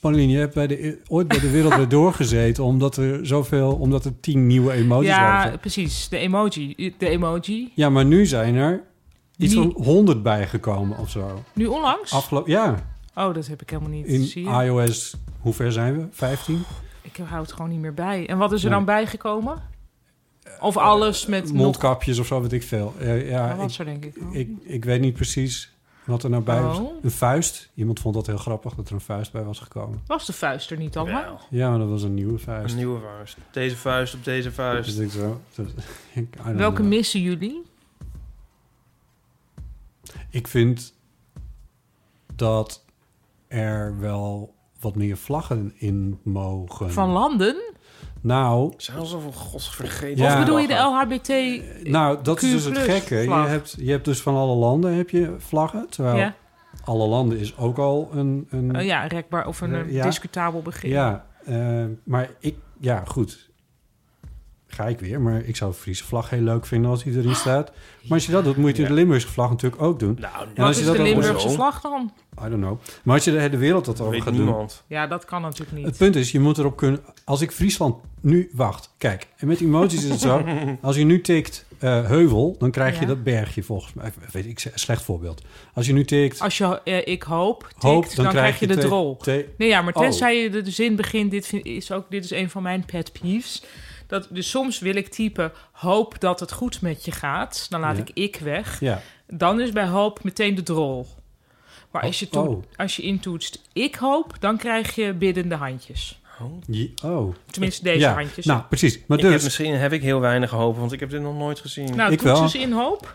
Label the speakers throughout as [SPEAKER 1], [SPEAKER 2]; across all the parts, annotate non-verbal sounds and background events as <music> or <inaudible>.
[SPEAKER 1] Paulien, je hebt bij de, e- ooit bij de wereld weer doorgezeten omdat er zoveel, omdat er tien nieuwe emoties
[SPEAKER 2] Ja,
[SPEAKER 1] waren.
[SPEAKER 2] precies. De emoji. De emoji.
[SPEAKER 1] Ja, maar nu zijn er iets
[SPEAKER 2] Die-
[SPEAKER 1] van honderd bijgekomen of zo.
[SPEAKER 2] Nu onlangs?
[SPEAKER 1] Afgelopen, ja,
[SPEAKER 2] Oh, dat heb ik helemaal niet.
[SPEAKER 1] in
[SPEAKER 2] Zie je?
[SPEAKER 1] iOS, hoe ver zijn we? 15?
[SPEAKER 2] Ik hou het gewoon niet meer bij. En wat is
[SPEAKER 1] Nee.
[SPEAKER 2] er
[SPEAKER 1] Eh,
[SPEAKER 2] dan bijgekomen? Of alles met nog...
[SPEAKER 1] Mondkapjes of zo, weet ik veel. Eh, ja,
[SPEAKER 2] Nou, wat
[SPEAKER 1] ik,
[SPEAKER 2] zo denk ik. Oh.
[SPEAKER 1] ik, ik weet niet precies wat er nou bij was.
[SPEAKER 2] Oh.
[SPEAKER 1] Een vuist. Iemand vond dat heel grappig dat er een vuist bij was gekomen.
[SPEAKER 2] Was de vuist er niet allemaal?
[SPEAKER 1] Ja, maar dat was een nieuwe vuist.
[SPEAKER 3] Een nieuwe vuist. Deze vuist op deze
[SPEAKER 1] Dus
[SPEAKER 3] vuist.
[SPEAKER 1] ik zo, dat- ik- I don't
[SPEAKER 2] Welke
[SPEAKER 1] know.
[SPEAKER 2] missen jullie?
[SPEAKER 1] Ik vind dat er wel wat meer vlaggen in mogen.
[SPEAKER 2] Van landen?
[SPEAKER 1] Nou,
[SPEAKER 3] Zijn al zoveel godsvergeten. Eh,
[SPEAKER 1] Ja.
[SPEAKER 2] Of bedoel je de
[SPEAKER 3] vlaggen?
[SPEAKER 2] LHBT?
[SPEAKER 1] nou, dat is dus het
[SPEAKER 2] Q+
[SPEAKER 1] gekke. Je
[SPEAKER 2] vlag.
[SPEAKER 1] hebt, je hebt dus van alle landen heb je vlaggen. Terwijl
[SPEAKER 2] Ja,
[SPEAKER 1] alle landen is ook al een... een
[SPEAKER 2] Eh, ja rekbaar of een eh,
[SPEAKER 1] Ja.
[SPEAKER 2] discutabel begin.
[SPEAKER 1] ja, eh, maar ik... Ja, goed. Ga ik weer. Maar ik zou de Friese vlag heel leuk vinden als die
[SPEAKER 2] Ah,
[SPEAKER 1] erin staat. Maar als je dat doet, moet je de Limburgse vlag natuurlijk ook doen.
[SPEAKER 3] Nou,
[SPEAKER 1] En
[SPEAKER 2] Wat
[SPEAKER 1] als
[SPEAKER 2] is
[SPEAKER 1] je dat
[SPEAKER 2] de
[SPEAKER 1] dan-
[SPEAKER 2] Limburgse
[SPEAKER 3] Hoezo?
[SPEAKER 2] vlag dan?
[SPEAKER 1] I don't know. Maar als je de hele wereld dat
[SPEAKER 3] dat
[SPEAKER 1] over
[SPEAKER 3] weet
[SPEAKER 1] gaat doen...
[SPEAKER 3] niemand.
[SPEAKER 2] Ja, dat kan natuurlijk niet.
[SPEAKER 1] Het punt is, je moet erop kunnen... Als ik Friesland nu... Wacht, kijk. En met emoties is het
[SPEAKER 3] <laughs>
[SPEAKER 1] zo. Als je nu tikt eh, heuvel, dan krijg je
[SPEAKER 2] Ja.
[SPEAKER 1] dat bergje volgens mij. Eh, Weet ik, slecht voorbeeld. Als je nu tikt
[SPEAKER 2] Als je eh, ik hoop tikt,
[SPEAKER 1] hoop,
[SPEAKER 2] dan, krijg je de
[SPEAKER 1] twee-
[SPEAKER 2] drol.
[SPEAKER 1] twee-
[SPEAKER 2] Nee, ja, maar
[SPEAKER 1] Oh.
[SPEAKER 2] tenzij je de, de zin begint, dit, vind, is ook, dit is een van mijn pet peeves. Dat, dus soms wil ik typen, hoop dat het goed met je gaat. Dan laat
[SPEAKER 1] Ja.
[SPEAKER 2] ik ik weg.
[SPEAKER 1] ja.
[SPEAKER 2] Dan is bij hoop meteen de drol. Maar als je,
[SPEAKER 1] Oh,
[SPEAKER 2] toe-
[SPEAKER 1] oh.
[SPEAKER 2] als je intoetst, ik hoop, dan krijg je biddende handjes.
[SPEAKER 1] Je- oh.
[SPEAKER 2] Tenminste, deze
[SPEAKER 1] ja.
[SPEAKER 2] handjes.
[SPEAKER 1] Nou, precies. Maar
[SPEAKER 3] Ik heb,
[SPEAKER 1] dus...
[SPEAKER 3] misschien heb ik heel weinig hoop, want ik heb dit nog nooit gezien.
[SPEAKER 2] nou
[SPEAKER 1] ik
[SPEAKER 2] toets
[SPEAKER 1] wel.
[SPEAKER 2] eens in hoop.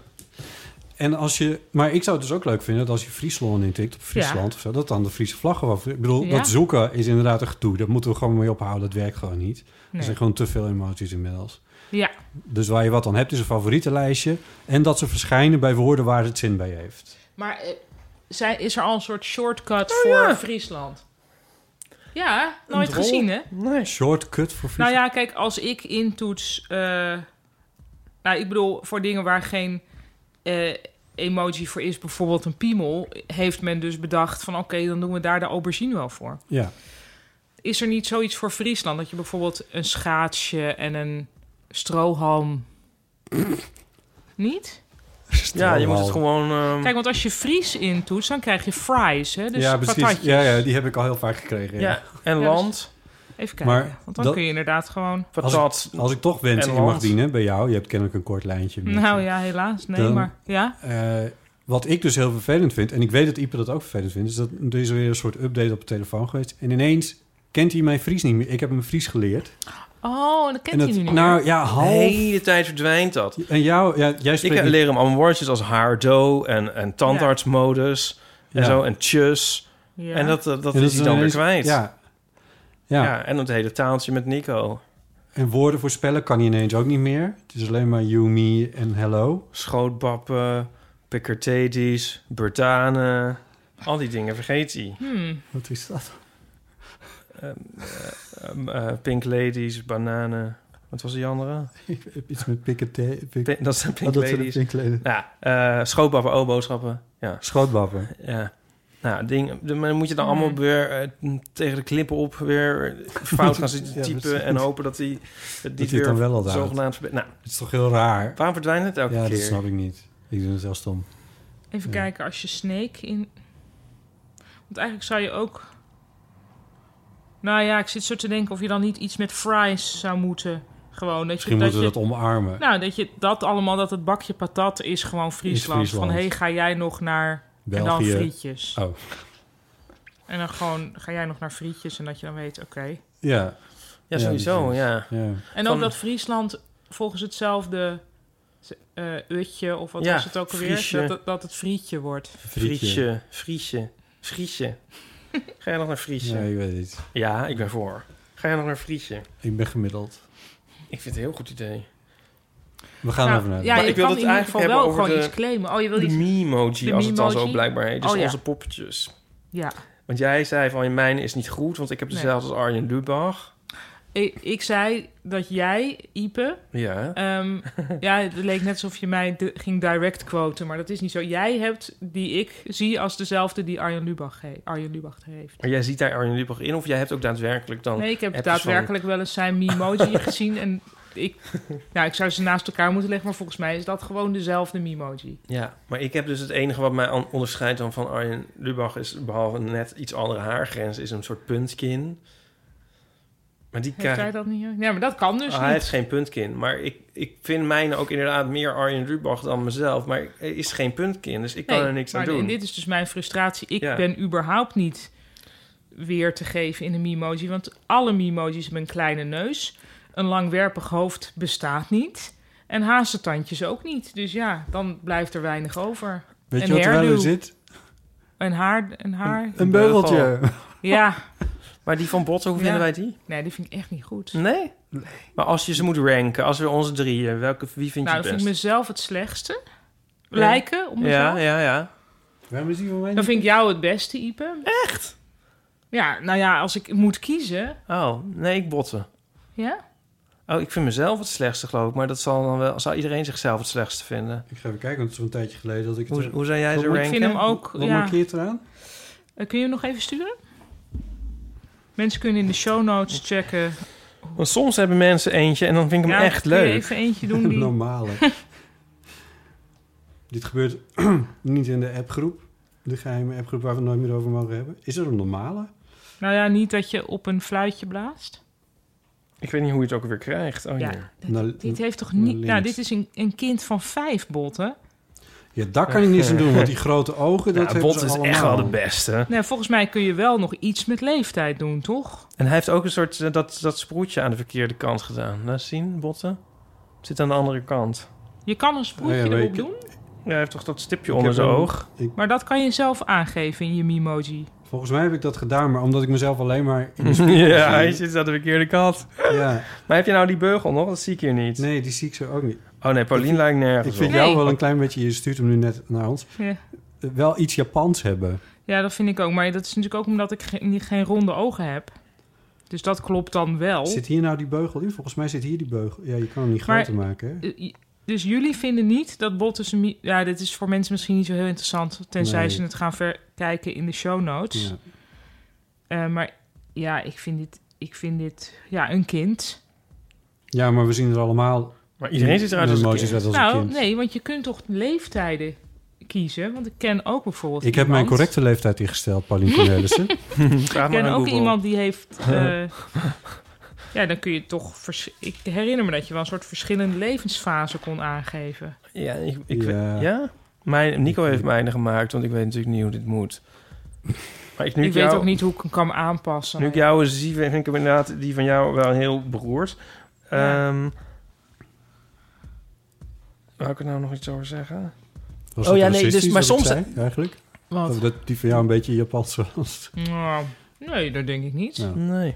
[SPEAKER 1] En als je, maar ik zou het dus ook leuk vinden dat als je Friesland intikt, op Friesland of zo, dat dan de Friese vlaggen was. Ik bedoel,
[SPEAKER 2] Ja.
[SPEAKER 1] dat zoeken is inderdaad een gedoe. Daar moeten we gewoon mee ophouden. Dat werkt gewoon niet. Er
[SPEAKER 2] Nee.
[SPEAKER 1] zijn gewoon te veel emoties inmiddels.
[SPEAKER 2] Ja,
[SPEAKER 1] Dus waar je wat aan hebt is een favorietenlijstje. En dat ze verschijnen bij woorden waar het zin bij heeft.
[SPEAKER 2] maar eh, zij, is er al een soort shortcut
[SPEAKER 1] Oh,
[SPEAKER 2] voor Friesland? Ja, nooit
[SPEAKER 3] drol?
[SPEAKER 2] gezien hè?
[SPEAKER 3] Nee.
[SPEAKER 1] Shortcut voor
[SPEAKER 2] Nou
[SPEAKER 1] Friesland.
[SPEAKER 2] ja, kijk, als ik intoets... eh nou, ik bedoel, voor dingen waar geen eh, emoji voor is... bijvoorbeeld een piemel... heeft men dus bedacht van... oké, dan doen we daar de aubergine wel voor.
[SPEAKER 1] ja.
[SPEAKER 2] Is er niet zoiets voor Friesland... dat je bijvoorbeeld een schaatsje en een strohalm... niet?
[SPEAKER 3] Ja, je moet het
[SPEAKER 1] Strohalm.
[SPEAKER 3] gewoon... ehm,
[SPEAKER 2] Kijk, want als je Fries intoetst... dan krijg je fries, hè? Dus
[SPEAKER 1] ja, precies.
[SPEAKER 2] patatjes.
[SPEAKER 1] Ja, ja, die heb ik al heel vaak gekregen. ja.
[SPEAKER 3] ja. En
[SPEAKER 2] Ja, dus
[SPEAKER 3] land,
[SPEAKER 2] Even kijken,
[SPEAKER 1] Maar
[SPEAKER 2] want dan
[SPEAKER 1] dat-
[SPEAKER 2] kun je inderdaad gewoon...
[SPEAKER 3] patat.
[SPEAKER 1] Als ik toch wensen
[SPEAKER 3] En
[SPEAKER 1] in mag
[SPEAKER 3] land.
[SPEAKER 1] dienen bij jou, je hebt kennelijk een kort lijntje. met-
[SPEAKER 2] Nou ja, helaas. Nee,
[SPEAKER 1] Dan-
[SPEAKER 2] maar... Ja?
[SPEAKER 1] Eh, wat ik dus heel vervelend vind, en ik weet dat Ipe dat ook vervelend vindt, is dat er is weer een soort update op de telefoon geweest. En ineens kent hij mijn Fries niet meer. Ik heb hem Fries geleerd.
[SPEAKER 2] Oh, en
[SPEAKER 1] en
[SPEAKER 2] dat kent
[SPEAKER 1] dat,
[SPEAKER 2] hij nu niet
[SPEAKER 1] Nou
[SPEAKER 2] meer.
[SPEAKER 1] ja,
[SPEAKER 3] De
[SPEAKER 1] half.
[SPEAKER 3] hele tijd verdwijnt dat.
[SPEAKER 1] En jou, ja, jij
[SPEAKER 3] Ik
[SPEAKER 1] spreekt
[SPEAKER 3] eh,
[SPEAKER 1] niet-
[SPEAKER 3] leer hem allemaal woordjes als haardo en, en tandartsmodus en
[SPEAKER 1] Ja.
[SPEAKER 3] zo en tjus.
[SPEAKER 2] Ja.
[SPEAKER 3] En dat, eh, dat,
[SPEAKER 1] en
[SPEAKER 3] is hij dan weer
[SPEAKER 1] ineens-
[SPEAKER 3] kwijt.
[SPEAKER 1] Ja. Ja.
[SPEAKER 3] Ja. en het hele taaltje met Nico.
[SPEAKER 1] en woorden voorspellen kan hij ineens ook niet meer. Het is alleen maar you, me en hello.
[SPEAKER 3] Schootbappen, Picartedis, Eh, Bertane. Al die dingen vergeet hij.
[SPEAKER 2] Hmm.
[SPEAKER 1] Wat is dat? <laughs>
[SPEAKER 3] Ehm, eh, pink ladies, bananen. Wat was die andere?
[SPEAKER 1] Ik heb iets met pikketé. Pik,
[SPEAKER 3] Pink- dat zijn
[SPEAKER 1] oh,
[SPEAKER 3] pink
[SPEAKER 1] dat zijn de
[SPEAKER 3] ladies.
[SPEAKER 1] pinkleden.
[SPEAKER 3] Ja, eh schootbappen, o-boodschappen. Ja,
[SPEAKER 1] Schootbappen.
[SPEAKER 3] ja. Nou, ding, de- maar dan moet je dan allemaal weer eh, tegen de klippen op weer
[SPEAKER 1] <laughs>
[SPEAKER 3] fout gaan
[SPEAKER 1] Ja,
[SPEAKER 3] zitten typen...
[SPEAKER 1] precies.
[SPEAKER 3] en hopen dat die het
[SPEAKER 1] hij
[SPEAKER 3] niet
[SPEAKER 1] het
[SPEAKER 3] weer
[SPEAKER 1] dan wel al houdt.
[SPEAKER 3] zogenaamd... verbe- Nou,
[SPEAKER 1] Het is toch heel raar?
[SPEAKER 3] waarom verdwijnt het elke
[SPEAKER 1] Ja,
[SPEAKER 3] keer?
[SPEAKER 1] dat snap ik niet. Ik doe het heel stom.
[SPEAKER 2] Even
[SPEAKER 1] Ja.
[SPEAKER 2] kijken, als je Snake in... Want eigenlijk zou je ook... Nou ja, ik zit zo te denken of je dan niet iets met fries zou moeten. Gewoon, dat
[SPEAKER 1] Misschien
[SPEAKER 2] je,
[SPEAKER 1] moeten we
[SPEAKER 2] je-
[SPEAKER 1] dat omarmen.
[SPEAKER 2] Nou, dat je dat allemaal, dat het bakje patat is gewoon Friesland.
[SPEAKER 1] Friesland.
[SPEAKER 2] Van, hé, hey, ga jij nog naar... En dan
[SPEAKER 1] België.
[SPEAKER 2] frietjes.
[SPEAKER 1] Oh.
[SPEAKER 2] En dan gewoon, ga jij nog naar frietjes en dat je dan weet, oké.
[SPEAKER 1] Ja.
[SPEAKER 3] Ja, sowieso,
[SPEAKER 1] precies.
[SPEAKER 3] ja.
[SPEAKER 2] En ook
[SPEAKER 3] Van-
[SPEAKER 2] dat Friesland volgens hetzelfde eh utje of wat
[SPEAKER 3] Ja,
[SPEAKER 2] was het ook alweer,
[SPEAKER 3] friesje.
[SPEAKER 2] dat, het- dat het frietje wordt.
[SPEAKER 3] Friesje, Friesje, Friesje. Ga jij nog naar Friesje?
[SPEAKER 1] Nee, ik weet het niet.
[SPEAKER 3] Ja, ik ben voor. Ga jij nog naar Friesje?
[SPEAKER 1] Ik ben gemiddeld.
[SPEAKER 3] Ik vind het een heel goed idee.
[SPEAKER 1] We gaan
[SPEAKER 2] Nou,
[SPEAKER 1] even naar.
[SPEAKER 2] ja,
[SPEAKER 3] Maar
[SPEAKER 2] je
[SPEAKER 3] ik wil
[SPEAKER 2] kan
[SPEAKER 3] het
[SPEAKER 2] in ieder
[SPEAKER 3] eigenlijk
[SPEAKER 2] geval
[SPEAKER 3] hebben
[SPEAKER 2] wel
[SPEAKER 3] over
[SPEAKER 2] gewoon
[SPEAKER 3] de-
[SPEAKER 2] iets claimen. Oh, je wil
[SPEAKER 3] de
[SPEAKER 2] iets...
[SPEAKER 3] Memoji,
[SPEAKER 2] de
[SPEAKER 3] als het dan zo
[SPEAKER 2] Memoji?
[SPEAKER 3] blijkbaar heet. Dus
[SPEAKER 2] Oh, ja.
[SPEAKER 3] onze poppetjes.
[SPEAKER 2] Ja.
[SPEAKER 3] Want jij zei van, mijn is niet goed, want ik heb
[SPEAKER 2] Nee.
[SPEAKER 3] dezelfde als Arjen Lubach.
[SPEAKER 2] Ik, ik zei dat jij, Ipe...
[SPEAKER 3] Ja. <laughs>
[SPEAKER 2] ehm, ja, het leek net alsof je mij de- ging direct quoten, maar dat is niet zo. Jij hebt die ik zie als dezelfde die Arjen Lubach, he- Arjen Lubach heeft.
[SPEAKER 3] Maar jij ziet daar Arjen Lubach in, of jij hebt ook daadwerkelijk dan...
[SPEAKER 2] Nee, ik heb
[SPEAKER 3] appjes van-
[SPEAKER 2] daadwerkelijk wel eens zijn
[SPEAKER 3] <laughs>
[SPEAKER 2] Mimoji gezien. En ik, nou, ik zou ze naast elkaar moeten leggen, maar volgens mij is dat gewoon dezelfde Mimoji.
[SPEAKER 3] Ja, maar ik heb dus het enige wat mij an- onderscheidt dan van Arjen Lubach... is behalve net iets andere haargrens, is een soort puntkin. Maar die
[SPEAKER 2] Heeft
[SPEAKER 3] krijg
[SPEAKER 2] hij
[SPEAKER 3] ik-
[SPEAKER 2] dat niet? Ja, maar dat kan dus
[SPEAKER 3] Ah,
[SPEAKER 2] niet.
[SPEAKER 3] hij heeft geen puntkin. Maar ik, ik vind mijn ook inderdaad meer Arjen Lubach dan mezelf. Maar er is geen puntkin, dus ik kan
[SPEAKER 2] Nee,
[SPEAKER 3] er niks aan
[SPEAKER 2] maar
[SPEAKER 3] doen.
[SPEAKER 2] En dit is dus mijn frustratie. Ik
[SPEAKER 3] Ja.
[SPEAKER 2] ben überhaupt niet weer te geven in een Mimoji. Want alle Mimojis hebben een kleine neus. Een langwerpig hoofd bestaat niet. En hazentandjes ook niet. Dus ja, dan blijft er weinig over.
[SPEAKER 1] Weet
[SPEAKER 2] Een
[SPEAKER 1] je wat er wel
[SPEAKER 2] hairdo.
[SPEAKER 1] in zit?
[SPEAKER 2] Een haar... Een, haar.
[SPEAKER 1] Een- een beugeltje. <laughs>
[SPEAKER 2] Ja.
[SPEAKER 3] Maar die van Botten, hoe
[SPEAKER 2] Ja.
[SPEAKER 3] vinden wij die?
[SPEAKER 2] Nee, die vind ik echt niet goed. Nou,
[SPEAKER 3] Nee? Maar als je ze moet ranken, als we onze drieën, welke, wie vind
[SPEAKER 2] nou,
[SPEAKER 3] je
[SPEAKER 2] dan
[SPEAKER 3] het
[SPEAKER 2] vind
[SPEAKER 3] best?
[SPEAKER 2] ik mezelf het slechtste. Lijken, om mezelf.
[SPEAKER 3] Ja, ja, ja.
[SPEAKER 1] Waarom is die voor mij
[SPEAKER 2] Dan vind ik jou het beste, Ipe. Echt? Ja, nou ja, als ik moet kiezen...
[SPEAKER 3] Oh, nee, ik botten.
[SPEAKER 2] Ja?
[SPEAKER 3] Oh, ik vind mezelf het slechtste, geloof ik. Maar dat zal dan wel... Zal iedereen zichzelf het slechtste vinden?
[SPEAKER 1] Ik ga even kijken, want het is een tijdje geleden dat ik het...
[SPEAKER 3] Hoe- hoe zou jij
[SPEAKER 1] Wat
[SPEAKER 3] ze
[SPEAKER 1] moet-
[SPEAKER 3] ranken?
[SPEAKER 2] Ik vind hem ook...
[SPEAKER 1] Wat
[SPEAKER 2] ja.
[SPEAKER 1] markeert eraan?
[SPEAKER 2] Eh, kun je hem nog even sturen? Mensen kunnen in de show notes checken.
[SPEAKER 3] Want soms hebben mensen eentje en dan vind ik hem
[SPEAKER 2] Ja,
[SPEAKER 3] echt
[SPEAKER 2] kun je
[SPEAKER 3] leuk.
[SPEAKER 2] even eentje
[SPEAKER 1] <laughs>
[SPEAKER 3] <laughs>
[SPEAKER 2] doen die...
[SPEAKER 1] Normale. Dit gebeurt <clears throat> niet in de appgroep. De geheime appgroep waar we het nooit meer over mogen hebben. Is er een normale?
[SPEAKER 2] Nou ja, niet dat je op een fluitje blaast.
[SPEAKER 3] Ik weet niet hoe je het ook weer krijgt. Oh,
[SPEAKER 2] ja,
[SPEAKER 3] hier.
[SPEAKER 2] dat- dit heeft toch niet... Nou, dit is een, een kind van vijf, Botten.
[SPEAKER 1] Ja, daar kan ik niets aan doen, want die
[SPEAKER 3] <laughs>
[SPEAKER 1] grote ogen, dat
[SPEAKER 3] Ja,
[SPEAKER 1] hebben
[SPEAKER 3] Botten
[SPEAKER 1] ze
[SPEAKER 3] is
[SPEAKER 1] allemaal.
[SPEAKER 3] echt wel de beste.
[SPEAKER 2] Nee, Nou, volgens mij kun je wel nog iets met leeftijd doen, toch?
[SPEAKER 3] En hij heeft ook een soort... eh, Dat, dat sproetje aan de verkeerde kant gedaan. Laat zien, Botten. Het zit aan de andere kant.
[SPEAKER 2] Je kan een sproetje
[SPEAKER 1] Ja, ja, maar
[SPEAKER 2] erop
[SPEAKER 1] ik-
[SPEAKER 2] doen,
[SPEAKER 3] Ja, hij heeft toch dat stipje
[SPEAKER 1] Ik
[SPEAKER 3] onder
[SPEAKER 1] heb
[SPEAKER 3] zijn
[SPEAKER 1] hem-
[SPEAKER 3] oog?
[SPEAKER 1] ik-
[SPEAKER 2] maar dat kan je zelf aangeven in je Mimoji.
[SPEAKER 1] volgens mij heb ik dat gedaan, maar omdat ik mezelf alleen maar... in de spiegel
[SPEAKER 3] <laughs> ja, hij
[SPEAKER 1] zie-
[SPEAKER 3] zit aan de verkeerde kant.
[SPEAKER 1] ja.
[SPEAKER 3] <laughs> Maar heb je nou die beugel nog? Dat zie ik hier niet.
[SPEAKER 1] Nee, die zie ik zo ook niet.
[SPEAKER 3] Oh nee, Paulien lijkt
[SPEAKER 1] Ik
[SPEAKER 3] nergens
[SPEAKER 1] vind
[SPEAKER 3] op.
[SPEAKER 1] jou
[SPEAKER 2] Nee.
[SPEAKER 1] wel een klein beetje, je stuurt hem nu net naar ons,
[SPEAKER 2] Ja.
[SPEAKER 1] eh, wel iets Japans hebben.
[SPEAKER 2] ja, dat vind ik ook. Maar dat is natuurlijk ook omdat ik ge- niet- geen ronde ogen heb. Dus dat klopt dan wel.
[SPEAKER 1] Zit hier nou die beugel in? Volgens mij zit hier die beugel. Ja, je kan hem niet
[SPEAKER 2] Maar-
[SPEAKER 1] groter maken, hè?
[SPEAKER 2] Eh, j- Dus jullie vinden niet dat botten zijn... mi- Ja, dit is voor mensen misschien niet zo heel interessant... tenzij
[SPEAKER 1] Nee.
[SPEAKER 2] ze het gaan verkijken in de show notes.
[SPEAKER 1] Ja.
[SPEAKER 2] Eh, maar ja, ik vind dit... Ik vind dit... Ja, een kind.
[SPEAKER 1] ja, maar we zien er allemaal...
[SPEAKER 3] Maar iedereen ziet eruit als een
[SPEAKER 1] emoties
[SPEAKER 3] kind.
[SPEAKER 1] uit als
[SPEAKER 2] nou,
[SPEAKER 1] een kind.
[SPEAKER 2] nee, want je kunt toch leeftijden kiezen? Want ik ken ook bijvoorbeeld
[SPEAKER 1] Ik heb mijn
[SPEAKER 2] iemand-
[SPEAKER 1] correcte leeftijd ingesteld,
[SPEAKER 2] <laughs>
[SPEAKER 1] Paulien Cornelissen.
[SPEAKER 3] Vraag
[SPEAKER 2] Ik
[SPEAKER 3] maar
[SPEAKER 2] ken
[SPEAKER 3] aan
[SPEAKER 2] ook
[SPEAKER 3] Google.
[SPEAKER 2] iemand die
[SPEAKER 3] <laughs>
[SPEAKER 2] heeft... eh, ja, dan kun je toch... vers- Ik herinner me dat je wel een soort verschillende levensfasen kon aangeven.
[SPEAKER 3] Ja, ik, ik, ja.
[SPEAKER 1] Ja.
[SPEAKER 3] Mijn, Nico heeft mijne gemaakt, want ik weet natuurlijk niet hoe dit moet. Maar ik, nu
[SPEAKER 2] ik
[SPEAKER 3] ik jou,
[SPEAKER 2] weet ook niet hoe ik hem kan aanpassen.
[SPEAKER 3] Nu ik jou eens zie, vind ik hem inderdaad die van jou wel heel beroerd.
[SPEAKER 2] Ja.
[SPEAKER 3] Ehm Wou ik er nou nog iets over zeggen?
[SPEAKER 1] Was
[SPEAKER 3] Oh
[SPEAKER 1] dat
[SPEAKER 3] ja, nee,
[SPEAKER 1] racistisch
[SPEAKER 3] dus- maar
[SPEAKER 1] wat ik
[SPEAKER 3] soms-
[SPEAKER 1] zei, eigenlijk?
[SPEAKER 2] Wat?
[SPEAKER 1] Of dat die van jou een beetje Japans was.
[SPEAKER 2] Nou, nee, dat denk ik niet.
[SPEAKER 1] Ja.
[SPEAKER 3] Nee.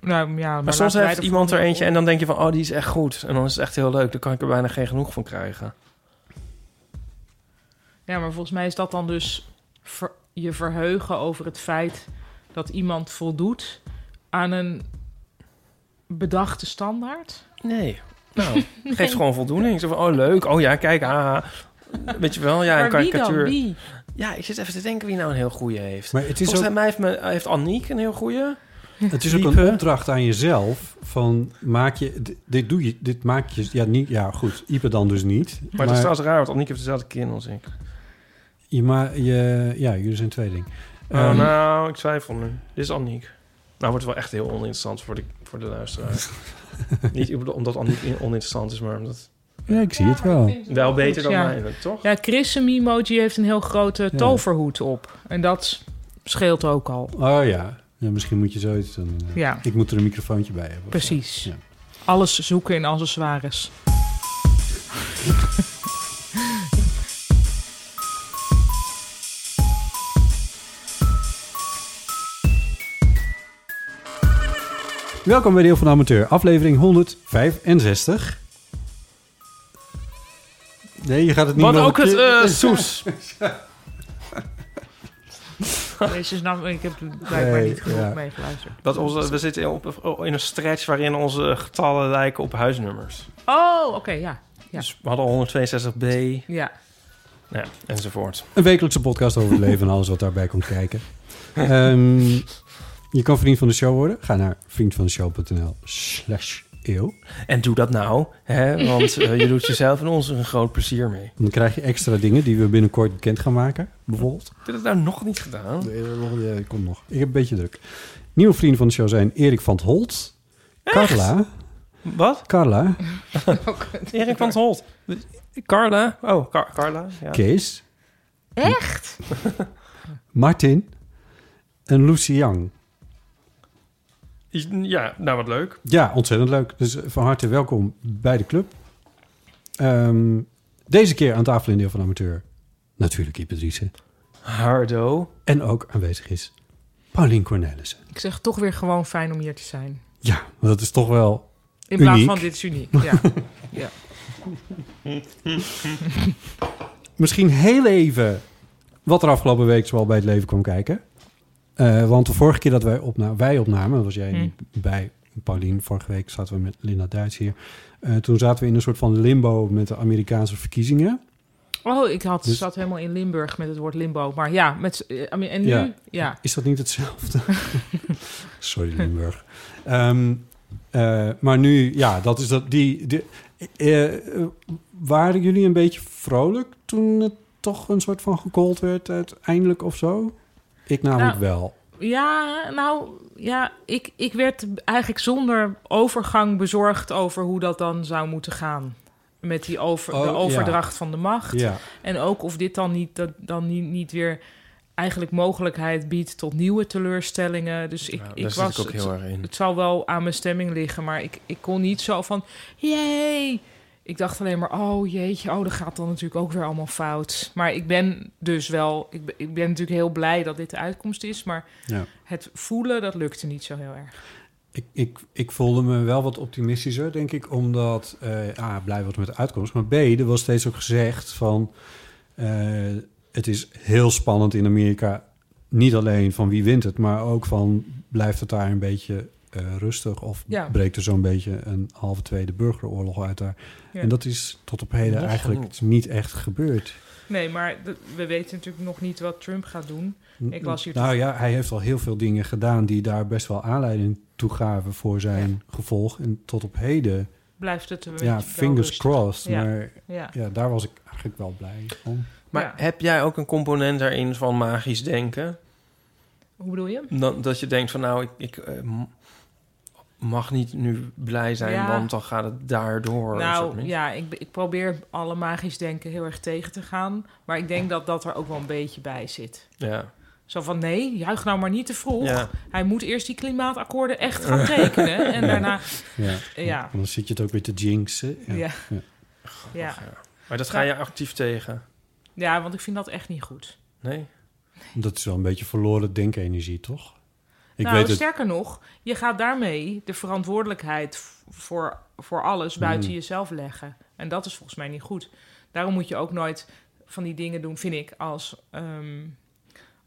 [SPEAKER 2] Nou, ja,
[SPEAKER 3] Maar soms heeft iemand er eentje en
[SPEAKER 2] en...
[SPEAKER 3] dan denk je van... oh, die is echt goed. En dan is het echt heel leuk. Dan kan ik er bijna geen genoeg van krijgen.
[SPEAKER 2] Ja, maar volgens mij is dat dan dus ver- je verheugen over het feit dat iemand voldoet aan een bedachte standaard.
[SPEAKER 3] Nee. <laughs> Nou, geef ze gewoon voldoening. Zo van, oh leuk, oh ja, kijk, haha. Weet je wel, ja, een
[SPEAKER 2] maar wie dan?
[SPEAKER 3] karikatuur.
[SPEAKER 2] Wie?
[SPEAKER 3] Ja, ik zit even te denken wie nou een heel goede heeft.
[SPEAKER 1] Maar het is,
[SPEAKER 3] Volgens
[SPEAKER 1] ook,
[SPEAKER 3] mij heeft, me, heeft Anniek een heel goede.
[SPEAKER 1] het is ook een
[SPEAKER 3] Diepe.
[SPEAKER 1] opdracht aan jezelf. Van maak je, dit, dit doe je, dit maak je, ja, niet, ja goed, Ipe dan dus niet.
[SPEAKER 3] Maar, dat is trouwens raar, want Anniek heeft dezelfde kin als ik.
[SPEAKER 1] je, maar je, ja, jullie zijn twee dingen. Ehm,
[SPEAKER 3] nou- Oh, nou, ik twijfel nu. Dit is Anniek. Nou wordt het wel echt heel oninteressant voor de, voor de
[SPEAKER 1] <laughs>
[SPEAKER 3] luisteraar. niet omdat het niet in- oninteressant is, maar omdat...
[SPEAKER 1] Ja, ik zie het wel.
[SPEAKER 3] Wel beter dan
[SPEAKER 2] ja.
[SPEAKER 3] mij, toch?
[SPEAKER 2] Ja, Chris en Mimoji heeft een heel grote toverhoed op. En dat scheelt ook al.
[SPEAKER 1] Oh ja. ja, misschien moet je zoiets doen. inderdaad.
[SPEAKER 2] Ja.
[SPEAKER 1] Ik moet er een microfoontje bij hebben.
[SPEAKER 2] Precies. Alles zoeken
[SPEAKER 1] <laughs>
[SPEAKER 2] in accessoires.
[SPEAKER 1] Welkom bij Deel van de Amateur, aflevering 165. Nee, je gaat het niet
[SPEAKER 2] Wat
[SPEAKER 1] nog
[SPEAKER 2] ook
[SPEAKER 1] een
[SPEAKER 2] het
[SPEAKER 1] keer-
[SPEAKER 2] eh soes. Deze is nou, ik heb blijkbaar
[SPEAKER 3] Nee,
[SPEAKER 2] niet genoeg
[SPEAKER 3] ja.
[SPEAKER 2] meegeluisterd.
[SPEAKER 3] Dat onze, we zitten op, in een stretch waarin onze getallen lijken op huisnummers.
[SPEAKER 2] Oh, oké, ja. ja.
[SPEAKER 3] Dus we hadden 162b.
[SPEAKER 2] Ja.
[SPEAKER 3] Ja, enzovoort.
[SPEAKER 1] <laughs> Een wekelijkse podcast over het leven en alles wat daarbij komt kijken. Ehm, je kan vriend van de show worden. Ga naar vriendvandeshow.nl slash eeuw.
[SPEAKER 3] En doe dat nou, hè? want eh, je doet jezelf en ons een groot plezier mee.
[SPEAKER 1] Dan krijg je extra dingen die we binnenkort bekend gaan maken. Bijvoorbeeld.
[SPEAKER 3] Heb je dat nou nog niet gedaan?
[SPEAKER 1] Nee, komt nog. Ik heb een beetje druk. Nieuwe vrienden van de show zijn Erik van het Holt. Carla.
[SPEAKER 3] Wat?
[SPEAKER 1] Carla.
[SPEAKER 3] <laughs> Erik van het Holt. Carla. Oh, Car- Carla. Ja.
[SPEAKER 1] Kees.
[SPEAKER 2] Echt?
[SPEAKER 1] Martin. En Lucy Young.
[SPEAKER 3] Ja, nou wat leuk.
[SPEAKER 1] Ja, ontzettend leuk. Dus van harte welkom bij de club. Ehm, deze keer aan tafel in deel van amateur. Natuurlijk Ipatrice.
[SPEAKER 3] Hardo.
[SPEAKER 1] En ook aanwezig is Paulien Cornelissen.
[SPEAKER 2] Ik zeg toch weer gewoon fijn om hier te zijn.
[SPEAKER 1] Ja, want dat is toch wel
[SPEAKER 2] In plaats
[SPEAKER 1] uniek.
[SPEAKER 2] van dit is
[SPEAKER 1] <laughs>
[SPEAKER 2] uniek. Ja. ja. <laughs>
[SPEAKER 1] Misschien heel even wat er afgelopen week zoal bij het leven kwam kijken. Eh, want de vorige keer dat wij, opna wij opnamen, daar was jij niet bij Paulien, vorige week zaten we met Linda Duits hier. Eh, toen zaten we in een soort van limbo met de Amerikaanse verkiezingen.
[SPEAKER 2] Oh, ik had,
[SPEAKER 1] Dus-
[SPEAKER 2] zat helemaal in Limburg met het woord limbo. Maar ja, met, eh, I mean, en nu? Ja.
[SPEAKER 1] Is dat niet hetzelfde? <laughs> Sorry, Limburg. Ehm, eh, maar nu, ja, dat is dat. Die, die- eh, eh, waren jullie een beetje vrolijk toen het toch een soort van gekold werd uiteindelijk of zo? Ik namelijk
[SPEAKER 2] Nou,
[SPEAKER 1] wel.
[SPEAKER 2] Ja, nou, ja, ik, ik werd eigenlijk zonder overgang bezorgd over hoe dat dan zou moeten gaan. Met die over,
[SPEAKER 4] Oh,
[SPEAKER 2] de
[SPEAKER 4] ja.
[SPEAKER 2] overdracht van de macht.
[SPEAKER 4] Ja.
[SPEAKER 2] En ook of dit dan niet, dat, dan niet, niet weer eigenlijk mogelijkheid biedt tot nieuwe teleurstellingen. Dus ik, ik
[SPEAKER 3] daar
[SPEAKER 2] was...
[SPEAKER 3] zit ik ook heel
[SPEAKER 2] het,
[SPEAKER 3] erg in.
[SPEAKER 2] het zal wel aan mijn stemming liggen, maar ik, ik kon niet zo van... Jee! Ik dacht alleen maar, oh jeetje, oh, dat gaat dan natuurlijk ook weer allemaal fout. Maar ik ben dus wel... Ik ben, ik ben natuurlijk heel blij dat dit de uitkomst is, maar...
[SPEAKER 1] Ja.
[SPEAKER 2] Het voelen, dat lukte niet zo heel erg.
[SPEAKER 1] Ik, ik, ik voelde me wel wat optimistischer, denk ik, omdat eh, A, blij was met de uitkomst. Maar B, er was steeds ook gezegd van eh, het is heel spannend in Amerika. Niet alleen van wie wint het, maar ook van blijft het daar een beetje eh, rustig of
[SPEAKER 2] Ja.
[SPEAKER 1] breekt er zo'n beetje een halve tweede burgeroorlog uit daar.
[SPEAKER 2] Ja.
[SPEAKER 1] En dat is tot op heden
[SPEAKER 3] Nog
[SPEAKER 1] eigenlijk
[SPEAKER 3] niet.
[SPEAKER 1] niet. echt gebeurd.
[SPEAKER 2] Nee, maar d- we weten natuurlijk nog niet wat Trump gaat doen. Ik was hier
[SPEAKER 1] Nou ja, hij heeft al heel veel dingen gedaan die daar best wel aanleiding toe gaven voor zijn gevolg. En tot op heden
[SPEAKER 2] Blijft het een beetje
[SPEAKER 1] Ja,
[SPEAKER 2] wel
[SPEAKER 1] fingers
[SPEAKER 2] rustig.
[SPEAKER 1] crossed.
[SPEAKER 2] Ja,
[SPEAKER 1] Maar
[SPEAKER 2] ja.
[SPEAKER 1] ja. daar was ik eigenlijk wel blij om.
[SPEAKER 3] Maar heb jij ook een component daarin van magisch denken?
[SPEAKER 2] Hoe bedoel je?
[SPEAKER 3] Dan, dat je denkt van nou, ik, ik eh, m- mag niet nu blij zijn,
[SPEAKER 2] Ja.
[SPEAKER 3] want dan gaat het daardoor. een soort
[SPEAKER 2] Nou
[SPEAKER 3] min-
[SPEAKER 2] ja, ik, be- ik probeer alle magisch denken heel erg tegen te gaan. Maar ik denk dat dat er ook wel een beetje bij zit.
[SPEAKER 3] Ja.
[SPEAKER 2] Zo van nee, juich nou maar niet te vroeg.
[SPEAKER 3] Ja.
[SPEAKER 2] Hij moet eerst die klimaatakkoorden echt
[SPEAKER 3] <laughs>
[SPEAKER 2] gaan tekenen. En
[SPEAKER 1] <laughs> Ja.
[SPEAKER 2] daarna.
[SPEAKER 1] Ja.
[SPEAKER 2] Ja.
[SPEAKER 1] Dan zit je het ook weer te jinxen. Ja.
[SPEAKER 2] Ja.
[SPEAKER 1] Ja.
[SPEAKER 2] Ja.
[SPEAKER 3] Maar dat ga je actief tegen.
[SPEAKER 2] ja, want ik vind dat echt niet goed.
[SPEAKER 3] Nee.
[SPEAKER 1] Dat is wel een beetje verloren denkenergie, toch? Ik
[SPEAKER 2] nou,
[SPEAKER 1] weet het.
[SPEAKER 2] sterker nog, je gaat daarmee de verantwoordelijkheid v- voor, voor alles buiten
[SPEAKER 1] Mm.
[SPEAKER 2] jezelf leggen. En dat is volgens mij niet goed. Daarom moet je ook nooit van die dingen doen, vind ik, als, ehm,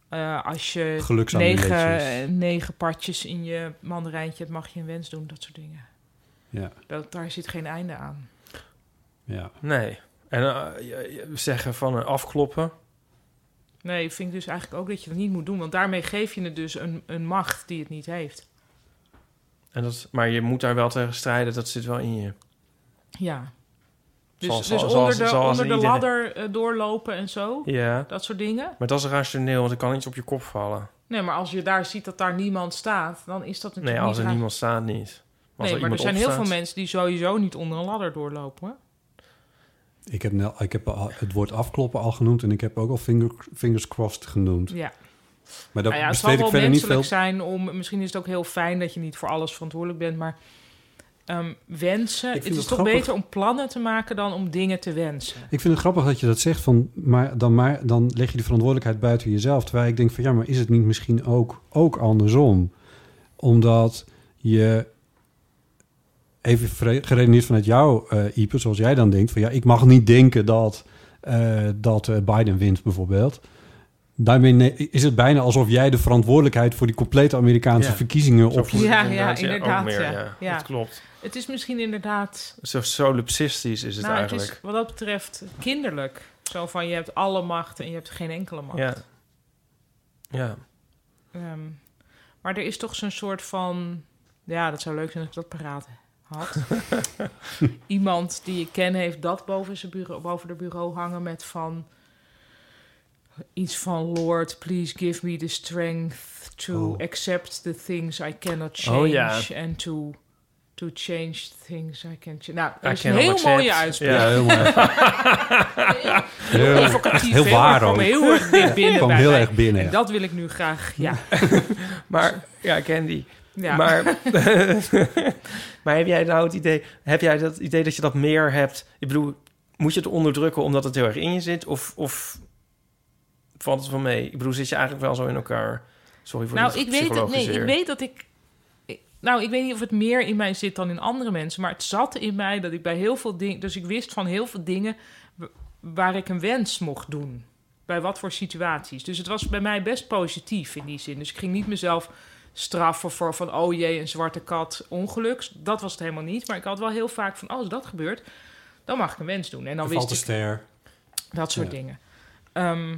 [SPEAKER 2] eh, als je
[SPEAKER 1] Geluksamuletjes.
[SPEAKER 2] negen, negen partjes in je mandarijntje hebt, mag je een wens doen, dat soort dingen.
[SPEAKER 1] Ja.
[SPEAKER 2] Dat, daar zit geen einde aan.
[SPEAKER 1] Ja.
[SPEAKER 3] Nee. En eh, je- je- zeggen van eh, afkloppen.
[SPEAKER 2] Nee, vind ik dus eigenlijk ook dat je dat niet moet doen, want daarmee geef je het dus een, een macht die het niet heeft.
[SPEAKER 3] En dat, maar je moet daar wel tegen strijden, dat zit wel in je.
[SPEAKER 2] Ja. Dus,
[SPEAKER 3] Zoals-
[SPEAKER 2] dus
[SPEAKER 3] zoals-
[SPEAKER 2] onder de,
[SPEAKER 3] zoals
[SPEAKER 2] onder de
[SPEAKER 3] iedereen.
[SPEAKER 2] ladder eh, doorlopen en zo.
[SPEAKER 3] Ja.
[SPEAKER 2] Dat soort dingen.
[SPEAKER 3] Maar dat is rationeel, want er kan iets op je kop vallen.
[SPEAKER 2] Nee, maar als je daar ziet dat daar niemand staat, dan is dat natuurlijk
[SPEAKER 3] Nee, als
[SPEAKER 2] niet
[SPEAKER 3] er
[SPEAKER 2] raar.
[SPEAKER 3] niemand staat, niet. Maar als
[SPEAKER 2] nee,
[SPEAKER 3] er
[SPEAKER 2] maar er
[SPEAKER 3] iemand
[SPEAKER 2] zijn heel
[SPEAKER 3] opstaat-
[SPEAKER 2] veel mensen die sowieso niet onder een ladder doorlopen. hoor.
[SPEAKER 1] Ik heb, nel- ik heb al- het woord afkloppen al genoemd en ik heb ook al finger, fingers crossed genoemd.
[SPEAKER 2] Ja.
[SPEAKER 1] Maar daar
[SPEAKER 2] Nou ja, het zal
[SPEAKER 1] besteed ik
[SPEAKER 2] wel
[SPEAKER 1] verder niet veel.
[SPEAKER 2] menselijk zijn om... Misschien is het ook heel fijn dat je niet voor alles verantwoordelijk bent, maar... ehm, wensen.
[SPEAKER 1] vind
[SPEAKER 2] Het is
[SPEAKER 1] het
[SPEAKER 2] toch
[SPEAKER 1] grappig.
[SPEAKER 2] beter om plannen te maken dan om dingen te wensen.
[SPEAKER 1] Ik vind het grappig dat je dat zegt, van, maar, dan, maar dan leg je de verantwoordelijkheid buiten jezelf. Terwijl ik denk van ja, maar is het niet misschien ook, ook andersom? Omdat je, even vre- geredeneerd vanuit jou, eh Ieper, zoals jij dan denkt... van ja, ik mag niet denken dat, eh, dat eh, Biden wint bijvoorbeeld... Daarmee ne- is het bijna alsof jij de verantwoordelijkheid voor die complete Amerikaanse
[SPEAKER 3] Ja.
[SPEAKER 1] verkiezingen
[SPEAKER 3] Zo
[SPEAKER 1] op
[SPEAKER 3] voelt het
[SPEAKER 2] Ja, ja,
[SPEAKER 3] inderdaad,
[SPEAKER 2] inderdaad.
[SPEAKER 3] ook meer,
[SPEAKER 2] ja.
[SPEAKER 3] ja.
[SPEAKER 2] Ja.
[SPEAKER 3] Dat klopt.
[SPEAKER 2] Het is misschien inderdaad...
[SPEAKER 3] Zo solipsistisch is het
[SPEAKER 2] nou,
[SPEAKER 3] eigenlijk.
[SPEAKER 2] het is wat dat betreft kinderlijk. Zo van, je hebt alle macht en je hebt geen enkele macht.
[SPEAKER 3] Ja. Ja.
[SPEAKER 2] Ehm, maar er is toch zo'n soort van... Ja, dat zou leuk zijn als ik dat paraat
[SPEAKER 3] <laughs>
[SPEAKER 2] had. Iemand die ik ken heeft dat boven, zijn bureau, boven de bureau hangen met van... Iets van Lord, please give me the strength to accept the things I cannot change.
[SPEAKER 3] Oh, ja.
[SPEAKER 2] And to, to change things I can change. Nou,
[SPEAKER 3] I
[SPEAKER 2] dat is een
[SPEAKER 3] cannot
[SPEAKER 2] heel
[SPEAKER 3] accept.
[SPEAKER 2] mooie uitspraak.
[SPEAKER 3] Ja, heel
[SPEAKER 2] <laughs>
[SPEAKER 3] mooi.
[SPEAKER 2] heel
[SPEAKER 1] Heel-
[SPEAKER 2] evocatief,
[SPEAKER 1] heel
[SPEAKER 2] hè,
[SPEAKER 1] waar
[SPEAKER 2] maar kwam
[SPEAKER 1] ook.
[SPEAKER 2] heel erg dicht
[SPEAKER 1] Ja,
[SPEAKER 2] binnen.
[SPEAKER 1] <laughs> kwam
[SPEAKER 2] bij
[SPEAKER 1] heel
[SPEAKER 2] mij.
[SPEAKER 1] erg binnen, ja.
[SPEAKER 2] En dat wil ik nu graag, ja.
[SPEAKER 3] <laughs> Maar, ja, Candy.
[SPEAKER 2] Ja. <laughs>
[SPEAKER 3] Maar, <laughs> maar heb jij nou het idee, heb jij dat idee dat je dat meer hebt? Ik bedoel, moet je het onderdrukken omdat het heel erg in je zit? Of, of valt het wel mee? Ik bedoel, zit je eigenlijk wel zo in elkaar? Sorry voor
[SPEAKER 2] Nou,
[SPEAKER 3] dit
[SPEAKER 2] ik weet het. Nee, ik
[SPEAKER 3] psychologiseer.
[SPEAKER 2] weet dat ik. ik- Nou, ik weet niet of het meer in mij zit dan in andere mensen. Maar het zat in mij dat ik bij heel veel dingen. Dus ik wist van heel veel dingen w- waar ik een wens mocht doen. Bij wat voor situaties. Dus het was bij mij best positief in die zin. Dus ik ging niet mezelf straffen voor van oh jee, een zwarte kat, ongeluk. Dat was het helemaal niet. Maar ik had wel heel vaak van oh, als dat gebeurt, dan mag ik een wens doen. En dan
[SPEAKER 1] Er
[SPEAKER 2] wist
[SPEAKER 1] valt een
[SPEAKER 2] ik
[SPEAKER 1] ster.
[SPEAKER 2] dat soort
[SPEAKER 1] Ja.
[SPEAKER 2] dingen. Ehm,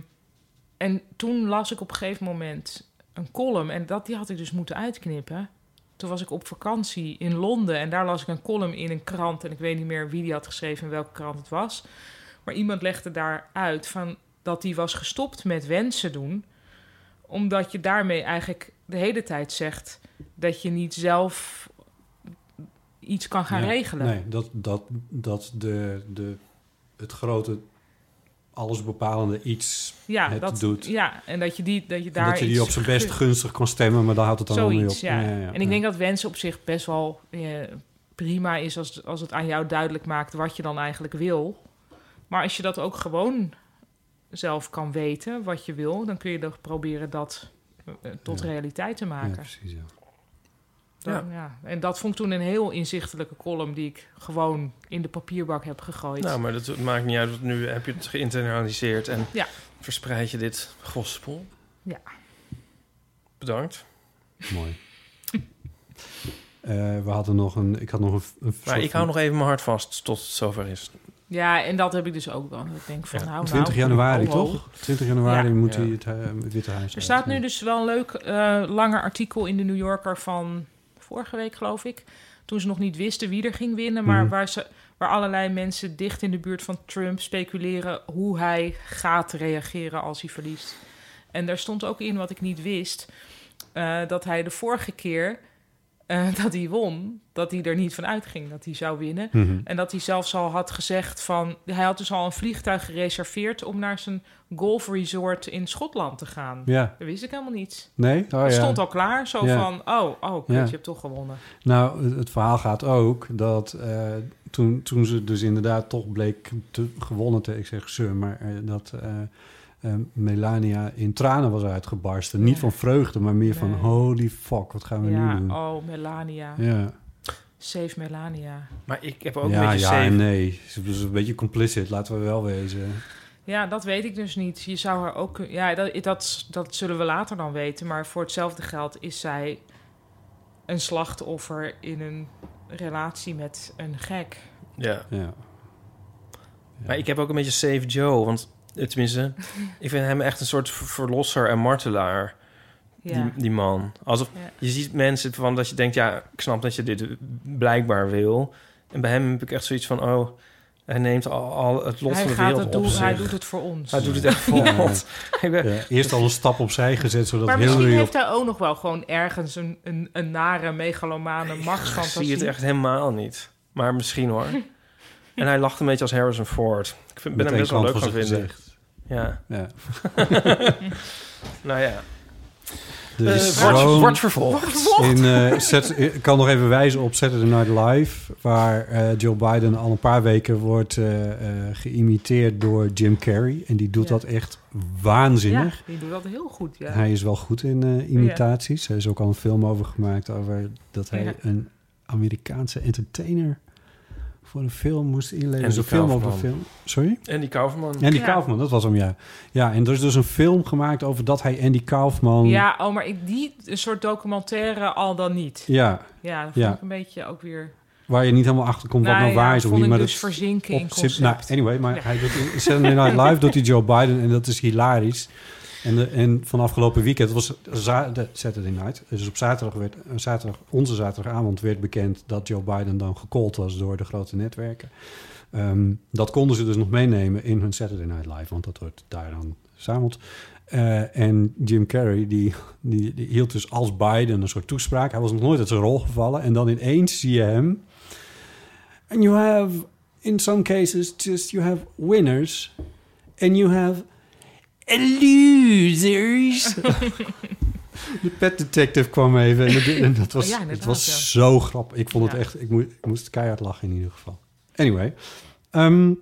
[SPEAKER 2] en toen las ik op een gegeven moment een column. En dat, die had ik dus moeten uitknippen. Toen was ik op vakantie in Londen. En daar las ik een column in een krant. En ik weet niet meer wie die had geschreven en welke krant het was. Maar iemand legde daar uit van dat die was gestopt met wensen doen. Omdat je daarmee eigenlijk de hele tijd zegt dat je niet zelf iets kan gaan
[SPEAKER 1] Nee,
[SPEAKER 2] regelen.
[SPEAKER 1] Nee, dat, dat, dat de, de, het grote, allesbepalende iets
[SPEAKER 2] Ja,
[SPEAKER 1] het
[SPEAKER 2] dat,
[SPEAKER 1] doet.
[SPEAKER 2] ja, en dat je, die, dat je
[SPEAKER 1] En
[SPEAKER 2] daar
[SPEAKER 1] dat je die
[SPEAKER 2] iets
[SPEAKER 1] op zijn best
[SPEAKER 2] gun-
[SPEAKER 1] gunstig kan stemmen, maar daar houdt het dan wel mee op.
[SPEAKER 2] Zoiets, ja. En ik denk dat wensen op zich best wel eh, prima is als, als het aan jou duidelijk maakt wat je dan eigenlijk wil. Maar als je dat ook gewoon zelf kan weten, wat je wil, dan kun je dan proberen dat eh, tot
[SPEAKER 1] Ja.
[SPEAKER 2] realiteit te
[SPEAKER 1] Ja,
[SPEAKER 2] maken.
[SPEAKER 1] precies, ja.
[SPEAKER 2] Dan- ja. En dat vond ik toen een heel inzichtelijke column die ik gewoon in de papierbak heb gegooid.
[SPEAKER 3] Nou, maar dat maakt niet uit. want Nu heb je het geïnternaliseerd en
[SPEAKER 2] Ja.
[SPEAKER 3] verspreid je dit gospel.
[SPEAKER 2] Ja.
[SPEAKER 3] Bedankt.
[SPEAKER 1] Mooi. <laughs> Eh, we hadden nog een... Ik had nog een... een
[SPEAKER 3] Maar
[SPEAKER 1] soort
[SPEAKER 3] ik
[SPEAKER 1] van-
[SPEAKER 3] hou nog even mijn hart vast tot het zover is.
[SPEAKER 2] Ja, en dat heb ik dus ook dan. Ik denk van, nou, nou,
[SPEAKER 1] 20 januari,
[SPEAKER 2] oh, oh.
[SPEAKER 1] toch? 20 januari moet
[SPEAKER 3] Ja.
[SPEAKER 1] hij het, eh, het Witte Huis
[SPEAKER 2] Er
[SPEAKER 1] uit.
[SPEAKER 2] staat nu dus wel een leuk eh, langer artikel in de New Yorker van vorige week, geloof ik. Toen ze nog niet wisten wie er ging winnen, maar
[SPEAKER 1] Mhm.
[SPEAKER 2] waar, ze, waar allerlei mensen dicht in de buurt van Trump speculeren hoe hij gaat reageren als hij verliest. En daar stond ook in wat ik niet wist: eh, dat hij de vorige keer eh, <laughs> dat hij won, dat hij er niet van uitging dat hij zou winnen.
[SPEAKER 1] Mhm.
[SPEAKER 2] En dat hij zelfs al had gezegd van... Hij had dus al een vliegtuig gereserveerd... om naar zijn golfresort in Schotland te gaan.
[SPEAKER 1] Ja.
[SPEAKER 2] Dat wist ik helemaal niet.
[SPEAKER 1] Nee? Oh,
[SPEAKER 2] Het
[SPEAKER 1] ja.
[SPEAKER 2] stond al klaar, zo
[SPEAKER 1] Ja.
[SPEAKER 2] van... Oh, oh, kut,
[SPEAKER 1] Ja.
[SPEAKER 2] je hebt toch gewonnen.
[SPEAKER 1] Nou, het- het verhaal gaat ook dat eh, toen, toen ze dus inderdaad toch bleek te, gewonnen te, ik zeg ze, maar eh, dat eh, eh, Melania in tranen was uitgebarsten. Niet van vreugde, maar meer van
[SPEAKER 2] Nee.
[SPEAKER 1] holy fuck, wat gaan we nu
[SPEAKER 2] Ja,
[SPEAKER 1] doen?
[SPEAKER 2] oh, Melania.
[SPEAKER 1] Ja,
[SPEAKER 2] Save Melania.
[SPEAKER 3] Maar ik heb ook
[SPEAKER 1] ja,
[SPEAKER 3] een beetje
[SPEAKER 1] ja
[SPEAKER 3] safe.
[SPEAKER 1] en eh, nee. Ze was een beetje complicit, laten we wel wezen.
[SPEAKER 2] Ja, dat weet ik dus niet. Je zou haar ook... kun- Ja, dat, dat, dat zullen we later dan weten. Maar voor hetzelfde geld is zij een slachtoffer... in een relatie met een gek.
[SPEAKER 3] Ja.
[SPEAKER 1] Ja.
[SPEAKER 3] Maar ik heb ook een beetje Save Joe, want eh,
[SPEAKER 2] <laughs>
[SPEAKER 3] tenminste, ik vind hem echt een soort ver- verlosser en martelaar.
[SPEAKER 2] Ja.
[SPEAKER 3] Die, die man. Alsof
[SPEAKER 2] Ja.
[SPEAKER 3] je ziet mensen van dat je denkt, ja, ik snap dat je dit blijkbaar wil. En bij hem heb ik echt zoiets van, oh, Hij neemt al, al het lot
[SPEAKER 2] Hij
[SPEAKER 3] van de
[SPEAKER 2] gaat
[SPEAKER 3] wereld
[SPEAKER 2] het
[SPEAKER 3] op
[SPEAKER 2] doen-
[SPEAKER 3] zich.
[SPEAKER 2] hij doet het voor ons.
[SPEAKER 3] Hij doet het echt voor
[SPEAKER 1] Ja.
[SPEAKER 3] ons. <laughs> Ik ben-
[SPEAKER 1] Ja, eerst al een stap opzij gezet, zodat
[SPEAKER 2] maar
[SPEAKER 1] heel
[SPEAKER 2] misschien
[SPEAKER 1] Hillary
[SPEAKER 2] heeft hij ook nog wel gewoon ergens een, een, een nare, megalomane
[SPEAKER 3] Ik
[SPEAKER 2] machtsfantasie.
[SPEAKER 3] zie het echt helemaal niet. Maar misschien
[SPEAKER 2] <laughs>
[SPEAKER 3] hoor. en hij lacht een beetje als Harrison Ford. Ik vind, ben hem
[SPEAKER 1] Meteen
[SPEAKER 3] best wel leuk
[SPEAKER 1] klant
[SPEAKER 3] gaan
[SPEAKER 1] voor zijn
[SPEAKER 3] vinden. Ja.
[SPEAKER 1] Ja.
[SPEAKER 3] <laughs> nou ja.
[SPEAKER 1] Er is
[SPEAKER 3] Eh, wordt,
[SPEAKER 1] gewoon-
[SPEAKER 3] wordt vervolgd.
[SPEAKER 1] In, eh, Sat- ik kan nog even wijzen op Saturday Night Live, waar eh, Joe Biden al een paar weken wordt eh, eh, geïmiteerd door Jim Carrey. En die doet
[SPEAKER 2] Ja.
[SPEAKER 1] dat echt waanzinnig.
[SPEAKER 2] Ja, die doet dat heel goed, ja.
[SPEAKER 1] Hij is wel goed in eh, imitaties. Er is ook al een film over gemaakt over dat hij
[SPEAKER 2] Ja.
[SPEAKER 1] een Amerikaanse entertainer voor een film moest inleveren. Dus
[SPEAKER 3] En die
[SPEAKER 1] een film over een
[SPEAKER 3] Kaufman.
[SPEAKER 1] film. Sorry?
[SPEAKER 3] Andy Kaufman.
[SPEAKER 1] Andy Kaufman, dat was hem, ja. Ja, en er is dus een film gemaakt over dat hij Andy Kaufman...
[SPEAKER 2] Ja, oh, maar ik, die een soort documentaire al dan niet.
[SPEAKER 1] Ja.
[SPEAKER 2] Ja, dat vond
[SPEAKER 1] Ja.
[SPEAKER 2] ik een beetje ook weer...
[SPEAKER 1] Waar je niet helemaal achter komt wat
[SPEAKER 2] Nou
[SPEAKER 1] nou
[SPEAKER 2] ja,
[SPEAKER 1] waar is of
[SPEAKER 2] vond
[SPEAKER 1] niet.
[SPEAKER 2] ik
[SPEAKER 1] Maar
[SPEAKER 2] dus
[SPEAKER 1] dat
[SPEAKER 2] verzinken in
[SPEAKER 1] op zich-
[SPEAKER 2] concept.
[SPEAKER 1] Nou, anyway, maar hij doet in Saturday Night nou Live doet hij Joe Biden en dat is hilarisch. En, de, en van afgelopen weekend was za- de Saturday Night. Dus op zaterdag werd, eh, zaterdag, onze zaterdagavond werd bekend dat Joe Biden dan gecallt was door de grote netwerken. Ehm, dat konden ze dus nog meenemen in hun Saturday Night Live, want dat wordt daar dan verzameld. Eh, en Jim Carrey, die, die, die hield dus als Biden een soort toespraak. Hij was nog nooit uit zijn rol gevallen. En dan ineens zie je hem And you have, in some cases, just you have winners and you have
[SPEAKER 3] <laughs>
[SPEAKER 1] losers. De pet detective kwam even
[SPEAKER 2] <laughs>
[SPEAKER 1] en dat, en dat was,
[SPEAKER 2] Ja,
[SPEAKER 1] het
[SPEAKER 2] inderdaad,
[SPEAKER 1] was
[SPEAKER 2] ja.
[SPEAKER 1] zo grappig. Ik vond het
[SPEAKER 2] Ja.
[SPEAKER 1] echt, ik, moe- ik moest keihard lachen in ieder geval. Anyway, ehm,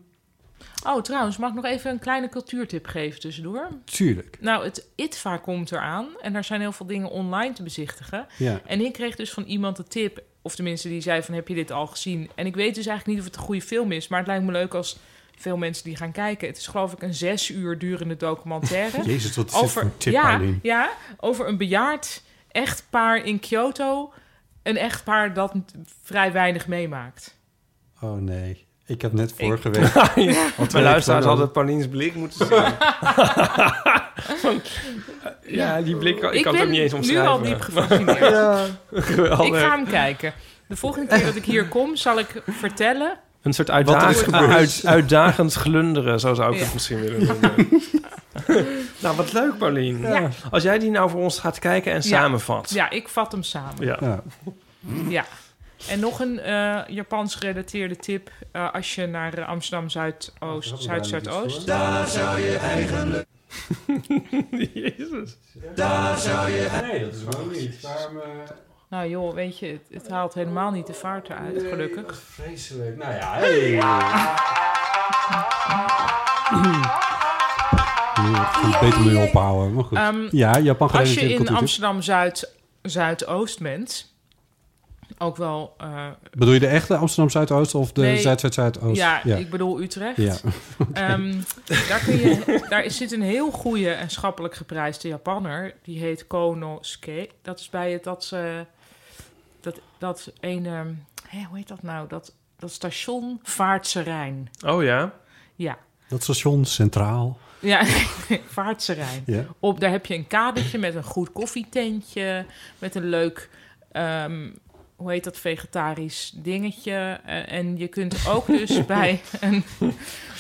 [SPEAKER 2] Oh, trouwens, mag ik nog even een kleine cultuurtip geven tussendoor?
[SPEAKER 1] tuurlijk.
[SPEAKER 2] Nou, het ITVA komt eraan en er zijn heel veel dingen online te bezichtigen.
[SPEAKER 1] Ja.
[SPEAKER 2] En ik kreeg dus van iemand de tip, of tenminste die zei van heb je dit al gezien? En ik weet dus eigenlijk niet of het een goede film is, maar het lijkt me leuk als veel mensen die gaan kijken. Het is geloof ik een zes uur durende
[SPEAKER 1] <laughs>
[SPEAKER 2] documentaire.
[SPEAKER 1] Jezus, wat is dit voor een tip,
[SPEAKER 2] ja,
[SPEAKER 1] Eileen?
[SPEAKER 2] ja, over een bejaard echtpaar in Kyoto. Een echtpaar dat vrij weinig meemaakt.
[SPEAKER 1] Oh nee, ik heb net
[SPEAKER 2] <laughs>
[SPEAKER 1] vorige week... Want
[SPEAKER 3] Mijn luisteraars hadden
[SPEAKER 1] hadden
[SPEAKER 3] Paulien's blik
[SPEAKER 1] <laughs>
[SPEAKER 3] moeten zien. <laughs> ja, die blik, ik,
[SPEAKER 2] Ik
[SPEAKER 3] kan het ook
[SPEAKER 2] ben
[SPEAKER 3] niet eens
[SPEAKER 2] nu
[SPEAKER 3] omschrijven.
[SPEAKER 2] al diep
[SPEAKER 3] <laughs>
[SPEAKER 2] gefascineerd.
[SPEAKER 3] Geweldig.
[SPEAKER 2] Ik ga hem kijken. De volgende keer dat ik hier kom, zal ik vertellen.
[SPEAKER 3] Een soort
[SPEAKER 2] er is
[SPEAKER 3] uitdagend,
[SPEAKER 2] gebeurd.
[SPEAKER 3] uit- uitdagend glunderen, zo zou ik
[SPEAKER 2] Ja.
[SPEAKER 3] het misschien willen
[SPEAKER 2] <laughs>
[SPEAKER 3] noemen. nou, wat leuk, Paulien.
[SPEAKER 2] Ja.
[SPEAKER 3] Als jij die nou voor ons gaat kijken en
[SPEAKER 2] Ja.
[SPEAKER 3] samenvat.
[SPEAKER 2] Ja, ik vat hem samen.
[SPEAKER 3] Ja.
[SPEAKER 1] Ja.
[SPEAKER 2] Ja. En nog een eh, Japans gerelateerde tip. eh, als je naar eh, Amsterdam
[SPEAKER 1] Oh,
[SPEAKER 2] Zuidoost, Zuid-Zuidoost.
[SPEAKER 4] Daar zou je eigenlijk-
[SPEAKER 1] <laughs>
[SPEAKER 3] Jezus.
[SPEAKER 4] Daar zou je-
[SPEAKER 1] Nee, dat is wel niet. Waarom... eh-
[SPEAKER 2] Nou joh, weet je, het, het haalt helemaal niet de vaart eruit, gelukkig.
[SPEAKER 1] Vreselijk. Nou ja, hey. Nu kan ik beter mee ophouden. Maar goed.
[SPEAKER 2] Ehm,
[SPEAKER 1] ja, Japan gaat
[SPEAKER 2] Als je
[SPEAKER 1] even
[SPEAKER 2] in
[SPEAKER 1] cultuurtip.
[SPEAKER 2] Amsterdam Zuid, Zuidoost bent, ook wel. eh,
[SPEAKER 1] Bedoel je de echte Amsterdam Zuidoost of de
[SPEAKER 2] nee,
[SPEAKER 1] Zuid-Zuid-Zuidoost?
[SPEAKER 2] Ja, ik bedoel Utrecht.
[SPEAKER 1] Ja. Oké. <laughs>
[SPEAKER 2] Ehm, daar, kun je, daar zit een heel goede en schappelijk geprijsde Japanner. Die heet Konosuke. Dat is bij het dat ze dat dat een ehm, hè, hoe heet dat nou? Dat dat station Vaartse Rijn.
[SPEAKER 3] Oh ja?
[SPEAKER 2] Ja.
[SPEAKER 1] Dat station centraal.
[SPEAKER 2] <laughs> Ja, Vaartse Rijn.
[SPEAKER 1] Ja.
[SPEAKER 2] Op, daar heb je een kadertje met een goed koffietentje, met een leuk, ehm, hoe heet dat, vegetarisch dingetje. Eh, en je kunt ook dus bij een,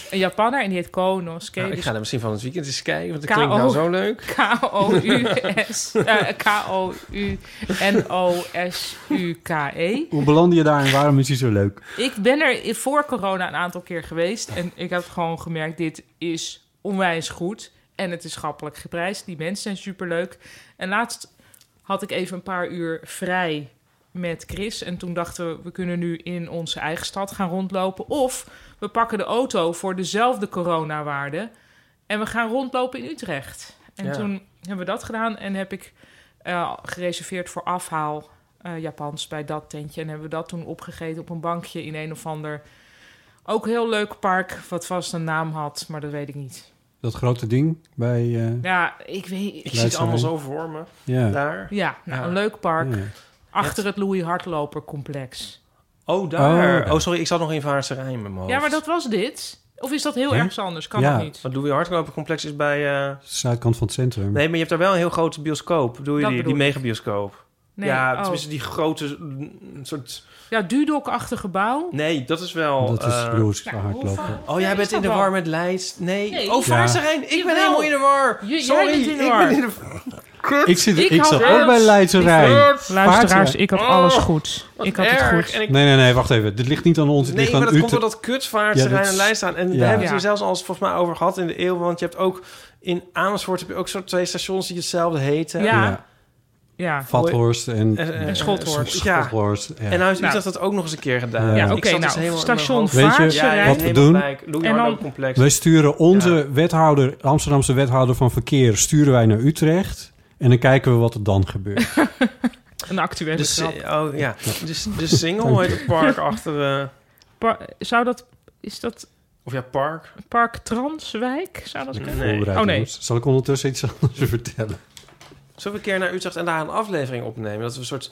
[SPEAKER 2] een Japanner, en die heet Konosuke.
[SPEAKER 3] Nou, ik
[SPEAKER 2] dus
[SPEAKER 3] ga er misschien van het weekend eens kijken, want het
[SPEAKER 2] K.O.
[SPEAKER 3] klinkt nou zo leuk.
[SPEAKER 2] K-O-U-S... eh, K-O-U-N-O-S-U-K-E.
[SPEAKER 1] Hoe belandde je daar en waarom is hij zo leuk?
[SPEAKER 2] Ik ben er i- voor corona een aantal keer geweest. En ik heb gewoon gemerkt, dit is onwijs goed. En het is schappelijk geprijsd. Die mensen zijn superleuk. En laatst had ik even een paar uur vrij met Chris. En toen dachten we, we kunnen nu in onze eigen stad gaan rondlopen. Of we pakken de auto voor dezelfde coronawaarde. En we gaan rondlopen in Utrecht. En
[SPEAKER 3] Ja.
[SPEAKER 2] toen hebben we dat gedaan. En heb ik eh, gereserveerd voor afhaal eh, Japans bij dat tentje. En hebben we dat toen opgegeten op een bankje in een of ander... Ook heel leuk park, wat vast een naam had, maar dat weet ik niet.
[SPEAKER 1] Dat grote ding bij... eh,
[SPEAKER 2] Ja, ik weet...
[SPEAKER 3] Ik zie het allemaal zo voor me.
[SPEAKER 1] Ja.
[SPEAKER 3] Daar.
[SPEAKER 2] Ja, nou,
[SPEAKER 3] Ja.
[SPEAKER 2] een leuk park.
[SPEAKER 1] Ja.
[SPEAKER 2] Achter het Louis Hardlopercomplex.
[SPEAKER 3] Oh, daar.
[SPEAKER 1] Oh,
[SPEAKER 3] Oh,
[SPEAKER 1] daar.
[SPEAKER 3] sorry, ik zat nog in Vaarse Rijn met mijn hoofd.
[SPEAKER 2] Ja, maar dat was dit. Of is dat heel
[SPEAKER 3] Hè?
[SPEAKER 2] ergens anders? Kan dat niet?
[SPEAKER 3] Wat doe je hardlopercomplex is bij... eh,
[SPEAKER 1] Zuidkant van het centrum.
[SPEAKER 3] Nee, maar je hebt daar wel een heel grote bioscoop. Bedoel je
[SPEAKER 2] Dat
[SPEAKER 3] die, die
[SPEAKER 2] bedoel ik.
[SPEAKER 3] megabioscoop?
[SPEAKER 2] Nee,
[SPEAKER 3] ja,
[SPEAKER 2] oh.
[SPEAKER 3] tenminste die grote mm, soort...
[SPEAKER 2] Ja, Dudok-achtig gebouw.
[SPEAKER 3] Nee, dat is wel...
[SPEAKER 1] Dat is
[SPEAKER 3] eh,
[SPEAKER 1] Blues Nou, hardlopen. hoe vaak-
[SPEAKER 3] Oh, jij
[SPEAKER 2] is
[SPEAKER 3] bent in
[SPEAKER 2] dat
[SPEAKER 3] de
[SPEAKER 2] wel?
[SPEAKER 3] war met Leidst. Nee,
[SPEAKER 2] Nee.
[SPEAKER 3] oh,
[SPEAKER 2] Ja.
[SPEAKER 3] Vaarserijn. Ik ben
[SPEAKER 2] Jawel.
[SPEAKER 3] helemaal in de war.
[SPEAKER 2] Je- jij
[SPEAKER 3] Sorry,
[SPEAKER 2] bent in de
[SPEAKER 3] ik
[SPEAKER 2] war.
[SPEAKER 3] ben in de Kut.
[SPEAKER 1] Ik, zit, ik,
[SPEAKER 3] had
[SPEAKER 1] zat
[SPEAKER 3] Rijn.
[SPEAKER 1] ook bij Leidse Rijn.
[SPEAKER 2] Luisteraars,
[SPEAKER 1] Vaartje.
[SPEAKER 2] ik had alles goed.
[SPEAKER 3] Wat
[SPEAKER 2] Ik had het
[SPEAKER 3] Oh, erg.
[SPEAKER 2] goed.
[SPEAKER 3] En ik-
[SPEAKER 1] Nee, nee, nee, wacht even. Dit ligt niet aan ons. Dit
[SPEAKER 3] Nee,
[SPEAKER 1] ligt aan
[SPEAKER 3] maar dat
[SPEAKER 1] u
[SPEAKER 3] komt
[SPEAKER 1] te-
[SPEAKER 3] door dat kutvaartserrein
[SPEAKER 1] Ja, dat
[SPEAKER 3] en
[SPEAKER 1] is-
[SPEAKER 3] lijststaan. En we
[SPEAKER 1] ja.
[SPEAKER 3] hebben het hier
[SPEAKER 1] Ja.
[SPEAKER 3] zelfs al eens volgens mij over gehad in de eeuw. Want je hebt ook in Amersfoort heb je ook soort twee stations die hetzelfde heten. eh,
[SPEAKER 2] Ja. Ja. Ja.
[SPEAKER 1] Vathorst en-
[SPEAKER 2] En Schothorst.
[SPEAKER 3] Ja.
[SPEAKER 1] Schothorst, ja.
[SPEAKER 3] En nou heeft
[SPEAKER 2] Nou.
[SPEAKER 3] Utrecht dat ook nog eens een keer gedaan.
[SPEAKER 1] Ja. Ja,
[SPEAKER 3] Ik
[SPEAKER 2] oké,
[SPEAKER 3] zat dus
[SPEAKER 2] nou,
[SPEAKER 3] helemaal in mijn
[SPEAKER 2] station
[SPEAKER 3] hoofd.
[SPEAKER 1] Weet je
[SPEAKER 3] Ja, ja,
[SPEAKER 1] wat we
[SPEAKER 3] helemaal
[SPEAKER 1] doen?
[SPEAKER 3] gelijk. Louis
[SPEAKER 2] En dan-
[SPEAKER 3] Harlow complex.
[SPEAKER 1] Wij sturen onze wethouder, Amsterdamse wethouder van verkeer, sturen wij naar Utrecht. En dan kijken we wat er dan gebeurt.
[SPEAKER 2] Een actuele
[SPEAKER 3] Dus,
[SPEAKER 2] grap.
[SPEAKER 3] eh, oh, ja. Dus de single heet het park achter... eh,
[SPEAKER 2] Pa- zou dat... Is dat
[SPEAKER 3] of ja, park.
[SPEAKER 2] Park Transwijk? Zou dat kunnen?
[SPEAKER 1] Voorbereid,
[SPEAKER 2] Oh nee.
[SPEAKER 1] jongens. Zal ik ondertussen iets anders <laughs> vertellen?
[SPEAKER 3] Zullen we een keer naar Utrecht en daar een aflevering opnemen? Dat we een soort
[SPEAKER 2] Oh.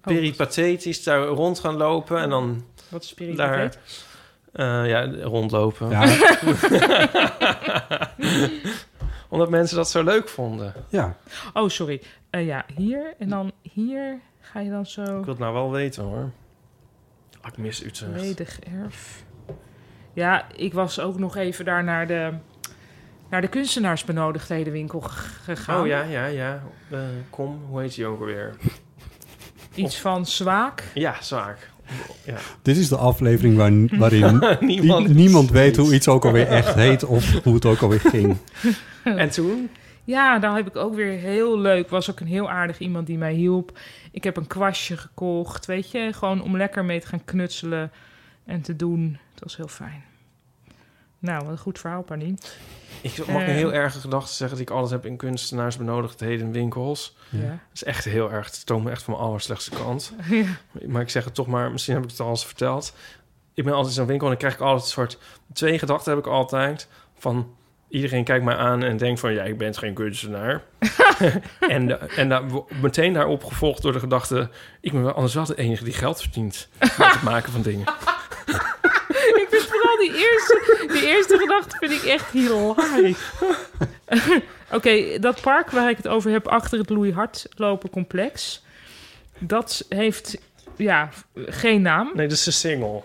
[SPEAKER 3] peripatetisch daar rond gaan lopen en dan...
[SPEAKER 2] Wat is
[SPEAKER 3] Daar,
[SPEAKER 2] peripatetisch?
[SPEAKER 3] eh, ja, rondlopen.
[SPEAKER 1] Ja.
[SPEAKER 3] <laughs> Omdat mensen dat zo leuk vonden.
[SPEAKER 1] Ja.
[SPEAKER 2] Oh, sorry. Eh, ja, hier en dan hier ga je dan zo...
[SPEAKER 3] Ik wil het nou wel weten hoor. Ah, ik mis Utrecht.
[SPEAKER 2] Ledig erf. Ja, ik was ook nog even daar naar de, naar de kunstenaarsbenodigdhedenwinkel g- gegaan.
[SPEAKER 3] Oh ja, ja, ja. Eh, kom, hoe heet die ook alweer?
[SPEAKER 2] Iets van zwaak.
[SPEAKER 3] Ja, zaak.
[SPEAKER 2] <laughs>
[SPEAKER 3] Ja.
[SPEAKER 1] Dit is de aflevering waar, waarin
[SPEAKER 3] Niemand-
[SPEAKER 1] niemand, weet hoe iets ook alweer echt heet of hoe het ook alweer ging.
[SPEAKER 3] En toen?
[SPEAKER 2] Ja, daar heb ik ook weer heel leuk. Was ook een heel aardig iemand die mij hielp. Ik heb een kwastje gekocht, weet je. Gewoon om lekker mee te gaan knutselen en te doen. Het was heel fijn. Nou, wat een goed verhaal, Panien.
[SPEAKER 3] Ik mag
[SPEAKER 2] Eh,
[SPEAKER 3] een heel erge gedachte zeggen die ik altijd heb in kunstenaars benodigdheden winkels.
[SPEAKER 2] Ja.
[SPEAKER 3] Dat is echt heel erg. Het toont me echt van mijn allerslechtste kant.
[SPEAKER 2] <laughs> Ja.
[SPEAKER 3] Maar ik zeg het toch maar, misschien heb ik het al eens verteld. Ik ben altijd in zo'n winkel en dan krijg ik altijd een soort... Twee gedachten heb ik altijd. Van iedereen kijkt mij aan en denkt van... Ja, ik ben geen
[SPEAKER 2] <laughs>
[SPEAKER 3] kunstenaar. en da- en daar, meteen daarop gevolgd door de gedachte... Ik ben wel anders wel de enige die geld verdient. Met het maken van
[SPEAKER 2] <laughs>
[SPEAKER 3] dingen.
[SPEAKER 2] ik vind vooral die eerste, die eerste gedachte vind ik echt hilarisch. Oké, dat park waar ik het over heb achter het Louis Hartlopen complex, dat heeft ja geen naam.
[SPEAKER 3] Nee, dat is de single.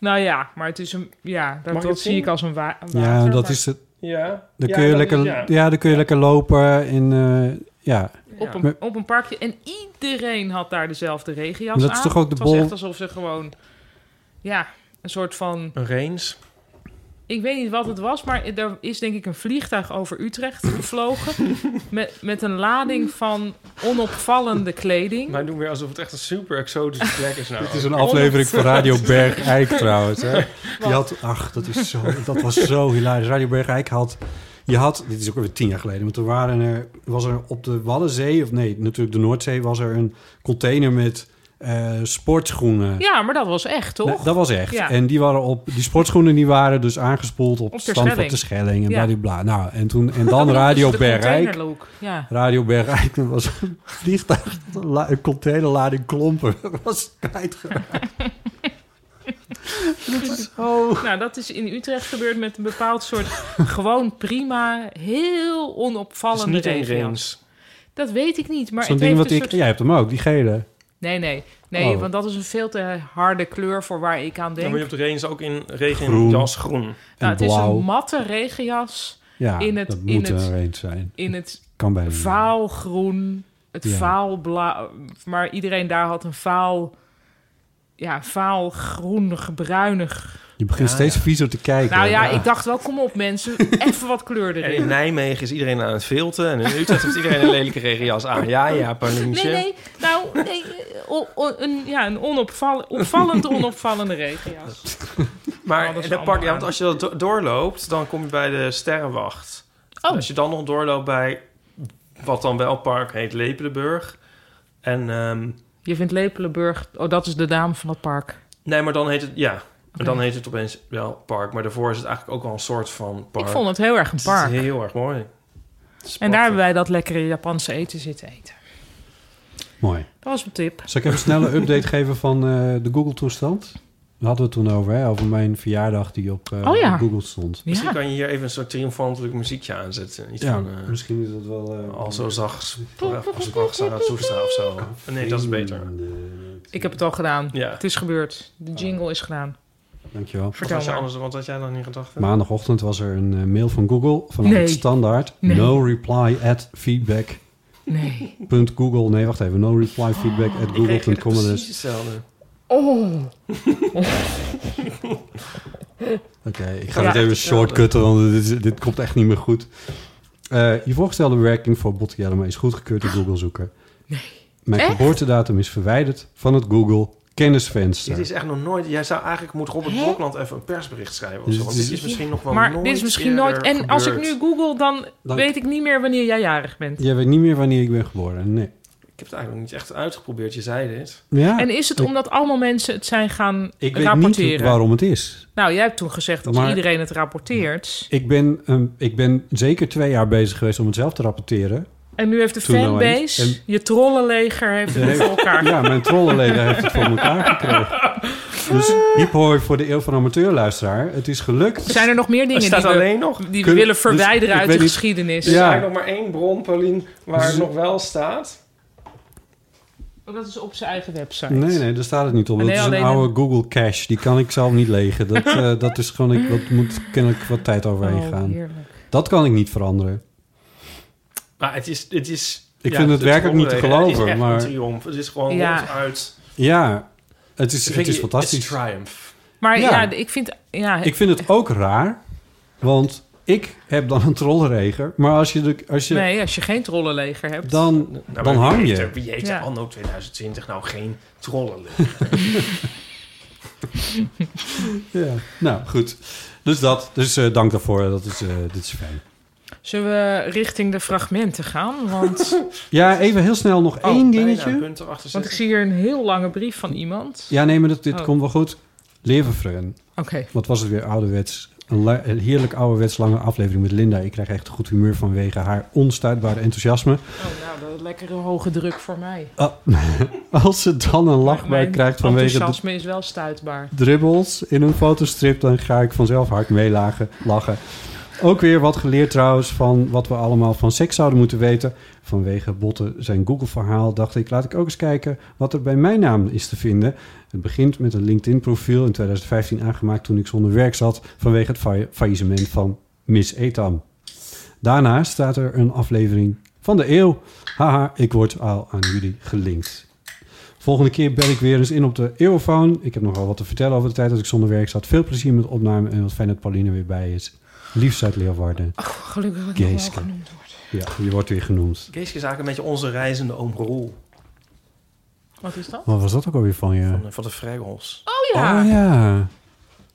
[SPEAKER 2] Nou ja, maar het is een ja,
[SPEAKER 3] Mag
[SPEAKER 2] dat,
[SPEAKER 3] ik
[SPEAKER 2] dat
[SPEAKER 3] het
[SPEAKER 2] zie
[SPEAKER 3] zien?
[SPEAKER 2] ik als een, wa een
[SPEAKER 1] Ja,
[SPEAKER 2] water,
[SPEAKER 1] dat
[SPEAKER 2] maar-
[SPEAKER 1] is het.
[SPEAKER 3] Ja.
[SPEAKER 1] Dan
[SPEAKER 3] Ja,
[SPEAKER 1] kun je,
[SPEAKER 3] dat is-
[SPEAKER 1] lekker,
[SPEAKER 3] ja.
[SPEAKER 1] ja. dan kun je lekker lopen in... eh, ja.
[SPEAKER 2] Op
[SPEAKER 1] Maar-
[SPEAKER 2] een, op een parkje. En iedereen had daar dezelfde regenjas
[SPEAKER 1] Maar dat is
[SPEAKER 2] aan.
[SPEAKER 1] toch ook de
[SPEAKER 2] Het was
[SPEAKER 1] bol-
[SPEAKER 2] echt alsof ze gewoon... Ja, een soort van...
[SPEAKER 3] Een range.
[SPEAKER 2] Ik weet niet wat het was, maar er is denk ik een vliegtuig over Utrecht
[SPEAKER 1] <laughs>
[SPEAKER 2] gevlogen. met, met een lading van onopvallende kleding.
[SPEAKER 3] Wij doen weer alsof het echt een super exotische plek
[SPEAKER 1] <laughs>
[SPEAKER 3] is nou.
[SPEAKER 1] Dit is een aflevering van Radio Bergijk trouwens. Hè? Die had, ach, dat, is zo, dat was zo hilarisch. Radio Bergijk had, je had, dit is ook alweer tien jaar geleden, maar toen waren er, was er op de Waddenzee, of nee, natuurlijk de Noordzee, was er een container met eh, sportschoenen.
[SPEAKER 2] Ja, maar dat was echt, toch?
[SPEAKER 1] Nee, dat was echt.
[SPEAKER 2] Ja.
[SPEAKER 1] <laughs> En die, waren op, die sportschoenen die waren dus aangespoeld op,
[SPEAKER 2] Op Ter
[SPEAKER 1] stand van
[SPEAKER 2] Schelling.
[SPEAKER 1] de Schelling en
[SPEAKER 2] Ja. dus
[SPEAKER 1] bladibla. Nou, en,
[SPEAKER 2] <laughs>
[SPEAKER 1] toen, en dan Radio
[SPEAKER 2] de
[SPEAKER 1] Bergijk.
[SPEAKER 2] containerlook, ja.
[SPEAKER 1] Radio Bergijk, dat was een <laughs> vliegtuig, dat een la- een containerlading
[SPEAKER 2] <laughs>
[SPEAKER 1] klompen. was kwijtgeraakt.
[SPEAKER 2] Nou, dat is in Utrecht gebeurd met een bepaald soort gewoon prima, heel onopvallende
[SPEAKER 3] Het is niet één
[SPEAKER 2] regenjas. Dat weet ik niet, maar
[SPEAKER 1] Zo'n
[SPEAKER 2] het
[SPEAKER 1] ding
[SPEAKER 2] heeft
[SPEAKER 1] wat
[SPEAKER 2] een
[SPEAKER 1] ik...
[SPEAKER 2] soort...
[SPEAKER 1] Jij hebt hem ook, die gele.
[SPEAKER 2] Nee, nee. Nee,
[SPEAKER 1] Oh.
[SPEAKER 2] want dat is een veel te harde kleur voor waar ik aan
[SPEAKER 3] Dan
[SPEAKER 2] denk.
[SPEAKER 3] ben je op de range ook in regen,
[SPEAKER 1] Groen.
[SPEAKER 3] jas, groen.
[SPEAKER 2] nou, het is
[SPEAKER 1] blauw.
[SPEAKER 2] een matte regenjas.
[SPEAKER 1] Ja,
[SPEAKER 2] in het,
[SPEAKER 1] dat
[SPEAKER 2] in
[SPEAKER 1] moet
[SPEAKER 2] het,
[SPEAKER 1] er eh, eens zijn.
[SPEAKER 2] In het
[SPEAKER 1] Kan bijna niet.
[SPEAKER 2] vaalgroen, het
[SPEAKER 1] Ja.
[SPEAKER 2] vaalblauw. Maar iedereen daar had een vaal... Ja, vaalgroenig, bruinig.
[SPEAKER 1] Je begint
[SPEAKER 3] Ja,
[SPEAKER 1] steeds viezer te kijken.
[SPEAKER 2] nou ja, ik dacht wel, kom op
[SPEAKER 1] <laughs>
[SPEAKER 2] mensen, even wat
[SPEAKER 3] En
[SPEAKER 2] kleur
[SPEAKER 3] in
[SPEAKER 2] erin.
[SPEAKER 3] Nijmegen is iedereen aan het filten. En in Utrecht heeft iedereen een lelijke regenjas aan. Ja, ja,
[SPEAKER 2] Nee,
[SPEAKER 3] Paulientje.
[SPEAKER 2] nee, nou, nee, eh, o- o- een, ja, een onopvall opvallend onopvallende regenjas.
[SPEAKER 3] Maar
[SPEAKER 2] Oh, dat is
[SPEAKER 3] dan pak,
[SPEAKER 2] allemaal
[SPEAKER 3] ja, want als je dat do- doorloopt, dan kom je bij de Sterrenwacht.
[SPEAKER 2] Oh.
[SPEAKER 3] En Als je dan nog doorloopt bij wat dan wel park heet Lepelenburg. En ehm,
[SPEAKER 2] Je vindt Lepelenburg, oh, dat is de naam van het park.
[SPEAKER 3] nee, maar dan heet het ja.
[SPEAKER 2] Oké.
[SPEAKER 3] En dan heet het opeens wel park. Maar daarvoor is het eigenlijk ook wel een soort van park.
[SPEAKER 2] Ik vond het heel erg een
[SPEAKER 3] Het is
[SPEAKER 2] park.
[SPEAKER 3] heel erg mooi.
[SPEAKER 2] En daar hebben wij dat lekkere Japanse eten zitten eten.
[SPEAKER 1] Mooi.
[SPEAKER 2] Dat was een tip.
[SPEAKER 3] <laughs>
[SPEAKER 1] Zal ik even snel een update geven van eh, de Google-toestand? Daar hadden we het toen over, hè? Over mijn verjaardag die op eh,
[SPEAKER 2] Oh ja.
[SPEAKER 1] op Google stond.
[SPEAKER 3] Misschien kan je hier even een soort triomfantelijk muziekje aanzetten. Iets
[SPEAKER 1] Ja,
[SPEAKER 3] van, eh,
[SPEAKER 1] misschien is dat wel... eh,
[SPEAKER 3] al zo zacht, als ik wacht aan het toestaan of zo. Nee, dat is beter.
[SPEAKER 2] Ik heb het al gedaan.
[SPEAKER 3] Ja.
[SPEAKER 2] Het is gebeurd. De
[SPEAKER 1] Oh.
[SPEAKER 2] jingle is gedaan.
[SPEAKER 1] Dankjewel.
[SPEAKER 3] Wat
[SPEAKER 2] Vertel
[SPEAKER 3] had je
[SPEAKER 2] maar.
[SPEAKER 3] anders, wat had jij dan in gedachten?
[SPEAKER 1] Maandagochtend was er een eh, mail van Google vanuit
[SPEAKER 2] Nee.
[SPEAKER 1] het standaard.
[SPEAKER 2] Nee.
[SPEAKER 1] No reply at feedback.
[SPEAKER 2] Nee.
[SPEAKER 1] Punt Google. Nee, wacht even. No reply feedback at google.com.
[SPEAKER 3] precies
[SPEAKER 1] Dus-
[SPEAKER 3] hetzelfde.
[SPEAKER 2] Oh.
[SPEAKER 1] Oké, ik ga
[SPEAKER 2] Ja.
[SPEAKER 1] het even shortcutten, want dit, is- dit komt echt niet meer goed. Eh, je voorgestelde bewerking voor Bottejellema is goedgekeurd
[SPEAKER 2] Ah.
[SPEAKER 1] door Google Zoeker.
[SPEAKER 3] Nee.
[SPEAKER 1] Mijn
[SPEAKER 3] Echt?
[SPEAKER 1] geboortedatum is verwijderd van het Google kennisvenster.
[SPEAKER 3] Dit is echt nog nooit... Jij zou eigenlijk... Moet Robert Blokland even een persbericht schrijven of
[SPEAKER 1] Dus
[SPEAKER 3] zo. Want
[SPEAKER 1] het
[SPEAKER 3] dit
[SPEAKER 1] is-
[SPEAKER 3] is <laughs> misschien nog wel
[SPEAKER 2] maar
[SPEAKER 3] nooit
[SPEAKER 2] dit is misschien nooit... En
[SPEAKER 3] eerder
[SPEAKER 2] als ik
[SPEAKER 3] gebeurd.
[SPEAKER 2] nu google, dan,
[SPEAKER 1] Dan-
[SPEAKER 2] weet ik niet meer wanneer jij jarig bent.
[SPEAKER 1] Jij weet niet meer wanneer ik ben geboren. Nee.
[SPEAKER 3] Ik heb het eigenlijk nog niet echt uitgeprobeerd. Je zei dit.
[SPEAKER 1] Ja,
[SPEAKER 2] en is het
[SPEAKER 1] ik-
[SPEAKER 2] omdat allemaal mensen het zijn gaan
[SPEAKER 1] Ik weet
[SPEAKER 2] rapporteren?
[SPEAKER 1] niet waarom het is.
[SPEAKER 2] Nou, jij hebt toen gezegd dat
[SPEAKER 1] Maar-
[SPEAKER 2] iedereen het rapporteert.
[SPEAKER 1] Ik ben, ehm, ik ben zeker twee jaar bezig geweest om het zelf te rapporteren.
[SPEAKER 2] En nu heeft de
[SPEAKER 1] Toen nou eens.
[SPEAKER 2] fanbase, je trollenleger, heeft het voor elkaar.
[SPEAKER 1] <laughs> Ja, mijn trollenleden heeft het voor elkaar gekregen. Dus hiep hoi voor de eeuw van amateurluisteraar. Het is gelukt.
[SPEAKER 2] Zijn er nog meer dingen
[SPEAKER 3] Er staat
[SPEAKER 2] die we,
[SPEAKER 3] alleen nog-
[SPEAKER 2] die we
[SPEAKER 1] Kunnen-
[SPEAKER 2] willen
[SPEAKER 1] dus ik
[SPEAKER 2] verwijderen uit
[SPEAKER 1] weet
[SPEAKER 2] de
[SPEAKER 1] niet-
[SPEAKER 2] geschiedenis?
[SPEAKER 3] Er is eigenlijk nog maar één bron, Paulien, waar het
[SPEAKER 1] Dus-
[SPEAKER 3] nog wel staat.
[SPEAKER 2] Oh, Dat is op zijn eigen website.
[SPEAKER 1] Nee, nee, daar staat het niet op.
[SPEAKER 2] Ah,
[SPEAKER 1] Dat is
[SPEAKER 2] nee,
[SPEAKER 1] een
[SPEAKER 2] alleen
[SPEAKER 1] oude Google Cache. Die kan ik zelf niet legen.
[SPEAKER 2] <laughs>
[SPEAKER 1] Dat, eh, dat is gewoon, ik, dat moet kennelijk wat tijd overheen
[SPEAKER 3] Oh,
[SPEAKER 1] gaan.
[SPEAKER 3] heerlijk.
[SPEAKER 1] Dat kan ik niet veranderen.
[SPEAKER 3] Maar het is... Het is
[SPEAKER 1] Ik vind het werkelijk niet te
[SPEAKER 3] trommelregen,
[SPEAKER 1] geloven,
[SPEAKER 3] Het is echt
[SPEAKER 1] maar-
[SPEAKER 3] een triomf. Het is gewoon
[SPEAKER 2] Ja.
[SPEAKER 3] ronduit...
[SPEAKER 1] Ja, het is,
[SPEAKER 3] Vind
[SPEAKER 1] het
[SPEAKER 3] je-
[SPEAKER 1] is fantastisch.
[SPEAKER 3] It's triumph.
[SPEAKER 2] Maar ja.
[SPEAKER 1] Ja.
[SPEAKER 2] ik vind... Ja,
[SPEAKER 1] Ik vind het ook raar, want ik heb dan een trollenreger. Maar als je, de, als je
[SPEAKER 2] nee, als je geen trollenleger hebt...
[SPEAKER 1] dan,
[SPEAKER 3] Nou,
[SPEAKER 1] dan
[SPEAKER 3] maar wie
[SPEAKER 1] hang
[SPEAKER 3] heeft er-
[SPEAKER 1] je.
[SPEAKER 3] Wie heeft
[SPEAKER 2] Ja.
[SPEAKER 3] er anno 2020 nou geen trollen
[SPEAKER 2] <laughs>
[SPEAKER 1] Ja. Nou, goed. Dus dat. Dus eh, dank daarvoor. Dat is, eh, dit is fijn.
[SPEAKER 2] Zullen we richting de fragmenten gaan? Want,
[SPEAKER 1] <laughs> Ja, even heel snel
[SPEAKER 2] Oh,
[SPEAKER 1] nog
[SPEAKER 3] Oh,
[SPEAKER 1] één dingetje.
[SPEAKER 2] want ik zie hier een heel lange brief van iemand.
[SPEAKER 1] Ja, nee, maar dit, dit
[SPEAKER 2] Oh.
[SPEAKER 1] komt wel goed. Leverfreun.
[SPEAKER 2] Oké.
[SPEAKER 1] Wat was het weer ouderwets. Een, la- een heerlijk ouderwets lange aflevering met Linda. Ik krijg echt goed humeur vanwege haar onstuitbare enthousiasme.
[SPEAKER 2] Oh, nou, dat is lekkere hoge druk voor mij.
[SPEAKER 1] Ah, <laughs> als ze dan een lach bij
[SPEAKER 2] Mijn
[SPEAKER 1] krijgt vanwege de
[SPEAKER 2] enthousiasme is wel stuitbaar.
[SPEAKER 1] dribbles in een fotostrip, dan ga ik vanzelf hard meelachen. Lachen. Ook weer wat geleerd trouwens van wat we allemaal van seks zouden moeten weten. Vanwege Botten zijn Google-verhaal dacht ik, laat ik ook eens kijken wat er bij mijn naam is te vinden. Het begint met een LinkedIn-profiel in 2015 aangemaakt toen ik zonder werk zat vanwege het fa- faillissement van Miss Etam. Daarna staat er een aflevering van de eeuw. Haha, ik word al aan jullie gelinkt. Volgende keer bel ik weer eens in op de Europhone. Ik heb nogal wat te vertellen over de tijd dat ik zonder werk zat. Veel plezier met opname en wat fijn dat Pauline weer bij is. Liefst uit Leeuwarden.
[SPEAKER 3] Oh.
[SPEAKER 2] Gelukkig dat ik nog wel
[SPEAKER 1] Geeske.
[SPEAKER 2] genoemd word.
[SPEAKER 1] Ja, je wordt weer genoemd.
[SPEAKER 3] Geeske is eigenlijk een beetje onze reizende oom Roel
[SPEAKER 2] Wat is dat?
[SPEAKER 1] Wat was dat ook alweer van je?
[SPEAKER 3] van, van de Vrijgels.
[SPEAKER 2] Oh ja.
[SPEAKER 1] Oh ja,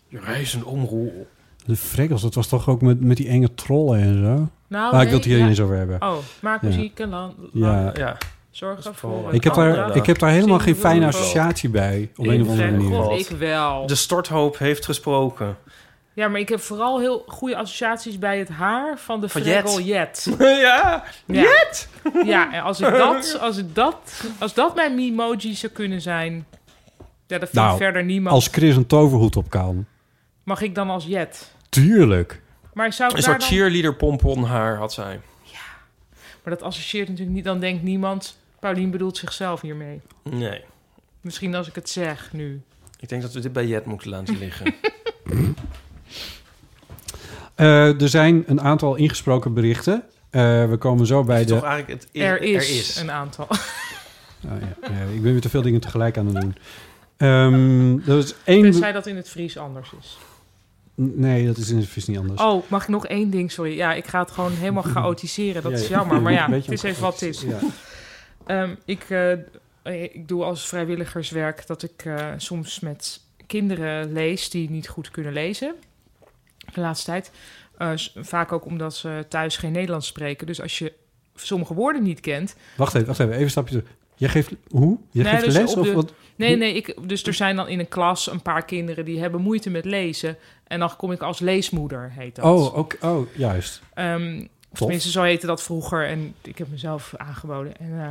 [SPEAKER 3] Je reizende oom Roel.
[SPEAKER 1] de frekkels. Dat was toch ook met, met die enge trollen en zo? ah,
[SPEAKER 2] Nou,
[SPEAKER 1] ik
[SPEAKER 2] nee,
[SPEAKER 1] wil het hier
[SPEAKER 2] ja.
[SPEAKER 1] niet eens over hebben.
[SPEAKER 2] Oh, maak
[SPEAKER 1] Ja.
[SPEAKER 2] muziek en dan...
[SPEAKER 1] Ja.
[SPEAKER 3] Ja.
[SPEAKER 2] Zorg
[SPEAKER 3] vooral
[SPEAKER 2] ervoor.
[SPEAKER 3] een
[SPEAKER 1] Ik, heb
[SPEAKER 3] andere
[SPEAKER 1] daar,
[SPEAKER 3] dag.
[SPEAKER 1] ik heb daar helemaal geen
[SPEAKER 3] Zing
[SPEAKER 1] fijne
[SPEAKER 3] wil.
[SPEAKER 1] associatie bij. Op een of andere
[SPEAKER 2] Ik-
[SPEAKER 1] manier.
[SPEAKER 2] God, ik wel.
[SPEAKER 3] De storthoop heeft gesproken.
[SPEAKER 2] Ja, maar ik heb vooral heel goede associaties bij het haar van de
[SPEAKER 3] Van
[SPEAKER 2] Fregel Jet. <laughs>
[SPEAKER 3] <laughs> ja, Jet!
[SPEAKER 2] Ja, en als, ik
[SPEAKER 3] <laughs>
[SPEAKER 2] dat, als, ik dat, als dat mijn Mimoji zou kunnen zijn... Ja, dat vindt
[SPEAKER 1] Nou,
[SPEAKER 2] verder niemand.
[SPEAKER 1] als Chris een toverhoed op kan.
[SPEAKER 2] Mag ik dan als Jet?
[SPEAKER 1] Tuurlijk.
[SPEAKER 2] Maar ik zou
[SPEAKER 3] Een
[SPEAKER 2] ik daar
[SPEAKER 3] soort
[SPEAKER 2] dan...
[SPEAKER 3] cheerleader pompon haar had zij.
[SPEAKER 2] Maar dat associeert natuurlijk niet. Dan denkt niemand... Paulien bedoelt zichzelf hiermee.
[SPEAKER 3] Nee,
[SPEAKER 2] Misschien als ik het zeg nu.
[SPEAKER 3] ik denk dat we dit bij Jet moeten laten
[SPEAKER 2] <laughs>
[SPEAKER 3] liggen.
[SPEAKER 1] Eh, er zijn een aantal ingesproken berichten. Eh, we komen zo bij
[SPEAKER 3] Is
[SPEAKER 1] de...
[SPEAKER 3] toch eigenlijk het,
[SPEAKER 2] Er is, een aantal.
[SPEAKER 1] Oh, ja. Ja, ik ben weer te veel dingen tegelijk aan het doen. Ehm er is één...
[SPEAKER 2] <laughs> Tenzij dat in het Fries anders is.
[SPEAKER 1] Nee, dat is in het vis niet anders.
[SPEAKER 2] Oh, mag ik nog één ding? Sorry. Ja, ik ga het gewoon helemaal chaotiseren. Dat
[SPEAKER 1] Dus- <laughs> Ja,
[SPEAKER 2] is
[SPEAKER 1] ja.
[SPEAKER 2] jammer. Maar
[SPEAKER 1] <laughs>
[SPEAKER 2] ja,
[SPEAKER 1] Een beetje
[SPEAKER 2] het is even wat het is.
[SPEAKER 1] Ja.
[SPEAKER 2] <laughs> Ehm, ik, eh, ik doe als vrijwilligerswerk dat ik eh, soms met kinderen lees die niet goed kunnen lezen. De laatste tijd. Eh, s- vaak ook omdat ze thuis geen Nederlands spreken. Dus als je sommige woorden niet kent,
[SPEAKER 1] Wacht even, wacht even. Even een stapje terug. Jij geeft... Hoe? Jij geeft
[SPEAKER 2] dus
[SPEAKER 1] les
[SPEAKER 2] op
[SPEAKER 1] of
[SPEAKER 2] de-
[SPEAKER 1] wat?
[SPEAKER 2] Nee, nee. Ik, dus er zijn dan in een klas een paar kinderen die hebben moeite met lezen. En dan kom ik als leesmoeder, heet dat.
[SPEAKER 1] Oh, oké. oh, juist.
[SPEAKER 2] Ehm, of
[SPEAKER 1] Tof.
[SPEAKER 2] tenminste, zo heette dat vroeger. En ik heb mezelf aangeboden. En eh,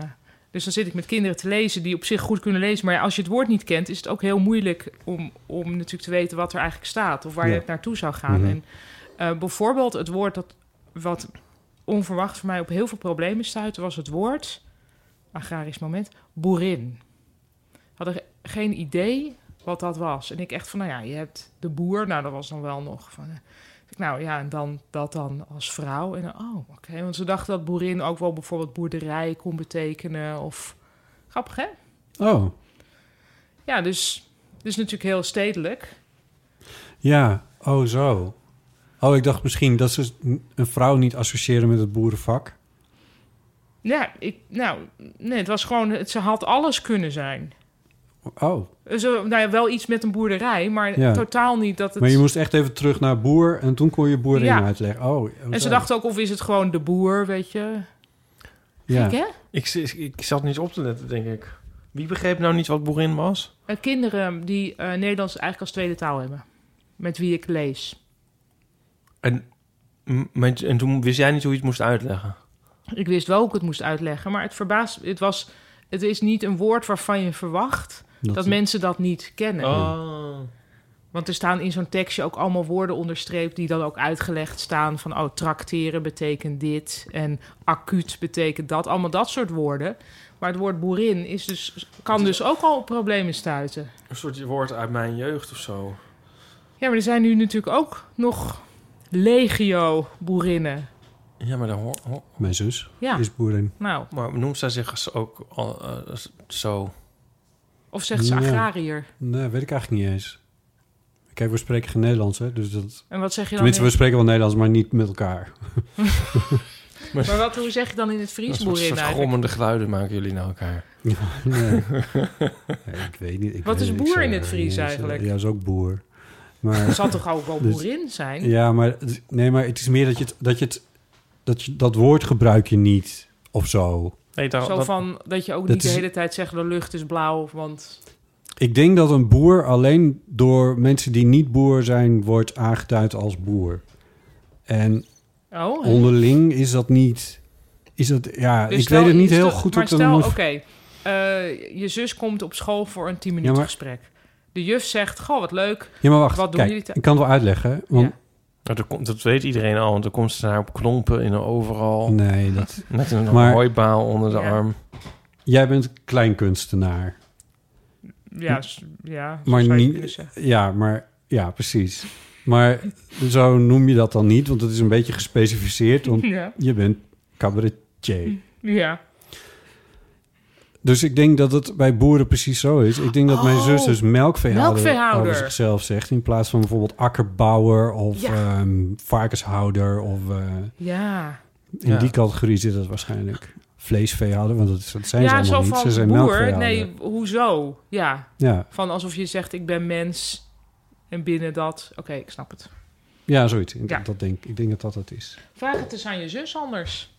[SPEAKER 2] Dus dan zit ik met kinderen te lezen die op zich goed kunnen lezen. Maar ja, als je het woord niet kent, is het ook heel moeilijk om, om natuurlijk te weten wat er eigenlijk staat. Of waar
[SPEAKER 5] Ja.
[SPEAKER 2] je het naartoe zou gaan.
[SPEAKER 5] Mhm.
[SPEAKER 2] En eh, bijvoorbeeld het woord dat wat onverwacht voor mij op heel veel problemen stuitte, was het woord, agrarisch moment, boerin. Hadden ge- geen idee wat dat was. En ik echt van, nou ja, je hebt de boer. Nou, dat was dan wel nog van... eh, ik, Nou ja, en dan dat dan als vrouw. En dan, oh, oké. Want ze dachten dat boerin ook wel bijvoorbeeld boerderij kon betekenen. Of grappig, hè?
[SPEAKER 1] Oh,
[SPEAKER 2] Ja, dus, dus natuurlijk heel stedelijk.
[SPEAKER 1] ja. Oh, zo. Oh, ik dacht misschien dat ze een vrouw niet associëren met het boerenvak.
[SPEAKER 2] Ja, ik, nou, nee, het was gewoon, het, ze had alles kunnen zijn.
[SPEAKER 1] Oh.
[SPEAKER 2] Zo, nou ja, wel iets met een boerderij, maar
[SPEAKER 1] Ja.
[SPEAKER 2] totaal niet dat het...
[SPEAKER 1] Maar je moest echt even terug naar boer en toen kon je boerin
[SPEAKER 2] Ja.
[SPEAKER 1] uitleggen. Oh,
[SPEAKER 2] En ze
[SPEAKER 1] zo.
[SPEAKER 2] dachten ook, of is het gewoon de boer, weet je?
[SPEAKER 1] Ja.
[SPEAKER 2] Gek, hè?
[SPEAKER 3] Ik, ik, ik zat niet op te letten, denk ik. Wie begreep nou niet wat boerin was?
[SPEAKER 2] Eh, kinderen die eh, Nederlands eigenlijk als tweede taal hebben. Met wie ik lees.
[SPEAKER 3] En, m- maar- en toen wist jij niet hoe je het moest uitleggen.
[SPEAKER 2] Ik wist wel hoe ik het moest uitleggen, maar het verbaast... Het, was, het is niet een woord waarvan je verwacht
[SPEAKER 3] Dat
[SPEAKER 2] dat,
[SPEAKER 3] het-
[SPEAKER 2] mensen dat niet kennen.
[SPEAKER 3] Oh.
[SPEAKER 2] Want er staan in zo'n tekstje ook allemaal woorden onderstreept... die dan ook uitgelegd staan van... oh, trakteren betekent dit en acuut betekent dat. Allemaal dat soort woorden. Maar het woord boerin is dus, kan dus ook al op problemen stuiten.
[SPEAKER 3] Een soort woord uit mijn jeugd of zo.
[SPEAKER 2] Ja, maar er zijn nu natuurlijk ook nog legio boerinnen.
[SPEAKER 3] Ja, maar dan hoor... hoor-
[SPEAKER 1] Mijn zus
[SPEAKER 2] Ja.
[SPEAKER 1] is boerin.
[SPEAKER 2] Nou,
[SPEAKER 3] Maar noemt zij zich ook al, eh, zo?
[SPEAKER 2] of zegt ze
[SPEAKER 1] Nee.
[SPEAKER 2] agrariër.
[SPEAKER 1] Nee, weet ik eigenlijk niet eens. Kijk, we spreken geen Nederlands, hè? Dus dat...
[SPEAKER 2] En wat zeg je dan
[SPEAKER 1] Tenminste,
[SPEAKER 2] in-
[SPEAKER 1] we spreken wel Nederlands, maar niet met elkaar. <laughs>
[SPEAKER 2] Maar, wat, hoe zeg je dan in het
[SPEAKER 3] Een
[SPEAKER 2] Fries
[SPEAKER 3] soort,
[SPEAKER 2] boerin
[SPEAKER 3] soort
[SPEAKER 2] eigenlijk?
[SPEAKER 3] grommende geluiden maken jullie naar elkaar. <laughs>
[SPEAKER 1] nee. Nee, ik weet niet. ik
[SPEAKER 2] Wat
[SPEAKER 1] weet
[SPEAKER 2] is
[SPEAKER 1] niet,
[SPEAKER 2] boer
[SPEAKER 1] ik zou-
[SPEAKER 2] in het Fries
[SPEAKER 1] ik zou-
[SPEAKER 2] eigenlijk?
[SPEAKER 1] Ja, is ook boer. Maar, Dus-
[SPEAKER 2] Er zal toch ook wel boerin zijn?
[SPEAKER 1] Ja, maar, het- nee, maar het is meer dat je, het, dat, je het, dat je dat woord gebruik je niet of zo.
[SPEAKER 3] Nee, daar-
[SPEAKER 2] Zo
[SPEAKER 3] dat-
[SPEAKER 2] van dat je ook
[SPEAKER 1] dat
[SPEAKER 2] niet de
[SPEAKER 1] is-
[SPEAKER 2] hele tijd zegt de lucht is blauw, want
[SPEAKER 1] Ik denk dat een boer alleen door mensen die niet boer zijn, wordt aangeduid als boer. En
[SPEAKER 2] Oh, hè?
[SPEAKER 1] onderling is dat niet. Is dat, ja,
[SPEAKER 2] Dus
[SPEAKER 1] ik
[SPEAKER 2] stel-
[SPEAKER 1] weet het niet heel
[SPEAKER 2] stel-
[SPEAKER 1] goed hoe
[SPEAKER 2] Maar
[SPEAKER 1] ik dat
[SPEAKER 2] stel,
[SPEAKER 1] moet-
[SPEAKER 2] oké, eh, je zus komt op school voor een 10 minuten
[SPEAKER 1] Ja, maar-
[SPEAKER 2] gesprek. De juf zegt, goh, wat leuk.
[SPEAKER 1] Ja, maar wacht.
[SPEAKER 2] Wat doen
[SPEAKER 1] Kijk,
[SPEAKER 2] jullie te-
[SPEAKER 1] ik kan het wel uitleggen. Want
[SPEAKER 3] Nou, dat, komt, dat weet iedereen al, want dan komt ze daar op klompen in een overal.
[SPEAKER 1] Nee, dat...
[SPEAKER 3] Met een
[SPEAKER 1] Maar-
[SPEAKER 3] hooibaal onder de arm.
[SPEAKER 1] jij bent kleinkunstenaar.
[SPEAKER 2] Ja, s- ja zo
[SPEAKER 1] maar
[SPEAKER 2] zou je
[SPEAKER 1] niet-
[SPEAKER 2] kunnen zeggen.
[SPEAKER 1] Ja, maar ja, precies. Maar zo noem je dat dan niet, want het is een beetje gespecificeerd. Want
[SPEAKER 2] Ja.
[SPEAKER 1] je bent cabaretier.
[SPEAKER 2] Ja.
[SPEAKER 1] Dus ik denk dat het bij boeren precies zo is. Ik denk dat mijn
[SPEAKER 2] Oh,
[SPEAKER 1] zus dus melkveehouder
[SPEAKER 2] melkveehouder.
[SPEAKER 1] over zichzelf zegt. In plaats van bijvoorbeeld akkerbouwer of
[SPEAKER 2] Ja.
[SPEAKER 1] ehm, varkenshouder. Of, eh,
[SPEAKER 2] Ja.
[SPEAKER 1] in
[SPEAKER 2] Ja.
[SPEAKER 1] die categorie zit dat waarschijnlijk. Vleesveehouder, want dat, dat zijn ze
[SPEAKER 2] ja,
[SPEAKER 1] allemaal
[SPEAKER 2] zo
[SPEAKER 1] niet.
[SPEAKER 2] van
[SPEAKER 1] Ze zijn
[SPEAKER 2] boer,
[SPEAKER 1] melkveehouder.
[SPEAKER 2] nee, hoezo? Ja.
[SPEAKER 1] Ja.
[SPEAKER 2] Van alsof je zegt, ik ben mens en binnen dat... Oké, ik snap het.
[SPEAKER 1] Ja, zoiets. Ik,
[SPEAKER 2] Ja.
[SPEAKER 1] Dat denk, ik denk dat dat het is.
[SPEAKER 2] Vraag het eens aan je zus anders.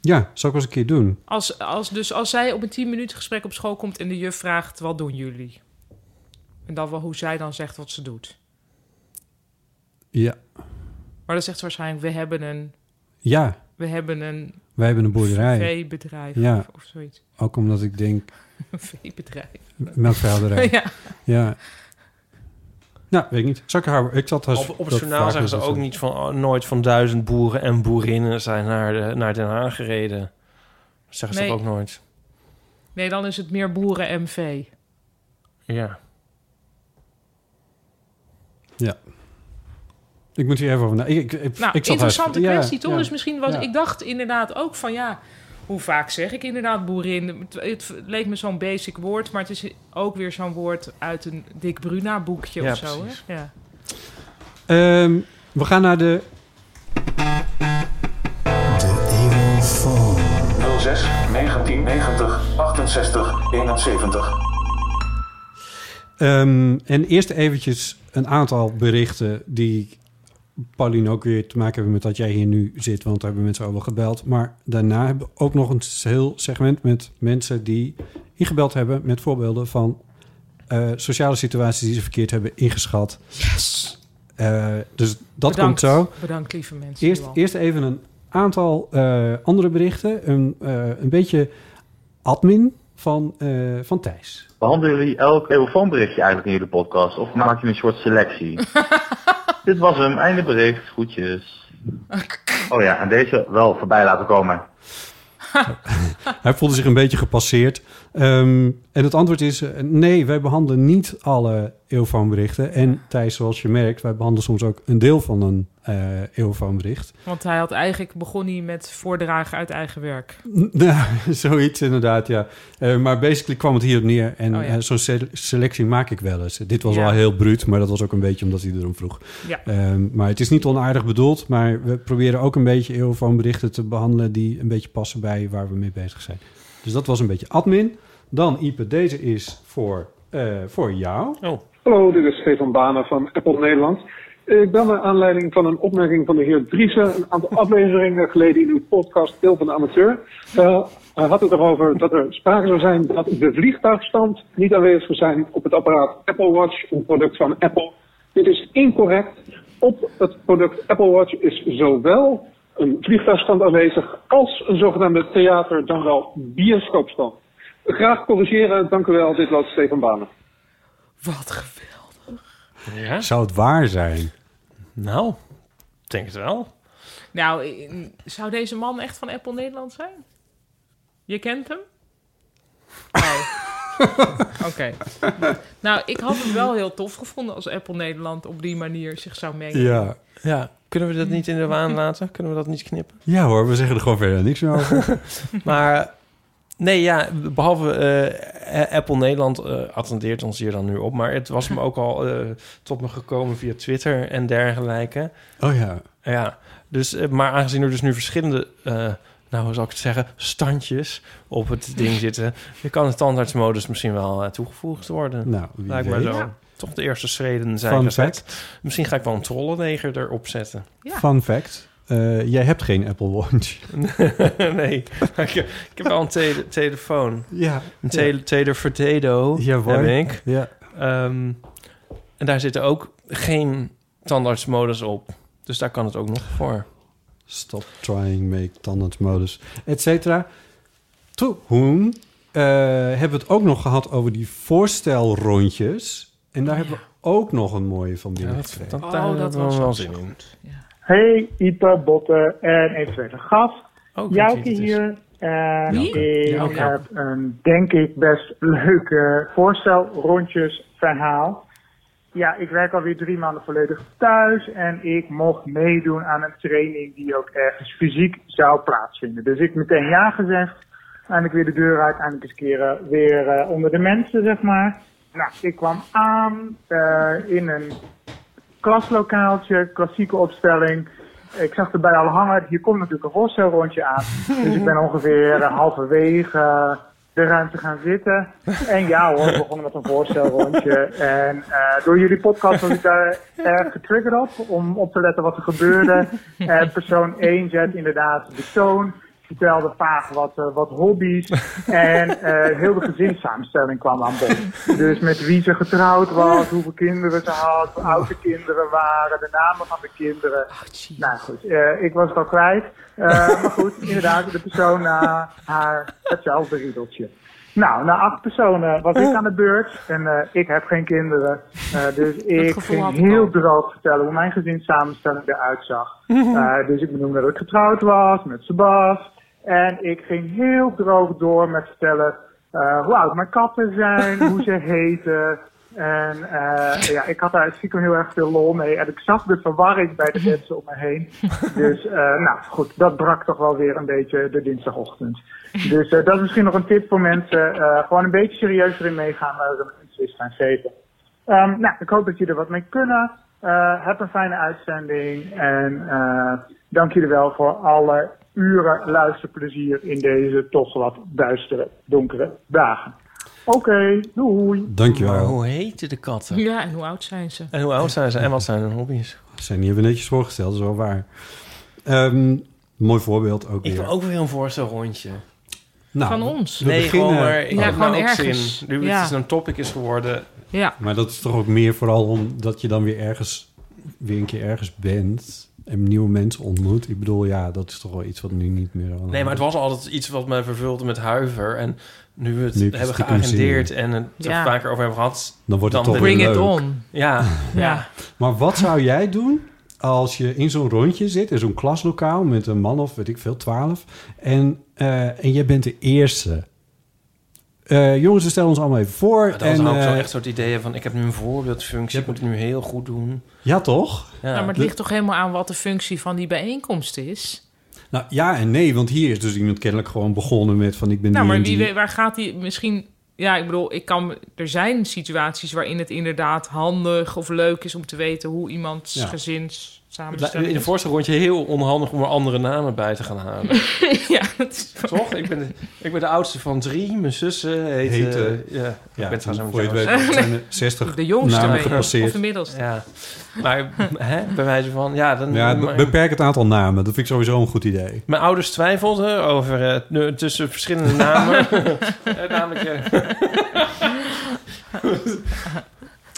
[SPEAKER 1] Ja, zal ik wel eens een keer doen.
[SPEAKER 2] Als, als, dus als zij op een 10 minuten gesprek op school komt en de juf vraagt, wat doen jullie? En dan wel hoe zij dan zegt wat ze doet.
[SPEAKER 1] Ja,
[SPEAKER 2] Maar dan zegt ze waarschijnlijk, we hebben een...
[SPEAKER 1] Ja.
[SPEAKER 2] We hebben een...
[SPEAKER 1] wij hebben een boerderij.
[SPEAKER 2] Veebedrijf
[SPEAKER 1] ja.
[SPEAKER 2] of, of zoiets. <laughs>
[SPEAKER 1] Ook omdat ik denk,
[SPEAKER 2] Een veebedrijf.
[SPEAKER 1] melkveehouderij.
[SPEAKER 2] <laughs> ja.
[SPEAKER 1] ja. Nou, weet ik niet. Zal ik haar... Ik zat haar
[SPEAKER 3] Op, op het
[SPEAKER 1] dat
[SPEAKER 3] journaal
[SPEAKER 1] vaker
[SPEAKER 3] zeggen ze
[SPEAKER 1] dat
[SPEAKER 3] ook niet van oh, nooit van duizend boeren en boerinnen zijn naar, de, naar Den Haag gereden. Dat zeggen ze
[SPEAKER 2] Nee.
[SPEAKER 3] toch ook nooit.
[SPEAKER 2] Nee, dan is het meer boeren MV.
[SPEAKER 3] Ja.
[SPEAKER 1] Ja. Ik moet hier even over na. Ik, ik, ik,
[SPEAKER 2] Nou,
[SPEAKER 1] ik zat
[SPEAKER 2] interessante
[SPEAKER 1] haar- ja,
[SPEAKER 2] kwestie, toch?
[SPEAKER 1] ja.
[SPEAKER 2] Dus misschien was...
[SPEAKER 1] Ja.
[SPEAKER 2] Ik dacht inderdaad ook van, ja... Hoe vaak zeg ik inderdaad boerin? Het, het leek me zo'n basic woord, maar het is ook weer zo'n woord uit een Dick Bruna boekje
[SPEAKER 1] Ja,
[SPEAKER 2] of zo.
[SPEAKER 1] precies.
[SPEAKER 2] Hè? Ja.
[SPEAKER 1] Ehm, we gaan naar de...
[SPEAKER 4] 06 1990 68 71.
[SPEAKER 1] ehm, en eerst eventjes een aantal berichten die... Pauline ook weer te maken hebben met dat jij hier nu zit, want daar hebben mensen over gebeld. Maar daarna hebben we ook nog een heel segment met mensen die ingebeld hebben met voorbeelden van eh, sociale situaties die ze verkeerd hebben ingeschat.
[SPEAKER 2] Yes!
[SPEAKER 1] dus dat
[SPEAKER 2] Bedankt.
[SPEAKER 1] komt zo.
[SPEAKER 2] Bedankt, lieve mensen.
[SPEAKER 1] Eerst,
[SPEAKER 2] Johan.
[SPEAKER 1] eerst even een aantal eh, andere berichten. Een, eh, een beetje admin van, eh, van Thijs.
[SPEAKER 5] Behandelen jullie elk telefoonberichtje eigenlijk in jullie podcast? Of maak je een soort
[SPEAKER 3] <laughs>
[SPEAKER 5] selectie? Dit was hem, einde bericht, groetjes. Oh ja, en deze wel voorbij laten komen.
[SPEAKER 1] Hij voelde zich een beetje gepasseerd. Ehm, en het antwoord is eh, nee, wij behandelen niet alle eeuwfoonberichten. En Thijs, zoals je merkt, wij behandelen soms ook een deel van een eh eeuwfoonbericht. <laughs>
[SPEAKER 2] Want hij had eigenlijk begon hij met voordragen uit eigen werk.
[SPEAKER 1] Nou, zoiets inderdaad, ja. Eh, maar basically kwam het hierop neer. En
[SPEAKER 2] Oh, ja.
[SPEAKER 1] eh, zo'n se- selectie maak ik wel eens. Dit was
[SPEAKER 2] Ja.
[SPEAKER 1] wel heel bruut, maar dat was ook een beetje omdat hij erom vroeg.
[SPEAKER 2] Ja.
[SPEAKER 1] Ehm, maar het is niet onaardig bedoeld. Maar we proberen ook een beetje eeuwfoonberichten te behandelen... die een beetje passen bij waar we mee bezig zijn. Dus dat was een beetje admin. Dan, Ipe, deze is voor, eh, voor jou.
[SPEAKER 6] Hallo, dit is Stefan Banen van Apple Nederland. Ik ben naar aanleiding van een opmerking van de heer Driessen een aantal afleveringen geleden in uw podcast Deel van de Amateur. Eh, hij had het erover dat er sprake zou zijn dat de vliegtuigstand niet aanwezig zou zijn op het apparaat Apple Watch, een product van Apple. Dit is incorrect. Op het product Apple Watch is zowel een vliegtuigstand aanwezig als een zogenaamde theater- dan wel bioscoopstand. Graag corrigeren, dank u wel. Dit was Stefan Banen.
[SPEAKER 1] Zou het waar zijn?
[SPEAKER 3] Nou, ik denk het wel.
[SPEAKER 2] Nou, eh, zou deze man echt van Apple Nederland zijn? Je kent hem? Oh. <laughs> Oké. Nou, ik had hem wel heel tof gevonden als Apple Nederland op die manier zich zou mengen.
[SPEAKER 3] ja. Kunnen we dat niet in de waan laten? Kunnen we dat niet knippen?
[SPEAKER 1] Ja hoor, we zeggen er gewoon verder niks meer over.
[SPEAKER 3] maar nee, ja, behalve eh, A- Apple Nederland eh, attendeert ons hier dan nu op. Maar het was me ook al eh, tot me gekomen via Twitter en dergelijke.
[SPEAKER 1] Oh ja.
[SPEAKER 3] Ja, dus, eh, maar aangezien er dus nu verschillende, eh, nou hoe zal ik het zeggen, standjes op het
[SPEAKER 1] <laughs>
[SPEAKER 3] ding zitten, dan kan de tandartsmodus misschien wel eh, toegevoegd worden.
[SPEAKER 1] Nou, wie
[SPEAKER 3] Lijkt me
[SPEAKER 1] weet.
[SPEAKER 3] zo.
[SPEAKER 1] Ja.
[SPEAKER 3] Toch de eerste schreden zijn
[SPEAKER 1] Fun
[SPEAKER 3] gezet. Misschien ga ik wel een trollenneger erop zetten.
[SPEAKER 1] Fun fact, eh, jij hebt geen Apple Watch.
[SPEAKER 3] <laughs> nee, maar ik, ik heb wel een tele- telefoon.
[SPEAKER 1] Ja.
[SPEAKER 3] Een tele, televerdedo
[SPEAKER 1] Ja, hoor.
[SPEAKER 3] heb ik.
[SPEAKER 1] Ja.
[SPEAKER 3] Ehm, en daar zitten ook geen tandartsmodus op. Dus daar kan het ook nog voor.
[SPEAKER 1] Stop trying, make tandend modus, et cetera. Toen eh, hebben we het ook nog gehad over die voorstelrondjes. En daar hebben we ook nog een mooie van binnen. gekregen.
[SPEAKER 3] daar Oh, dat hebben we was wel zin in.
[SPEAKER 7] Hey, Ipe, Botte en eventuele gast.
[SPEAKER 3] Oh,
[SPEAKER 7] Jouke hier. En
[SPEAKER 3] Wie?
[SPEAKER 7] ik
[SPEAKER 3] Jouke.
[SPEAKER 7] heb een, denk ik, best leuke voorstel, rondjes, verhaal. Ja, ik werk alweer drie maanden volledig thuis en ik mocht meedoen aan een training die ook ergens fysiek zou plaatsvinden. Dus ik meteen ja gezegd, eindelijk weer de deur uit, eindelijk eens een keer eh, weer eh, onder de mensen, zeg maar. Nou, ik kwam aan eh, in een klaslokaaltje, klassieke opstelling. Ik zag erbij al hangen, hier komt natuurlijk een voorstelrondje aan. Dus ik ben ongeveer eh, halverwege eh, de ruimte gaan zitten. En ja hoor, we begonnen met een voorstelrondje. En eh, door jullie podcast was ik
[SPEAKER 3] <laughs>
[SPEAKER 7] daar erg getriggerd op, om op te letten wat er gebeurde. Eh, persoon 1 zet inderdaad de toon, vertelde vaag wat, eh, wat hobby's. En eh, heel de gezinssamenstelling kwam aan bod. Dus met wie ze getrouwd was, hoeveel kinderen ze had, hoe oud de kinderen waren, de namen van de kinderen.
[SPEAKER 8] Oh,
[SPEAKER 7] nou goed, eh, ik was het al kwijt. Eh, maar goed,
[SPEAKER 8] <laughs>
[SPEAKER 7] inderdaad, de persoon na haar hetzelfde riedeltje. Nou, na acht personen was
[SPEAKER 8] Oh.
[SPEAKER 7] ik aan de beurt en eh, ik heb geen kinderen. Eh, dus ik
[SPEAKER 8] gevoel
[SPEAKER 7] ging
[SPEAKER 8] had ik
[SPEAKER 7] heel droog vertellen hoe mijn gezinssamenstelling eruit zag.
[SPEAKER 8] Mhm.
[SPEAKER 7] Eh, dus ik benoemde dat ik getrouwd was met Sebas. En ik ging heel droog door met vertellen eh, hoe oud mijn katten zijn, hoe ze heten. En eh, ja, ik had daar stiekem heel erg veel lol mee. En ik zag de verwarring bij de mensen om me heen. Dus eh, nou goed, dat brak toch wel weer een beetje de dinsdagochtend. Dus eh, dat is misschien nog een tip voor mensen. eh, gewoon een beetje serieuzer in meegaan waar we mensen iets gaan geven. Ehm, nou, ik hoop dat jullie er wat mee kunnen. Eh, heb een fijne uitzending. En eh, dank jullie wel voor alle uren luisterplezier in deze toch wat duistere, donkere dagen. Oké, doei.
[SPEAKER 1] Dankjewel.
[SPEAKER 3] Maar hoe heten de katten?
[SPEAKER 2] Ja, en hoe oud zijn ze?
[SPEAKER 3] En hoe oud zijn ze
[SPEAKER 1] <laughs>
[SPEAKER 3] en wat zijn hun hobby's?
[SPEAKER 1] Zijn die hebben we netjes voorgesteld, dat is wel waar. Ehm, mooi voorbeeld ook
[SPEAKER 3] Ik
[SPEAKER 1] weer.
[SPEAKER 3] wil ook weer een voorstelrondje.
[SPEAKER 1] Nou,
[SPEAKER 2] Van ons.
[SPEAKER 1] we
[SPEAKER 3] Nee,
[SPEAKER 1] beginnen-
[SPEAKER 3] gewoon maar ik
[SPEAKER 2] Ja,
[SPEAKER 3] heb
[SPEAKER 2] gewoon
[SPEAKER 3] nou ook
[SPEAKER 2] ergens.
[SPEAKER 3] zin. Nu
[SPEAKER 2] Ja.
[SPEAKER 3] het een topic is geworden.
[SPEAKER 2] Ja.
[SPEAKER 1] Maar dat is toch ook meer vooral omdat je dan weer ergens weer een keer ergens bent. en nieuwe mensen ontmoet. Ik bedoel, ja, dat is toch wel iets wat nu niet meer... aan de
[SPEAKER 3] Nee, maar
[SPEAKER 1] hand
[SPEAKER 3] het was altijd iets wat me vervulde met huiver. En nu we het
[SPEAKER 1] Nu heb je
[SPEAKER 3] hebben
[SPEAKER 1] het stiekem
[SPEAKER 3] geagendeerd
[SPEAKER 1] zin
[SPEAKER 3] en het er
[SPEAKER 2] Ja.
[SPEAKER 3] vaker over hebben gehad...
[SPEAKER 1] Dan wordt het toch
[SPEAKER 3] ben-
[SPEAKER 1] weer Bring it leuk. on.
[SPEAKER 3] Ja, ja.
[SPEAKER 1] is. Maar wat zou jij doen als je in zo'n rondje zit, in zo'n klaslokaal... met een man of, weet ik veel, twaalf, en, eh, en jij bent de eerste... Eh, jongens, we stellen ons allemaal even voor.
[SPEAKER 3] Maar dan
[SPEAKER 1] en,
[SPEAKER 3] zou ik zo
[SPEAKER 1] eh,
[SPEAKER 3] echt soort ideeën van... ik heb nu een voorbeeldfunctie, ik moet het nu heel goed doen.
[SPEAKER 1] Ja, toch?
[SPEAKER 2] Nou, maar het ligt toch helemaal aan wat de functie van die bijeenkomst is.
[SPEAKER 1] Nou ja en nee, want hier is dus iemand kennelijk gewoon begonnen met van ik ben
[SPEAKER 2] nou,
[SPEAKER 1] nu
[SPEAKER 2] maar
[SPEAKER 1] in
[SPEAKER 2] wie
[SPEAKER 1] die-
[SPEAKER 2] weet, waar gaat die misschien... Ja, ik bedoel, ik kan, er zijn situaties waarin het inderdaad handig of leuk is om te weten hoe iemands
[SPEAKER 3] Ja.
[SPEAKER 2] gezins
[SPEAKER 3] Het lijkt me
[SPEAKER 2] samenstelt.
[SPEAKER 3] In de voorste rondje heel onhandig om er andere namen bij te gaan
[SPEAKER 1] <laughs>
[SPEAKER 3] halen.
[SPEAKER 2] ja, dat is
[SPEAKER 3] Toch? Ik ben, de, ik ben de oudste van drie. Mijn zussen heet...
[SPEAKER 1] Heet,
[SPEAKER 3] eh,
[SPEAKER 1] eh,
[SPEAKER 3] ja, ik ben
[SPEAKER 1] en
[SPEAKER 3] trouwens
[SPEAKER 1] voor je het
[SPEAKER 3] helemaal
[SPEAKER 1] weet
[SPEAKER 3] niet
[SPEAKER 1] zijn er
[SPEAKER 3] oud.
[SPEAKER 1] 60 De jongste namen ben je, gepasseerd. of de
[SPEAKER 2] middelste.
[SPEAKER 3] Ja. Maar hè, bij wijze van... Ja, dan,
[SPEAKER 1] Ja, be-
[SPEAKER 3] maar-
[SPEAKER 1] beperk het aantal namen. Dat vind ik sowieso een goed idee.
[SPEAKER 3] Mijn ouders twijfelden over eh, nu- tussen verschillende
[SPEAKER 2] <laughs>
[SPEAKER 3] namen. Eh, namelijk. eh,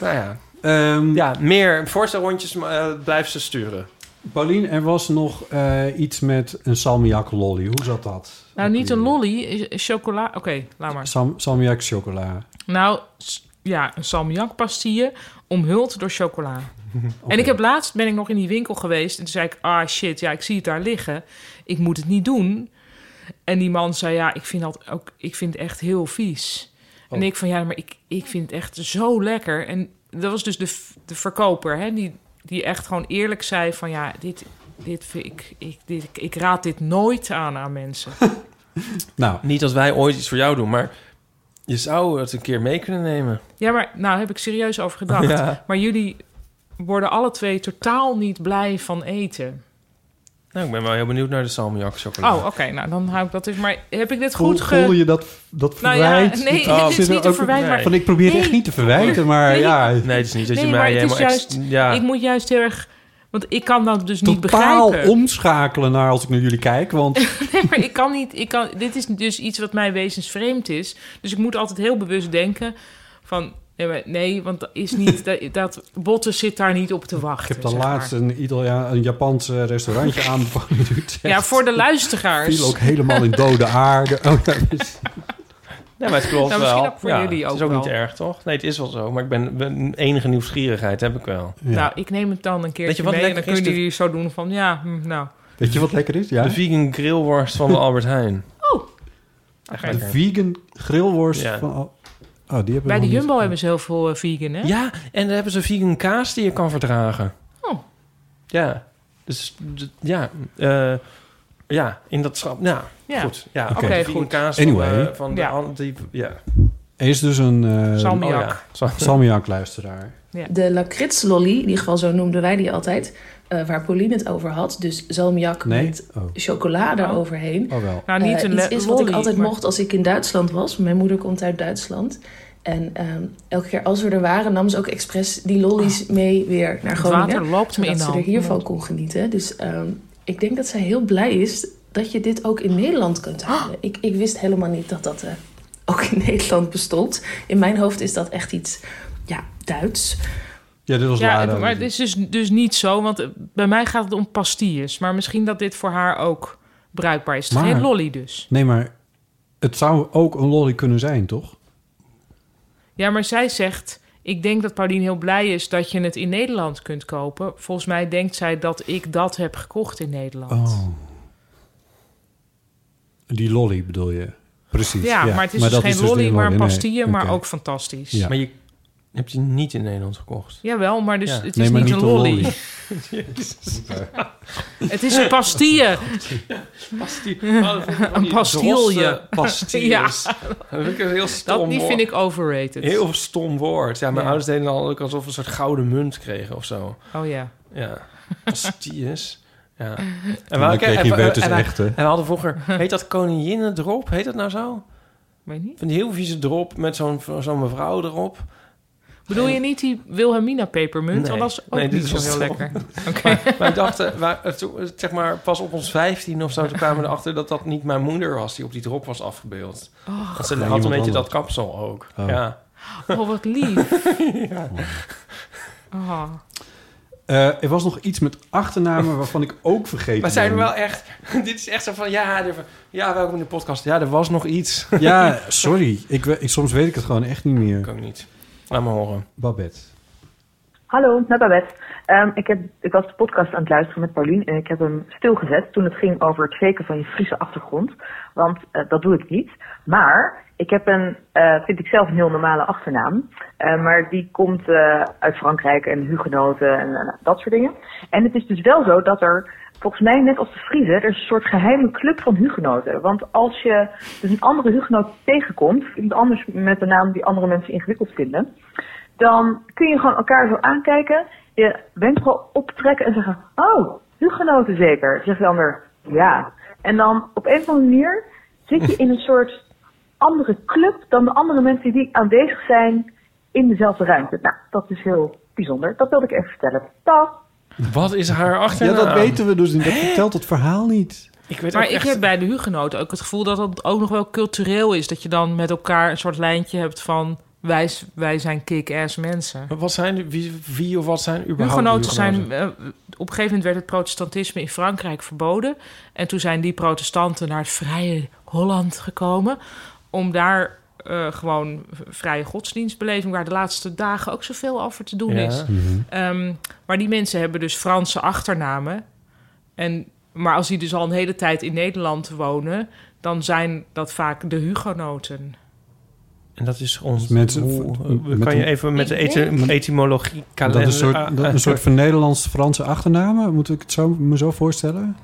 [SPEAKER 3] nou ja.
[SPEAKER 1] Ehm,
[SPEAKER 3] ja, meer voorstelrondjes eh blijf ze sturen.
[SPEAKER 1] Paulien, er was nog eh, iets met een salmiak lolly. Hoe zat dat?
[SPEAKER 2] Nou, niet een lolly, is- is chocola... Oké, laat maar.
[SPEAKER 1] Sam, salmiak chocola.
[SPEAKER 2] Nou, s- ja, een salmiakpastille omhuld door chocola. En ik heb laatst ben ik nog in die winkel geweest en toen zei ik, ah shit, ja, ik zie het daar liggen. Ik moet het niet doen. En die man zei, ja, ik vind dat ook, ik vind het echt heel vies. En ik van, ja, maar ik, ik vind het echt zo lekker. En dat was dus de, v- de verkoper, hè, die, die echt gewoon eerlijk zei van, ja, dit, dit vind ik, ik, dit, ik, ik raad dit nooit aan aan mensen.
[SPEAKER 1] Nou.
[SPEAKER 3] Niet dat wij ooit iets voor jou doen, maar je zou het een keer mee kunnen nemen.
[SPEAKER 2] Ja, maar nou heb ik serieus over gedacht.
[SPEAKER 3] Ja.
[SPEAKER 2] Maar jullie worden alle twee totaal niet blij van eten.
[SPEAKER 3] Nou, ik ben wel heel benieuwd naar de salmiak chocolade.
[SPEAKER 2] Oh, oké. nou, dan hou ik dat even. Maar heb ik dit
[SPEAKER 1] Voel-
[SPEAKER 2] goed ge...
[SPEAKER 1] voel je dat, dat
[SPEAKER 2] Nou ja,
[SPEAKER 1] verwijt?
[SPEAKER 2] nee,
[SPEAKER 1] Dat
[SPEAKER 2] dit is
[SPEAKER 1] zit er
[SPEAKER 2] niet te
[SPEAKER 1] ook-
[SPEAKER 2] verwijten, maar-
[SPEAKER 1] Van, ik probeer het echt
[SPEAKER 2] Nee.
[SPEAKER 1] niet te verwijten, maar
[SPEAKER 2] Nee.
[SPEAKER 1] ja.
[SPEAKER 3] Nee, het is niet dat
[SPEAKER 2] Nee,
[SPEAKER 3] je
[SPEAKER 2] maar
[SPEAKER 3] mij
[SPEAKER 2] het is
[SPEAKER 3] helemaal...
[SPEAKER 2] juist...
[SPEAKER 3] ex- ja.
[SPEAKER 2] Ik moet juist heel erg... Want ik kan dat dus niet
[SPEAKER 1] Totaal
[SPEAKER 2] begrijpen.
[SPEAKER 1] omschakelen naar als ik naar jullie kijk, want...
[SPEAKER 2] <laughs> Nee, maar ik kan niet... Ik kan, dit is dus iets wat mij wezensvreemd is. Dus ik moet altijd heel bewust denken van... Nee, maar- nee want dat is
[SPEAKER 3] <laughs>
[SPEAKER 2] niet... Dat, dat, botten zit daar niet op te wachten.
[SPEAKER 1] Ik heb de
[SPEAKER 2] zeg maar.
[SPEAKER 1] laatst een, Italia, een Japans eh,
[SPEAKER 2] <laughs>
[SPEAKER 1] restaurantje aanbevolen. <laughs>
[SPEAKER 2] Ja, voor de luisteraars.
[SPEAKER 1] viel ook helemaal in
[SPEAKER 2] <laughs>
[SPEAKER 1] dode aarde. Oh, ja, dus-
[SPEAKER 3] Nee, maar het klopt
[SPEAKER 2] Nou,
[SPEAKER 3] wel.
[SPEAKER 2] misschien ook voor
[SPEAKER 3] Ja,
[SPEAKER 2] jullie
[SPEAKER 3] het is
[SPEAKER 2] ook
[SPEAKER 3] ook niet
[SPEAKER 2] wel.
[SPEAKER 3] erg, toch? Nee, het is wel zo, maar ik ben, ben- enige nieuwsgierigheid heb ik wel.
[SPEAKER 2] Nou, ik neem het dan een keertje
[SPEAKER 3] Weet je wat
[SPEAKER 2] mee en dan
[SPEAKER 3] lekker is?
[SPEAKER 2] kunnen jullie zo doen van... Ja, hm, nou...
[SPEAKER 1] Weet je wat lekker is? Ja?
[SPEAKER 3] De vegan grillworst van de
[SPEAKER 1] <laughs>
[SPEAKER 3] Albert Heijn. Echt
[SPEAKER 1] De
[SPEAKER 3] lekker.
[SPEAKER 1] vegan grillworst
[SPEAKER 3] Ja.
[SPEAKER 1] van... Oh, oh, die hebben we nog
[SPEAKER 2] Bij de
[SPEAKER 1] niet.
[SPEAKER 2] Jumbo hebben ze heel veel eh, vegan, hè?
[SPEAKER 3] Ja, en dan hebben ze vegan kaas die je kan verdragen.
[SPEAKER 2] Oh.
[SPEAKER 3] Ja, dus d- ja, eh, ja, in dat schap. Ja,
[SPEAKER 2] Ja.
[SPEAKER 3] goed. Ja,
[SPEAKER 2] Oké,
[SPEAKER 3] de vegan
[SPEAKER 2] goed.
[SPEAKER 3] kaas van,
[SPEAKER 1] Anyway.
[SPEAKER 3] eh, van de
[SPEAKER 2] Ja.
[SPEAKER 3] an- die- ja.
[SPEAKER 1] Er is dus een... eh,
[SPEAKER 2] Salmiak.
[SPEAKER 1] oh ja,
[SPEAKER 3] <laughs>
[SPEAKER 1] Salmiak-luisteraar.
[SPEAKER 8] De lakritslolly, in ieder geval zo noemden wij die altijd, eh, waar Pauline het over had. Dus zalmjak
[SPEAKER 1] Nee?
[SPEAKER 8] met
[SPEAKER 1] Oh.
[SPEAKER 8] chocola daaroverheen.
[SPEAKER 1] Oh, wel.
[SPEAKER 2] Nou, niet
[SPEAKER 8] Eh,
[SPEAKER 2] een
[SPEAKER 8] iets
[SPEAKER 2] le-
[SPEAKER 8] is wat ik
[SPEAKER 2] lolly,
[SPEAKER 8] altijd
[SPEAKER 2] maar-
[SPEAKER 8] mocht als ik in Duitsland was. Mijn moeder komt uit Duitsland. En ehm, elke keer als we er waren, nam ze ook expres die lollies
[SPEAKER 1] Oh.
[SPEAKER 8] mee weer naar
[SPEAKER 2] Het
[SPEAKER 8] Groningen.
[SPEAKER 2] water loopt me
[SPEAKER 8] zodat
[SPEAKER 2] in de
[SPEAKER 8] ze er
[SPEAKER 2] hand.
[SPEAKER 8] hiervan kon genieten. Dus ehm, ik denk dat zij heel blij is dat je dit ook in Nederland kunt halen.
[SPEAKER 2] Oh.
[SPEAKER 8] Ik, ik wist helemaal niet dat dat eh, ook in <laughs> Nederland bestond. In mijn hoofd is dat echt iets ja, Duits.
[SPEAKER 1] Ja, dit was
[SPEAKER 2] Ja,
[SPEAKER 1] Lara.
[SPEAKER 2] het- maar het is dus, dus niet zo, want eh, bij mij gaat het om pastilles. Maar misschien dat dit voor haar ook bruikbaar is. Het is
[SPEAKER 1] Maar-
[SPEAKER 2] geen lolly dus.
[SPEAKER 1] Nee, maar het zou ook een lolly kunnen zijn, toch?
[SPEAKER 2] Ja, maar zij zegt... Ik denk dat Pauline heel blij is dat je het in Nederland kunt kopen. Volgens mij denkt zij dat ik dat heb gekocht in Nederland.
[SPEAKER 1] Oh. Die lolly bedoel je? Precies.
[SPEAKER 2] Ja, maar het is dus
[SPEAKER 1] dat
[SPEAKER 2] geen
[SPEAKER 1] de
[SPEAKER 2] lolly, maar een
[SPEAKER 1] nee.
[SPEAKER 2] pastille, maar
[SPEAKER 1] Oké.
[SPEAKER 2] ook fantastisch.
[SPEAKER 1] Ja.
[SPEAKER 3] Maar je hebt die niet in Nederland gekocht.
[SPEAKER 2] Jawel, maar dus
[SPEAKER 3] Ja.
[SPEAKER 2] het
[SPEAKER 1] Nee,
[SPEAKER 2] is
[SPEAKER 1] maar
[SPEAKER 2] niet,
[SPEAKER 1] niet
[SPEAKER 2] een
[SPEAKER 1] een
[SPEAKER 2] lolly. <laughs>
[SPEAKER 1] lolly.
[SPEAKER 2] <laughs> het is een pastille. <laughs>
[SPEAKER 3] Oh,
[SPEAKER 2] een pastille.
[SPEAKER 3] Pastilles.
[SPEAKER 2] <laughs> Ja.
[SPEAKER 3] Dat vind ik een heel stom
[SPEAKER 2] Dat, die
[SPEAKER 3] woord.
[SPEAKER 2] vind ik overrated.
[SPEAKER 3] Heel stom woord. Ja, mijn
[SPEAKER 2] Ja.
[SPEAKER 3] ouders deden dan ook alsof we een soort gouden munt kregen of zo.
[SPEAKER 2] Oh ja.
[SPEAKER 3] Ja, pastilles. Ja.
[SPEAKER 1] En dan kreeg je dus Weuter's
[SPEAKER 3] en wij-
[SPEAKER 1] echte.
[SPEAKER 3] en we hadden vroeger, heet dat koninginnendrop? Heet dat nou zo?
[SPEAKER 2] Weet niet.
[SPEAKER 3] Van die heel vieze drop met zo'n zo'n mevrouw erop.
[SPEAKER 2] Bedoel je niet die Wilhelmina pepermunt? Want dat is ook
[SPEAKER 3] dit
[SPEAKER 2] niet zo
[SPEAKER 3] was
[SPEAKER 2] heel
[SPEAKER 3] zo.
[SPEAKER 2] lekker.
[SPEAKER 3] <laughs> Maar wij dachten, wij, eh, toen, eh, zeg maar, pas op ons 15 of zo, toen kwamen we erachter dat dat niet mijn moeder was die op die drop was afgebeeld.
[SPEAKER 2] Oh.
[SPEAKER 3] Want ze
[SPEAKER 1] Ja,
[SPEAKER 3] had een
[SPEAKER 1] iemand
[SPEAKER 3] beetje
[SPEAKER 1] anders.
[SPEAKER 3] dat kapsel ook.
[SPEAKER 1] Oh.
[SPEAKER 3] Ja.
[SPEAKER 2] Oh, wat lief.
[SPEAKER 3] Ja.
[SPEAKER 2] Ah.
[SPEAKER 1] Eh, er was nog iets met achternamen waarvan ik ook vergeten
[SPEAKER 3] Maar zijn we
[SPEAKER 1] ben.
[SPEAKER 3] wel echt... <laughs> Dit is echt zo van... Ja, er- ja, welkom in de podcast. Ja, er was nog
[SPEAKER 1] <laughs>
[SPEAKER 3] iets.
[SPEAKER 1] Ja, sorry. Ik, we- ik, soms weet ik het gewoon echt niet meer. Ik
[SPEAKER 3] ook niet. Laat me horen.
[SPEAKER 1] Babette.
[SPEAKER 9] Hallo, met Babette. Ehm, ik, heb, ik was de podcast aan het luisteren met Paulien en ik heb hem stilgezet toen het ging over het faken van je Friese achtergrond. Want eh, dat doe ik niet. Maar ik heb een, eh, vind ik zelf een heel normale achternaam. Eh, maar die komt eh, uit Frankrijk en hugenoten en eh, dat soort dingen. En het is dus wel zo dat er Volgens mij, net als de Friese, er is een soort geheime club van hugenoten. Want als je dus een andere hugenoot tegenkomt, iemand anders met een naam die andere mensen ingewikkeld vinden, dan kun je gewoon elkaar zo aankijken, je wenkbrauw optrekken en zeggen, oh, hugenoten zeker. Zegt de ander, ja. En dan op een of andere manier zit je in een soort andere club dan de andere mensen die aanwezig zijn in dezelfde ruimte. Nou, dat is heel bijzonder. Dat wilde ik even vertellen. Dag!
[SPEAKER 3] Wat is haar achternaam?
[SPEAKER 1] Ja, dat weten we dus niet. Dat vertelt het verhaal niet.
[SPEAKER 3] Ik weet
[SPEAKER 2] maar
[SPEAKER 3] ook
[SPEAKER 2] ik
[SPEAKER 3] echt-
[SPEAKER 2] heb bij de hugenoten ook het gevoel dat dat ook nog wel cultureel is. Dat je dan met elkaar een soort lijntje hebt van... wij, wij zijn kick-ass mensen.
[SPEAKER 3] Wat zijn, wie, wie of wat zijn überhaupt
[SPEAKER 2] Hugenoten zijn...
[SPEAKER 3] hugenoten?
[SPEAKER 2] eh, op een gegeven moment werd het protestantisme in Frankrijk verboden. En toen zijn die protestanten naar het vrije Holland gekomen... om daar eh, gewoon vrije godsdienstbeleving... waar de laatste dagen ook zoveel over te doen
[SPEAKER 3] Ja.
[SPEAKER 2] is.
[SPEAKER 3] Mhm.
[SPEAKER 2] Ehm, maar die mensen hebben dus Franse achternamen. En, maar als die dus al een hele tijd in Nederland wonen... dan zijn dat vaak de hugenoten.
[SPEAKER 3] En dat is ons...
[SPEAKER 1] Dus Mensen-
[SPEAKER 3] hoe- eh,
[SPEAKER 1] met
[SPEAKER 3] kan je
[SPEAKER 1] een-
[SPEAKER 3] even met de
[SPEAKER 1] Ik
[SPEAKER 3] ety-
[SPEAKER 1] denk-
[SPEAKER 3] etymologie...
[SPEAKER 1] Dat
[SPEAKER 3] kalender-
[SPEAKER 1] is een soort, dat- een soort
[SPEAKER 3] eh,
[SPEAKER 1] van Nederlands-Franse achternamen. Moet ik het zo, me zo voorstellen?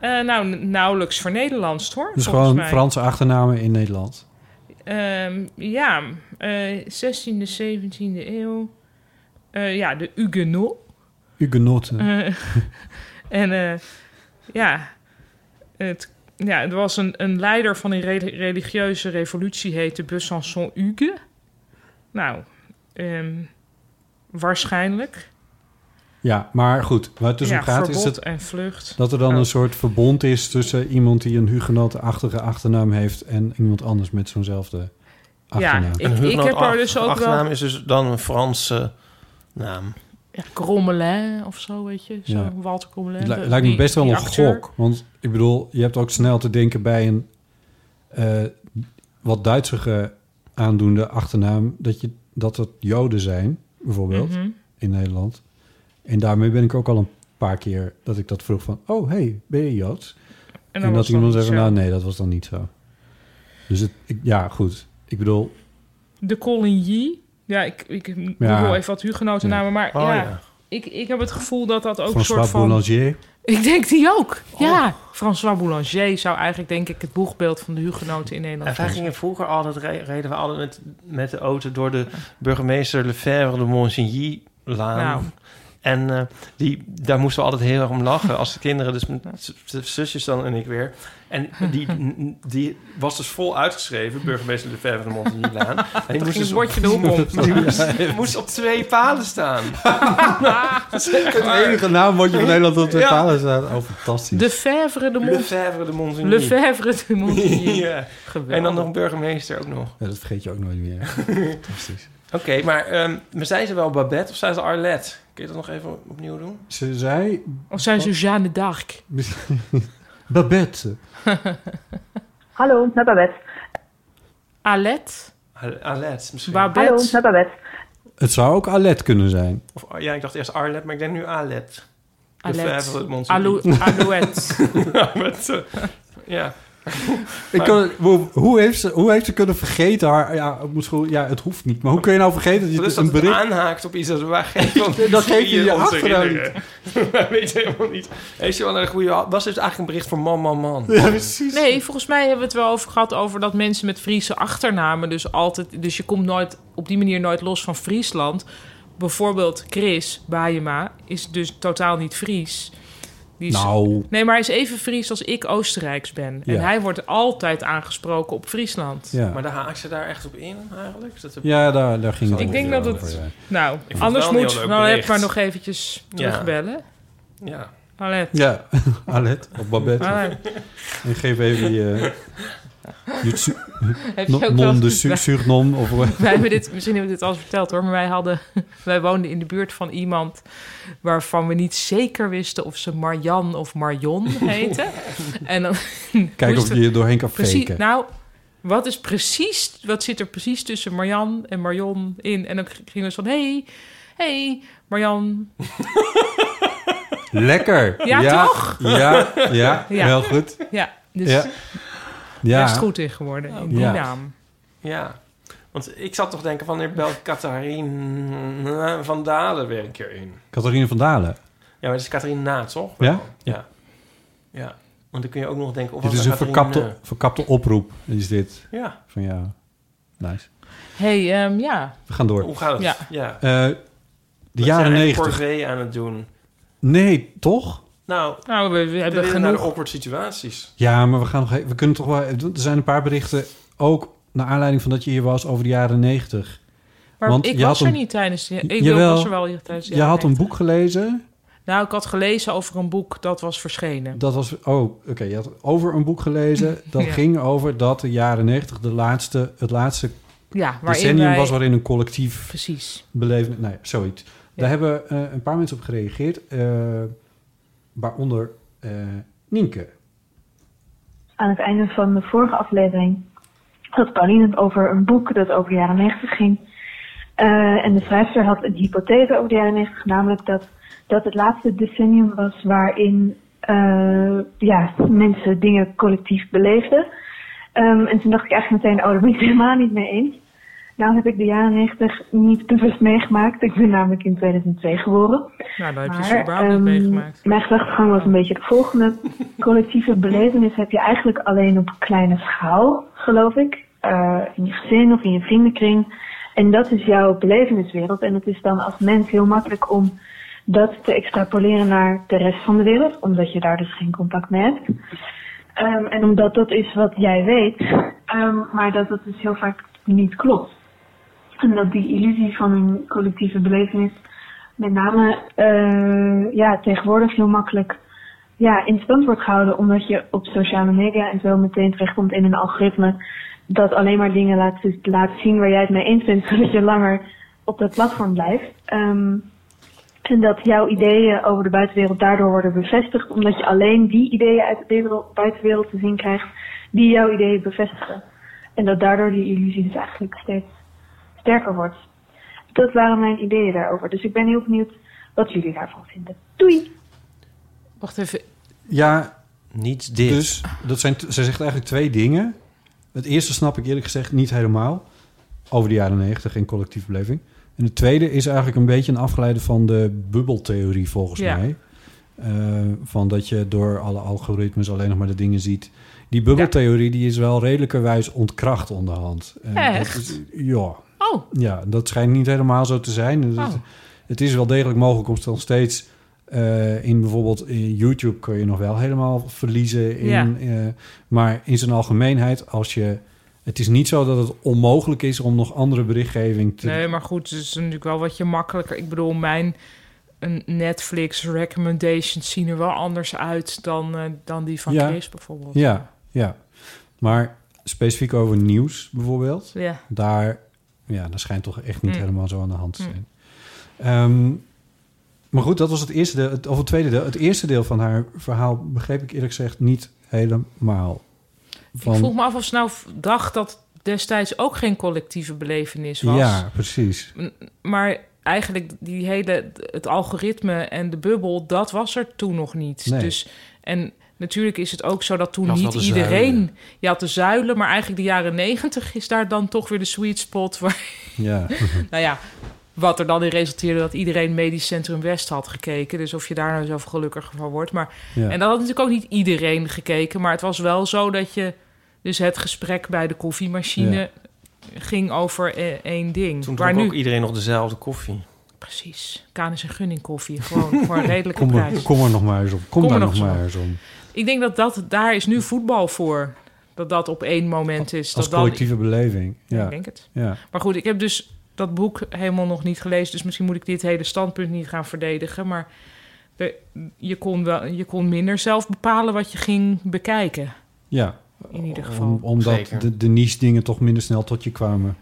[SPEAKER 2] Eh, nou, n- nauwelijks voor Nederlands, hoor.
[SPEAKER 1] Dus
[SPEAKER 2] volgens
[SPEAKER 1] gewoon
[SPEAKER 2] mij.
[SPEAKER 1] Franse achternamen in Nederland.
[SPEAKER 2] Ehm, ja, eh 16e, 17e eeuw. Eh, ja, de Huguenot.
[SPEAKER 1] Hugenoten.
[SPEAKER 2] Eh, <laughs> en eh, ja, het, ja, er was een, een leider van een re- religieuze revolutie, heette Besançon Hugue. Nou, ehm, waarschijnlijk.
[SPEAKER 1] Ja, maar goed. Waar het dus
[SPEAKER 2] Ja,
[SPEAKER 1] om gaat is
[SPEAKER 2] verbod
[SPEAKER 1] dat,
[SPEAKER 2] en vlucht.
[SPEAKER 1] dat er dan
[SPEAKER 2] Oh.
[SPEAKER 1] een soort verbond is tussen iemand die een hugenotenachtige achternaam heeft en iemand anders met zo'nzelfde achternaam.
[SPEAKER 2] ik- ik heb er
[SPEAKER 3] hugenoot-
[SPEAKER 2] dus ook wel-
[SPEAKER 3] Achternaam is dus dan een Franse naam.
[SPEAKER 2] Ja, Crommelin of zo, weet je. Zo,
[SPEAKER 1] Ja.
[SPEAKER 2] Walter Crommelin.
[SPEAKER 1] Het li-
[SPEAKER 2] de-
[SPEAKER 1] lijkt me
[SPEAKER 2] die-
[SPEAKER 1] best wel
[SPEAKER 2] die
[SPEAKER 1] een
[SPEAKER 2] acteur.
[SPEAKER 1] gok. Want ik bedoel, je hebt ook snel te denken bij een eh, wat Duitsige aandoende achternaam... dat, je, dat het Joden zijn, bijvoorbeeld,
[SPEAKER 2] Mhm.
[SPEAKER 1] in Nederland. En daarmee ben ik ook al een paar keer dat ik dat vroeg van... oh, hey, ben je Joods? En,
[SPEAKER 2] dan was
[SPEAKER 1] dat
[SPEAKER 2] het
[SPEAKER 1] iemand
[SPEAKER 2] dan
[SPEAKER 1] zei
[SPEAKER 2] niet
[SPEAKER 1] van,
[SPEAKER 2] zo.
[SPEAKER 1] nou nee, dat was dan niet zo. Dus het, ik- ja, goed. Ik bedoel,
[SPEAKER 2] De Colin Yee. Ja, ik, ik
[SPEAKER 1] Ja.
[SPEAKER 2] google even wat hugenoten namen. Maar
[SPEAKER 1] Oh,
[SPEAKER 2] ja,
[SPEAKER 1] ja.
[SPEAKER 2] Ik, ik heb het gevoel dat dat ook een soort
[SPEAKER 1] François
[SPEAKER 2] van...
[SPEAKER 1] Boulanger...
[SPEAKER 2] Ik denk die ook.
[SPEAKER 3] Oh.
[SPEAKER 2] Ja, François Boulanger zou eigenlijk denk ik het boegbeeld van de hugenoten in Nederland
[SPEAKER 3] En wij
[SPEAKER 2] zijn.
[SPEAKER 3] gingen vroeger altijd, re- reden we altijd met, met de auto door de burgemeester Lefebvre de Monsigny-laan.
[SPEAKER 2] Nou.
[SPEAKER 3] En eh, die, daar moesten we altijd heel erg om lachen. Als de kinderen, dus met z- z- zusjes dan en ik weer. En die, n- die was dus vol uitgeschreven, burgemeester Lefebvre de
[SPEAKER 2] <laughs>
[SPEAKER 3] Monsigny-laan. En
[SPEAKER 2] ging
[SPEAKER 3] moest
[SPEAKER 2] het
[SPEAKER 3] dus-
[SPEAKER 2] bordje de hoek om.
[SPEAKER 3] <laughs> Die moest, die moest op twee palen
[SPEAKER 2] <laughs>
[SPEAKER 3] staan. Dat is echt
[SPEAKER 1] <laughs> Het
[SPEAKER 3] waar.
[SPEAKER 1] enige naamwoordje van Nederland dat op de
[SPEAKER 3] Ja.
[SPEAKER 1] palen staat. Oh, fantastisch.
[SPEAKER 2] De Fèvre de Mont...
[SPEAKER 3] Lefebvre de Monsigny.
[SPEAKER 2] Lefebvre de Montigny.
[SPEAKER 3] <laughs> ja.
[SPEAKER 2] Geweldig.
[SPEAKER 3] En dan nog burgemeester ook nog.
[SPEAKER 1] Ja, dat vergeet je ook nooit meer. <laughs> Fantastisch.
[SPEAKER 3] Oké, maar ehm, maar zijn ze wel Babette of zijn ze Arlette? Kun je dat nog even opnieuw doen?
[SPEAKER 1] Ze zei... Oh.
[SPEAKER 2] Of zijn ze Jeanne d'Arc?
[SPEAKER 1] <laughs> Babette.
[SPEAKER 9] Hallo, met Babette.
[SPEAKER 2] Alet?
[SPEAKER 3] Ar- Arlette misschien.
[SPEAKER 2] Babette?
[SPEAKER 9] Hallo, met Babette.
[SPEAKER 1] Het zou ook Alet kunnen zijn.
[SPEAKER 3] Of, oh, ja, ik dacht eerst Arlette, maar ik denk nu Arlette. De
[SPEAKER 2] Arlette.
[SPEAKER 3] vijver van het monster.
[SPEAKER 2] Alou-
[SPEAKER 3] <laughs>
[SPEAKER 2] Alouette.
[SPEAKER 3] Ja, met, eh, <laughs> ja.
[SPEAKER 1] Ik kan, hoe, hoe, heeft ze, hoe heeft ze kunnen vergeten haar... Ja, het, moet gewoon- ja, het hoeft niet. Maar hoe kun je nou vergeten dat je
[SPEAKER 3] Dus
[SPEAKER 1] een
[SPEAKER 3] dat het
[SPEAKER 1] bericht...
[SPEAKER 3] aanhaakt op iets <laughs> dat we geven.
[SPEAKER 1] Dat geeft je je achternaam
[SPEAKER 3] <laughs> Wij weten helemaal niet. Heeft je wel een goede... Was dit eigenlijk een bericht voor man, man, man?
[SPEAKER 2] Nee, volgens mij hebben we het wel over gehad over dat mensen met Friese achternamen dus altijd... Dus je komt nooit op die manier nooit los van Friesland. Bijvoorbeeld Chris Bajema is dus totaal niet Fries. Die is-
[SPEAKER 1] Nou.
[SPEAKER 2] Nee, maar hij is even Fries als ik Oostenrijks ben. En
[SPEAKER 1] Ja.
[SPEAKER 2] hij wordt altijd aangesproken op Friesland.
[SPEAKER 1] Ja.
[SPEAKER 3] Maar daar haak ze daar echt op in eigenlijk? Is Dat
[SPEAKER 1] Ja, daar, daar ging het
[SPEAKER 2] Ik denk
[SPEAKER 1] ongeveer
[SPEAKER 2] dat
[SPEAKER 1] over,
[SPEAKER 2] het...
[SPEAKER 1] ja.
[SPEAKER 2] Nou,
[SPEAKER 3] vond het
[SPEAKER 2] anders
[SPEAKER 3] wel een
[SPEAKER 2] moet
[SPEAKER 3] heel leuk
[SPEAKER 2] Valet
[SPEAKER 3] bericht.
[SPEAKER 2] maar nog eventjes
[SPEAKER 3] Ja.
[SPEAKER 2] terugbellen.
[SPEAKER 3] Ja.
[SPEAKER 2] Valet. Ah.
[SPEAKER 1] Ja, <laughs> Alet of Babette.
[SPEAKER 2] Alet.
[SPEAKER 1] En geef even je... je tsu-
[SPEAKER 2] Heb je ook
[SPEAKER 1] No-
[SPEAKER 2] wel
[SPEAKER 1] non
[SPEAKER 2] eens-
[SPEAKER 1] de su- surnom. Of,
[SPEAKER 2] <laughs> Wij hebben dit, misschien hebben we dit al eens verteld hoor, maar wij, hadden, wij woonden in de buurt van iemand waarvan we niet zeker wisten of ze Marjan of Marion heette. en dan
[SPEAKER 1] <laughs> Kijk
[SPEAKER 2] moesten
[SPEAKER 1] of je
[SPEAKER 2] we-
[SPEAKER 1] er doorheen kan
[SPEAKER 2] precies,
[SPEAKER 1] faken.
[SPEAKER 2] Nou, wat, is precies, wat zit er precies tussen Marjan en Marion in? En dan gingen we zo van, hey, hey, Marjan.
[SPEAKER 1] Lekker.
[SPEAKER 2] Ja, toch?
[SPEAKER 1] Ja, ja,
[SPEAKER 2] <laughs> Ja.
[SPEAKER 1] heel goed.
[SPEAKER 2] Ja, dus
[SPEAKER 1] ja. Ja.
[SPEAKER 2] best goed in geworden, in Oh, die
[SPEAKER 1] Ja.
[SPEAKER 2] naam.
[SPEAKER 3] Ja, want ik zat toch denken, wanneer belt Catharine van Dalen weer een keer in?
[SPEAKER 1] Catharine van Dalen.
[SPEAKER 3] Ja, maar het is Catharine na, toch?
[SPEAKER 1] Ja?
[SPEAKER 3] Ja. Ja, want dan kun je ook nog denken... Of
[SPEAKER 1] dit
[SPEAKER 3] was
[SPEAKER 1] is
[SPEAKER 3] dat
[SPEAKER 1] een
[SPEAKER 3] Catharine eh,
[SPEAKER 1] verkapte, verkapte oproep, is dit.
[SPEAKER 3] Ja.
[SPEAKER 1] Van jou. Nice.
[SPEAKER 2] hey, ehm, ja.
[SPEAKER 1] We gaan door.
[SPEAKER 3] Hoe gaat het?
[SPEAKER 2] Ja.
[SPEAKER 3] Ja.
[SPEAKER 1] Eh, de
[SPEAKER 3] We zijn
[SPEAKER 1] jaren
[SPEAKER 3] eigenlijk
[SPEAKER 1] 90.
[SPEAKER 3] corvée aan het doen.
[SPEAKER 1] Nee, toch?
[SPEAKER 3] Nou,
[SPEAKER 2] nou we,
[SPEAKER 3] hebben
[SPEAKER 2] genoeg-
[SPEAKER 3] naar de awkward situaties.
[SPEAKER 1] Ja, maar we, gaan nog even, we kunnen toch wel... Er zijn een paar berichten, ook naar aanleiding van dat je hier was, over de jaren 90.
[SPEAKER 2] Maar
[SPEAKER 1] Want
[SPEAKER 2] ik
[SPEAKER 1] je
[SPEAKER 2] was
[SPEAKER 1] had
[SPEAKER 2] er
[SPEAKER 1] een-
[SPEAKER 2] niet tijdens... de- Ik
[SPEAKER 1] Jawel,
[SPEAKER 2] was er wel tijdens de
[SPEAKER 1] Je
[SPEAKER 2] jaren
[SPEAKER 1] had een boek gelezen.
[SPEAKER 2] Nou, ik had gelezen over een boek dat was verschenen.
[SPEAKER 1] Dat was, oh, oké. Je had over een boek
[SPEAKER 2] <laughs>
[SPEAKER 1] gelezen. Dat
[SPEAKER 2] Ja.
[SPEAKER 1] ging over dat de jaren negentig de laatste, het laatste
[SPEAKER 2] Ja, waarin
[SPEAKER 1] decennium
[SPEAKER 2] wij-
[SPEAKER 1] was waarin een collectief
[SPEAKER 2] Precies.
[SPEAKER 1] beleven. Nou ja, zoiets. Daar hebben eh, een paar mensen op gereageerd, eh, waaronder eh, Nienke.
[SPEAKER 9] aan het einde van de vorige aflevering had Pauline het over een boek dat over de jaren 90 ging. Eh, en de schrijfster had een hypothese over de jaren 90, namelijk dat dat het laatste decennium was waarin eh, ja, mensen dingen collectief beleefden. Ehm, en toen dacht ik eigenlijk meteen, oh, daar ben ik het helemaal niet mee eens. Nou heb ik de jaren 90 niet bewust meegemaakt. Ik ben namelijk in 2002 geboren.
[SPEAKER 2] Nou, daar heb je
[SPEAKER 9] Maar,
[SPEAKER 2] ze überhaupt niet
[SPEAKER 9] ehm,
[SPEAKER 2] meegemaakt.
[SPEAKER 9] Mijn gedachtegang was een beetje de volgende. Collectieve belevenis heb je eigenlijk alleen op kleine schaal, geloof ik. Eh, in je gezin of in je vriendenkring. En dat is jouw beleveniswereld. En het is dan als mens heel makkelijk om dat te extrapoleren naar de rest van de wereld. Omdat je daar dus geen contact mee hebt. Ehm, en omdat dat is wat jij weet. ehm, maar dat dat dus heel vaak niet klopt. En dat die illusie van een collectieve belevenis met name eh, ja, tegenwoordig heel makkelijk ja, in stand wordt gehouden. Omdat je op sociale media en zo meteen terechtkomt in een algoritme dat alleen maar dingen laat, laat zien waar jij het mee eens bent. <laughs> Zodat je langer op dat platform blijft. Ehm, en dat jouw ideeën over de buitenwereld daardoor worden bevestigd. Omdat je alleen die ideeën uit de wereld- buitenwereld te zien krijgt die jouw ideeën bevestigen. En dat daardoor die illusie dus eigenlijk steeds sterker wordt. Dat waren mijn ideeën daarover. Dus ik ben heel benieuwd wat jullie daarvan vinden. Doei!
[SPEAKER 2] Wacht even.
[SPEAKER 1] Ja.
[SPEAKER 3] Niet dit.
[SPEAKER 1] Dus dat zijn, t- zij zegt eigenlijk twee dingen. Het eerste snap ik eerlijk gezegd niet helemaal. Over de jaren negentig en collectieve beleving. En het tweede is eigenlijk een beetje een afgeleide van de bubbeltheorie volgens
[SPEAKER 2] Ja.
[SPEAKER 1] mij. Eh, van dat je door alle algoritmes alleen nog maar de dingen ziet. Die bubbeltheorie die is wel redelijkerwijs ontkracht onderhand. En dat
[SPEAKER 2] Echt?
[SPEAKER 1] is- ja.
[SPEAKER 2] Oh.
[SPEAKER 1] Ja, dat schijnt niet helemaal zo te zijn. Dus
[SPEAKER 2] Oh.
[SPEAKER 1] het, het is wel degelijk mogelijk om nog steeds... eh, in bijvoorbeeld in YouTube kun je nog wel helemaal verliezen. In,
[SPEAKER 2] Ja.
[SPEAKER 1] eh, maar in zijn algemeenheid, als je... Het is niet zo dat het onmogelijk is om nog andere berichtgeving te...
[SPEAKER 2] Nee, maar goed, het is natuurlijk wel wat je makkelijker... Ik bedoel, mijn een Netflix recommendations zien er wel anders uit dan, eh, dan die van
[SPEAKER 1] Ja.
[SPEAKER 2] Chris bijvoorbeeld.
[SPEAKER 1] Ja, ja. Maar specifiek over nieuws bijvoorbeeld.
[SPEAKER 2] Ja.
[SPEAKER 1] Daar, ja, dat schijnt toch echt niet
[SPEAKER 2] Mm.
[SPEAKER 1] helemaal zo aan de hand te
[SPEAKER 2] Mm.
[SPEAKER 1] zijn. Ehm, maar goed, dat was het eerste deel. Het, of het tweede deel. Het eerste deel van haar verhaal begreep ik eerlijk gezegd niet helemaal.
[SPEAKER 2] Ik vroeg me af of ze nou v- dacht dat destijds ook geen collectieve belevenis was.
[SPEAKER 1] Ja, precies.
[SPEAKER 2] M- Maar eigenlijk die hele, het algoritme en de bubbel, dat was er toen nog niet.
[SPEAKER 1] Nee.
[SPEAKER 2] Dus, en natuurlijk is het ook zo dat toen
[SPEAKER 1] Je had
[SPEAKER 2] niet
[SPEAKER 1] wel de
[SPEAKER 2] iedereen...
[SPEAKER 1] zuilen.
[SPEAKER 2] Je had de zuilen, maar eigenlijk de jaren negentig is daar dan toch weer de sweet spot... waar
[SPEAKER 1] Ja.
[SPEAKER 2] <laughs>
[SPEAKER 1] <laughs>
[SPEAKER 2] nou ja, wat er dan in resulteerde dat iedereen Medisch Centrum West had gekeken. Dus of je daar nou zelf gelukkiger van wordt. Maar,
[SPEAKER 1] Ja.
[SPEAKER 2] En dat had natuurlijk ook niet iedereen gekeken. Maar het was wel zo dat je dus het gesprek bij de koffiemachine
[SPEAKER 3] Ja.
[SPEAKER 2] ging over eh, één ding.
[SPEAKER 3] Toen
[SPEAKER 2] Waar
[SPEAKER 3] dronk
[SPEAKER 2] nu
[SPEAKER 3] ook iedereen nog dezelfde koffie.
[SPEAKER 2] precies Canis en Gunning koffie
[SPEAKER 1] <laughs>
[SPEAKER 2] gewoon voor een redelijke
[SPEAKER 1] Kom er,
[SPEAKER 2] prijs.
[SPEAKER 1] kom er nog maar eens om. Kom,
[SPEAKER 2] Kom
[SPEAKER 1] daar
[SPEAKER 2] er
[SPEAKER 1] nog,
[SPEAKER 2] nog
[SPEAKER 1] maar
[SPEAKER 2] zo.
[SPEAKER 1] eens om.
[SPEAKER 2] Ik denk dat, dat daar is nu voetbal voor. Dat dat op één moment is.
[SPEAKER 1] Als
[SPEAKER 2] dat dan-
[SPEAKER 1] collectieve beleving. Ja.
[SPEAKER 2] Ik denk het.
[SPEAKER 1] Ja.
[SPEAKER 2] Maar goed, ik heb dus dat boek helemaal nog niet gelezen. Dus misschien moet ik dit hele standpunt niet gaan verdedigen. Maar de- je, kon wel, je kon minder zelf bepalen wat je ging bekijken.
[SPEAKER 1] Ja.
[SPEAKER 2] in ieder geval.
[SPEAKER 1] Om- omdat
[SPEAKER 2] Zeker.
[SPEAKER 1] de, de niche-dingen toch minder snel tot je kwamen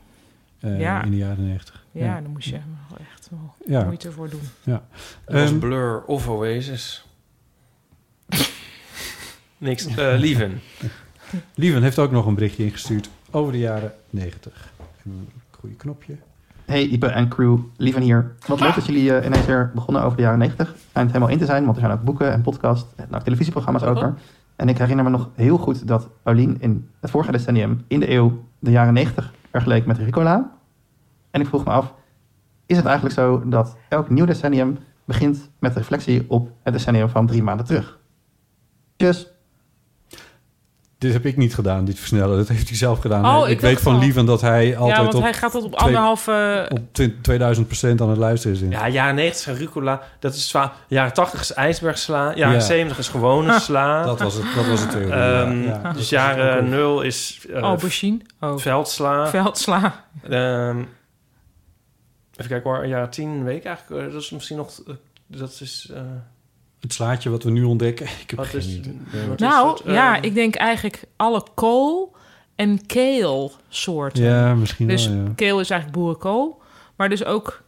[SPEAKER 1] eh,
[SPEAKER 2] Ja.
[SPEAKER 1] in de jaren negentig.
[SPEAKER 2] Ja, dan moest je wel echt wel
[SPEAKER 1] Ja.
[SPEAKER 2] moeite voor doen.
[SPEAKER 1] Ja.
[SPEAKER 3] Dat was
[SPEAKER 1] Ehm,
[SPEAKER 3] Blur
[SPEAKER 1] <laughs>
[SPEAKER 3] of Oasis. Niks. eh Lieven.
[SPEAKER 1] <laughs> Lieven heeft ook nog een berichtje ingestuurd over de jaren 90. Een goede knopje.
[SPEAKER 10] Hey Ipe en crew, Lieven hier. Wat leuk dat jullie eh, ineens weer begonnen over de jaren 90. Schijnt helemaal in te zijn, want er zijn ook boeken en podcasts en ook televisieprogramma's over. En ik herinner me nog heel goed dat Paulien in het vorige decennium, in de eeuw, de jaren 90 vergeleek met Ricola. En ik vroeg me af, is het eigenlijk zo dat elk nieuw decennium begint met reflectie op het decennium van drie maanden terug? Tjus!
[SPEAKER 1] Dit heb ik niet gedaan, dit versnellen. Dat heeft hij zelf gedaan.
[SPEAKER 2] Oh,
[SPEAKER 1] ik
[SPEAKER 2] ik
[SPEAKER 1] weet
[SPEAKER 2] dacht
[SPEAKER 1] van
[SPEAKER 2] al.
[SPEAKER 1] Lieven dat hij altijd
[SPEAKER 2] ja, want
[SPEAKER 1] op,
[SPEAKER 2] hij gaat dat op
[SPEAKER 1] twee-
[SPEAKER 2] anderhalf... eh,
[SPEAKER 1] op 20 2000 aan het luisteren is. in.
[SPEAKER 3] Ja, jaren 90 en rucola. Dat is zwaar. Jaren 80 is ijsbergsla. Jaren
[SPEAKER 1] Ja. Ah,
[SPEAKER 3] 70 is gewone sla.
[SPEAKER 1] Dat was het- dat was het theorie,
[SPEAKER 3] Ehm,
[SPEAKER 1] ja. Ja.
[SPEAKER 3] Dus jaren 0 is... eh,
[SPEAKER 2] Aubergine. Oh.
[SPEAKER 3] Veldsla.
[SPEAKER 2] Veldsla.
[SPEAKER 3] Ehm, even kijken waar. Jaren 10 week eigenlijk. eh, dat is misschien nog... eh, dat is... eh,
[SPEAKER 1] Het slaatje wat we nu ontdekken. <laughs> Ik heb
[SPEAKER 3] Wat
[SPEAKER 1] geen
[SPEAKER 3] is-
[SPEAKER 1] idee.
[SPEAKER 3] wat is
[SPEAKER 2] nou,
[SPEAKER 3] het, eh,
[SPEAKER 2] ja, ik denk eigenlijk alle kool en kale soorten.
[SPEAKER 1] Ja, misschien wel,
[SPEAKER 2] Dus
[SPEAKER 1] ja.
[SPEAKER 2] kale is eigenlijk boerenkool. Maar dus ook...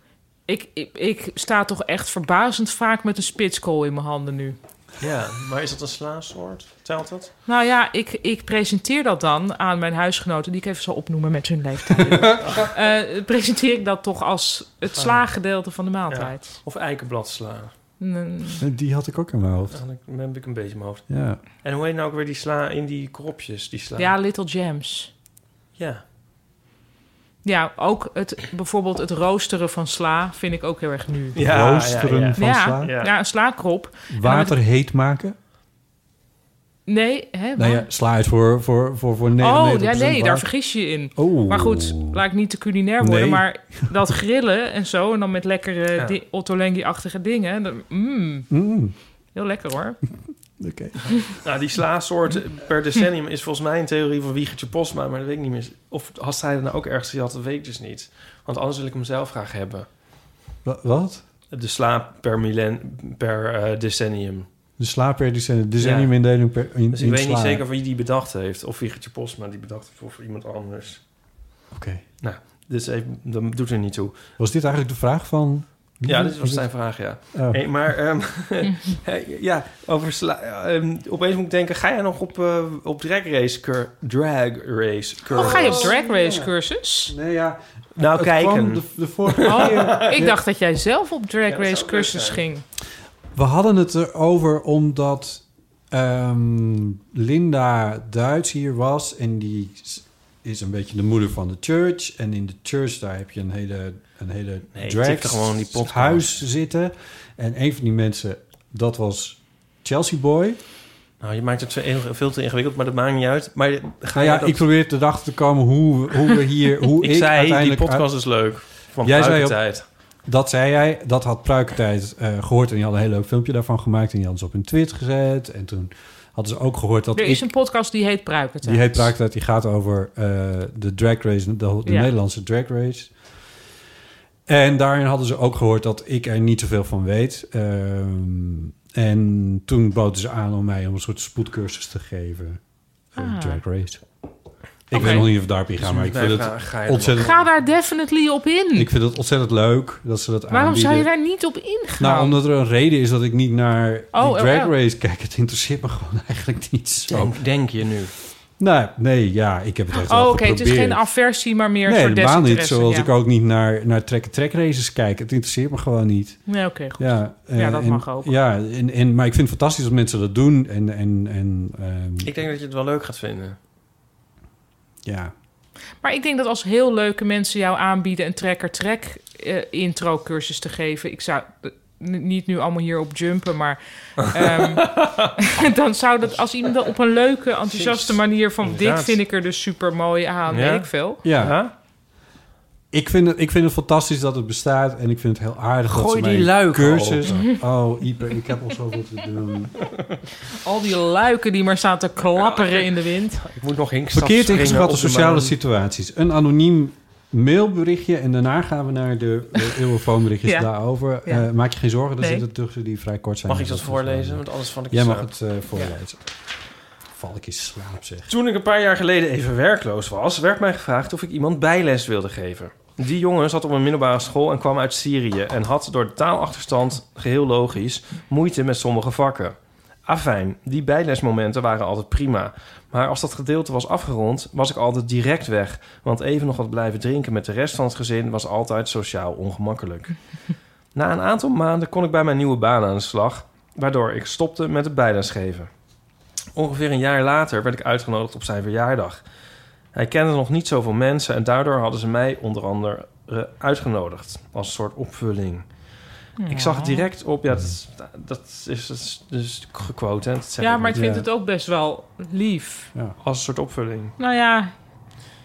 [SPEAKER 2] Ik, ik, ik sta toch echt verbazend vaak met een spitskool in mijn handen nu.
[SPEAKER 3] ja, maar is dat een slaasoort? Telt dat?
[SPEAKER 2] Nou ja, ik, ik presenteer dat dan aan mijn huisgenoten, die ik even zal opnoemen met hun
[SPEAKER 3] <laughs>
[SPEAKER 2] leeftijd. Eh, presenteer ik dat toch als het slaaggedeelte van de maaltijd.
[SPEAKER 3] Of eikenbladsla.
[SPEAKER 2] Mm.
[SPEAKER 1] Die had ik ook in mijn hoofd.
[SPEAKER 3] Dan heb ik een beetje in mijn hoofd.
[SPEAKER 1] Ja.
[SPEAKER 3] En hoe heet nou ook weer die sla in die kropjes? Die sla.
[SPEAKER 2] Ja, Little Gems.
[SPEAKER 3] Ja.
[SPEAKER 2] Ja, ook het, bijvoorbeeld het roosteren van sla vind ik ook heel erg nu.
[SPEAKER 1] Ja, Roosteren ja, ja. van
[SPEAKER 2] Ja,
[SPEAKER 1] sla?
[SPEAKER 2] Ja, een slaakrop. En dan met-
[SPEAKER 1] Water heet maken.
[SPEAKER 2] Nee, hè?
[SPEAKER 1] Nou ja,
[SPEAKER 2] waar?
[SPEAKER 1] sla uit voor, voor, voor, voor 99%
[SPEAKER 2] oh, ja, nee, daar
[SPEAKER 1] water.
[SPEAKER 2] vergis je je in.
[SPEAKER 1] Oh.
[SPEAKER 2] Maar goed, laat ik niet te culinair worden,
[SPEAKER 1] Nee.
[SPEAKER 2] maar dat grillen en zo, en dan met lekkere
[SPEAKER 1] Ja.
[SPEAKER 2] di- Ottolenghi-achtige dingen, dan- mm,
[SPEAKER 1] Mm,
[SPEAKER 2] heel lekker hoor.
[SPEAKER 1] Oké.
[SPEAKER 3] <laughs> Nou, die slaasoort per decennium is volgens mij een theorie van Wiegertje Postma, maar dat weet ik niet meer. Of had hij dat nou ook ergens gehad, dat weet ik dus niet. Want anders wil ik hem zelf graag hebben.
[SPEAKER 1] Wa- Wat?
[SPEAKER 3] De sla per, millen, per eh, decennium.
[SPEAKER 1] De sla per decennium, decenniumindeling per in,
[SPEAKER 3] Dus ik
[SPEAKER 1] in
[SPEAKER 3] weet niet
[SPEAKER 1] sla.
[SPEAKER 3] zeker wie die bedacht heeft. Of Wiegertje Postma die bedacht heeft, of iemand anders.
[SPEAKER 1] Oké.
[SPEAKER 3] Nou, dus even, dat doet er niet toe.
[SPEAKER 1] Was dit eigenlijk de vraag van...
[SPEAKER 3] Ja, dit was zijn vraag, ja.
[SPEAKER 1] Oh.
[SPEAKER 3] Hey, maar
[SPEAKER 2] <laughs>
[SPEAKER 3] ehm, <laughs> hey, ja, over sla- ehm, opeens moet ik denken, ga jij nog op, eh, op drag race cur- drag race cursus?
[SPEAKER 2] Oh, ga je op drag race cursus?
[SPEAKER 1] Nee, ja.
[SPEAKER 3] Nou, kijken.
[SPEAKER 2] Oh, ik dacht dat jij zelf op drag
[SPEAKER 3] dat
[SPEAKER 2] race
[SPEAKER 3] zou leuk
[SPEAKER 2] cursus
[SPEAKER 3] zijn.
[SPEAKER 2] ging.
[SPEAKER 1] We hadden het erover omdat ehm, Linda Duits hier was. En die s- is een beetje de moeder van de church. En in de church daar heb je een hele, een hele
[SPEAKER 3] Nee,
[SPEAKER 1] drag
[SPEAKER 3] typte gewoon die podcast.
[SPEAKER 1] huis zitten. En een van die mensen, dat was Chelsea Boy.
[SPEAKER 3] Nou, je maakt het zo enig- veel te ingewikkeld, maar dat maakt niet uit. Maar ga
[SPEAKER 1] Nou ja,
[SPEAKER 3] je dat-
[SPEAKER 1] ik probeer te erachter te komen hoe, hoe we
[SPEAKER 3] <laughs>
[SPEAKER 1] hier... Hoe
[SPEAKER 3] ik,
[SPEAKER 1] ik,
[SPEAKER 3] zei,
[SPEAKER 1] uiteindelijk
[SPEAKER 3] die podcast
[SPEAKER 1] uit-
[SPEAKER 3] is leuk. Van
[SPEAKER 1] Jij
[SPEAKER 3] Jij
[SPEAKER 1] zei op-
[SPEAKER 3] tijd.
[SPEAKER 1] Dat zei jij. Dat had Pruikentijd eh, gehoord. En die had een heel leuk filmpje daarvan gemaakt. En die hadden ze op hun Twitter gezet. En toen hadden ze ook gehoord dat
[SPEAKER 2] er
[SPEAKER 1] ik...
[SPEAKER 2] is een podcast die heet Pruikentijd.
[SPEAKER 1] Die heet Pruikentijd. Die gaat over eh, de drag race. De, de
[SPEAKER 2] Ja.
[SPEAKER 1] Nederlandse drag race. En daarin hadden ze ook gehoord dat ik er niet zoveel van weet. Ehm, en toen boden ze aan om mij om een soort spoedcursus te geven. eh,
[SPEAKER 2] Ah.
[SPEAKER 1] Drag race. Ik
[SPEAKER 2] Oké.
[SPEAKER 1] weet nog niet of ik daarop
[SPEAKER 3] Dus
[SPEAKER 1] inga,
[SPEAKER 3] moet
[SPEAKER 1] maar ik
[SPEAKER 3] wij
[SPEAKER 1] vind
[SPEAKER 3] vragen, ga je
[SPEAKER 1] het
[SPEAKER 3] er nog?
[SPEAKER 1] ontzettend...
[SPEAKER 2] Ga daar definitely op in.
[SPEAKER 1] Ik vind het ontzettend leuk dat ze dat
[SPEAKER 2] Waarom
[SPEAKER 1] aanbieden.
[SPEAKER 2] zou je daar niet op ingaan?
[SPEAKER 1] Nou, omdat er een reden is dat ik niet naar
[SPEAKER 2] Oh,
[SPEAKER 1] die
[SPEAKER 2] oh,
[SPEAKER 1] drag
[SPEAKER 2] oh.
[SPEAKER 1] race kijk. Het interesseert me gewoon <laughs> eigenlijk niet zo.
[SPEAKER 3] Denk, denk je nu?
[SPEAKER 1] Nou, nee, ja, ik heb het echt
[SPEAKER 2] Oh,
[SPEAKER 1] wel
[SPEAKER 2] oké,
[SPEAKER 1] geprobeerd.
[SPEAKER 2] het is geen aversie, maar meer een
[SPEAKER 1] Nee,
[SPEAKER 2] soort
[SPEAKER 1] helemaal niet.
[SPEAKER 2] desinteresse,
[SPEAKER 1] Zoals
[SPEAKER 2] ja.
[SPEAKER 1] ik ook niet naar, naar track-track races kijk. Het interesseert me gewoon niet.
[SPEAKER 2] Nee, oké, goed.
[SPEAKER 1] eh,
[SPEAKER 2] Ja, dat
[SPEAKER 1] en-
[SPEAKER 2] mag ook.
[SPEAKER 1] Ja, en, en, maar ik vind het fantastisch dat mensen dat doen. En, en, en ehm,
[SPEAKER 3] Ik denk dat je het wel leuk gaat vinden.
[SPEAKER 1] ja.
[SPEAKER 2] Maar ik denk dat als heel leuke mensen jou aanbieden... een trekker-trek eh intro cursus te geven... ik zou eh, n- niet nu allemaal hier op jumpen, maar... <laughs> ehm, dan zou dat als iemand dat op een leuke, enthousiaste manier... van
[SPEAKER 1] Inderdaad.
[SPEAKER 2] dit vind ik er dus super mooi aan,
[SPEAKER 1] Ja.
[SPEAKER 2] weet ik veel.
[SPEAKER 1] Ja. Ik vind, het, ik vind het fantastisch dat het bestaat en ik vind het heel aardig dat
[SPEAKER 2] Gooi
[SPEAKER 1] ze
[SPEAKER 2] die
[SPEAKER 1] mijn
[SPEAKER 2] luiken
[SPEAKER 1] cursus...
[SPEAKER 2] open.
[SPEAKER 1] Oh, Ieper, ik heb al zoveel te doen.
[SPEAKER 2] Al die luiken die maar staan te klapperen in de wind.
[SPEAKER 3] Ik moet nog hinken.
[SPEAKER 1] Verkeerd ingeschatte sociale situaties. Een anoniem mailberichtje en daarna gaan we naar de
[SPEAKER 3] <laughs>
[SPEAKER 1] eh, eeuwenfoonberichtjes
[SPEAKER 3] Ja.
[SPEAKER 1] daarover.
[SPEAKER 3] Ja.
[SPEAKER 1] Eh, maak je geen zorgen, er
[SPEAKER 3] Nee.
[SPEAKER 1] zitten tussen die vrij kort zijn.
[SPEAKER 3] Mag ik dat
[SPEAKER 1] is wel-
[SPEAKER 3] voorlezen? Want anders val ik in
[SPEAKER 1] Jij mag
[SPEAKER 3] slaap.
[SPEAKER 1] het eh, voorlezen. val ik in slaap, zeg.
[SPEAKER 3] Toen ik een paar jaar geleden even werkloos was, werd mij gevraagd of ik iemand bijles wilde geven. Die jongen zat op een middelbare school en kwam uit Syrië en had door de taalachterstand, geheel logisch, moeite met sommige vakken. Afijn, die bijlesmomenten waren altijd prima. Maar als dat gedeelte was afgerond, was ik altijd direct weg. Want even nog wat blijven drinken met de rest van het gezin was altijd sociaal ongemakkelijk. Na een aantal maanden kon ik bij mijn nieuwe baan aan de slag, waardoor ik stopte met het bijlesgeven. Ongeveer een jaar later werd ik uitgenodigd op zijn verjaardag. Hij kende nog niet zoveel mensen en daardoor hadden ze mij onder andere uitgenodigd als een soort opvulling. Ik zag direct op, ja, dat, dat, is, dat is dus gequote. Hè? dat zeg
[SPEAKER 2] Ja,
[SPEAKER 3] ik
[SPEAKER 2] maar ik
[SPEAKER 3] niet. eh,
[SPEAKER 2] vind het ook best wel lief.
[SPEAKER 3] Als een soort opvulling.
[SPEAKER 2] Nou ja,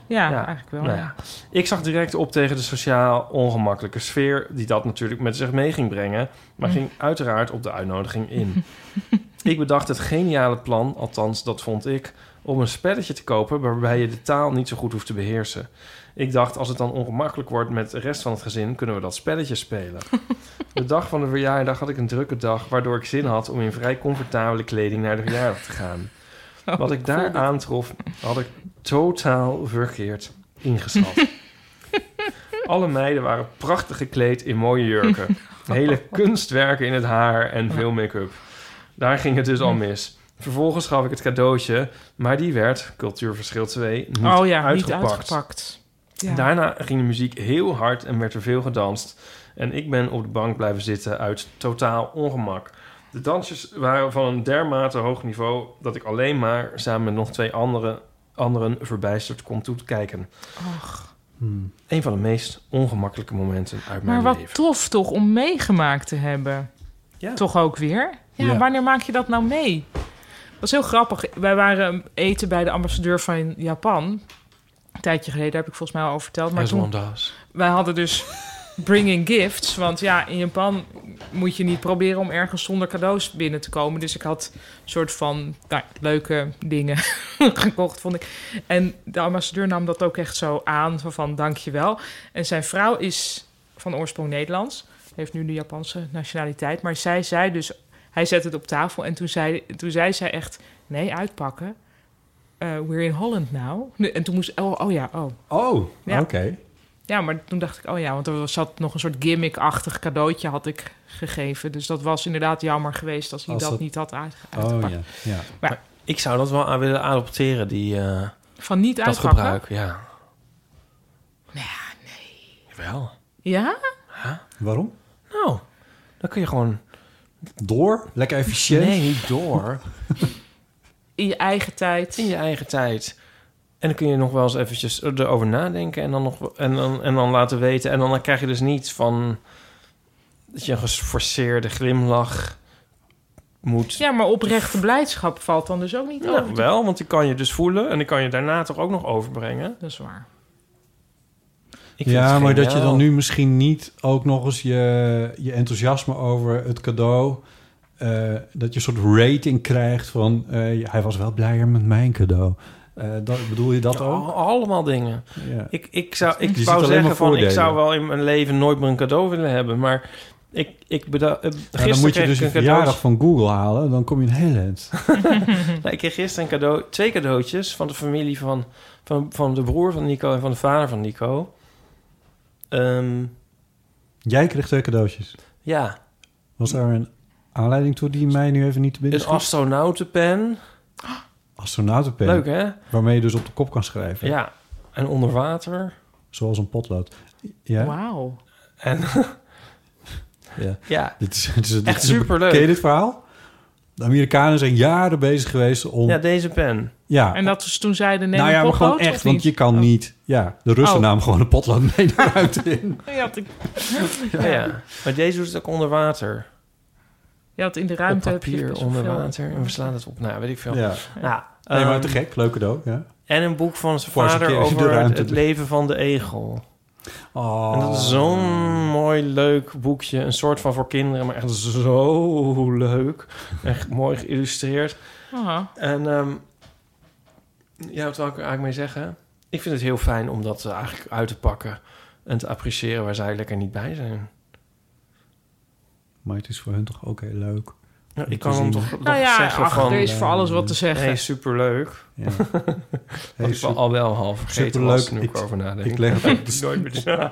[SPEAKER 2] ja, eigenlijk wel.
[SPEAKER 3] Nou
[SPEAKER 2] ja.
[SPEAKER 3] ja. Ik zag direct op tegen de sociaal ongemakkelijke sfeer die dat natuurlijk met zich mee ging brengen, maar
[SPEAKER 2] Mm.
[SPEAKER 3] ging uiteraard op de uitnodiging in. ik bedacht het geniale plan, althans dat vond ik, om een spelletje te kopen waarbij je de taal niet zo goed hoeft te beheersen. Ik dacht, als het dan ongemakkelijk wordt met de rest van het gezin, kunnen we dat spelletje spelen. De dag van de verjaardag had ik een drukke dag, waardoor ik zin had om in vrij comfortabele kleding naar de verjaardag te gaan.
[SPEAKER 4] Oh,
[SPEAKER 3] Wat ik
[SPEAKER 4] ik
[SPEAKER 3] daar
[SPEAKER 4] voel dit.
[SPEAKER 3] aantrof, had ik totaal verkeerd ingeschat. Alle meiden waren prachtig gekleed in mooie
[SPEAKER 2] <laughs>
[SPEAKER 3] jurken. Hele kunstwerken in het haar en veel make-up. Daar ging het dus al mis. Vervolgens gaf ik het cadeautje, maar die werd, cultuurverschil 2, niet
[SPEAKER 2] Oh ja,
[SPEAKER 3] uitgepakt.
[SPEAKER 2] niet uitgepakt. Ja.
[SPEAKER 3] Daarna ging de muziek heel hard en werd er veel gedanst. En ik ben op de bank blijven zitten uit totaal ongemak. De dansjes waren van een dermate hoog niveau dat ik alleen maar samen met nog twee andere, anderen verbijsterd kon toekijken. Een van de meest ongemakkelijke momenten uit
[SPEAKER 2] Maar
[SPEAKER 3] mijn
[SPEAKER 2] wat
[SPEAKER 3] leven.
[SPEAKER 2] tof toch om meegemaakt te hebben. Toch ook weer? Ja,
[SPEAKER 3] Ja.
[SPEAKER 2] wanneer maak je dat nou mee? Dat was heel grappig. Wij waren eten bij de ambassadeur van Japan. Een tijdje geleden, daar heb ik volgens mij al over verteld. Maar
[SPEAKER 3] As
[SPEAKER 2] toen,
[SPEAKER 3] one does.
[SPEAKER 2] wij hadden dus bringing gifts. Want ja, in Japan moet je niet proberen om ergens zonder cadeaus binnen te komen. Dus ik had een soort van nou, leuke dingen <laughs> gekocht, vond ik. En de ambassadeur nam dat ook echt zo aan, zo van dankjewel. En zijn vrouw is van oorsprong Nederlands. Heeft nu de Japanse nationaliteit. Maar zij zei dus, hij zette het op tafel. En toen zei, toen zei zij echt, nee, uitpakken. Eh, we're in Holland now. Nu- En toen moest, oh, oh ja, oh.
[SPEAKER 1] Oh,
[SPEAKER 2] Ja.
[SPEAKER 1] oké.
[SPEAKER 2] Ja, maar toen dacht ik, oh ja, want er zat nog een soort gimmick-achtig cadeautje had ik gegeven. Dus dat was inderdaad jammer geweest als hij
[SPEAKER 3] Als
[SPEAKER 2] dat,
[SPEAKER 3] dat-
[SPEAKER 2] niet had uit-
[SPEAKER 3] Oh,
[SPEAKER 2] uitgepakt.
[SPEAKER 3] ja,
[SPEAKER 1] ja.
[SPEAKER 2] Maar
[SPEAKER 3] Ik zou dat wel aan willen adopteren, die, eh,
[SPEAKER 2] Van niet
[SPEAKER 3] dat
[SPEAKER 2] uitpakken?
[SPEAKER 3] gebruik. Ja. Nou nee. Wel.
[SPEAKER 2] Ja?
[SPEAKER 1] Waarom?
[SPEAKER 3] Nou, dan kun je gewoon...
[SPEAKER 1] Door? Lekker efficiënt?
[SPEAKER 3] Nee, niet door.
[SPEAKER 2] <laughs> In je eigen tijd.
[SPEAKER 3] In je eigen tijd. En dan kun je nog wel eens eventjes erover nadenken en dan, nog, en dan, en dan laten weten. En dan krijg je dus niet van dat je een geforceerde glimlach moet...
[SPEAKER 2] Ja, maar oprechte blijdschap valt dan dus ook niet
[SPEAKER 3] Nou,
[SPEAKER 2] over.
[SPEAKER 3] wel, want die kan je dus voelen en die kan je daarna toch ook nog overbrengen.
[SPEAKER 2] Dat is waar.
[SPEAKER 3] Ik vind
[SPEAKER 1] Ja,
[SPEAKER 3] het
[SPEAKER 1] maar dat je
[SPEAKER 3] geniaal.
[SPEAKER 1] dan nu misschien niet ook nog eens je, je enthousiasme over het cadeau... eh, dat je een soort rating krijgt van... eh, hij was wel blijer met mijn cadeau. Eh, dat, bedoel je dat
[SPEAKER 3] Ja,
[SPEAKER 1] ook?
[SPEAKER 3] Allemaal dingen.
[SPEAKER 1] Ja.
[SPEAKER 3] Ik, ik zou,
[SPEAKER 1] Je
[SPEAKER 3] ik
[SPEAKER 1] ziet
[SPEAKER 3] zou
[SPEAKER 1] alleen
[SPEAKER 3] zeggen
[SPEAKER 1] maar
[SPEAKER 3] van, ik
[SPEAKER 1] voordelen.
[SPEAKER 3] zou wel in mijn leven nooit meer een cadeau willen hebben. Maar ik, ik beda- eh,
[SPEAKER 1] Ja,
[SPEAKER 3] gisteren
[SPEAKER 1] dan moet je
[SPEAKER 3] kreeg
[SPEAKER 1] dus
[SPEAKER 3] ik
[SPEAKER 1] je
[SPEAKER 3] een cadeau.
[SPEAKER 1] verjaardag van Google halen. Dan kom je een heel eind.
[SPEAKER 3] Nou, ik kreeg gisteren een cadeau, twee cadeautjes van de familie van, van, van de broer van Nico en van de vader van Nico. Ehm,
[SPEAKER 1] Jij kreeg twee cadeautjes.
[SPEAKER 3] ja,
[SPEAKER 1] Was daar een aanleiding toe die mij nu even niet te binnen
[SPEAKER 3] een
[SPEAKER 1] schiet?
[SPEAKER 3] astronautenpen.
[SPEAKER 1] Astronautenpen.
[SPEAKER 3] Leuk, hè?
[SPEAKER 1] Waarmee je dus op de kop kan schrijven.
[SPEAKER 3] Ja, en onder water.
[SPEAKER 1] Zoals een potlood. Ja.
[SPEAKER 2] Wauw.
[SPEAKER 3] En
[SPEAKER 1] Ja.
[SPEAKER 3] Ja.
[SPEAKER 1] Dit is, dit is, dit
[SPEAKER 3] Echt
[SPEAKER 1] is een-
[SPEAKER 3] superleuk.
[SPEAKER 1] Ken je dit verhaal? De Amerikanen zijn jaren bezig geweest om...
[SPEAKER 3] ja, deze pen.
[SPEAKER 1] Ja.
[SPEAKER 2] En dat is toen zeiden, nee,
[SPEAKER 1] nou ja, maar
[SPEAKER 2] potlood,
[SPEAKER 1] gewoon
[SPEAKER 2] of
[SPEAKER 1] echt, want
[SPEAKER 2] niet?
[SPEAKER 1] je
[SPEAKER 3] Oh.
[SPEAKER 1] kan niet... Ja, de Russen
[SPEAKER 2] Oh.
[SPEAKER 1] namen gewoon een potlood mee naar buiten in.
[SPEAKER 2] <laughs> Je had, ik... <laughs>
[SPEAKER 3] Ja. ja, maar deze doet het ook onder water.
[SPEAKER 2] je had in de ruimte...
[SPEAKER 3] op
[SPEAKER 2] heb je dus
[SPEAKER 3] papier
[SPEAKER 2] best
[SPEAKER 3] onder
[SPEAKER 2] wel-
[SPEAKER 3] water. En we slaan het op. Nou, weet ik veel.
[SPEAKER 1] Ja.
[SPEAKER 3] Nou,
[SPEAKER 1] nee, maar
[SPEAKER 3] ehm,
[SPEAKER 1] te gek. Leuk cadeau, ja.
[SPEAKER 3] En een boek van zijn
[SPEAKER 1] Voor zijn
[SPEAKER 3] vader
[SPEAKER 1] keer in de
[SPEAKER 3] over het,
[SPEAKER 1] ruimte.
[SPEAKER 3] het leven van de egel.
[SPEAKER 1] Oh.
[SPEAKER 3] En dat is zo'n mooi, leuk boekje. Een soort van voor kinderen, maar echt zo leuk. Echt <laughs> mooi geïllustreerd.
[SPEAKER 2] Aha.
[SPEAKER 3] En ehm, ja, wat wil ik er eigenlijk mee zeggen? Ik vind het heel fijn om dat eh, eigenlijk uit te pakken en te appreciëren waar zij lekker niet bij zijn.
[SPEAKER 1] Maar het is voor hun toch ook heel leuk
[SPEAKER 3] Ja, ik kan hem toch, toch
[SPEAKER 2] Nou ja,
[SPEAKER 3] zeggen
[SPEAKER 2] ach,
[SPEAKER 3] van...
[SPEAKER 2] er is voor alles wat te zeggen.
[SPEAKER 3] Hey, superleuk.
[SPEAKER 1] eh,
[SPEAKER 3] <laughs>
[SPEAKER 1] Ja.
[SPEAKER 3] Wat ik wel
[SPEAKER 1] super-
[SPEAKER 3] al wel half vergeten
[SPEAKER 1] superleuk.
[SPEAKER 3] was, nu ik
[SPEAKER 1] Ik-
[SPEAKER 3] erover nadenk.
[SPEAKER 1] ik leg het
[SPEAKER 2] <laughs>
[SPEAKER 1] op de st-
[SPEAKER 3] <laughs> Nooit meer-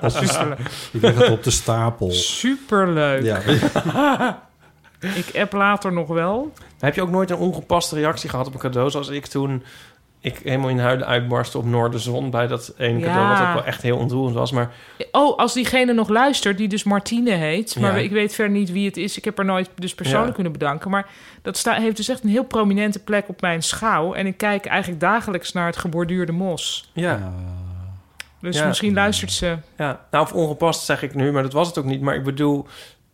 [SPEAKER 1] op de
[SPEAKER 3] <laughs>
[SPEAKER 1] st- ik leg het op de stapel.
[SPEAKER 2] Superleuk.
[SPEAKER 1] Ja.
[SPEAKER 2] <laughs> ik app later nog wel.
[SPEAKER 3] Heb je ook nooit een ongepaste reactie gehad op een cadeau? Zoals ik toen ik helemaal in huilen uitbarstte op Noorderzon... bij dat ene
[SPEAKER 2] Ja.
[SPEAKER 3] cadeau, wat ook wel echt heel ontroerend was. Maar
[SPEAKER 2] Oh, als diegene nog luistert, die dus Martine heet. Maar
[SPEAKER 3] Ja.
[SPEAKER 2] ik weet verder niet wie het is. Ik heb haar nooit dus persoonlijk
[SPEAKER 3] Ja.
[SPEAKER 2] kunnen bedanken. Maar dat sta, heeft dus echt een heel prominente plek op mijn schouw. En ik kijk eigenlijk dagelijks naar het geborduurde mos.
[SPEAKER 3] ja...
[SPEAKER 2] Dus
[SPEAKER 3] Eh, Ja.
[SPEAKER 2] misschien luistert ze.
[SPEAKER 3] Ja, nou, of ongepast zeg ik nu, maar dat was het ook niet. Maar ik bedoel,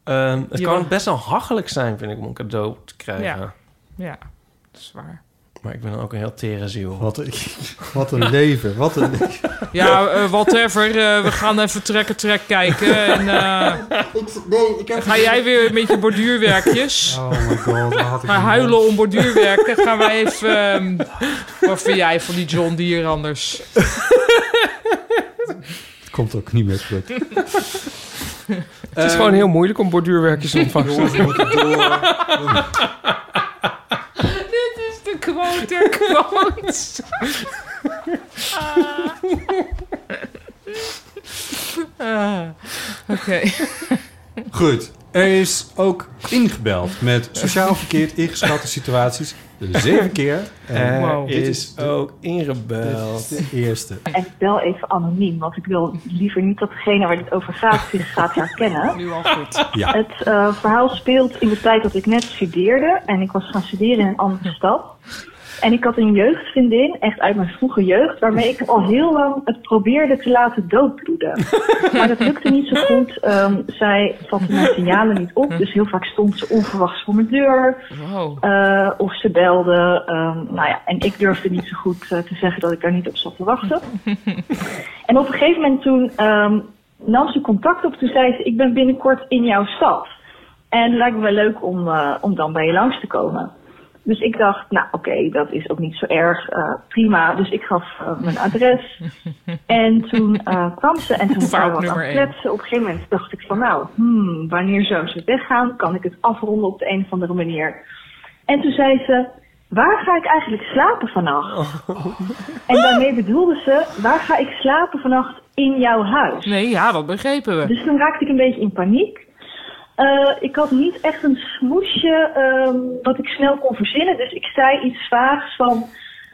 [SPEAKER 3] ehm, het
[SPEAKER 2] Ja.
[SPEAKER 3] kan best wel hachelijk zijn, vind ik, om een cadeau te krijgen.
[SPEAKER 2] Ja. ja, dat is waar.
[SPEAKER 3] Maar ik ben ook een heel tere ziel.
[SPEAKER 1] Wat een, <laughs> wat een leven. Wat een
[SPEAKER 2] Ja, eh, whatever. eh, we gaan even trekken, trek kijken. En, eh,
[SPEAKER 10] nee, ik heb...
[SPEAKER 2] ga jij weer met je borduurwerkjes?
[SPEAKER 1] Oh my god, daar had ik
[SPEAKER 2] Maar huilen om borduurwerk, dat gaan wij even... ehm, wat vind jij van die John Deere anders?
[SPEAKER 1] Het komt ook niet meer terug.
[SPEAKER 3] Het is
[SPEAKER 2] Ehm,
[SPEAKER 3] gewoon heel moeilijk om borduurwerkjes te ontvangen. <laughs>
[SPEAKER 2] <laughs> Dit is de quote der quotes. Ah, Oké.
[SPEAKER 1] Goed. Er is ook ingebeld met sociaal verkeerd ingeschatte situaties. Zeven keer.
[SPEAKER 2] Eh,
[SPEAKER 3] Er
[SPEAKER 1] Eh, dit
[SPEAKER 3] Eh, is
[SPEAKER 1] de-
[SPEAKER 3] ook ingebeld.
[SPEAKER 1] Dit is de eerste.
[SPEAKER 9] En wel even anoniem, want ik wil liever niet dat degene waar dit over gaat zich gaat herkennen.
[SPEAKER 2] Nu al goed.
[SPEAKER 1] Ja.
[SPEAKER 9] Het eh, verhaal speelt in de tijd dat ik net studeerde en ik was gaan studeren in een andere stad. En ik had een jeugdvriendin, echt uit mijn vroege jeugd, waarmee ik al heel lang het probeerde te laten
[SPEAKER 2] <laughs>
[SPEAKER 9] doodbloeden. Maar dat lukte niet zo goed. Ehm, zij vatte mijn signalen niet op, dus heel vaak stond ze onverwachts voor mijn deur.
[SPEAKER 2] Wow.
[SPEAKER 9] Eh, of ze belde. ehm, nou ja, en ik durfde niet zo goed eh, te zeggen dat ik daar niet op zat te
[SPEAKER 2] <laughs>
[SPEAKER 9] wachten. en op een gegeven moment toen ehm, nam ze contact op. Toen zei ze, ik ben binnenkort in jouw stad. En het lijkt me wel leuk om, eh, om dan bij je langs te komen. Dus ik dacht, nou oké, dat is ook niet zo erg. eh, prima. Dus ik gaf eh, mijn
[SPEAKER 2] <laughs>
[SPEAKER 9] adres. En toen eh, kwam ze en toen
[SPEAKER 2] Fout
[SPEAKER 9] waren we wat aan
[SPEAKER 2] nummer
[SPEAKER 9] het
[SPEAKER 2] één.
[SPEAKER 9] kletsen. Op een gegeven moment dacht ik van nou, hmm, wanneer zou ze weggaan? Kan ik het afronden op de een of andere manier? En toen zei ze, waar ga ik eigenlijk slapen vannacht? En daarmee bedoelde ze, waar ga ik slapen vannacht in jouw huis?
[SPEAKER 2] Nee, ja, dat begrepen we.
[SPEAKER 9] Dus toen raakte ik een beetje in paniek. Eh, ik had niet echt een smoesje ehm, wat ik snel kon verzinnen. Dus ik zei iets vaags van...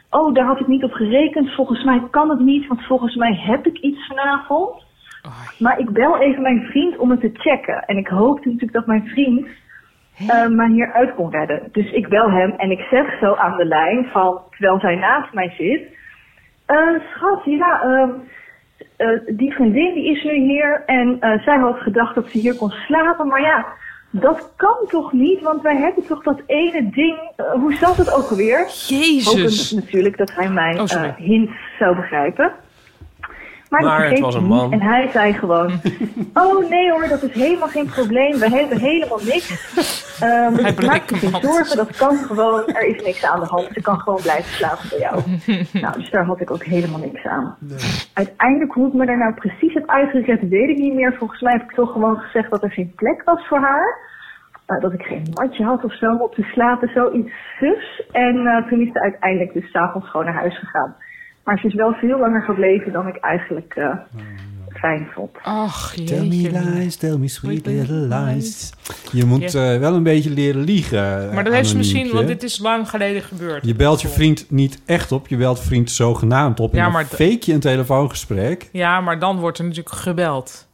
[SPEAKER 9] Oh, daar had ik niet op gerekend. Volgens mij kan het niet, want volgens mij heb ik iets vanavond. Maar ik bel even mijn vriend om het te checken. En ik hoopte natuurlijk dat mijn vriend eh mij hieruit kon redden. Dus ik bel hem en ik zeg zo aan de lijn van... Terwijl zij naast mij zit... Eh, schat, ja, ehm, eh, die vriendin die is nu hier en eh, zij had gedacht dat ze hier kon slapen. Maar ja, dat kan toch niet, want wij hebben toch dat ene ding. eh, hoe zat het ook alweer?
[SPEAKER 2] Jezus.
[SPEAKER 9] Hopend natuurlijk dat hij mijn
[SPEAKER 2] Oh, sorry.
[SPEAKER 9] eh, hint zou begrijpen. Maar, dat
[SPEAKER 3] Maar het
[SPEAKER 9] begreep
[SPEAKER 3] was
[SPEAKER 9] hij
[SPEAKER 3] een
[SPEAKER 9] niet
[SPEAKER 3] man.
[SPEAKER 9] En hij zei gewoon:
[SPEAKER 3] <laughs>
[SPEAKER 9] Oh nee hoor, dat is helemaal geen probleem. We hebben helemaal niks. Ehm
[SPEAKER 2] Hij
[SPEAKER 9] maak je
[SPEAKER 2] bleek
[SPEAKER 9] geen
[SPEAKER 2] een man.
[SPEAKER 9] zorgen, dat kan gewoon. Er is niks aan de hand. Ze kan gewoon blijven slapen bij
[SPEAKER 3] Oh.
[SPEAKER 9] jou. <laughs> Nou, dus daar had ik ook helemaal niks aan. Uiteindelijk hoe ik me daar nou precies heb uitgezet, weet ik niet meer. Volgens mij heb ik toch gewoon gezegd dat er geen plek was voor haar. Eh, dat ik geen matje had of zo om op te slapen, zoiets zus. En eh, toen is ze uiteindelijk dus s'avonds gewoon naar huis gegaan. Maar ze is wel veel langer gebleven dan ik eigenlijk eh, fijn vond.
[SPEAKER 2] Ach,
[SPEAKER 1] Tell me lies, tell me sweet little lies. Je moet eh, wel een beetje leren liegen. eh,
[SPEAKER 2] Maar dat heeft ze misschien,
[SPEAKER 1] anoniempje.
[SPEAKER 2] want dit is lang geleden gebeurd.
[SPEAKER 1] Je belt je vriend niet echt op. Je belt vriend zogenaamd op. En
[SPEAKER 2] Ja,
[SPEAKER 1] dan
[SPEAKER 2] maar d-
[SPEAKER 1] fake je een telefoongesprek.
[SPEAKER 2] Ja, maar dan wordt er natuurlijk gebeld.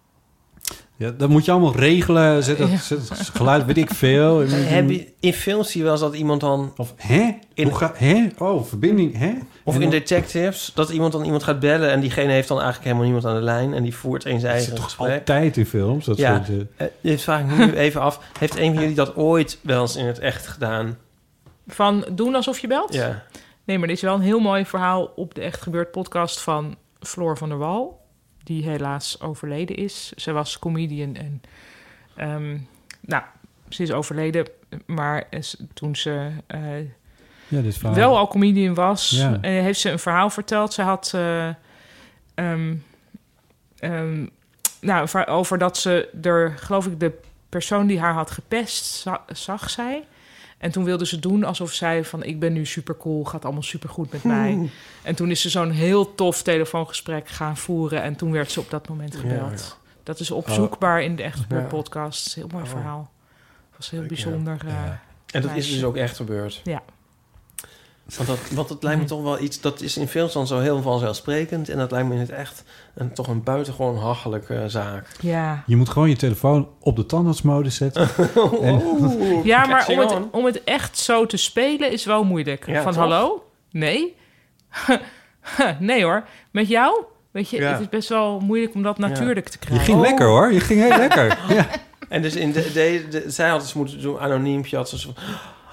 [SPEAKER 1] Ja, dat moet je allemaal regelen. Zet dat, zet dat geluid, weet ik veel.
[SPEAKER 3] <laughs> Heb je, in films zie je wel eens dat iemand dan...
[SPEAKER 1] mm. Of, hè? Hoe ga, hè? Oh, verbinding, hè?
[SPEAKER 3] Of
[SPEAKER 1] En
[SPEAKER 3] in
[SPEAKER 1] dan-
[SPEAKER 3] detectives, dat iemand dan iemand gaat bellen... en diegene heeft dan eigenlijk helemaal niemand aan de lijn... en die voert eens zijn
[SPEAKER 1] Dat
[SPEAKER 3] eigen
[SPEAKER 1] zit toch
[SPEAKER 3] gesprek.
[SPEAKER 1] altijd in films? Dat
[SPEAKER 3] ja,
[SPEAKER 1] soort, eh,
[SPEAKER 3] eh, dit vraag ik
[SPEAKER 1] <laughs>
[SPEAKER 3] me nu even af. Heeft een van jullie dat ooit wel eens in het echt gedaan?
[SPEAKER 2] Van doen alsof je belt?
[SPEAKER 3] Ja.
[SPEAKER 2] Nee, maar dit is wel een heel mooi verhaal op de Echt Gebeurd podcast van Floor van der Wal. Die helaas overleden is. Zij was comedian en... ehm, nou, ze is overleden, maar eh, s- toen ze... eh,
[SPEAKER 1] Ja, dit verhaal.
[SPEAKER 2] wel al comedian was,
[SPEAKER 1] Ja.
[SPEAKER 2] eh, heeft ze een verhaal verteld. Ze had eh, ehm, ehm, nou, va- over dat ze er, geloof ik, de persoon die haar had gepest, za- zag zij. En toen wilde ze doen alsof zij van ik ben nu supercool, gaat allemaal supergoed met mij.
[SPEAKER 3] Hmm.
[SPEAKER 2] En toen is ze zo'n heel tof telefoongesprek gaan voeren. En toen werd ze op dat moment
[SPEAKER 3] Ja,
[SPEAKER 2] gebeld. Dat is opzoekbaar in de Echt Gebeurd podcast. Heel mooi
[SPEAKER 3] Oh.
[SPEAKER 2] verhaal. Het was heel bijzonder. eh,
[SPEAKER 3] En dat is
[SPEAKER 2] meisje.
[SPEAKER 3] dus ook echt gebeurd.
[SPEAKER 2] Ja.
[SPEAKER 3] Want dat, want dat lijkt me toch wel iets... Dat is in films dan zo heel vanzelfsprekend. En dat lijkt me in het echt een, toch een buitengewoon hachelijke zaak.
[SPEAKER 2] Ja.
[SPEAKER 1] Je moet gewoon je telefoon op de tandartsmodus
[SPEAKER 3] <laughs>
[SPEAKER 1] zetten.
[SPEAKER 3] Oh.
[SPEAKER 1] En-
[SPEAKER 2] Ja, maar om het,
[SPEAKER 3] on.
[SPEAKER 2] om het echt zo te spelen is wel moeilijk.
[SPEAKER 3] Ja,
[SPEAKER 2] Van
[SPEAKER 3] toch?
[SPEAKER 2] hallo? Nee? <laughs> nee hoor. Met jou? Weet je,
[SPEAKER 3] Ja.
[SPEAKER 2] het is best wel moeilijk om dat natuurlijk te
[SPEAKER 1] je
[SPEAKER 2] krijgen.
[SPEAKER 1] ging lekker hoor, je ging heel lekker. Ja.
[SPEAKER 3] En dus in de, de, de- zij had dus moeten doen, anoniempje had ze zo...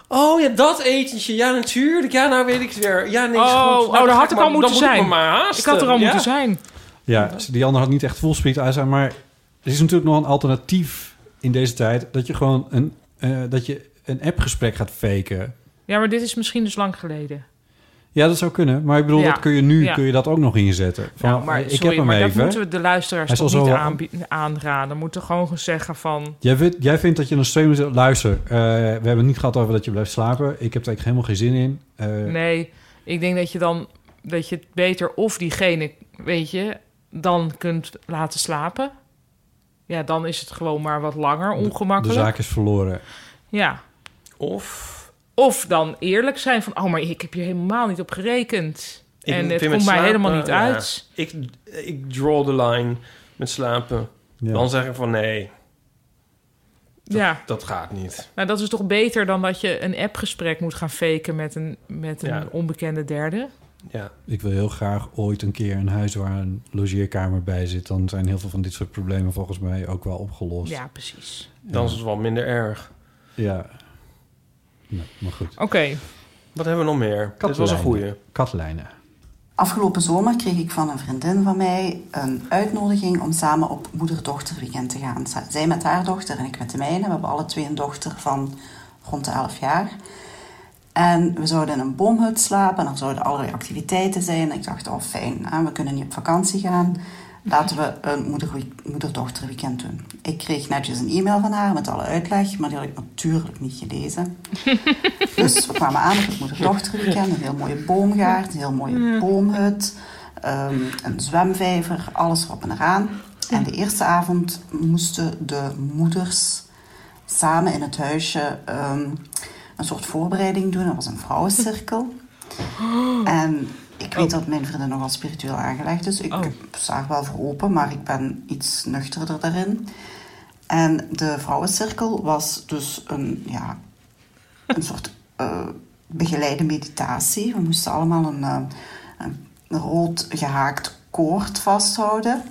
[SPEAKER 3] Oh ja, dat etentje. Ja, natuurlijk. Ja, nou weet ik het weer. Ja, niks
[SPEAKER 2] Oh,
[SPEAKER 3] goed. Nou,
[SPEAKER 2] oh,
[SPEAKER 3] dan
[SPEAKER 2] daar
[SPEAKER 3] ga
[SPEAKER 2] had ik al
[SPEAKER 3] maar-
[SPEAKER 2] moeten
[SPEAKER 3] dan moet
[SPEAKER 2] zijn.
[SPEAKER 3] Ik, me maar haasten.
[SPEAKER 2] Ik had er al
[SPEAKER 3] Ja.
[SPEAKER 2] moeten zijn.
[SPEAKER 1] Ja, die ander had niet echt full speed uit zijn, maar er is natuurlijk nog een alternatief in deze tijd dat je gewoon een, eh, dat je een appgesprek gaat faken.
[SPEAKER 2] Ja, maar dit is misschien dus lang geleden.
[SPEAKER 1] Ja, dat zou kunnen, maar ik bedoel,
[SPEAKER 2] Ja.
[SPEAKER 1] dat kun je nu
[SPEAKER 2] Ja.
[SPEAKER 1] kun je dat ook nog inzetten. Van, eh,
[SPEAKER 2] nou, maar
[SPEAKER 1] ik
[SPEAKER 2] sorry,
[SPEAKER 1] heb hem
[SPEAKER 2] maar
[SPEAKER 1] even.
[SPEAKER 2] dat moeten we de luisteraars
[SPEAKER 1] Hij
[SPEAKER 2] toch
[SPEAKER 1] zal
[SPEAKER 2] niet
[SPEAKER 1] zo wel-
[SPEAKER 2] aanbie- aanraden. We moeten gewoon gaan zeggen van...
[SPEAKER 1] Jij vindt, jij vindt dat je een stream moet... Luister, eh, we hebben het niet gehad over dat je blijft slapen. Ik heb er eigenlijk helemaal geen zin in. Eh,
[SPEAKER 2] Nee, ik denk dat je dan... dat je het beter of diegene, weet je... dan kunt laten slapen. Ja, dan is het gewoon maar wat langer
[SPEAKER 1] De
[SPEAKER 2] ongemakkelijk.
[SPEAKER 1] zaak is verloren.
[SPEAKER 2] Ja.
[SPEAKER 3] Of...
[SPEAKER 2] Of dan eerlijk zijn van... oh, maar ik heb hier helemaal niet op gerekend.
[SPEAKER 3] Ik
[SPEAKER 2] en het
[SPEAKER 3] vind met
[SPEAKER 2] komt mij
[SPEAKER 3] slapen,
[SPEAKER 2] helemaal niet
[SPEAKER 3] ja.
[SPEAKER 2] uit.
[SPEAKER 3] Ik, ik draw the line met slapen.
[SPEAKER 1] Ja.
[SPEAKER 3] Dan zeg ik van nee,
[SPEAKER 2] ja.
[SPEAKER 3] dat gaat niet.
[SPEAKER 2] Nou, dat is toch beter dan dat je een appgesprek moet gaan faken met een, met een
[SPEAKER 1] Ja.
[SPEAKER 2] onbekende derde.
[SPEAKER 3] Ja.
[SPEAKER 1] Ik wil heel graag ooit een keer een huis waar een logeerkamer bij zit. Dan zijn heel veel van dit soort problemen volgens mij ook wel opgelost.
[SPEAKER 2] Ja, precies.
[SPEAKER 3] Dan is het wel minder erg.
[SPEAKER 1] Ja. Nou, maar goed.
[SPEAKER 2] Oké.
[SPEAKER 3] Wat hebben we nog meer? Dit was een
[SPEAKER 1] Katlijnen.
[SPEAKER 3] goeie.
[SPEAKER 1] Katlijnen.
[SPEAKER 11] Afgelopen zomer kreeg ik van een vriendin van mij een uitnodiging om samen op moeder-dochterweekend te gaan. Za- Zij met haar dochter en ik met de mijne. We hebben alle twee een dochter van rond de 11 jaar. En we zouden in een boomhut slapen en er zouden allerlei activiteiten zijn. En ik dacht, oh fijn, hè, we kunnen niet op vakantie gaan. Laten we een moeder- moeder-dochterweekend doen. Ik kreeg netjes een e-mail van haar met alle uitleg, maar die had ik natuurlijk niet gelezen. Dus we kwamen aan op het moeder-dochterweekend. Een heel mooie boomgaard, een heel mooie boomhut, ehm, een zwemvijver, alles erop en eraan. En de eerste avond moesten de moeders samen in het huisje ehm, een soort voorbereiding doen. Dat was een vrouwencirkel. En ik weet dat mijn vriendin nogal spiritueel aangelegd is. Ik zag wel voor open, maar ik ben iets nuchterder daarin. En de vrouwencirkel was dus een, ja, een soort eh, begeleide meditatie. We moesten allemaal een, eh, een rood gehaakt koord vasthouden.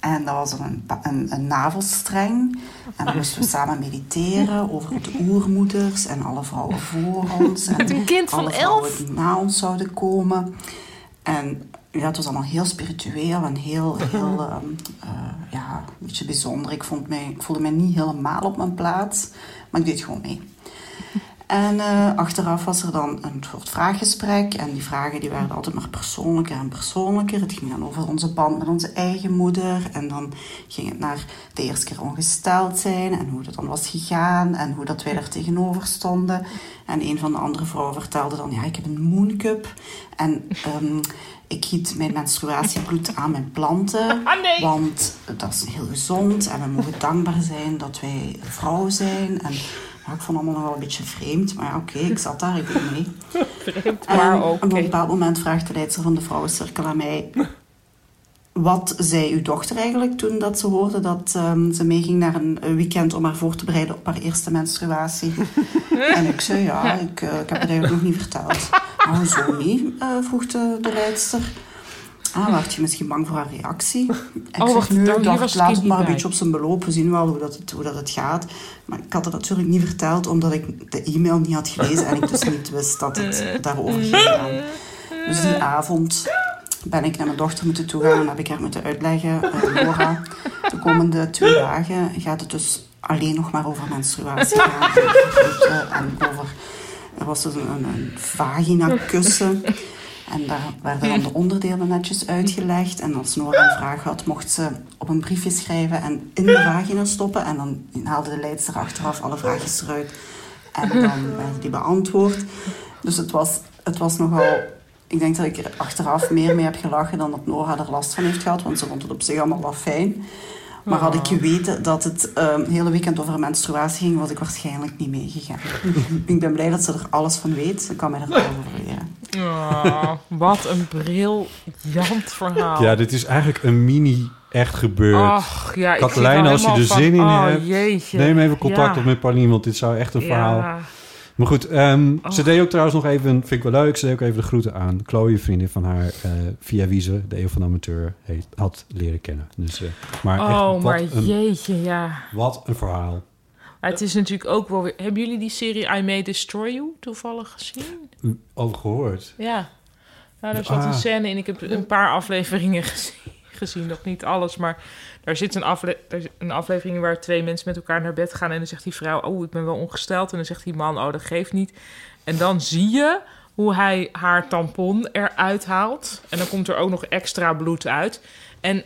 [SPEAKER 11] En dat was een, pa- een, een navelstreng. En dan moesten we samen mediteren over de oermoeders en alle vrouwen voor ons. En
[SPEAKER 2] Met een kind van
[SPEAKER 11] alle
[SPEAKER 2] elf?
[SPEAKER 11] vrouwen die na ons zouden komen. En ja, het was allemaal heel spiritueel en heel,
[SPEAKER 2] <laughs>
[SPEAKER 11] heel ehm, eh, ja, een beetje bijzonder. Ik, vond mij, ik voelde mij niet helemaal op mijn plaats, maar ik deed gewoon mee. En eh, achteraf was er dan een soort vraaggesprek. En die vragen die werden altijd maar persoonlijker en persoonlijker. Het ging dan over onze band met onze eigen moeder. En dan ging het naar de eerste keer ongesteld zijn. En hoe dat dan was gegaan. En hoe dat wij daar tegenover stonden. En een van de andere vrouwen vertelde dan... Ja, ik heb een mooncup. En ehm, ik giet mijn menstruatiebloed aan mijn planten. Want dat is heel gezond. En we mogen dankbaar zijn dat wij vrouw zijn. En ja, ik vond het allemaal nog wel een beetje vreemd. Maar ja, oké, ik zat daar, ik deed mee. En
[SPEAKER 2] maar ook.
[SPEAKER 11] Ehm, op een bepaald moment vraagt de leidster van de vrouwencirkel aan mij... Wat zei uw dochter eigenlijk toen dat ze hoorde dat ehm, ze meeging naar een weekend om haar voor te bereiden op haar eerste
[SPEAKER 2] <laughs>
[SPEAKER 11] menstruatie? en ik zei ja, ik, eh, ik heb het eigenlijk nog niet verteld. Oh, zo niet, eh, vroeg de, de leidster. Ah, werd je misschien bang voor haar reactie? Ik
[SPEAKER 2] Oh,
[SPEAKER 11] zeg
[SPEAKER 2] wacht,
[SPEAKER 11] nu,
[SPEAKER 2] daar-
[SPEAKER 11] ik
[SPEAKER 2] hier
[SPEAKER 11] dacht,
[SPEAKER 2] was het
[SPEAKER 11] laat
[SPEAKER 2] kind
[SPEAKER 11] het maar
[SPEAKER 2] niet
[SPEAKER 11] een
[SPEAKER 2] bij.
[SPEAKER 11] beetje op zijn beloop. We zien wel hoe dat, het, hoe dat het gaat. Maar ik had het natuurlijk niet verteld, omdat ik de e-mail niet had gelezen. En ik dus niet wist dat het daarover ging gaan. Dus die avond ben ik naar mijn dochter moeten toegaan. En heb ik haar moeten uitleggen, eh, Laura, de komende twee dagen gaat het dus alleen nog maar over menstruatie gaan. Eh, En over, er was dus een, een, een vagina kussen. En daar werden dan de onderdelen netjes uitgelegd. En als Nora een vraag had, mocht ze op een briefje schrijven en in de vagina stoppen. En dan haalde de leidster achteraf alle vraagjes eruit. En
[SPEAKER 2] <laughs>
[SPEAKER 11] dan werden die beantwoord. Dus het was, het was nogal... Ik denk dat ik er achteraf meer mee heb gelachen dan dat Nora er last van heeft gehad. Want ze vond het op zich allemaal wel fijn. Maar had
[SPEAKER 2] Ah.
[SPEAKER 11] ik geweten dat het ehm hele weekend over menstruatie ging, was ik waarschijnlijk niet
[SPEAKER 2] <laughs>
[SPEAKER 11] meegegaan. ik ben blij dat ze er alles van weet. Ze kan mij er alles
[SPEAKER 2] <laughs>
[SPEAKER 11] over leren.
[SPEAKER 3] <laughs>
[SPEAKER 2] Oh, wat een briljant verhaal.
[SPEAKER 1] Ja, dit is eigenlijk een mini echt gebeurd.
[SPEAKER 2] Ach, ja, ik
[SPEAKER 1] Katelijn,
[SPEAKER 2] zit al
[SPEAKER 1] als je er
[SPEAKER 2] helemaal
[SPEAKER 1] zin in
[SPEAKER 2] van- oh,
[SPEAKER 1] hebt,
[SPEAKER 2] jeetje.
[SPEAKER 1] neem even contact
[SPEAKER 2] Ja.
[SPEAKER 1] op met Paulien, want dit zou echt een
[SPEAKER 2] Ja.
[SPEAKER 1] verhaal... Maar goed, ehm, ze deed ook trouwens nog even, vind ik wel leuk, ze deed ook even de groeten aan Chloe, vriendin van haar, eh, via wie ze de eeuw van de amateur heet, had leren kennen. Dus, eh, maar echt,
[SPEAKER 2] oh,
[SPEAKER 1] wat,
[SPEAKER 2] maar
[SPEAKER 1] een,
[SPEAKER 2] jeetje, ja.
[SPEAKER 1] wat een verhaal.
[SPEAKER 2] Maar het is natuurlijk ook wel weer... Hebben jullie die serie I May Destroy You toevallig gezien?
[SPEAKER 1] U- Over gehoord.
[SPEAKER 2] Ja. Nou, daar zat
[SPEAKER 1] Ah.
[SPEAKER 2] een scène in. Ik heb een paar afleveringen <laughs> gezien. gezien, nog niet alles, maar daar zit een, afle daar zit een aflevering in waar twee mensen met elkaar naar bed gaan en dan zegt die vrouw, oh, ik ben wel ongesteld. En dan zegt die man, oh, dat geeft niet. En dan zie je hoe hij haar tampon eruit haalt en dan komt er ook nog extra bloed uit. En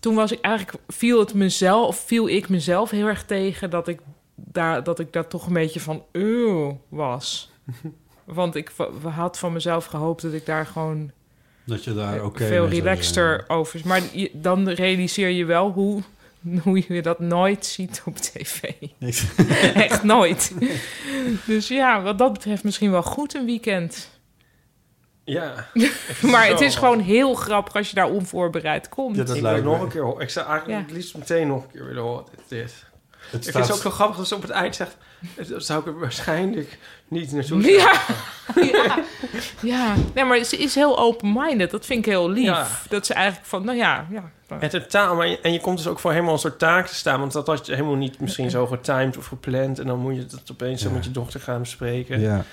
[SPEAKER 2] toen was ik eigenlijk viel het mezelf, viel ik mezelf heel erg tegen dat ik daar, dat ik daar toch een beetje van eeuw
[SPEAKER 1] <laughs>
[SPEAKER 2] was. Want ik wa- had van mezelf gehoopt dat ik daar gewoon
[SPEAKER 1] Dat je daar oké eh,
[SPEAKER 2] veel
[SPEAKER 1] mee zou
[SPEAKER 2] relaxter over is. Maar je- dan realiseer je wel hoe, hoe je dat nooit ziet op tv. <laughs> Echt
[SPEAKER 1] <laughs>
[SPEAKER 2] nooit. Dus ja, wat dat betreft misschien wel goed een weekend. <laughs>
[SPEAKER 3] Ja.
[SPEAKER 2] Maar het
[SPEAKER 3] Zo.
[SPEAKER 2] is gewoon heel grappig als je daar onvoorbereid komt.
[SPEAKER 3] ik wil het nog een keer horen. Ik zou eigenlijk
[SPEAKER 2] Ja.
[SPEAKER 3] het liefst meteen nog een keer willen horen. Dit, dit. ik
[SPEAKER 1] staat-
[SPEAKER 3] vind het ook zo grappig als ze op het eind zegt... Daar zou ik er waarschijnlijk niet naartoe
[SPEAKER 2] <laughs> Ja.
[SPEAKER 3] gaan."
[SPEAKER 2] ja. ja, nee, maar ze is heel open-minded. Dat vind ik heel lief.
[SPEAKER 3] Ja.
[SPEAKER 2] Dat ze eigenlijk van, nou ja, ja.
[SPEAKER 3] En totaal, maar je- en je komt dus ook voor helemaal een soort taak te staan. Want dat had je helemaal niet misschien zo getimed of gepland. En dan moet je dat opeens zo
[SPEAKER 1] Ja.
[SPEAKER 3] met je dochter gaan bespreken.
[SPEAKER 1] Ja.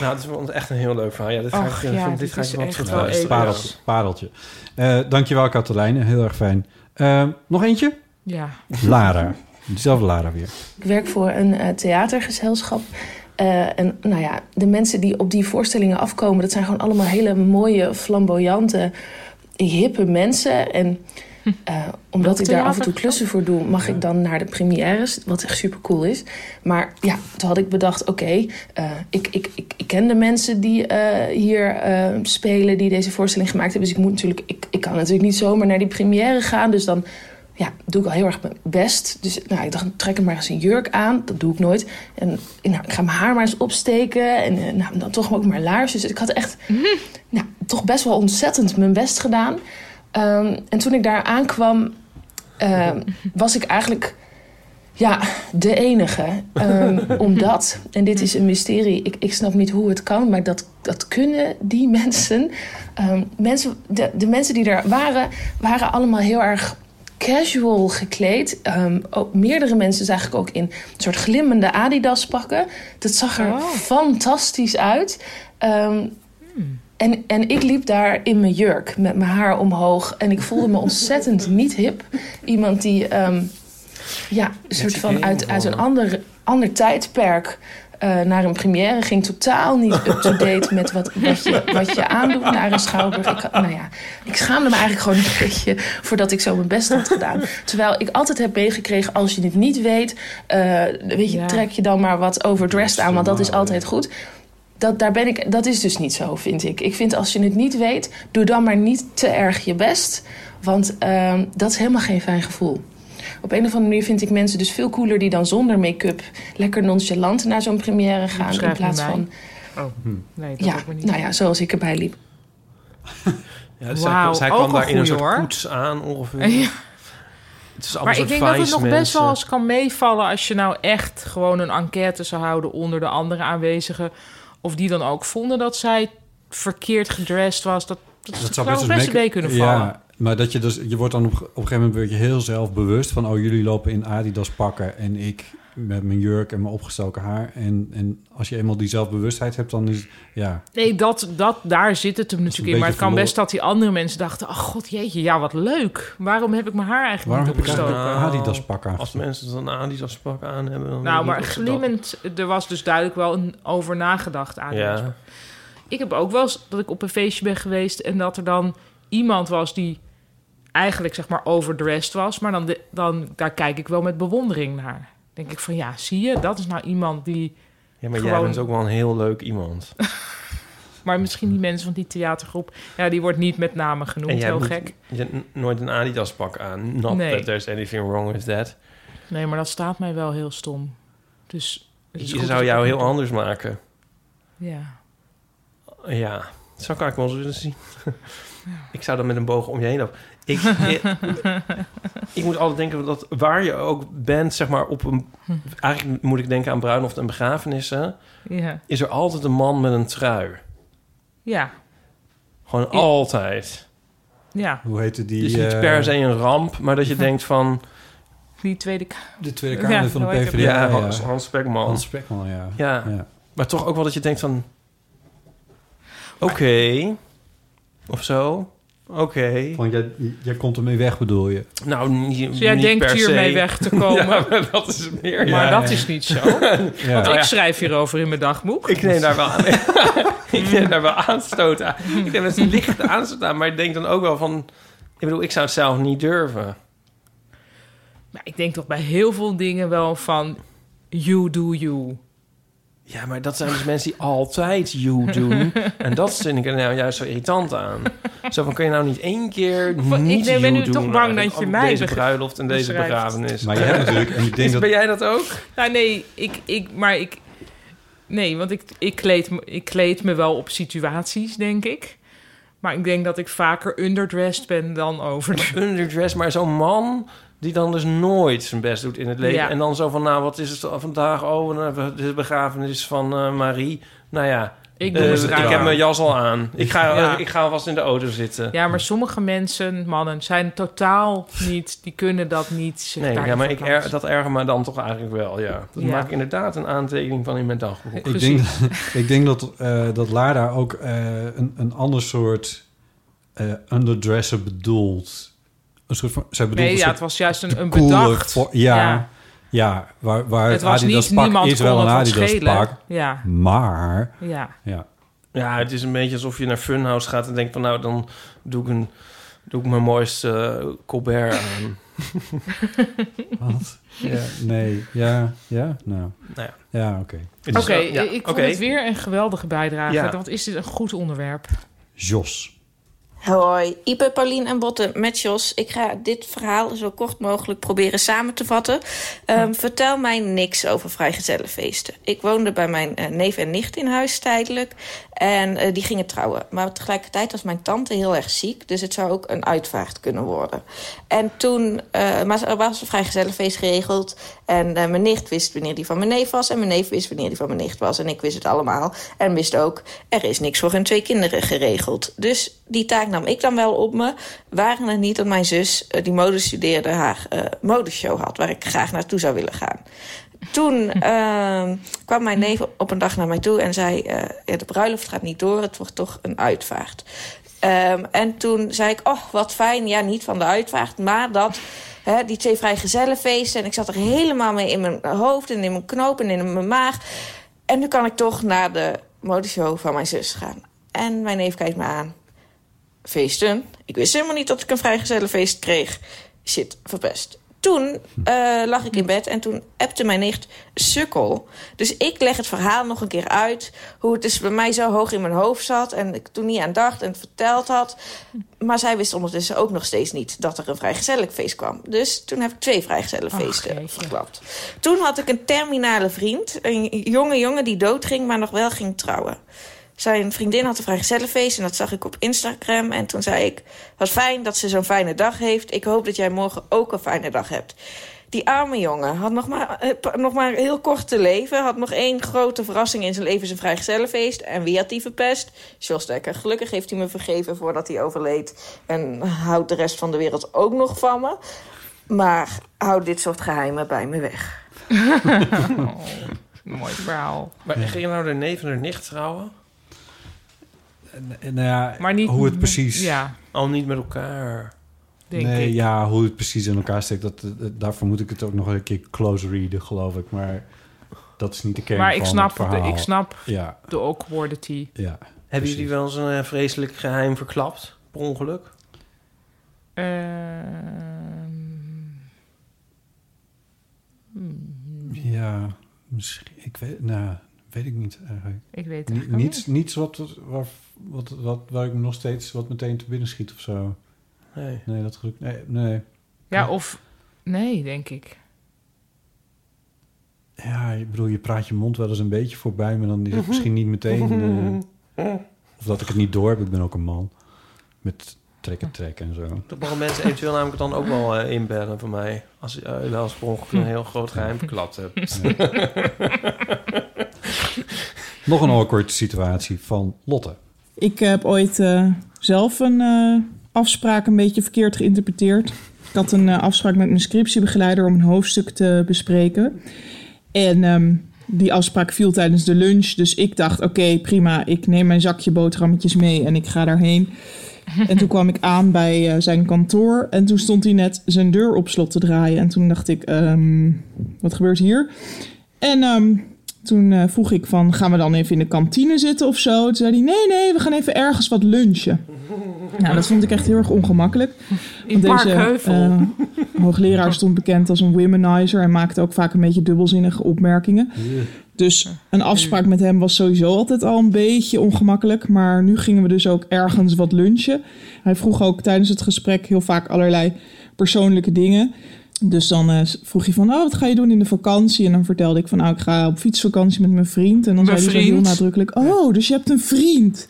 [SPEAKER 3] Nou, het is wel echt een heel leuk verhaal. Ja, dit ga
[SPEAKER 2] Oh. Och,
[SPEAKER 3] ik,
[SPEAKER 2] ja,
[SPEAKER 3] dit
[SPEAKER 2] dit
[SPEAKER 3] ga ik
[SPEAKER 2] is
[SPEAKER 3] wel
[SPEAKER 2] echt
[SPEAKER 3] terug
[SPEAKER 2] wel
[SPEAKER 3] luisteren.
[SPEAKER 2] even.
[SPEAKER 1] Pareltje. pareltje. Eh, dankjewel, Katelijn. Heel erg fijn. Eh, nog eentje?
[SPEAKER 2] Ja.
[SPEAKER 1] Lara. Diezelfde Lara weer.
[SPEAKER 8] Ik werk voor een eh, theatergezelschap. Eh, en nou ja, de mensen die op die voorstellingen afkomen, dat zijn gewoon allemaal hele mooie, flamboyante, hippe mensen. En eh, omdat ik daar af en toe klussen voor doe, mag ik dan naar de premières, wat echt super cool is. Maar ja, toen had ik bedacht, oké, eh, ik, ik, ik, ik ken de mensen die eh, hier eh, spelen, die deze voorstelling gemaakt hebben. Dus ik moet natuurlijk, ik, ik kan natuurlijk niet zomaar naar die première gaan. Dus dan ja, doe ik al heel erg mijn best. Dus nou, ik dacht, trek er maar eens een jurk aan. Dat doe ik nooit. En nou, ik ga mijn haar maar eens opsteken. En eh, nou, dan toch ook maar laarsjes. Dus ik had echt nou, toch best wel ontzettend mijn best gedaan. Ehm, en toen ik daar aankwam, ehm, was ik eigenlijk ja, de enige. Ehm, omdat, en dit is een mysterie, ik, ik snap niet hoe het kan, maar dat, dat kunnen die mensen. Ehm, mensen de, de mensen die er waren, waren allemaal heel erg casual gekleed. Ehm, ook, meerdere mensen zag ik ook in een soort glimmende Adidas pakken. Dat zag er fantastisch uit. Ehm, en, en ik liep daar in mijn jurk met mijn haar omhoog. En ik voelde me <laughs> ontzettend niet hip. Iemand die ehm, ja, een soort van uit, uit een ander, ander tijdperk eh, naar een première ging. Totaal <laughs> niet up-to-date met wat, wat, je, wat je aandoet naar een schouwburg. Ik, had- nou ja, ik schaamde me eigenlijk gewoon een beetje voordat ik zo mijn best had gedaan. Terwijl ik altijd heb meegekregen, als je het niet weet, eh, weet je, trek je dan maar wat overdressed aan. Want dat is altijd goed. Dat, daar ben ik, dat is dus niet zo, vind ik. Ik vind als je het niet weet, doe dan maar niet te erg je best. Want ehm, dat is helemaal geen fijn gevoel. Op een of andere manier vind ik mensen dus veel cooler die dan zonder make-up lekker nonchalant naar zo'n première gaan. In
[SPEAKER 2] Schrijf
[SPEAKER 8] plaats
[SPEAKER 2] mij.
[SPEAKER 8] van,
[SPEAKER 2] Oh,
[SPEAKER 3] Hm.
[SPEAKER 2] nee, dat
[SPEAKER 8] ja,
[SPEAKER 2] ook maar niet.
[SPEAKER 8] nou ja, zoals ik erbij liep.
[SPEAKER 3] Ja, dus
[SPEAKER 2] Wauw,
[SPEAKER 3] zij, zij kwam
[SPEAKER 2] ook een
[SPEAKER 3] daar in een
[SPEAKER 2] goeie,
[SPEAKER 3] soort
[SPEAKER 2] hoor.
[SPEAKER 3] koets aan ongeveer.
[SPEAKER 2] Ja.
[SPEAKER 3] Het is allemaal een
[SPEAKER 2] Maar ik
[SPEAKER 3] soort
[SPEAKER 2] denk dat het nog
[SPEAKER 3] Vice
[SPEAKER 2] best wel
[SPEAKER 3] mensen.
[SPEAKER 2] eens kan meevallen als je nou echt gewoon een enquête zou houden onder de andere aanwezigen. Of die dan ook vonden dat zij verkeerd gedressed was. Dat, dat, zou nog best
[SPEAKER 1] make-
[SPEAKER 2] mee kunnen vallen.
[SPEAKER 1] Ja, maar dat je dus, je wordt dan op, op een gegeven moment word je heel zelfbewust van, oh jullie lopen in Adidas pakken en ik met mijn jurk en mijn opgestoken haar. En, en als je eenmaal die zelfbewustheid hebt, dan is het- ja.
[SPEAKER 2] Nee, dat, dat, daar zit het hem natuurlijk in. Maar het
[SPEAKER 1] beetje
[SPEAKER 2] kan best
[SPEAKER 1] verloren.
[SPEAKER 2] dat die andere mensen dachten... ach god jeetje, ja wat leuk. Waarom heb ik mijn haar eigenlijk
[SPEAKER 1] Waarom
[SPEAKER 2] niet
[SPEAKER 1] heb ik
[SPEAKER 2] opgestoken?
[SPEAKER 1] eigenlijk een Adidas pak aan?
[SPEAKER 3] Als mensen dan een Adidas pak aan hebben... Dan weet
[SPEAKER 2] Nou,
[SPEAKER 3] ik
[SPEAKER 2] maar
[SPEAKER 3] niet of ze
[SPEAKER 2] glimmend, er was dus duidelijk wel een over nagedacht
[SPEAKER 3] dat-
[SPEAKER 2] aan.
[SPEAKER 3] Ja.
[SPEAKER 2] Ik heb ook wel eens dat ik op een feestje ben geweest en dat er dan iemand was die eigenlijk zeg maar overdressed was, maar dan, de- dan daar kijk ik wel met bewondering naar. denk ik van ja, zie je, dat is nou iemand die.
[SPEAKER 3] Ja, maar jij
[SPEAKER 2] gewoon-
[SPEAKER 3] bent ook wel een heel leuk iemand.
[SPEAKER 2] Maar misschien die mensen van die theatergroep, ja, die wordt niet met name genoemd.
[SPEAKER 3] jij
[SPEAKER 2] Heel
[SPEAKER 3] moet-
[SPEAKER 2] gek.
[SPEAKER 3] Je hebt n- nooit een Adidas pak aan. Not
[SPEAKER 2] Nee.
[SPEAKER 3] that there's anything wrong with that.
[SPEAKER 2] Nee, maar dat staat mij wel heel stom. Dus. het is
[SPEAKER 3] Je
[SPEAKER 2] goed
[SPEAKER 3] zou
[SPEAKER 2] dat-
[SPEAKER 3] jou heel anders maken.
[SPEAKER 2] Ja.
[SPEAKER 3] Ja, zo kan ik wel eens willen zien. <laughs> Ik zou dan met een boog om je heen lopen. Ik, ik,
[SPEAKER 2] <laughs>
[SPEAKER 3] ik moet altijd denken dat waar je ook bent, zeg maar, op een. Eigenlijk moet ik denken aan bruiloft en begrafenissen.
[SPEAKER 2] Ja.
[SPEAKER 3] Is er altijd een man met een trui.
[SPEAKER 2] Ja.
[SPEAKER 3] Gewoon altijd.
[SPEAKER 2] Ja.
[SPEAKER 1] Hoe heette die?
[SPEAKER 3] Dus niet
[SPEAKER 1] eh,
[SPEAKER 3] per se een ramp, maar
[SPEAKER 2] <laughs>
[SPEAKER 3] dat je denkt van.
[SPEAKER 2] Die tweede. Ka- nou,
[SPEAKER 1] De Tweede Kamer van de
[SPEAKER 2] hoe heet
[SPEAKER 1] PvdA.
[SPEAKER 2] dat?
[SPEAKER 3] Ja, Hans, Hans Spekman.
[SPEAKER 1] Hans Spekman, ja.
[SPEAKER 3] Ja. Maar toch ook wel dat je denkt van... Oké. Of zo. Oké.
[SPEAKER 1] Want jij, jij komt ermee weg, bedoel je?
[SPEAKER 3] Nou, niet,
[SPEAKER 2] Dus jij
[SPEAKER 3] niet
[SPEAKER 2] denkt
[SPEAKER 3] per se.
[SPEAKER 2] hiermee weg te komen.
[SPEAKER 3] <laughs> ja, maar dat is het meer.
[SPEAKER 2] Maar
[SPEAKER 3] ja.
[SPEAKER 2] dat is niet zo. Want
[SPEAKER 3] Nou <laughs> ja.
[SPEAKER 2] ik schrijf hierover in mijn dagboek.
[SPEAKER 3] Ik neem daar wel aan. <laughs> ik neem daar wel aanstoot aan. Ik neem best een lichte aanstoot aan. Maar ik denk dan ook wel van... Ik bedoel, ik zou het zelf niet durven.
[SPEAKER 2] Maar ik denk toch bij heel veel dingen wel van... You do you.
[SPEAKER 3] Ja, maar dat zijn <laughs> dus mensen die altijd you
[SPEAKER 2] <laughs>
[SPEAKER 3] doen. En dat vind ik er nou juist zo irritant aan. Zo van, kun je nou niet één keer
[SPEAKER 2] ik
[SPEAKER 3] niet
[SPEAKER 2] ben
[SPEAKER 3] you
[SPEAKER 2] nu
[SPEAKER 3] doen
[SPEAKER 2] toch bang
[SPEAKER 3] eigenlijk
[SPEAKER 2] dat je
[SPEAKER 3] op
[SPEAKER 2] mij
[SPEAKER 3] deze
[SPEAKER 2] beg-
[SPEAKER 3] bruiloft en deze
[SPEAKER 2] beschrijft.
[SPEAKER 3] begrafenis.
[SPEAKER 1] Maar jij hebt natuurlijk- en ik denk
[SPEAKER 3] Is-
[SPEAKER 1] dat-
[SPEAKER 3] Ben jij dat ook?
[SPEAKER 2] Nou, nee, ik, ik, maar ik... Nee, want ik, ik, kleed, me- ik kleed me wel op situaties, denk ik. Maar ik denk dat ik vaker underdressed ben dan over.
[SPEAKER 3] Underdressed, maar zo'n man die dan dus nooit zijn best doet in het leven.
[SPEAKER 2] Ja.
[SPEAKER 3] En dan zo van, nou, wat is het vandaag? Oh, nou, de begrafenis van eh, Marie. Nou ja,
[SPEAKER 2] Ik doe
[SPEAKER 3] eh,
[SPEAKER 2] het raar.
[SPEAKER 3] ik heb mijn jas al aan. Ik ga,
[SPEAKER 2] Ja.
[SPEAKER 3] eh, ik ga alvast in de auto zitten.
[SPEAKER 2] Ja, maar sommige mensen, mannen, zijn totaal niet... Die kunnen dat niet. zich
[SPEAKER 3] Nee, ja,
[SPEAKER 2] daarin
[SPEAKER 3] maar ik
[SPEAKER 2] verplaatsen.
[SPEAKER 3] er, dat erger me dan toch eigenlijk wel, ja. Dat
[SPEAKER 2] Ja.
[SPEAKER 3] maak ik inderdaad een aantekening van in mijn dagboek.
[SPEAKER 1] Ik denk, ik denk dat, eh dat Lara ook eh, een, een ander soort eh, underdresser bedoelt. Een soort van, zij bedoelt
[SPEAKER 2] Nee,
[SPEAKER 1] een
[SPEAKER 2] ja,
[SPEAKER 1] soort
[SPEAKER 2] het was juist een, een
[SPEAKER 1] coole
[SPEAKER 2] bedacht.
[SPEAKER 1] vo- ja,
[SPEAKER 2] Ja.
[SPEAKER 1] ja. waar, waar
[SPEAKER 2] Het
[SPEAKER 1] het,
[SPEAKER 2] was
[SPEAKER 1] Adidas
[SPEAKER 2] niet-
[SPEAKER 1] pak
[SPEAKER 2] niemand
[SPEAKER 1] is wel
[SPEAKER 2] kon
[SPEAKER 1] een
[SPEAKER 2] het wat
[SPEAKER 1] Adidas
[SPEAKER 2] schelen.
[SPEAKER 1] pak.
[SPEAKER 2] Ja.
[SPEAKER 1] Maar...
[SPEAKER 2] Ja.
[SPEAKER 1] ja.
[SPEAKER 3] Ja, het is een beetje alsof je naar Funhouse gaat en denkt van... nou, dan doe ik, een, doe ik mijn mooiste eh, Colbert aan.
[SPEAKER 1] Wat?
[SPEAKER 3] Ja.
[SPEAKER 2] <laughs>
[SPEAKER 1] Nee, ja, ja, nou.
[SPEAKER 3] Nou
[SPEAKER 1] ja, oké.
[SPEAKER 2] Oké, ik vond het weer een geweldige bijdrage.
[SPEAKER 1] Ja.
[SPEAKER 2] Want is dit een goed onderwerp?
[SPEAKER 1] Jos.
[SPEAKER 12] Hoi, ik ben Paulien en Botte met Jos. Ik ga dit verhaal zo kort mogelijk proberen samen te vatten. Ehm, Vertel mij niks over vrijgezellenfeesten. Ik woonde bij mijn eh, neef en nicht in huis tijdelijk. En eh, die gingen trouwen. Maar tegelijkertijd was mijn tante heel erg ziek. Dus het zou ook een uitvaart kunnen worden. En toen eh, maar er was een vrijgezellenfeest geregeld. En eh, mijn nicht wist wanneer die van mijn neef was. En mijn neef wist wanneer die van mijn nicht was. En ik wist het allemaal. En wist ook, er is niks voor hun twee kinderen geregeld. Dus die taak nam ik dan wel op me. Waren het niet dat mijn zus, eh, die mode studeerde, haar eh, modeshow had. Waar ik graag naartoe zou willen gaan. Toen ehm, kwam mijn neef op een dag naar mij toe en zei... eh, ja, de bruiloft gaat niet door, het wordt toch een uitvaart. Ehm, en toen zei ik, oh, wat fijn. Ja, niet van de uitvaart, maar dat... Hè, die twee vrijgezellenfeesten. En ik zat er helemaal mee in mijn hoofd en in mijn knoop en in mijn maag. En nu kan ik toch naar de modeshow van mijn zus gaan. En mijn neef kijkt me aan. Feesten? Ik wist helemaal niet dat ik een vrijgezellenfeest kreeg. Shit, verpest. Toen eh, lag ik in bed en toen appte mijn nicht sukkel. Dus ik leg het verhaal nog een keer uit. Hoe het dus bij mij zo hoog in mijn hoofd zat. En ik toen niet aan dacht en het verteld had. Maar zij wist ondertussen ook nog steeds niet dat er een vrijgezellig feest kwam. Dus toen heb ik twee vrijgezellenfeesten verklapt. Toen had ik een terminale vriend. Een jonge jongen die doodging, maar nog wel ging trouwen. Zijn vriendin had een vrijgezellenfeest en dat zag ik op Instagram. En toen zei ik, wat fijn dat ze zo'n fijne dag heeft. Ik hoop dat jij morgen ook een fijne dag hebt. Die arme jongen had nog maar, eh, pa- nog maar heel kort te leven. Had nog één grote verrassing in zijn leven, zijn vrijgezellenfeest. En wie had die verpest? Jos Dekker. Gelukkig heeft hij me vergeven voordat hij overleed. En houdt de rest van de wereld ook nog van me. Maar houd dit soort geheimen bij me weg.
[SPEAKER 2] Mooi verhaal.
[SPEAKER 3] Maar ging je nou de neef en de nicht trouwen?
[SPEAKER 1] Nou ja,
[SPEAKER 3] Maar niet
[SPEAKER 1] hoe het
[SPEAKER 3] met-
[SPEAKER 1] precies...
[SPEAKER 3] ja. Al niet met elkaar.
[SPEAKER 1] nee, ja, hoe het precies in elkaar steekt, dat, dat- daarvoor moet ik het ook nog een keer close readen, geloof ik. Maar dat is niet de kern
[SPEAKER 2] Maar
[SPEAKER 1] van
[SPEAKER 2] ik snap,
[SPEAKER 1] het verhaal.
[SPEAKER 2] de, ik snap
[SPEAKER 1] Ja,
[SPEAKER 2] de awkwardity.
[SPEAKER 1] ja.
[SPEAKER 3] Hebben jullie wel eens een eh, vreselijk geheim verklapt? Per ongeluk?
[SPEAKER 2] Eh, Ehm, hmm,
[SPEAKER 1] Ja, misschien. Ik weet, nou, weet ik niet eigenlijk.
[SPEAKER 2] Ik weet het
[SPEAKER 1] Ni-
[SPEAKER 2] eigenlijk
[SPEAKER 1] niets, niets wat, waar, wat, wat, waar ik me nog steeds wat meteen te binnen schiet of zo.
[SPEAKER 3] Nee.
[SPEAKER 1] Nee, dat geluk. Nee, nee.
[SPEAKER 2] Ja, of... Nee, denk ik.
[SPEAKER 1] Ja, ik bedoel, je praat je mond wel eens een beetje voorbij, maar dan is het misschien niet meteen.
[SPEAKER 3] <laughs>
[SPEAKER 1] eh, of dat ik het niet door heb. Ik ben ook een man. Met trekken, trekken en zo.
[SPEAKER 3] Dat mogen mensen eventueel namelijk dan ook wel eh, inbellen voor mij. Als je eh, als per ongeluk een heel groot geheim verklapt <laughs> hebt.
[SPEAKER 1] Nog een awkward situatie van Lotte.
[SPEAKER 13] Ik heb ooit eh, zelf een eh, afspraak een beetje verkeerd geïnterpreteerd. Ik had een eh, afspraak met mijn scriptiebegeleider om een hoofdstuk te bespreken. En ehm, die afspraak viel tijdens de lunch. Dus ik dacht, oké, prima. Ik neem mijn zakje boterhammetjes mee en ik ga daarheen. En toen kwam ik aan bij eh, zijn kantoor. En toen stond hij net zijn deur op slot te draaien. En toen dacht ik, ehm, wat gebeurt hier? En ehm, toen eh, vroeg ik van, gaan we dan even in de kantine zitten of zo? Toen zei hij, nee, nee, we gaan even ergens wat lunchen. Nou, dat vond ik echt heel erg ongemakkelijk.
[SPEAKER 2] In
[SPEAKER 13] Want
[SPEAKER 2] Parkheuvel.
[SPEAKER 13] eh, hoogleraar stond bekend als een womanizer... en maakte ook vaak een beetje dubbelzinnige opmerkingen. Dus een afspraak met hem was sowieso altijd al een beetje ongemakkelijk. Maar nu gingen we dus ook ergens wat lunchen. Hij vroeg ook tijdens het gesprek heel vaak allerlei persoonlijke dingen. Dus dan eh, vroeg hij van, oh, wat ga je doen in de vakantie? En dan vertelde ik van, nou, ik ga op fietsvakantie met mijn vriend. En dan
[SPEAKER 14] Mijn
[SPEAKER 13] zei hij zo heel
[SPEAKER 14] vriend?
[SPEAKER 13] nadrukkelijk, oh, dus je hebt een vriend.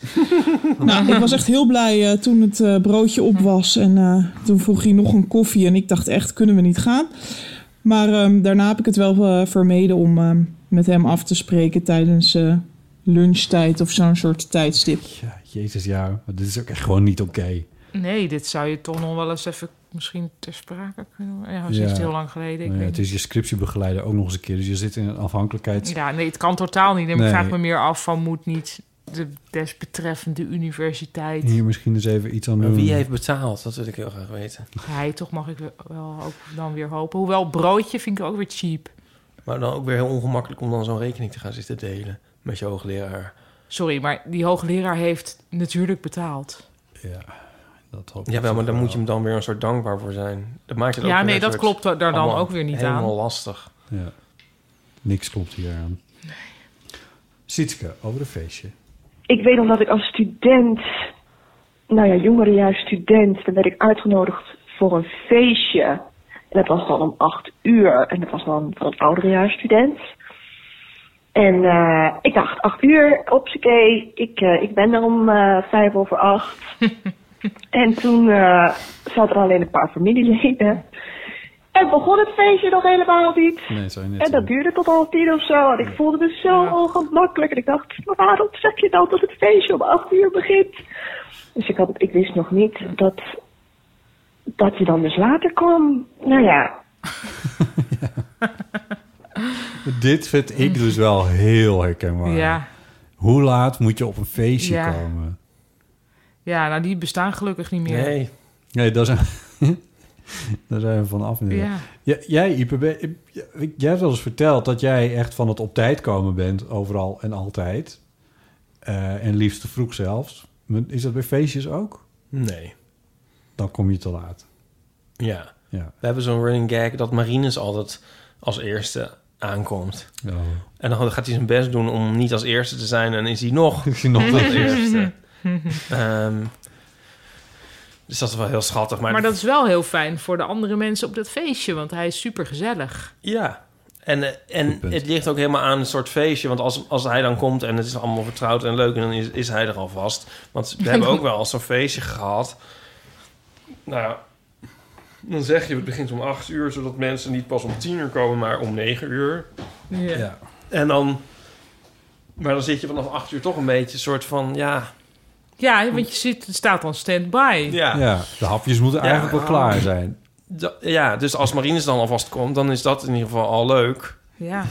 [SPEAKER 13] <laughs> nou, ik was echt heel blij eh, toen het eh, broodje op was. En eh, toen vroeg hij nog een koffie. En ik dacht echt, kunnen we niet gaan? Maar ehm, daarna heb ik het wel eh, vermeden om ehm, met hem af te spreken tijdens eh, lunchtijd of zo'n soort tijdstip.
[SPEAKER 1] Jezus, ja. maar Dit is ook echt gewoon niet oké.
[SPEAKER 2] Nee, dit zou je toch nog wel eens even misschien ter sprake kunnen... Ja, dat Oh, is
[SPEAKER 1] Ja.
[SPEAKER 2] echt heel lang geleden. Ik
[SPEAKER 1] Nou ja,
[SPEAKER 2] weet
[SPEAKER 1] het is je scriptiebegeleider ook nog eens een keer. Dus je zit in een afhankelijkheid.
[SPEAKER 2] Ja, nee, het kan totaal niet. En Ik
[SPEAKER 1] Nee.
[SPEAKER 2] vraag me meer af van moet niet de desbetreffende universiteit...
[SPEAKER 1] Hier misschien eens even iets aan
[SPEAKER 3] Maar
[SPEAKER 1] doen.
[SPEAKER 3] wie heeft betaald? Dat wil ik heel graag weten.
[SPEAKER 2] Hij toch mag ik wel ook dan weer hopen. Hoewel broodje vind ik ook weer cheap.
[SPEAKER 3] Maar dan ook weer heel ongemakkelijk om dan zo'n rekening te gaan zitten delen met je hoogleraar.
[SPEAKER 2] Sorry, maar die hoogleraar heeft natuurlijk betaald.
[SPEAKER 1] Dat hoop ik
[SPEAKER 3] Ja, wel,
[SPEAKER 1] toch
[SPEAKER 3] maar daar
[SPEAKER 1] wel.
[SPEAKER 3] moet je hem dan weer een soort dankbaar voor zijn. Dat maakt het ook
[SPEAKER 2] Ja,
[SPEAKER 3] weer
[SPEAKER 2] nee,
[SPEAKER 3] een
[SPEAKER 2] dat
[SPEAKER 3] soort
[SPEAKER 2] klopt daar dan
[SPEAKER 3] allemaal
[SPEAKER 2] ook weer niet aan.
[SPEAKER 3] Helemaal lastig.
[SPEAKER 1] Ja. Niks klopt hier aan. Sietske, over een feestje.
[SPEAKER 9] Ik weet nog dat ik als student, nou ja, jongerejaar student, dan werd ik uitgenodigd voor een feestje. En dat was dan om acht uur. En dat was dan van een ouderejaar student. En eh, ik dacht, acht uur, opsakee, ik, eh, ik ben er om eh, vijf over acht. en toen eh zaten er alleen een paar familieleden. En begon het feestje nog helemaal niet.
[SPEAKER 1] Nee, zou je net
[SPEAKER 9] En dat duurde tot half tien of zo. En ik voelde me zo ongemakkelijk. En ik dacht, maar waarom zeg je dan dat het feestje om acht uur begint? Dus ik, had, ik wist nog niet dat, dat je dan dus later kwam. Nou ja,
[SPEAKER 1] Dit vind
[SPEAKER 2] <laughs>
[SPEAKER 1] ik dus wel heel herkenbaar.
[SPEAKER 2] Ja.
[SPEAKER 1] Hoe laat moet je op een feestje
[SPEAKER 2] Ja.
[SPEAKER 1] komen?
[SPEAKER 2] Ja, nou die bestaan gelukkig niet meer.
[SPEAKER 3] Nee.
[SPEAKER 1] Nee, daar zijn, <laughs> daar zijn we van af.
[SPEAKER 2] Ja.
[SPEAKER 1] Ja, jij, Ipe, ben- jij hebt wel eens verteld dat jij echt van het op tijd komen bent, overal en altijd. Eh, en liefst te vroeg zelfs. Maar Is dat bij feestjes ook?
[SPEAKER 3] Nee.
[SPEAKER 1] Dan kom je te laat.
[SPEAKER 3] Ja.
[SPEAKER 1] Ja.
[SPEAKER 3] We hebben zo'n running gag dat Marines altijd als eerste aankomt.
[SPEAKER 1] Ja.
[SPEAKER 3] En dan gaat hij zijn best doen om niet als eerste te zijn. En is hij
[SPEAKER 1] <laughs>
[SPEAKER 3] nog,
[SPEAKER 1] is hij <laughs> nog
[SPEAKER 3] als
[SPEAKER 1] als
[SPEAKER 3] eerste.
[SPEAKER 2] <laughs>
[SPEAKER 1] eerste.
[SPEAKER 3] Ehm, dus dat is wel heel schattig. Maar,
[SPEAKER 2] Maar dat is wel heel fijn voor de andere mensen op dat feestje, want hij is super gezellig.
[SPEAKER 3] Ja. En, eh, en het ligt ook helemaal aan een soort feestje. Want als, als hij dan komt en het is allemaal vertrouwd en leuk... en dan is, is hij er alvast. Want we hebben ook wel al zo'n feestje gehad. Nou, ja, dan zeg je het begint om 8 uur... zodat mensen niet pas om 10 uur komen, maar om 9 uur.
[SPEAKER 2] Ja.
[SPEAKER 1] Ja.
[SPEAKER 3] En dan... Maar dan zit je vanaf 8 uur toch een beetje een soort van... ja,
[SPEAKER 2] Ja, want je zit, staat dan stand-by.
[SPEAKER 3] Ja.
[SPEAKER 1] Ja, de hapjes moeten
[SPEAKER 3] Ja.
[SPEAKER 1] eigenlijk wel klaar zijn.
[SPEAKER 3] da- ja dus als Marines dan alvast komt... dan is dat in ieder geval al
[SPEAKER 1] <laughs>
[SPEAKER 3] leuk.
[SPEAKER 2] Ja.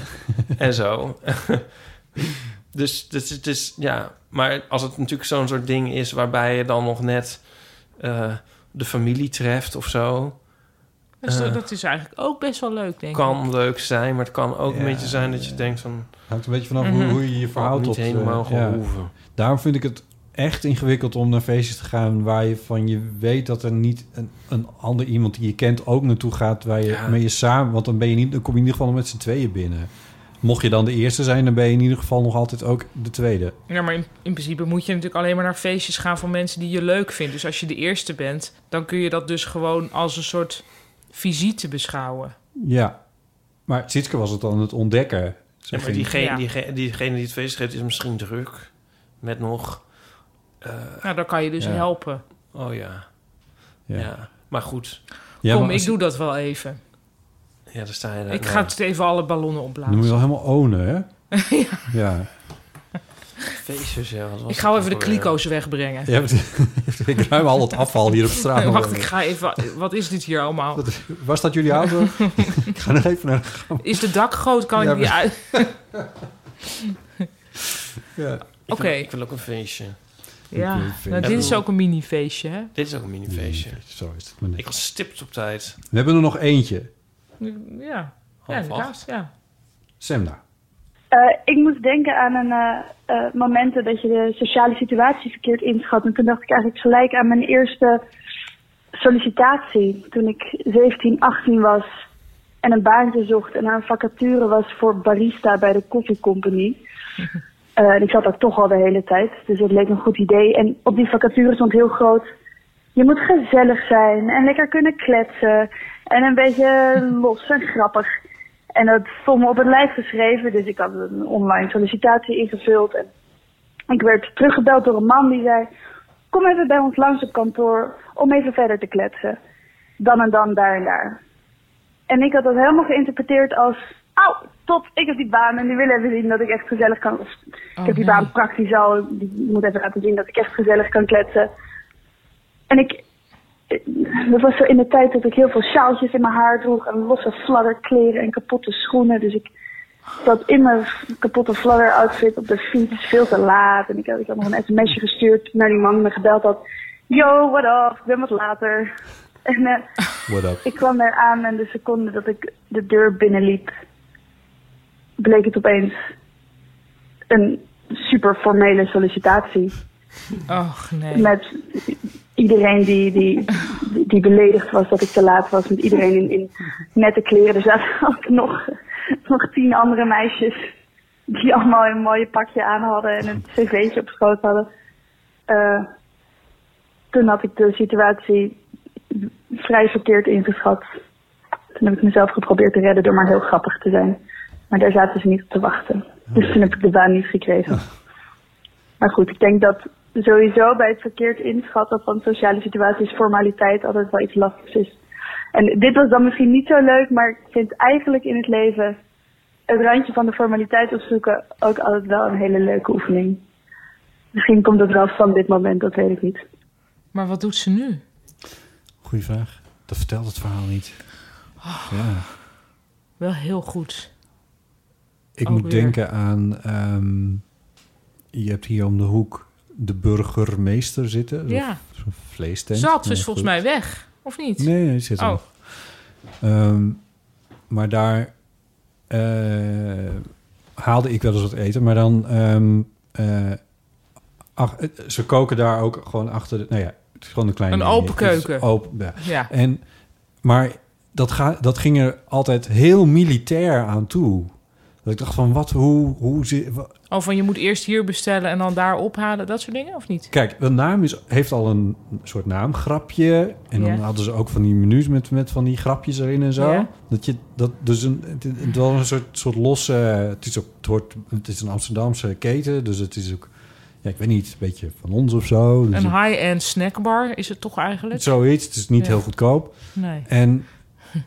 [SPEAKER 3] en zo. <laughs> dus het is, het is- ja. Maar als het natuurlijk zo'n soort ding is waarbij je dan nog net eh, de familie treft of zo,
[SPEAKER 2] Dus dat-
[SPEAKER 3] Eh.
[SPEAKER 2] dat is eigenlijk ook best wel leuk, denk ik.
[SPEAKER 3] kan leuk zijn. Maar het kan ook een
[SPEAKER 1] Ja,
[SPEAKER 3] beetje zijn dat je denkt van.
[SPEAKER 1] Hangt een beetje vanaf
[SPEAKER 2] Mhm.
[SPEAKER 1] hoe, hoe je je verhoudt
[SPEAKER 3] Niet
[SPEAKER 1] tot... eh,
[SPEAKER 3] helemaal
[SPEAKER 1] ja.
[SPEAKER 3] gehoeven.
[SPEAKER 1] Daarom vind ik het echt ingewikkeld om naar feestjes te gaan waar je van je weet dat er niet een, een ander iemand die je kent ook naartoe gaat waar je mee je samen. Want dan ben je niet, dan kom je in ieder geval nog met z'n tweeën binnen. Mocht je dan de eerste zijn, dan ben je in ieder geval nog altijd ook de tweede.
[SPEAKER 2] Ja, maar in, in principe moet je natuurlijk alleen maar naar feestjes gaan van mensen die je leuk vindt. Dus als je de eerste bent, dan kun je dat dus gewoon als een soort visite beschouwen.
[SPEAKER 1] Ja. Maar Sitske was het aan het ontdekken. Ze
[SPEAKER 3] Ja, maar
[SPEAKER 1] ging-
[SPEAKER 3] diegene,
[SPEAKER 2] Ja.
[SPEAKER 3] diegene, diegene die het feest geeft is misschien druk. Met nog... eh,
[SPEAKER 2] Nou, dan kan je dus
[SPEAKER 3] Ja.
[SPEAKER 2] helpen.
[SPEAKER 3] Oh ja.
[SPEAKER 1] Ja.
[SPEAKER 3] ja. Maar goed.
[SPEAKER 1] Ja,
[SPEAKER 2] Kom,
[SPEAKER 1] maar als
[SPEAKER 2] ik doe dat wel even.
[SPEAKER 3] Ja, daar sta je daar.
[SPEAKER 2] Ik
[SPEAKER 3] nou.
[SPEAKER 2] ga het even alle ballonnen
[SPEAKER 1] Dan
[SPEAKER 2] opblazen.
[SPEAKER 1] moet je wel helemaal ownen, hè?
[SPEAKER 2] <laughs> Ja.
[SPEAKER 1] ja.
[SPEAKER 3] Feestjes, ja. wat was
[SPEAKER 2] Ik ga
[SPEAKER 3] dat
[SPEAKER 2] even de
[SPEAKER 3] ook alweer?
[SPEAKER 2] kliko's wegbrengen.
[SPEAKER 1] Ja, want- <laughs> ik ruim al het afval hier op straat.
[SPEAKER 2] Wacht, ik ga even... Wat is dit hier allemaal?
[SPEAKER 1] Was dat jullie auto? <laughs> ik ga nog even naar de gang.
[SPEAKER 2] <laughs> Is de dak groot? Kan
[SPEAKER 1] Ja,
[SPEAKER 2] ik niet
[SPEAKER 1] maar-
[SPEAKER 2] uit?
[SPEAKER 1] <laughs> Ja.
[SPEAKER 3] Ik wil-
[SPEAKER 2] Oké.
[SPEAKER 3] Ik wil ook een feestje.
[SPEAKER 2] Ja,
[SPEAKER 3] Ik wil een feestje.
[SPEAKER 2] nou, dit is ook een mini-feestje, hè?
[SPEAKER 3] Dit is ook een minifeestje.
[SPEAKER 1] Zo is het
[SPEAKER 3] Ik was stipt op tijd.
[SPEAKER 1] We hebben er nog eentje.
[SPEAKER 2] Ja, ja
[SPEAKER 1] Oh,
[SPEAKER 3] Half
[SPEAKER 2] inderdaad,
[SPEAKER 3] acht.
[SPEAKER 2] ja.
[SPEAKER 1] Semna.
[SPEAKER 15] Eh, ik moest denken aan een eh, eh, momenten dat je de sociale situatie verkeerd inschat. En toen dacht ik eigenlijk gelijk aan mijn eerste sollicitatie. Toen ik 17, 18 was en een baantje zocht en aan een vacature was voor barista bij de Coffee Company. Eh, en ik zat daar toch al de hele tijd, dus het leek me een goed idee. En op die vacature stond heel groot... Je moet gezellig zijn en lekker kunnen kletsen. En een beetje los en grappig. En dat stond me op het lijf geschreven, dus ik had een online sollicitatie ingevuld. En ik werd teruggebeld door een man die zei: Kom even bij ons langs op kantoor om even verder te kletsen. Dan en dan, daar en daar. En ik had dat helemaal geïnterpreteerd als: Au, top, ik heb die baan en die willen even zien dat ik echt gezellig kan. of, ik heb die baan praktisch al, die moet even laten zien dat ik echt gezellig kan kletsen. En ik, dat was zo in de tijd dat ik heel veel sjaaltjes in mijn haar droeg en losse fladderkleren en kapotte schoenen. Dus ik zat in mijn kapotte fladder outfit op de fiets veel te laat. En ik had, ik had nog een sms'je gestuurd naar die man die me gebeld had. Yo, what up? Ik ben wat later. <laughs> En eh,
[SPEAKER 1] What up?
[SPEAKER 15] ik kwam daar aan en de seconde dat ik de deur binnenliep, bleek het opeens een super formele sollicitatie.
[SPEAKER 2] Och, nee.
[SPEAKER 15] Met iedereen die, die, die beledigd was dat ik te laat was. Met iedereen in, in nette kleren. Er zaten <laughs> ook nog, nog tien andere meisjes. Die allemaal een mooie pakje aan hadden en een cv'tje op schoot hadden. Eh, toen had ik de situatie vrij verkeerd ingeschat. Toen heb ik mezelf geprobeerd te redden door maar heel grappig te zijn. Maar daar zaten ze niet op te wachten. Dus toen heb ik de baan niet gekregen. Maar goed, ik denk dat sowieso bij het verkeerd inschatten van sociale situaties formaliteit altijd wel iets lastigs is. En dit was dan misschien niet zo leuk, maar ik vind eigenlijk in het leven het randje van de formaliteit opzoeken ook altijd wel een hele leuke oefening. Misschien komt het wel van dit moment, dat weet ik niet.
[SPEAKER 2] Maar wat doet ze nu?
[SPEAKER 1] Goeie vraag. Dat vertelt het verhaal niet.
[SPEAKER 2] Oh.
[SPEAKER 1] Ja.
[SPEAKER 2] Wel heel goed.
[SPEAKER 1] Ik
[SPEAKER 2] Ook
[SPEAKER 1] moet
[SPEAKER 2] weer.
[SPEAKER 1] denken aan... ehm, je hebt hier om de hoek de burgermeester zitten.
[SPEAKER 2] Ja.
[SPEAKER 1] Zo'n- Zo'n vleestent.
[SPEAKER 2] Zat dus
[SPEAKER 1] Maar
[SPEAKER 2] volgens
[SPEAKER 1] goed.
[SPEAKER 2] mij weg, of niet?
[SPEAKER 1] Nee, hij zit er
[SPEAKER 2] Oh.
[SPEAKER 1] nog. Ehm, maar daar eh, haalde ik wel eens wat eten. Maar dan... ehm, eh, ach- eh, ze koken daar ook gewoon achter... De, nou ja, het is gewoon een kleine...
[SPEAKER 2] Een
[SPEAKER 1] dingetje.
[SPEAKER 2] open
[SPEAKER 1] Het is
[SPEAKER 2] keuken.
[SPEAKER 1] Open, ja.
[SPEAKER 2] Ja.
[SPEAKER 1] En, maar dat, ga, dat ging er altijd heel militair aan toe. Dat ik dacht van, wat, hoe, hoe... zit- wa-
[SPEAKER 2] Oh, van je moet eerst hier bestellen en dan daar ophalen, dat soort dingen, of niet?
[SPEAKER 1] Kijk, de naam is, heeft al een soort naamgrapje. En dan
[SPEAKER 2] Ja.
[SPEAKER 1] hadden ze ook van die menus met, met van die grapjes erin en zo.
[SPEAKER 2] Ja.
[SPEAKER 1] Dat je, dat, dus een, het, het was een soort, soort losse... Het is, ook, het, wordt, het is een Amsterdamse keten, dus het is ook... Ja, ik weet niet, een beetje van ons of zo. Dus
[SPEAKER 2] Een
[SPEAKER 1] het-
[SPEAKER 2] high-end snackbar is het toch eigenlijk?
[SPEAKER 1] Zoiets, het is niet
[SPEAKER 2] Ja.
[SPEAKER 1] heel goedkoop.
[SPEAKER 2] Nee. <laughs>
[SPEAKER 1] En,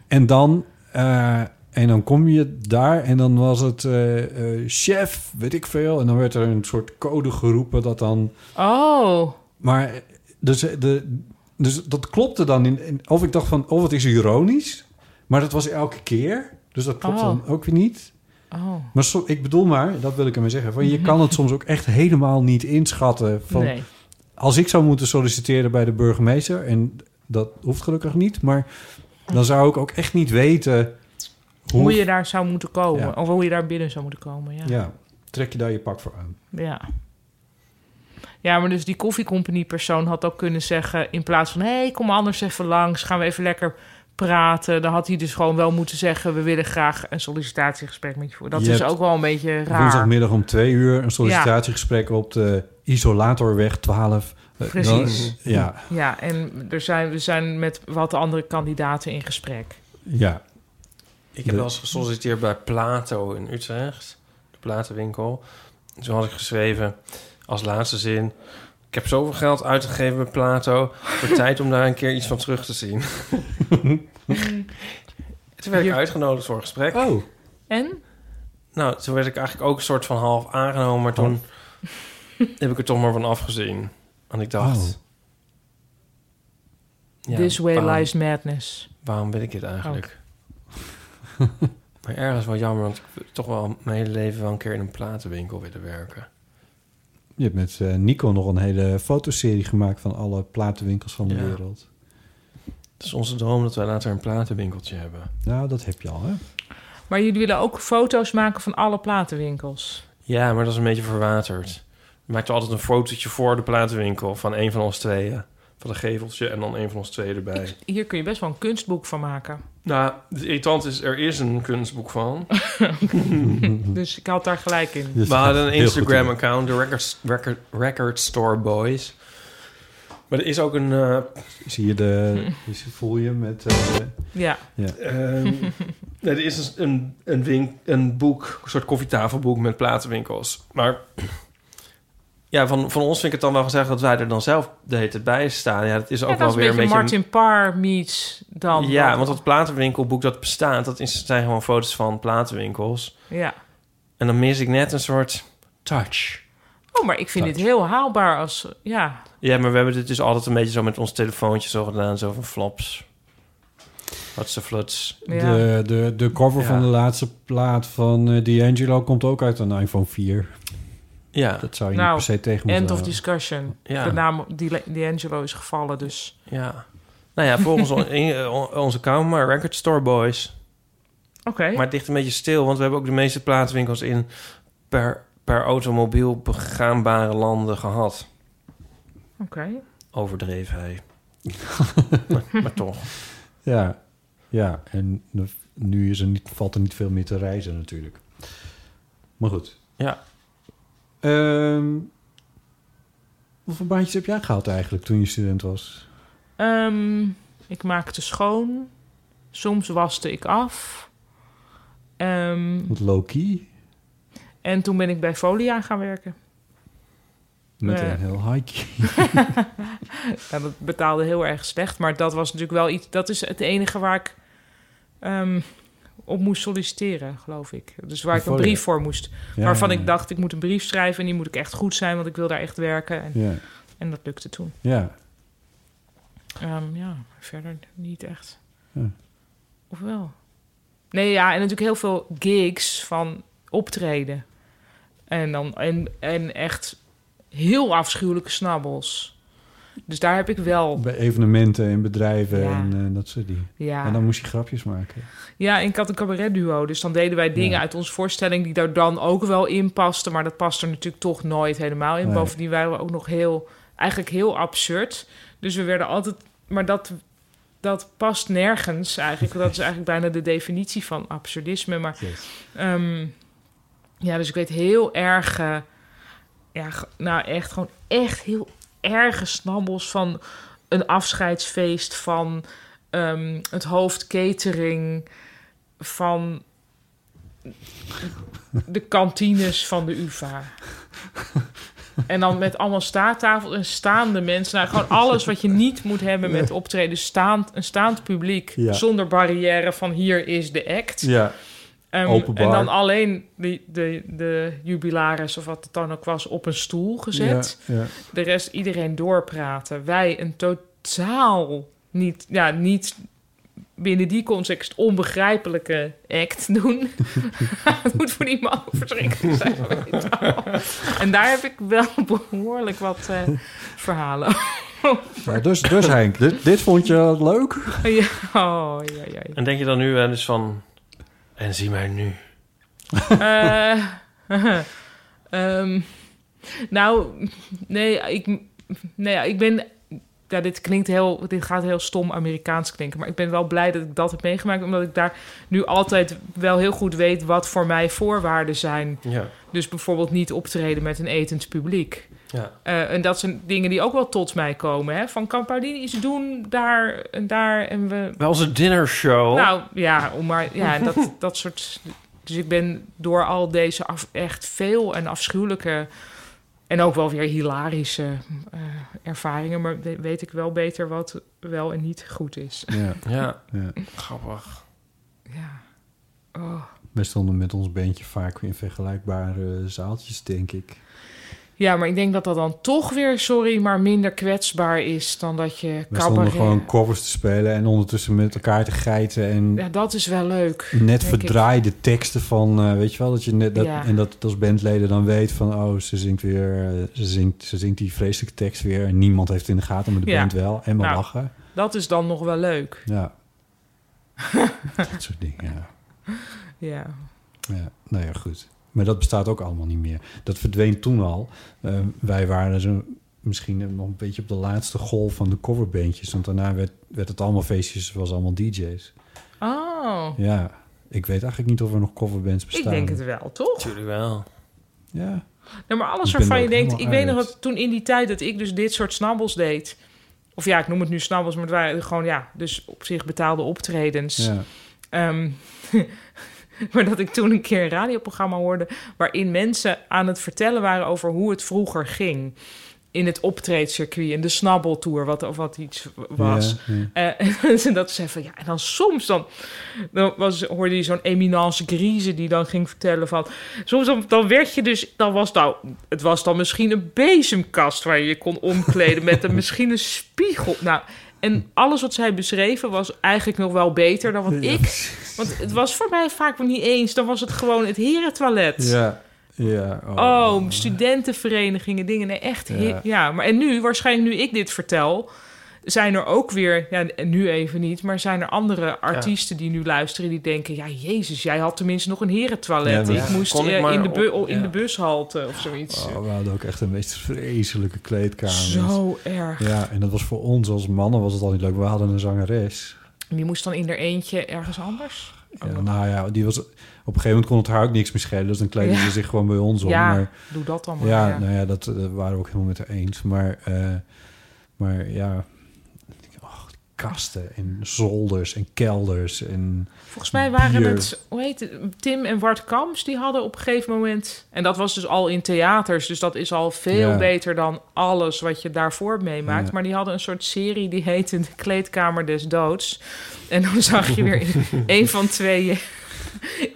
[SPEAKER 1] en, dan, eh, en dan kom je daar en dan was het eh, eh, chef, weet ik veel. En dan werd er een soort code geroepen dat dan...
[SPEAKER 2] Oh.
[SPEAKER 1] Maar eh, dus, eh, de, dus dat klopte dan in, in- Of ik dacht van, oh, wat is ironisch. Maar dat was elke keer. Dus dat klopt
[SPEAKER 2] Oh.
[SPEAKER 1] dan ook weer niet.
[SPEAKER 2] Oh.
[SPEAKER 1] Maar so- ik bedoel maar, dat wil ik ermee zeggen... Van, je kan het soms ook echt helemaal niet inschatten. Van,
[SPEAKER 2] Mhm. Nee.
[SPEAKER 1] Als ik zou moeten solliciteren bij de burgemeester... en dat hoeft gelukkig niet... maar dan zou ik ook echt niet weten...
[SPEAKER 2] Hoe, je daar zou moeten komen.
[SPEAKER 1] Ja.
[SPEAKER 2] Of hoe je daar binnen zou moeten komen, ja.
[SPEAKER 1] Ja, trek je daar je pak voor aan.
[SPEAKER 2] Ja. Ja, maar dus die koffiecompagnie-persoon had ook kunnen zeggen... in plaats van, hé, hey, kom anders even langs, gaan we even lekker praten. Dan had hij dus gewoon wel moeten zeggen... we willen graag een sollicitatiegesprek met je voeren. Dat
[SPEAKER 1] Je
[SPEAKER 2] is
[SPEAKER 1] hebt
[SPEAKER 2] ook wel een beetje raar.
[SPEAKER 1] Woensdagmiddag om twee uur een sollicitatiegesprek op de Isolatorweg 12. Eh,
[SPEAKER 2] Precies.
[SPEAKER 1] dan- ja,
[SPEAKER 2] ja, en er zijn, we zijn met wat andere kandidaten in gesprek.
[SPEAKER 1] ja.
[SPEAKER 3] Ik heb wel eens gesolliciteerd bij Plato in Utrecht, de platenwinkel. Toen had ik geschreven als laatste zin: Ik heb zoveel geld uitgegeven bij Plato. Het wordt tijd om daar een keer iets van terug te zien. toen werd ik uitgenodigd voor een gesprek.
[SPEAKER 1] Oh.
[SPEAKER 2] En?
[SPEAKER 3] Nou, toen werd ik eigenlijk ook een soort van half aangenomen, maar toen <laughs> heb ik er toch maar van afgezien. En ik dacht. ja,
[SPEAKER 2] This way
[SPEAKER 3] waarom-
[SPEAKER 2] lies madness.
[SPEAKER 3] Waarom wil ik dit eigenlijk? <laughs> maar ergens wel jammer, want ik wil toch wel mijn hele leven wel een keer in een platenwinkel willen werken.
[SPEAKER 1] Je hebt met eh, Nico nog een hele fotoserie gemaakt van alle platenwinkels van de
[SPEAKER 3] Ja.
[SPEAKER 1] wereld.
[SPEAKER 3] Het is onze droom dat wij later een platenwinkeltje hebben.
[SPEAKER 1] Nou, dat heb je al, hè?
[SPEAKER 2] Maar jullie willen ook foto's maken van alle platenwinkels.
[SPEAKER 3] Ja, maar dat is een beetje verwaterd. We maakten altijd een fotootje voor de platenwinkel van een van ons tweeën. Van een geveltje en dan een van ons tweeën erbij.
[SPEAKER 2] <laughs> Hier kun je best wel een kunstboek van maken.
[SPEAKER 3] Nou, het irritant is, er is een kunstboek van.
[SPEAKER 1] Mhm.
[SPEAKER 2] Dus ik had daar gelijk in.
[SPEAKER 3] We hadden een
[SPEAKER 1] Dus heel goed
[SPEAKER 3] Instagram-account, de record, record, record Store Boys. Maar er is ook een... eh,
[SPEAKER 1] Zie je de... is- voel je met... eh,
[SPEAKER 2] Ja.
[SPEAKER 1] ja.
[SPEAKER 3] Ehm,
[SPEAKER 2] <laughs>
[SPEAKER 3] nee, er is een, een, een, wink, een boek, een soort koffietafelboek met platenwinkels. Maar ja, van, van ons vind ik het dan wel gezegd dat wij er dan zelf de hele tijd bij staan. Ja, dat is ook
[SPEAKER 2] Ja,
[SPEAKER 3] wel
[SPEAKER 2] dat is
[SPEAKER 3] weer
[SPEAKER 2] een beetje Martin Parr meets dan.
[SPEAKER 3] Ja, want dat platenwinkelboek dat bestaat, dat is, zijn gewoon foto's van platenwinkels.
[SPEAKER 2] Ja.
[SPEAKER 3] En dan mis ik net een soort touch.
[SPEAKER 2] Oh, maar ik vind dit heel haalbaar als... Ja,
[SPEAKER 3] Ja, maar we hebben dit dus altijd een beetje zo met ons telefoontje zo gedaan, zo van flops. Wat ze fluts.
[SPEAKER 1] De, de, de cover
[SPEAKER 3] Ja.
[SPEAKER 1] van de laatste plaat van eh, D'Angelo komt ook uit een iPhone 4.
[SPEAKER 3] Ja.
[SPEAKER 1] Dat zou je
[SPEAKER 2] nou,
[SPEAKER 1] niet per se tegen moeten
[SPEAKER 2] end of
[SPEAKER 1] houden.
[SPEAKER 2] discussion.
[SPEAKER 3] Ja.
[SPEAKER 2] De naam Di- D'Angelo is gevallen, dus...
[SPEAKER 3] Ja. Nou ja,
[SPEAKER 2] <laughs>
[SPEAKER 3] volgens on- in- eh, on- onze kamer, Record Store Boys.
[SPEAKER 2] Oké.
[SPEAKER 3] Maar het ligt een beetje stil, want we hebben ook de meeste plaatswinkels in per, per automobiel begaanbare landen gehad.
[SPEAKER 2] Oké.
[SPEAKER 3] Overdreef hij. maar, maar toch.
[SPEAKER 1] Ja, ja. en de- nu is er niet, valt er niet veel meer te reizen natuurlijk. Maar goed. Ehm,
[SPEAKER 3] Ja.
[SPEAKER 1] hoeveel baantjes heb jij gehad eigenlijk toen je student was?
[SPEAKER 2] Ehm, ik maakte schoon. Soms waste ik af. Ehm,
[SPEAKER 1] Wat low-key?
[SPEAKER 2] en toen ben ik bij Folia gaan
[SPEAKER 1] <laughs>
[SPEAKER 2] werken.
[SPEAKER 1] Met
[SPEAKER 2] Nee.
[SPEAKER 1] een heel high
[SPEAKER 2] Ja, dat betaalde heel erg slecht. Maar dat was natuurlijk wel iets. Dat is het enige waar ik ehm, op moest solliciteren, geloof ik. Dus waar ik een
[SPEAKER 1] Voor je.
[SPEAKER 2] brief voor moest.
[SPEAKER 1] Ja,
[SPEAKER 2] waarvan
[SPEAKER 1] ja, ja.
[SPEAKER 2] ik dacht, ik moet een brief schrijven en die moet ik echt goed zijn, want ik wil daar echt werken. En,
[SPEAKER 1] Ja.
[SPEAKER 2] en dat lukte toen.
[SPEAKER 1] Ja.
[SPEAKER 2] Ehm, ja, verder niet echt.
[SPEAKER 1] Ja.
[SPEAKER 2] Of wel? Nee, ja, en natuurlijk heel veel gigs van optreden. En, dan, en, en echt heel afschuwelijke snabbels. Dus daar heb ik wel...
[SPEAKER 1] Bij evenementen en bedrijven
[SPEAKER 2] Ja.
[SPEAKER 1] en eh, dat soort dingen.
[SPEAKER 2] Ja.
[SPEAKER 1] En dan moest je grapjes maken.
[SPEAKER 2] Ja, en ik had een cabaretduo. Dus dan deden wij dingen
[SPEAKER 1] Ja.
[SPEAKER 2] uit onze voorstelling die daar dan ook wel in pasten. Maar dat past er natuurlijk toch nooit helemaal in.
[SPEAKER 1] Nee.
[SPEAKER 2] Bovendien waren we ook nog heel, eigenlijk heel absurd. Dus we werden altijd. Maar dat, dat past nergens eigenlijk. Dat is eigenlijk bijna de definitie van absurdisme. Maar ehm, ja, dus ik weet heel erg. eh, ja, g- nou echt gewoon echt heel erge snabbels van een afscheidsfeest van ehm, het hoofd catering van de kantines van de UvA. En dan met allemaal staattafels en staande mensen. Nou, gewoon alles wat je niet moet hebben met optreden. Staand, een staand publiek.
[SPEAKER 1] Ja.
[SPEAKER 2] Zonder barrière van hier is de act.
[SPEAKER 1] Ja.
[SPEAKER 2] Ehm,
[SPEAKER 1] Open bar.
[SPEAKER 2] En dan alleen de, de, de jubilaris of wat het dan ook was op een stoel gezet.
[SPEAKER 1] Ja, ja.
[SPEAKER 2] De rest iedereen doorpraten. Wij een totaal niet, ja, niet binnen die context onbegrijpelijke act doen. <laughs> Het moet voor die man verschrikkelijk zijn. weet je wel. en daar heb ik wel <laughs> behoorlijk wat eh, verhalen over.
[SPEAKER 1] Maar dus, dus Henk, dit, dit vond je leuk?
[SPEAKER 2] Ja, oh, ja, ja, ja.
[SPEAKER 3] En denk je dan nu wel eens van... En zie mij nu.
[SPEAKER 2] Eh, <laughs> ehm, Nou, nee, ik, nee, ja, ik ben. Ja, dit klinkt heel. Dit gaat heel stom Amerikaans klinken. Maar ik ben wel blij dat ik dat heb meegemaakt. Omdat ik daar nu altijd wel heel goed weet wat voor mij voorwaarden zijn.
[SPEAKER 3] Ja.
[SPEAKER 2] Dus bijvoorbeeld niet optreden met een etend publiek.
[SPEAKER 3] Ja.
[SPEAKER 2] Eh, en dat zijn dingen die ook wel tot mij komen. Hè? Van kan Pauline iets doen daar en daar. En we,
[SPEAKER 3] Wel onze
[SPEAKER 1] Oh.
[SPEAKER 3] dinnershow.
[SPEAKER 2] nou ja, om maar,
[SPEAKER 1] <laughs>
[SPEAKER 2] ja dat, dat soort. Dus ik ben door al deze af, echt veel en afschuwelijke. En ook wel weer hilarische eh, ervaringen. Maar we- weet ik wel beter wat wel en niet goed is.
[SPEAKER 1] Ja.
[SPEAKER 3] Ja.
[SPEAKER 1] Ja.
[SPEAKER 3] Grappig.
[SPEAKER 2] Ja. Oh.
[SPEAKER 1] Wij stonden met ons beentje vaak in vergelijkbare eh, zaaltjes, denk ik.
[SPEAKER 2] Ja, maar ik denk dat dat dan toch weer, sorry, maar minder kwetsbaar is dan dat je
[SPEAKER 1] We stonden
[SPEAKER 2] cabaret...
[SPEAKER 1] gewoon covers te spelen en ondertussen met elkaar te geiten. En
[SPEAKER 2] Ja, dat is wel leuk.
[SPEAKER 1] net
[SPEAKER 2] denk ik.
[SPEAKER 1] verdraaide teksten van, eh, weet je wel, dat je net dat,
[SPEAKER 2] Ja.
[SPEAKER 1] en dat het als bandleden dan weet van, oh, ze zingt weer, eh, ze zingt, ze zingt die vreselijke tekst weer en niemand heeft het in de gaten, maar de
[SPEAKER 2] Ja.
[SPEAKER 1] band wel. En we
[SPEAKER 2] Nou,
[SPEAKER 1] lachen.
[SPEAKER 2] Dat is dan nog wel leuk. <laughs>
[SPEAKER 1] Ja. dat soort dingen. Ja.
[SPEAKER 2] Ja.
[SPEAKER 1] Ja, nou ja, goed. Maar dat bestaat ook allemaal niet meer. Dat verdween toen al. Eh, wij waren zo misschien nog een beetje op de laatste golf van de coverbeentjes. Want daarna werd, werd het allemaal feestjes, was allemaal DJ's.
[SPEAKER 2] Oh,
[SPEAKER 1] Ja, ik weet eigenlijk niet of er nog coverbands bestaan.
[SPEAKER 2] ik denk het wel, toch?
[SPEAKER 3] Natuurlijk wel.
[SPEAKER 1] Ja.
[SPEAKER 2] Nou, maar alles
[SPEAKER 1] Ik ben
[SPEAKER 2] waarvan
[SPEAKER 1] er
[SPEAKER 2] je
[SPEAKER 1] ook
[SPEAKER 2] denkt, ik
[SPEAKER 1] helemaal
[SPEAKER 2] weet nog
[SPEAKER 1] uit.
[SPEAKER 2] dat toen in die tijd dat ik dus dit soort snabbels deed. Of ja, ik noem het nu snabbels, maar het waren gewoon, ja, dus op zich betaalde optredens.
[SPEAKER 1] Ja.
[SPEAKER 2] Ehm, <laughs> maar dat ik toen een keer een radioprogramma hoorde waarin mensen aan het vertellen waren over hoe het vroeger ging. In het optreedcircuit, in de snabbeltour, wat, of wat iets was.
[SPEAKER 16] Ja, ja.
[SPEAKER 2] Eh, <laughs> en dat ze van ja, en dan soms dan, dan was, hoorde je zo'n eminence grise die dan ging vertellen van. Soms dan, dan werd je dus, dan was nou, het was dan misschien een bezemkast waar je je kon omkleden
[SPEAKER 1] <laughs>
[SPEAKER 2] met een, misschien een spiegel. Nou, en alles wat zij beschreven was eigenlijk nog wel beter dan wat
[SPEAKER 1] Ja,
[SPEAKER 2] ik. Want het was voor mij vaak niet eens, dan was het gewoon het herentoilet.
[SPEAKER 1] Ja, ja. Oh.
[SPEAKER 2] Oh, studentenverenigingen, dingen. Nee, echt. he-
[SPEAKER 1] Ja.
[SPEAKER 2] Ja. maar en nu, waarschijnlijk nu ik dit vertel, zijn er ook weer, ja, en nu even niet, maar zijn er andere artiesten die nu luisteren die denken: ja, Jezus, jij had tenminste nog een herentoilet.
[SPEAKER 1] Ja,
[SPEAKER 2] ik
[SPEAKER 1] maar-
[SPEAKER 2] moest
[SPEAKER 3] Kon ik
[SPEAKER 2] eh,
[SPEAKER 3] maar
[SPEAKER 2] in, de bu-
[SPEAKER 3] op-
[SPEAKER 2] in
[SPEAKER 3] ja.
[SPEAKER 2] de bushalte of zoiets.
[SPEAKER 1] Oh, we hadden ook echt de meest vreselijke kleedkamer.
[SPEAKER 2] Zo erg.
[SPEAKER 1] Ja, en dat was voor ons als mannen was het al niet leuk. We hadden een zangeres.
[SPEAKER 2] Die moest dan in er eentje ergens anders.
[SPEAKER 1] Ja, nou ja, die was, op een gegeven moment kon het haar ook niks meer schelen. Dus dan kleedde
[SPEAKER 2] Ja.
[SPEAKER 1] ze zich gewoon bij ons om.
[SPEAKER 2] Ja,
[SPEAKER 1] maar,
[SPEAKER 2] doe dat dan maar,
[SPEAKER 1] Ja,
[SPEAKER 2] ja.
[SPEAKER 1] nou ja, dat eh, waren we ook helemaal met haar eens. Maar, eh, maar ja, och, die kasten en zolders en kelders. En
[SPEAKER 2] Volgens mij waren
[SPEAKER 1] bier.
[SPEAKER 2] het, hoe heet het, Tim en Wart Kams, die hadden op een gegeven moment... En dat was dus al in theaters, dus dat is al veel
[SPEAKER 1] Ja.
[SPEAKER 2] beter dan alles wat je daarvoor meemaakt.
[SPEAKER 1] Ja.
[SPEAKER 2] Maar die hadden een soort serie die heette De Kleedkamer des Doods. En dan zag je weer
[SPEAKER 1] <laughs>
[SPEAKER 2] een van twee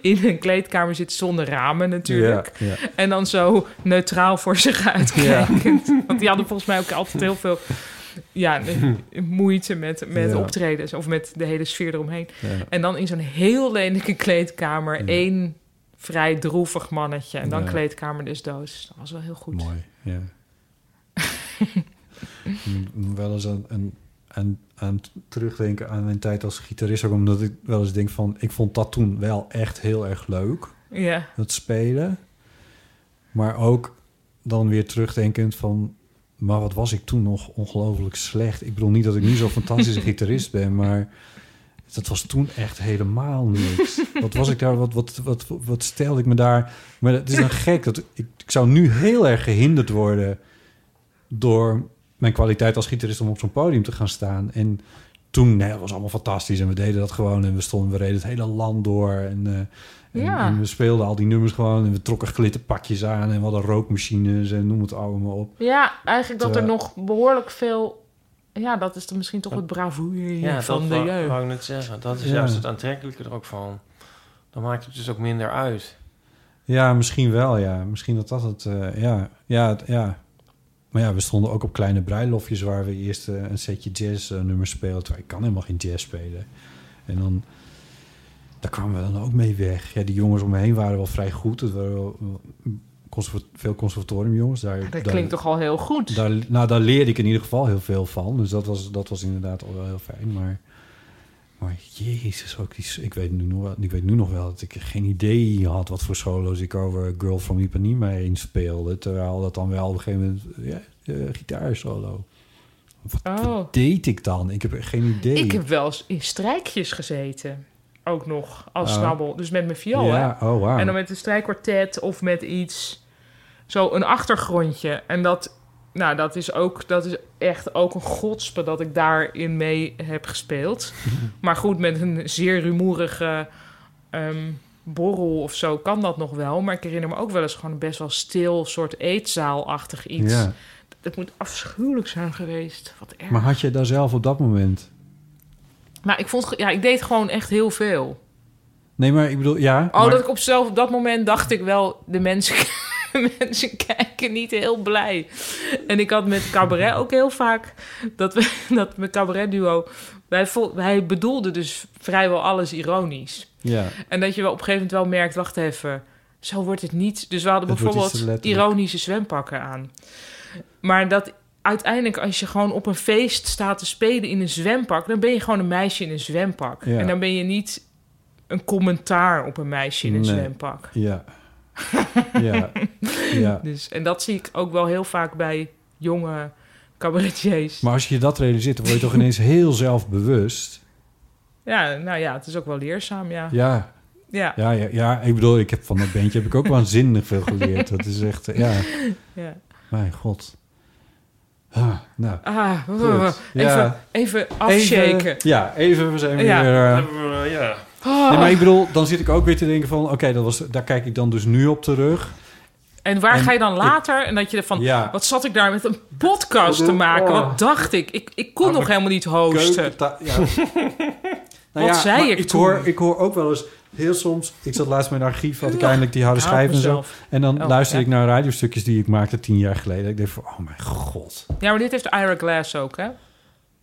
[SPEAKER 2] in een kleedkamer zitten zonder ramen natuurlijk.
[SPEAKER 1] Ja, ja.
[SPEAKER 2] En dan zo neutraal voor zich uitkijkend. Want die hadden volgens mij ook altijd heel veel... Ja,
[SPEAKER 1] <laughs>
[SPEAKER 2] moeite met, met
[SPEAKER 1] Ja.
[SPEAKER 2] optredens of met de hele sfeer eromheen.
[SPEAKER 1] Ja.
[SPEAKER 2] En dan in zo'n heel lelijke kleedkamer één vrij droevig mannetje. En dan
[SPEAKER 1] Ja.
[SPEAKER 2] kleedkamer dus doos. Dat was wel heel goed.
[SPEAKER 1] Mooi,
[SPEAKER 2] <laughs>
[SPEAKER 1] ja. Ik moet wel eens aan, aan, aan, aan terugdenken aan mijn tijd als gitarist. Ook omdat ik wel eens denk van... Ik vond dat toen wel echt heel erg leuk.
[SPEAKER 2] Ja.
[SPEAKER 1] Dat spelen. Maar ook dan weer terugdenkend van... Maar wat was ik toen nog ongelooflijk slecht. Ik bedoel niet dat ik nu zo'n fantastische gitarist ben, maar... Dat was toen echt helemaal niks. Wat was ik daar? Wat, wat, wat, wat stelde ik me daar? Maar het is dan gek dat ik, ik zou nu heel erg gehinderd worden door mijn kwaliteit als gitarist om op zo'n podium te gaan staan. En toen, nee, dat was allemaal fantastisch en we deden dat gewoon en we stonden, we reden het hele land door en, eh, en-
[SPEAKER 2] Ja.
[SPEAKER 1] en we speelden al die nummers gewoon en we trokken glitterpakjes aan en we hadden rookmachines en noem het allemaal op.
[SPEAKER 2] Ja, eigenlijk dat er
[SPEAKER 1] Terwijl-
[SPEAKER 2] nog behoorlijk veel... Ja, dat is dan misschien toch het bravoure
[SPEAKER 3] Ja, dat
[SPEAKER 2] van de
[SPEAKER 3] wou-
[SPEAKER 2] jeugd.
[SPEAKER 3] wou ik net zeggen. Dat is
[SPEAKER 1] Ja.
[SPEAKER 3] juist het aantrekkelijke er ook van. Dan maakt het dus ook minder uit.
[SPEAKER 1] Ja, misschien wel, ja. Misschien dat dat het, eh, ja. Ja, het- ja. Maar ja, we stonden ook op kleine bruiloftjes... waar we eerst eh, een setje jazz eh, nummers speelden. Terwijl ik kan helemaal geen jazz spelen. En dan... Daar kwamen we dan ook mee weg. Ja, die jongens om me heen waren wel vrij goed. Het waren wel wel conserva- veel conservatoriumjongens. Daar,
[SPEAKER 2] Dat
[SPEAKER 1] daar-
[SPEAKER 2] klinkt toch al heel goed?
[SPEAKER 1] Daar, nou, daar leerde ik in ieder geval heel veel van. Dus dat was, dat was inderdaad al wel heel fijn. Maar, Maar jezus, ook die, ik, weet nu nog wel, ik weet nu nog wel dat ik geen idee had wat voor solo's ik over Girl from Ipanema heen speelde. Terwijl dat dan wel op een gegeven moment ja, eh, gitaarsolo.
[SPEAKER 2] Oh.
[SPEAKER 1] Deed ik dan? Ik heb echt geen idee.
[SPEAKER 2] Ik heb wel eens in strijkjes gezeten. Ook nog, als
[SPEAKER 1] Oh.
[SPEAKER 2] snabbel. Dus met mijn viool,
[SPEAKER 1] Ja,
[SPEAKER 2] hè.
[SPEAKER 1] oh, wauw.
[SPEAKER 2] En dan met een strijkkwartet of met iets... Zo een achtergrondje. En dat, nou, dat, is ook, dat is echt ook een godspe dat ik daarin mee
[SPEAKER 1] <laughs>
[SPEAKER 2] heb gespeeld. maar goed, met een zeer rumoerige ehm, borrel of zo kan dat nog wel. Maar ik herinner me ook wel eens gewoon een best wel stil soort eetzaalachtig iets.
[SPEAKER 1] Ja.
[SPEAKER 2] Dat moet afschuwelijk zijn geweest. Wat erg.
[SPEAKER 1] Maar had je daar zelf op dat moment?
[SPEAKER 2] Maar ik vond, ge- ja, ik deed gewoon echt heel veel.
[SPEAKER 1] Nee, maar ik bedoel, ja.
[SPEAKER 2] Oh,
[SPEAKER 1] maar-
[SPEAKER 2] dat ik op zelf op dat moment dacht ik wel, de mensen, <laughs> mensen kijken niet heel blij. En ik had met cabaret ook heel vaak dat we <laughs> dat mijn cabaret duo, wij, vo- wij bedoelden dus vrijwel alles ironisch.
[SPEAKER 1] Ja.
[SPEAKER 2] En dat je wel op een gegeven moment wel merkt, wacht even, zo wordt het niet. Dus we hadden
[SPEAKER 1] Het wordt iets te
[SPEAKER 2] bijvoorbeeld
[SPEAKER 1] letterlijk.
[SPEAKER 2] ironische zwempakken aan. Maar dat uiteindelijk, als je gewoon op een feest staat te spelen in een zwempak, dan ben je gewoon een meisje in een zwempak.
[SPEAKER 1] Ja.
[SPEAKER 2] En dan ben je niet een commentaar op een meisje in een
[SPEAKER 1] Nee.
[SPEAKER 2] zwempak. <laughs>
[SPEAKER 1] Ja. ja. ja.
[SPEAKER 2] Dus, en dat zie ik ook wel heel vaak bij jonge cabaretiers.
[SPEAKER 1] Maar als je dat realiseert, dan word je toch ineens heel zelfbewust.
[SPEAKER 2] Ja, nou ja, het is ook wel leerzaam, ja.
[SPEAKER 1] Ja.
[SPEAKER 2] Ja.
[SPEAKER 1] Ja, ja, ja. Ik bedoel, ik heb van dat bandje heb ik ook waanzinnig veel geleerd. Dat is echt, eh, ja.
[SPEAKER 2] Ja.
[SPEAKER 1] Mijn god. Ah, nou.
[SPEAKER 2] Ah,
[SPEAKER 1] Goed.
[SPEAKER 2] even,
[SPEAKER 1] Ja.
[SPEAKER 2] even afshaken.
[SPEAKER 1] Even- ja, even, we zijn weer...
[SPEAKER 2] Ja. Oh. Ah.
[SPEAKER 1] eh,
[SPEAKER 3] ja.
[SPEAKER 1] Nee, maar ik bedoel, dan zit ik ook weer te denken van... Oké, dat was daar kijk ik dan dus nu op terug.
[SPEAKER 2] En waar
[SPEAKER 1] En
[SPEAKER 2] ga je dan
[SPEAKER 1] ik-
[SPEAKER 2] later? En dat je ervan,
[SPEAKER 1] Ja.
[SPEAKER 2] wat zat ik daar met een podcast te maken?
[SPEAKER 1] Oh. Ah,
[SPEAKER 2] Wat dacht ik? Ik, ik kon nog helemaal niet hosten.
[SPEAKER 1] Nou ja,
[SPEAKER 2] Wat zei
[SPEAKER 1] maar
[SPEAKER 2] ik
[SPEAKER 1] ik
[SPEAKER 2] toen?
[SPEAKER 1] hoor, ik hoor ook wel eens heel soms... Ik zat laatst met een archief, had ik
[SPEAKER 2] Ja,
[SPEAKER 1] eindelijk die harde
[SPEAKER 2] ik hou
[SPEAKER 1] schijf en zo.
[SPEAKER 2] mezelf.
[SPEAKER 1] En dan
[SPEAKER 2] Oh,
[SPEAKER 1] luisterde
[SPEAKER 2] ja.
[SPEAKER 1] ik naar radiostukjes die ik maakte tien jaar geleden. Ik dacht van, oh mijn god.
[SPEAKER 2] <laughs> Ja, maar dit heeft Ira Glass ook, hè?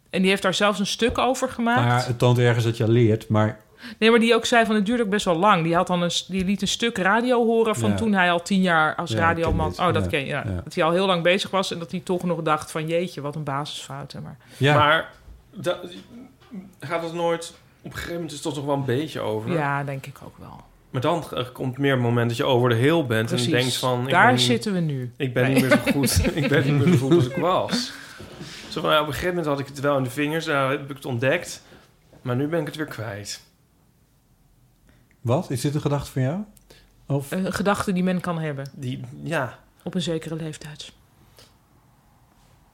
[SPEAKER 2] En die heeft daar zelfs een stuk over gemaakt.
[SPEAKER 1] Nou ja, het toont ergens dat je leert, maar...
[SPEAKER 2] Nee, maar die ook zei van het duurt ook best wel lang. Die, had dan een, s- die liet een stuk radio horen van
[SPEAKER 1] Ja.
[SPEAKER 2] toen hij al tien jaar als
[SPEAKER 1] Ja, ik ken
[SPEAKER 2] radioman...
[SPEAKER 1] dit.
[SPEAKER 2] Oh, dat
[SPEAKER 1] Ja,
[SPEAKER 2] ken je. Ja.
[SPEAKER 1] ja.
[SPEAKER 2] Dat hij al heel lang bezig was en dat hij toch nog dacht van... jeetje, wat een basisfout. hè, Maar...
[SPEAKER 3] Maar da- gaat het nooit... Op een gegeven moment is het toch nog wel een beetje over.
[SPEAKER 2] Ja, denk ik ook wel.
[SPEAKER 3] Maar dan eh, komt meer het moment dat je over de heel bent
[SPEAKER 2] Precies.
[SPEAKER 3] en denkt van... ik
[SPEAKER 2] Daar
[SPEAKER 3] ben niet-
[SPEAKER 2] zitten we nu.
[SPEAKER 3] Ik ben
[SPEAKER 2] Nee.
[SPEAKER 3] niet meer zo
[SPEAKER 2] <laughs>
[SPEAKER 3] goed. ik ben niet meer zo goed als ik was. Zo van, ja, op een gegeven moment had ik het wel in de vingers. Daar heb ik het ontdekt. Maar nu ben ik het weer kwijt.
[SPEAKER 1] Wat? Is dit een gedachte van jou? Of...
[SPEAKER 2] Een gedachte die men kan hebben.
[SPEAKER 3] Die, ja.
[SPEAKER 2] Op een zekere leeftijd.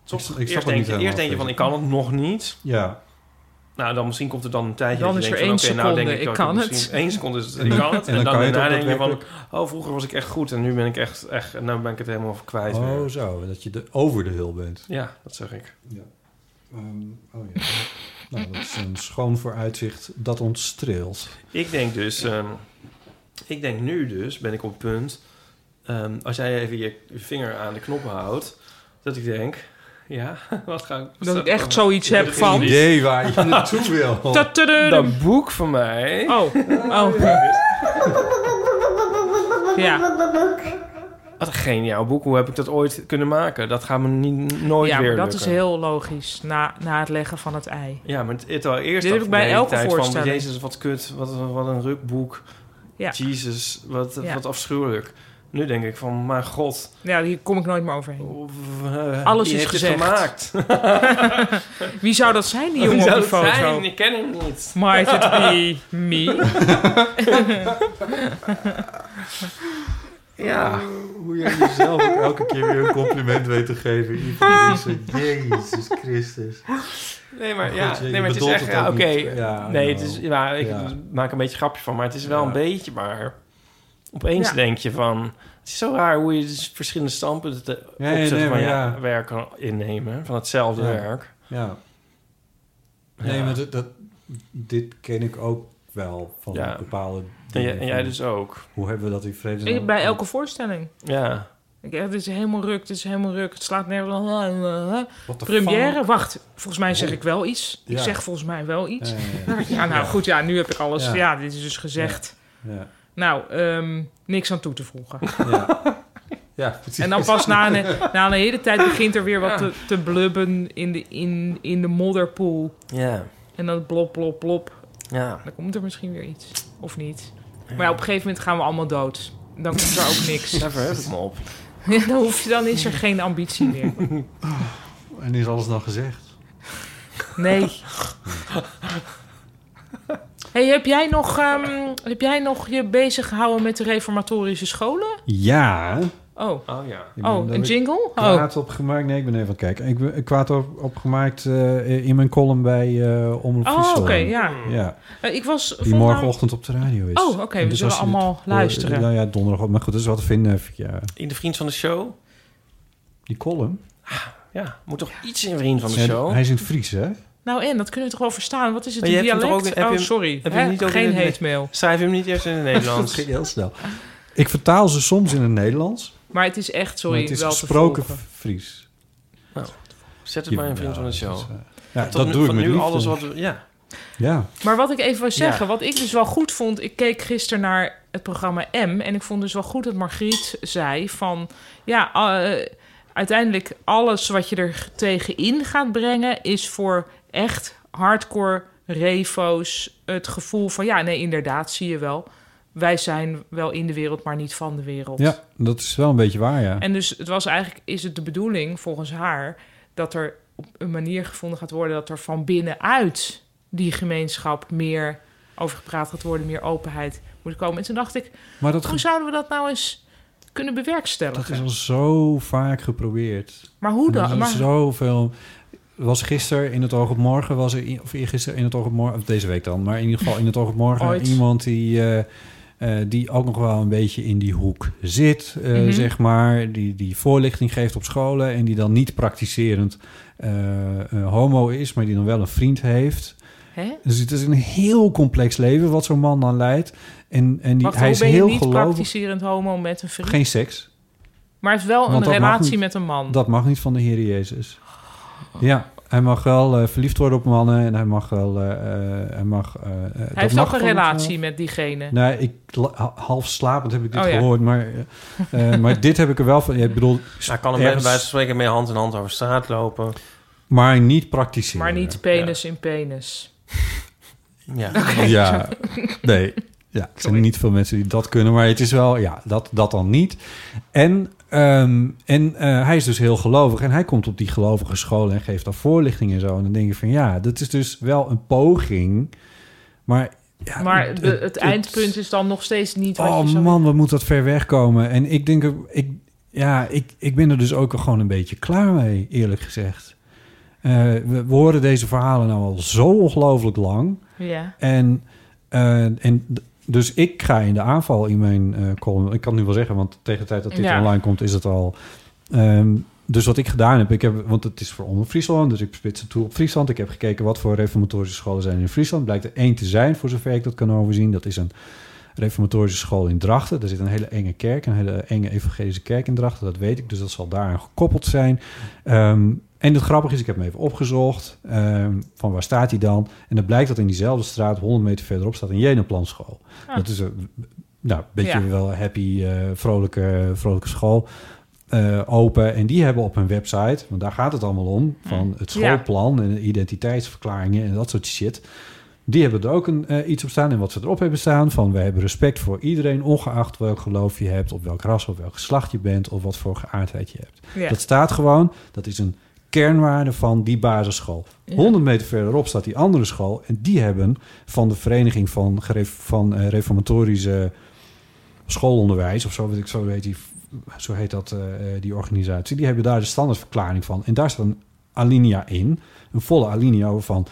[SPEAKER 3] Toch,
[SPEAKER 1] snap het
[SPEAKER 3] eerst
[SPEAKER 1] niet
[SPEAKER 3] denk, je,
[SPEAKER 1] helemaal,
[SPEAKER 3] eerst denk je van, ik kan het nog niet.
[SPEAKER 1] Ja.
[SPEAKER 3] Nou, dan misschien komt er dan een tijdje
[SPEAKER 2] Dan
[SPEAKER 3] dat je
[SPEAKER 2] is er
[SPEAKER 3] denkt
[SPEAKER 2] één
[SPEAKER 3] van, oké, nou denk
[SPEAKER 2] seconde,
[SPEAKER 3] ik, dat
[SPEAKER 2] ik kan het.
[SPEAKER 3] misschien- één seconde is
[SPEAKER 1] <laughs>
[SPEAKER 3] het,
[SPEAKER 1] En
[SPEAKER 3] ik
[SPEAKER 1] dan-
[SPEAKER 3] kan het.
[SPEAKER 1] en
[SPEAKER 3] En,
[SPEAKER 1] dan
[SPEAKER 3] dan
[SPEAKER 1] kan je het
[SPEAKER 3] daarna
[SPEAKER 1] ook
[SPEAKER 3] denk je van, oh, vroeger was ik echt goed en nu ben ik echt, echt en nou ben ik het helemaal kwijt weer.
[SPEAKER 1] Oh zo, dat je de, over de hul bent.
[SPEAKER 3] Ja, dat zeg ik.
[SPEAKER 1] Ja. oh ja. nou, dat is een schoon vooruitzicht dat ons streelt.
[SPEAKER 3] Ik denk dus, ehm, ik denk nu dus, ben ik op het punt, ehm, als jij even je vinger aan de knoppen houdt, dat ik denk, ja, <laughs> wat ga ik...
[SPEAKER 2] Dat ik echt zoiets heb
[SPEAKER 3] heb
[SPEAKER 2] van-
[SPEAKER 3] geen
[SPEAKER 2] Idee waar je naartoe <laughs> wil. Tatadadum.
[SPEAKER 3] Dat boek van mij.
[SPEAKER 2] Oh, oh. Ja.
[SPEAKER 3] Wat een geniaal boek. Hoe heb ik dat ooit kunnen maken? Dat gaat me niet, nooit
[SPEAKER 2] ja,
[SPEAKER 3] weer
[SPEAKER 2] maar dat is
[SPEAKER 3] lukken.
[SPEAKER 2] heel logisch na, na het leggen van het ei.
[SPEAKER 3] Ja, maar het, het al eerst
[SPEAKER 2] Dit
[SPEAKER 3] dacht
[SPEAKER 2] heb ik bij
[SPEAKER 3] de hele
[SPEAKER 2] elke
[SPEAKER 3] tijd van,
[SPEAKER 2] voorstelling.
[SPEAKER 3] Jezus, wat kut, wat, wat een rukboek.
[SPEAKER 2] Ja.
[SPEAKER 3] Jezus, wat,
[SPEAKER 2] Ja.
[SPEAKER 3] wat afschuwelijk. Nu denk ik van, mijn god.
[SPEAKER 2] Ja, hier kom ik nooit meer overheen.
[SPEAKER 3] eh,
[SPEAKER 2] Alles
[SPEAKER 3] wie
[SPEAKER 2] is
[SPEAKER 3] heeft dit
[SPEAKER 2] gezegd.
[SPEAKER 3] gemaakt?
[SPEAKER 2] <laughs> Wie zou Nou, dat
[SPEAKER 3] <laughs>
[SPEAKER 2] zijn, die
[SPEAKER 3] Wie
[SPEAKER 2] jongen
[SPEAKER 3] zou
[SPEAKER 2] op die
[SPEAKER 3] dat
[SPEAKER 2] foto?
[SPEAKER 3] zijn? Ik ken hem niet.
[SPEAKER 2] Might
[SPEAKER 3] <laughs>
[SPEAKER 2] it be me?
[SPEAKER 3] Ja.
[SPEAKER 1] Eh, Hoe jij jezelf ook elke keer weer een compliment weet te geven. Jezus Christus.
[SPEAKER 3] Nee, maar,
[SPEAKER 1] Goed,
[SPEAKER 3] ja,
[SPEAKER 1] je- je
[SPEAKER 3] nee, maar het is
[SPEAKER 1] bedoelt
[SPEAKER 3] echt...
[SPEAKER 1] het
[SPEAKER 3] ja,
[SPEAKER 1] ook
[SPEAKER 3] Oké,
[SPEAKER 1] niet. Ja,
[SPEAKER 3] nee, het
[SPEAKER 1] nou,
[SPEAKER 3] is, ja, ik
[SPEAKER 1] ja.
[SPEAKER 3] maak een beetje een grapje van, maar het is wel
[SPEAKER 1] Ja.
[SPEAKER 3] een beetje maar... Opeens
[SPEAKER 1] Ja.
[SPEAKER 3] denk je van... Het is zo raar hoe je dus verschillende standpunten te-
[SPEAKER 1] Ja,
[SPEAKER 3] op
[SPEAKER 1] ja,
[SPEAKER 3] zich
[SPEAKER 1] nee,
[SPEAKER 3] van
[SPEAKER 1] maar
[SPEAKER 3] je
[SPEAKER 1] ja.
[SPEAKER 3] werk kan innemen. Van hetzelfde
[SPEAKER 1] Ja.
[SPEAKER 3] werk.
[SPEAKER 1] Ja. Nee, maar dat, dat- dit ken ik ook wel van
[SPEAKER 3] Ja.
[SPEAKER 1] bepaalde
[SPEAKER 3] En jij-
[SPEAKER 1] dingen
[SPEAKER 3] en jij
[SPEAKER 1] van-
[SPEAKER 3] dus ook.
[SPEAKER 1] Hoe hebben we dat in vrede?
[SPEAKER 2] Ik- Bij elke voorstelling.
[SPEAKER 3] Ja.
[SPEAKER 2] Ik echt, dit is helemaal ruk, dit is helemaal ruk. Het slaat nergens.
[SPEAKER 1] What the
[SPEAKER 2] Première,
[SPEAKER 1] fuck?
[SPEAKER 2] wacht. Volgens mij zeg ik wel iets. Ik
[SPEAKER 1] Ja.
[SPEAKER 2] zeg volgens mij wel iets.
[SPEAKER 1] Ja,
[SPEAKER 2] <laughs> Ja,
[SPEAKER 1] ja, ja.
[SPEAKER 2] nou
[SPEAKER 1] Ja.
[SPEAKER 2] goed, ja, nu heb ik alles.
[SPEAKER 1] Ja.
[SPEAKER 2] Ja, dit is dus gezegd.
[SPEAKER 1] Ja. Ja.
[SPEAKER 2] Nou, ehm, niks aan toe te voegen.
[SPEAKER 1] Ja. Ja, precies.
[SPEAKER 2] En dan pas na een, na een hele tijd begint er weer wat
[SPEAKER 1] Ja.
[SPEAKER 2] te, te blubben in de, in, in de modderpoel.
[SPEAKER 3] Ja.
[SPEAKER 2] En dan blop, blop, blop.
[SPEAKER 3] Ja.
[SPEAKER 2] Dan komt er misschien weer iets. Of niet. Maar ja, op een gegeven moment gaan we allemaal dood. Dan komt er
[SPEAKER 3] <laughs>
[SPEAKER 2] ook niks.
[SPEAKER 3] Daar verheug ik me op.
[SPEAKER 2] <laughs> Ja, dan, hoef je, dan is er geen ambitie meer.
[SPEAKER 1] En is alles dan gezegd?
[SPEAKER 2] Nee. Hey, heb, jij nog, ehm, heb jij nog je bezig gehouden met de reformatorische scholen?
[SPEAKER 1] Ja.
[SPEAKER 2] Oh.
[SPEAKER 3] Oh ja.
[SPEAKER 1] Ik ben
[SPEAKER 2] Oh,
[SPEAKER 1] daar
[SPEAKER 2] een
[SPEAKER 1] weer
[SPEAKER 2] jingle? Oh.
[SPEAKER 1] Kwaad opgemaakt. Nee, ik ben even aan het kijken. Ik ben eh, kwaad op, opgemaakt eh, in mijn column bij eh Omroep
[SPEAKER 2] Oh,
[SPEAKER 1] Friesland.
[SPEAKER 2] oké, ja.
[SPEAKER 1] ja.
[SPEAKER 2] Eh, ik was
[SPEAKER 1] Die
[SPEAKER 2] volgens mij-
[SPEAKER 1] morgenochtend op de radio is.
[SPEAKER 2] Oh, oké, we
[SPEAKER 1] En dus
[SPEAKER 2] zullen
[SPEAKER 1] als je dit
[SPEAKER 2] allemaal
[SPEAKER 1] hoort-
[SPEAKER 2] luisteren.
[SPEAKER 1] Nou ja, donderdag. Maar goed, dat is wat te vinden via
[SPEAKER 3] In de Vriend van de Show.
[SPEAKER 1] die column.
[SPEAKER 3] Ja, moet toch iets in Vriend van de
[SPEAKER 1] En
[SPEAKER 3] Show?
[SPEAKER 1] Hij is in het Fries, hè?
[SPEAKER 2] Nou en, dat kunnen we toch wel verstaan? Wat is het,
[SPEAKER 3] Maar je
[SPEAKER 2] een
[SPEAKER 3] hebt hem
[SPEAKER 2] dialect?
[SPEAKER 3] toch ook in- heb
[SPEAKER 2] oh,
[SPEAKER 3] je hem-
[SPEAKER 2] sorry.
[SPEAKER 3] heb je hem
[SPEAKER 2] Hè?
[SPEAKER 3] niet ook in
[SPEAKER 2] geen
[SPEAKER 3] het-
[SPEAKER 2] hate mail.
[SPEAKER 3] Schrijf hem niet eerst in
[SPEAKER 1] <laughs>
[SPEAKER 3] het
[SPEAKER 1] dat
[SPEAKER 3] Nederlands.
[SPEAKER 1] ging heel snel. Ik vertaal ze soms in het Nederlands.
[SPEAKER 2] Maar het is echt, sorry,
[SPEAKER 1] maar het is
[SPEAKER 2] wel te
[SPEAKER 1] gesproken
[SPEAKER 2] volgen.
[SPEAKER 1] Fries.
[SPEAKER 3] Nou, zet het maar in Vriend van de Show.
[SPEAKER 1] eh, Ja,
[SPEAKER 3] Tot
[SPEAKER 1] dat
[SPEAKER 3] nu-
[SPEAKER 1] doe ik
[SPEAKER 3] van
[SPEAKER 1] met
[SPEAKER 3] nu
[SPEAKER 1] liefde.
[SPEAKER 3] alles wat... we- Ja.
[SPEAKER 1] Ja.
[SPEAKER 2] Maar wat ik even wil zeggen,
[SPEAKER 3] Ja.
[SPEAKER 2] wat ik dus wel goed vond... Ik keek gisteren naar het programma M... en ik vond dus wel goed dat Margriet zei van... ja, eh, uiteindelijk alles wat je er tegenin gaat brengen... is voor echt hardcore revo's het gevoel van... ja, nee, inderdaad, zie je wel. Wij zijn wel in de wereld, maar niet van de wereld.
[SPEAKER 1] ja, dat is wel een beetje waar, ja.
[SPEAKER 2] En dus het was eigenlijk, is het de bedoeling volgens haar dat er op een manier gevonden gaat worden dat er van binnenuit die gemeenschap meer over gepraat gaat worden, meer openheid moet komen. En toen dacht ik,
[SPEAKER 1] Maar dat
[SPEAKER 2] hoe
[SPEAKER 1] ge-
[SPEAKER 2] zouden we dat nou eens kunnen
[SPEAKER 1] Dat
[SPEAKER 2] bewerkstelligen?
[SPEAKER 1] is al zo vaak geprobeerd.
[SPEAKER 2] Maar hoe
[SPEAKER 1] En
[SPEAKER 2] dan?
[SPEAKER 1] Er is
[SPEAKER 2] Maar-
[SPEAKER 1] zoveel... Was gisteren in het oog op morgen, was er, i- of eergisteren in het oog op morgen, of deze week dan, maar in ieder geval in het oog op morgen
[SPEAKER 2] Ooit.
[SPEAKER 1] iemand die, eh, eh, die ook nog wel een beetje in die hoek zit, eh,
[SPEAKER 2] Mhm.
[SPEAKER 1] zeg maar, die, die voorlichting geeft op scholen en die dan niet praktiserend eh, eh, homo is, maar die dan wel een vriend heeft.
[SPEAKER 2] Hè?
[SPEAKER 1] Dus het is een heel complex leven wat zo'n man dan leidt. En, en die,
[SPEAKER 2] Wacht,
[SPEAKER 1] hij
[SPEAKER 2] hoe
[SPEAKER 1] is
[SPEAKER 2] ben je
[SPEAKER 1] heel
[SPEAKER 2] niet
[SPEAKER 1] gelovig.
[SPEAKER 2] praktiserend homo met een vriend?
[SPEAKER 1] Geen seks.
[SPEAKER 2] Maar het is wel
[SPEAKER 1] Want
[SPEAKER 2] Oh, een
[SPEAKER 1] dat mag
[SPEAKER 2] relatie
[SPEAKER 1] niet-
[SPEAKER 2] met een man.
[SPEAKER 1] Dat mag niet van de Heer Jezus. Ja, hij mag wel eh, verliefd worden op mannen en hij mag wel. eh, eh, hij mag, eh, eh, dat
[SPEAKER 2] Hij heeft
[SPEAKER 1] mag
[SPEAKER 2] ook een
[SPEAKER 1] gewoon,
[SPEAKER 2] relatie
[SPEAKER 1] eh,
[SPEAKER 2] met diegene.
[SPEAKER 1] Nee, ik, la- ha- half slapend heb ik dit
[SPEAKER 2] Oh ja.
[SPEAKER 1] gehoord, maar, eh, eh, maar dit heb ik er wel van. ja, Ik bedoel,
[SPEAKER 3] Hij Nou, kan hem bij
[SPEAKER 1] ergens-
[SPEAKER 3] wijze van spreken mee hand in hand over straat lopen.
[SPEAKER 1] maar niet praktiseren.
[SPEAKER 2] Maar niet penis in penis.
[SPEAKER 3] <laughs> Ja.
[SPEAKER 2] Oké.
[SPEAKER 1] Ja, nee. Ja, er zijn niet veel mensen die dat kunnen, maar het is wel, ja, dat, dat dan niet. En, ehm, en eh, hij is dus heel gelovig en hij komt op die gelovige scholen en geeft daar voorlichting en zo. En dan denk je van ja, dat is dus wel een poging, maar. Ja,
[SPEAKER 2] maar de, het, eindpunt is dan nog steeds niet wat je
[SPEAKER 1] Oh
[SPEAKER 2] zou
[SPEAKER 1] man, wat moet dat ver weg komen? En ik denk, er- ik, ja, ik, ik ben er dus ook gewoon een beetje klaar mee, eerlijk gezegd. Eh, we, we horen deze verhalen nou al zo ongelooflijk lang.
[SPEAKER 2] Ja.
[SPEAKER 1] En, eh, en d- dus ik ga in de aanval in mijn eh, column. Ik kan het nu wel zeggen, want tegen de tijd dat dit
[SPEAKER 2] Ja.
[SPEAKER 1] online komt, is het al. Ehm, dus wat ik gedaan heb, ik heb, want het is voor onder Friesland, dus ik spits het toe op Friesland. Ik heb gekeken wat voor reformatorische scholen zijn in Friesland. Blijkt er één te zijn, voor zover ik dat kan overzien. Dat is een reformatorische school in Drachten. Daar zit een hele enge kerk, een hele enge evangelische kerk in Drachten. Dat weet ik, dus dat zal daaraan gekoppeld zijn. Ehm, en het grappige is, ik heb hem even opgezocht. ehm, van waar staat hij dan? En dan blijkt dat in diezelfde straat, 100 meter verderop, staat een Jeneplanschool.
[SPEAKER 2] Ah.
[SPEAKER 1] Dat is een nou, beetje
[SPEAKER 2] Ja.
[SPEAKER 1] wel happy, eh, vrolijke, vrolijke school. eh, open. En die hebben op hun website, want daar gaat het allemaal om... van het
[SPEAKER 2] Mm. Ja.
[SPEAKER 1] schoolplan en de identiteitsverklaringen en dat soort shit... Die hebben er ook een, eh, iets op staan. En wat ze erop hebben staan: van wij hebben respect voor iedereen, ongeacht welk geloof je hebt, of welk ras, of welk geslacht je bent, of wat voor geaardheid je hebt.
[SPEAKER 2] Ja.
[SPEAKER 1] Dat staat gewoon, dat is een kernwaarde van die basisschool.
[SPEAKER 2] Ja.
[SPEAKER 1] 100 meter verderop staat die andere school. En die hebben van de Vereniging van, geref- van eh, Reformatorische Schoolonderwijs, of zo, weet ik, zo, heet die, zo heet dat, eh, eh, die organisatie. Die hebben daar de standaardverklaring van. En daar staat een alinea in, een volle alinea over van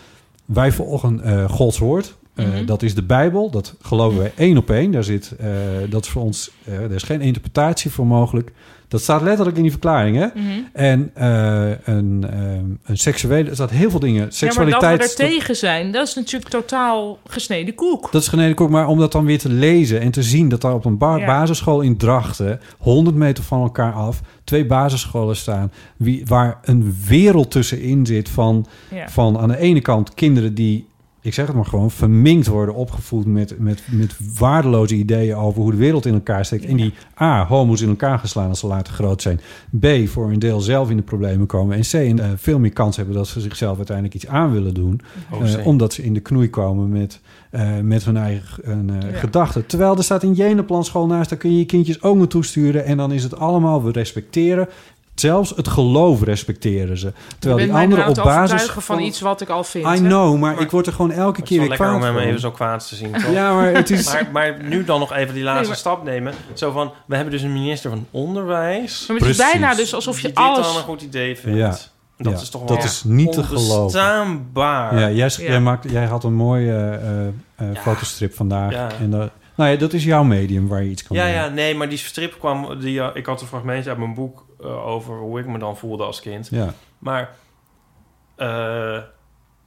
[SPEAKER 1] wij volgen eh, Gods woord. Eh,
[SPEAKER 2] Mhm.
[SPEAKER 1] Dat is de Bijbel. Dat geloven wij één op één. Daar zit, eh, dat is voor ons, eh, er is geen interpretatie voor mogelijk. Dat staat letterlijk in die verklaring. Hè?
[SPEAKER 2] Mhm.
[SPEAKER 1] En eh, een, ehm, een seksuele, er staat heel veel dingen. Seksualiteit.
[SPEAKER 2] Ja, maar dat we
[SPEAKER 1] dat-
[SPEAKER 2] er tegen zijn, dat is natuurlijk totaal gesneden koek.
[SPEAKER 1] dat is geneden ook, maar om dat dan weer te lezen en te zien dat daar op een ba-
[SPEAKER 2] Ja.
[SPEAKER 1] basisschool in Drachten, 100 meter van elkaar af, twee basisscholen staan, wie, waar een wereld tussenin zit van,
[SPEAKER 2] Ja.
[SPEAKER 1] van aan de ene kant kinderen die ik zeg het maar gewoon, verminkt worden opgevoed met, met, met waardeloze ideeën over hoe de wereld in elkaar steekt. En die A, homo's in elkaar geslaan als ze later groot zijn. B, voor een deel zelf in de problemen komen. En C, en, eh, veel meer kans hebben dat ze zichzelf uiteindelijk iets aan willen doen.
[SPEAKER 3] Oh,
[SPEAKER 1] eh,
[SPEAKER 3] C.
[SPEAKER 1] omdat ze in de knoei komen met, eh, met hun eigen eh,
[SPEAKER 3] Ja.
[SPEAKER 1] gedachten. Terwijl er staat een Jeneplanschool naast, daar kun je je kindjes ook naartoe sturen. En dan is het allemaal, we respecteren. Zelfs het geloof respecteren ze. Terwijl
[SPEAKER 2] je
[SPEAKER 1] die
[SPEAKER 2] bent mij nou
[SPEAKER 1] anderen
[SPEAKER 2] aan
[SPEAKER 1] op
[SPEAKER 2] het
[SPEAKER 1] basis
[SPEAKER 2] overtuigen van iets wat ik al vind.
[SPEAKER 1] I
[SPEAKER 2] hè?
[SPEAKER 1] know, maar ik word er gewoon elke
[SPEAKER 3] Het is
[SPEAKER 1] keer
[SPEAKER 3] wel
[SPEAKER 1] weer
[SPEAKER 3] lekker
[SPEAKER 1] kwaad
[SPEAKER 3] om hem
[SPEAKER 1] van.
[SPEAKER 3] even zo kwaad te zien. toch?
[SPEAKER 1] Ja, maar het is-
[SPEAKER 3] Maar, maar nu dan nog even die laatste
[SPEAKER 2] Nee, maar-
[SPEAKER 3] stap nemen. Zo van, we hebben dus een minister van Onderwijs.
[SPEAKER 2] Maar het is bijna dus alsof je
[SPEAKER 3] die dit
[SPEAKER 2] alles-
[SPEAKER 3] dan een goed idee vindt.
[SPEAKER 1] Ja.
[SPEAKER 3] Dat
[SPEAKER 1] Ja,
[SPEAKER 3] is toch wel
[SPEAKER 1] dat is niet te geloven.
[SPEAKER 3] onbestaanbaar.
[SPEAKER 1] Ja, jij, sch- Jij, maakt, jij had een mooie eh, eh, fotostrip vandaag.
[SPEAKER 3] Ja.
[SPEAKER 1] En dat, nou ja, dat is jouw medium waar je iets kan
[SPEAKER 3] Ja,
[SPEAKER 1] doen.
[SPEAKER 3] ja, nee, maar die strip kwam... Die, eh, ik had een fragmentje uit mijn boek eh, over hoe ik me dan voelde als kind.
[SPEAKER 1] Ja.
[SPEAKER 3] Maar eh,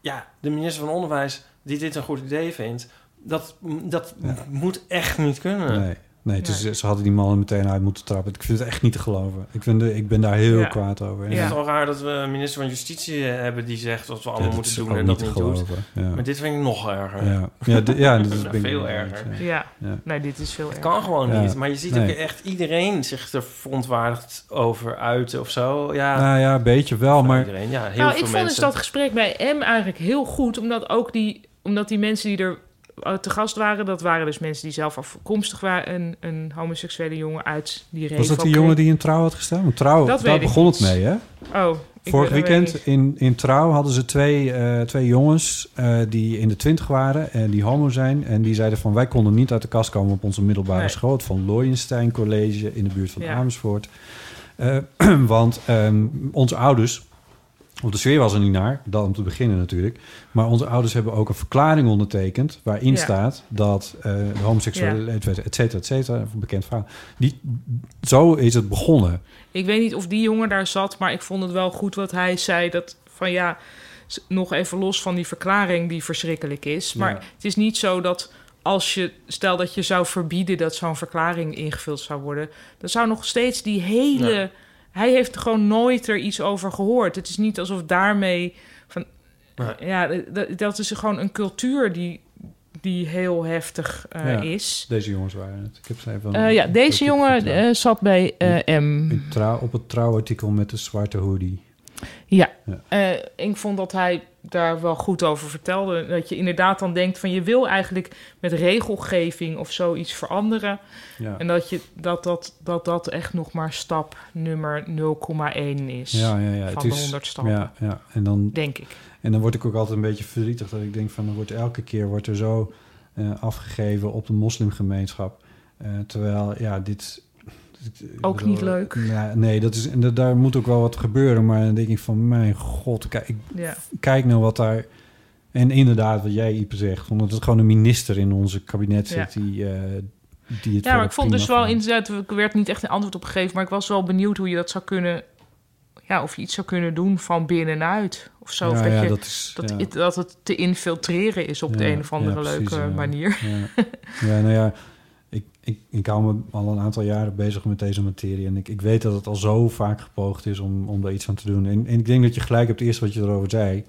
[SPEAKER 3] ja, de minister van Onderwijs die dit een goed idee vindt... dat, dat moet echt niet kunnen.
[SPEAKER 1] Nee, nee het is, ze hadden die mannen meteen uit moeten trappen. Ik vind het echt niet te geloven. Ik, vind, de- ik ben daar heel
[SPEAKER 3] Ja.
[SPEAKER 1] kwaad over.
[SPEAKER 3] Ik
[SPEAKER 1] Ja.
[SPEAKER 3] vind het al raar dat we een minister van Justitie eh, hebben die zegt wat we allemaal
[SPEAKER 1] dat
[SPEAKER 3] moeten
[SPEAKER 1] is
[SPEAKER 3] doen
[SPEAKER 1] ook
[SPEAKER 3] en dat
[SPEAKER 1] niet
[SPEAKER 3] niet
[SPEAKER 1] te
[SPEAKER 3] doet.
[SPEAKER 1] geloven, ja.
[SPEAKER 3] Maar dit vind ik nog erger.
[SPEAKER 1] Ja. Ja, dit- ja,
[SPEAKER 3] <laughs>
[SPEAKER 1] dat is-
[SPEAKER 3] Nou,
[SPEAKER 1] ben ik
[SPEAKER 3] veel
[SPEAKER 1] wel
[SPEAKER 3] erger.
[SPEAKER 1] eens,
[SPEAKER 2] ja. Ja. Nee, dit is veel
[SPEAKER 3] Het
[SPEAKER 2] erger.
[SPEAKER 3] kan gewoon
[SPEAKER 1] Ja.
[SPEAKER 3] niet. Maar je ziet
[SPEAKER 1] Nee.
[SPEAKER 3] ook echt iedereen zich er verontwaardigd over uiten of zo. Ja,
[SPEAKER 1] Nou ja, een beetje wel, maar...
[SPEAKER 3] iedereen. Ja, heel
[SPEAKER 2] nou,
[SPEAKER 3] veel
[SPEAKER 2] ik vond dus
[SPEAKER 3] mensen.
[SPEAKER 2] dat gesprek bij M eigenlijk heel goed, omdat ook die, omdat die mensen die er eh, te gast waren, dat waren dus mensen die zelf afkomstig waren, een, een homoseksuele jongen uit die regio.
[SPEAKER 1] Was dat die jongen die in Trouw had gestaan? Want Trouw,
[SPEAKER 2] Dat
[SPEAKER 1] daar
[SPEAKER 2] weet ik
[SPEAKER 1] begon het
[SPEAKER 2] niet.
[SPEAKER 1] mee, hè?
[SPEAKER 2] Oh, ik
[SPEAKER 1] Vorig
[SPEAKER 2] weet- dat weet
[SPEAKER 1] weekend in, in Trouw hadden ze twee, eh, twee jongens eh, die in de twintig waren en die homo zijn. En die zeiden van wij konden niet uit de kast komen op onze middelbare
[SPEAKER 2] Nee.
[SPEAKER 1] school. Het Van Looyenstein College in de buurt van
[SPEAKER 2] Ja.
[SPEAKER 1] Amersfoort. Eh, <clears throat> want ehm, onze ouders, want de sfeer was er niet naar, dat om te beginnen natuurlijk. Maar onze ouders hebben ook een verklaring ondertekend waarin
[SPEAKER 2] Ja.
[SPEAKER 1] staat dat eh de homoseksuele,
[SPEAKER 2] Ja.
[SPEAKER 1] et cetera, et cetera, et cetera, een bekend verhaal. Die, zo is het begonnen.
[SPEAKER 2] Ik weet niet of die jongen daar zat, maar ik vond het wel goed wat hij zei. Dat van ja, s- nog even los van die verklaring die verschrikkelijk is. Maar
[SPEAKER 1] Ja.
[SPEAKER 2] het is niet zo dat als je, stel dat je zou verbieden dat zo'n verklaring ingevuld zou worden, dan zou nog steeds die hele.
[SPEAKER 16] Ja.
[SPEAKER 2] Hij heeft gewoon nooit er iets over gehoord. Het is niet alsof daarmee van.
[SPEAKER 3] Nee.
[SPEAKER 2] Ja, d- d- dat is gewoon een cultuur die, die heel heftig eh,
[SPEAKER 1] Ja,
[SPEAKER 2] is.
[SPEAKER 1] Deze jongens waren het. Ik heb ze even.
[SPEAKER 2] Eh, ja, deze jongen eh, zat bij eh, M.
[SPEAKER 1] In trouw, op het trouwartikel met de zwarte hoodie.
[SPEAKER 2] Ja,
[SPEAKER 1] Ja.
[SPEAKER 2] eh, ik vond dat hij daar wel goed over vertelde. Dat je inderdaad dan denkt van je wil eigenlijk met regelgeving of zoiets veranderen.
[SPEAKER 1] Ja.
[SPEAKER 2] En dat, je, dat, dat, dat dat echt nog maar stap nummer 0,1 is
[SPEAKER 1] Ja, ja, ja.
[SPEAKER 2] van
[SPEAKER 1] het
[SPEAKER 2] de
[SPEAKER 1] is-
[SPEAKER 2] 100 stappen.
[SPEAKER 1] Ja, ja. En dan,
[SPEAKER 2] Denk ik.
[SPEAKER 1] En dan word ik ook altijd een beetje verdrietig dat ik denk van, er wordt elke keer wordt er zo eh, afgegeven op de moslimgemeenschap. Eh, terwijl, ja, dit... dit- ik
[SPEAKER 2] Ook niet leuk.
[SPEAKER 1] ja, nee, dat is, en dat, daar moet ook wel wat gebeuren. Maar dan denk ik van, mijn god, kijk,
[SPEAKER 2] Ja.
[SPEAKER 1] kijk nou wat daar... En inderdaad, wat jij, Ipe, zegt. Omdat het gewoon een minister in onze kabinet zit
[SPEAKER 2] Ja.
[SPEAKER 1] die, eh, die het
[SPEAKER 2] Ja, maar
[SPEAKER 1] werk
[SPEAKER 2] ik vond
[SPEAKER 1] prima
[SPEAKER 2] dus wel inderdaad, ik werd niet echt een antwoord op gegeven, maar ik was wel benieuwd hoe je dat zou kunnen, ja, of je iets zou kunnen doen van binnenuit of zo. of
[SPEAKER 1] Ja,
[SPEAKER 2] dat,
[SPEAKER 1] ja,
[SPEAKER 2] je,
[SPEAKER 1] dat is-
[SPEAKER 2] dat,
[SPEAKER 1] ja.
[SPEAKER 2] het, dat het te infiltreren is op de
[SPEAKER 1] Ja,
[SPEAKER 2] een of andere
[SPEAKER 1] ja, precies,
[SPEAKER 2] leuke
[SPEAKER 1] ja.
[SPEAKER 2] manier.
[SPEAKER 1] Ja. Ja, nou ja, ik, ik, ik hou me al een aantal jaren bezig met deze materie. En ik, ik weet dat het al zo vaak gepoogd is om, om daar iets aan te doen. En, en ik denk dat je gelijk hebt, eerst wat je erover zei.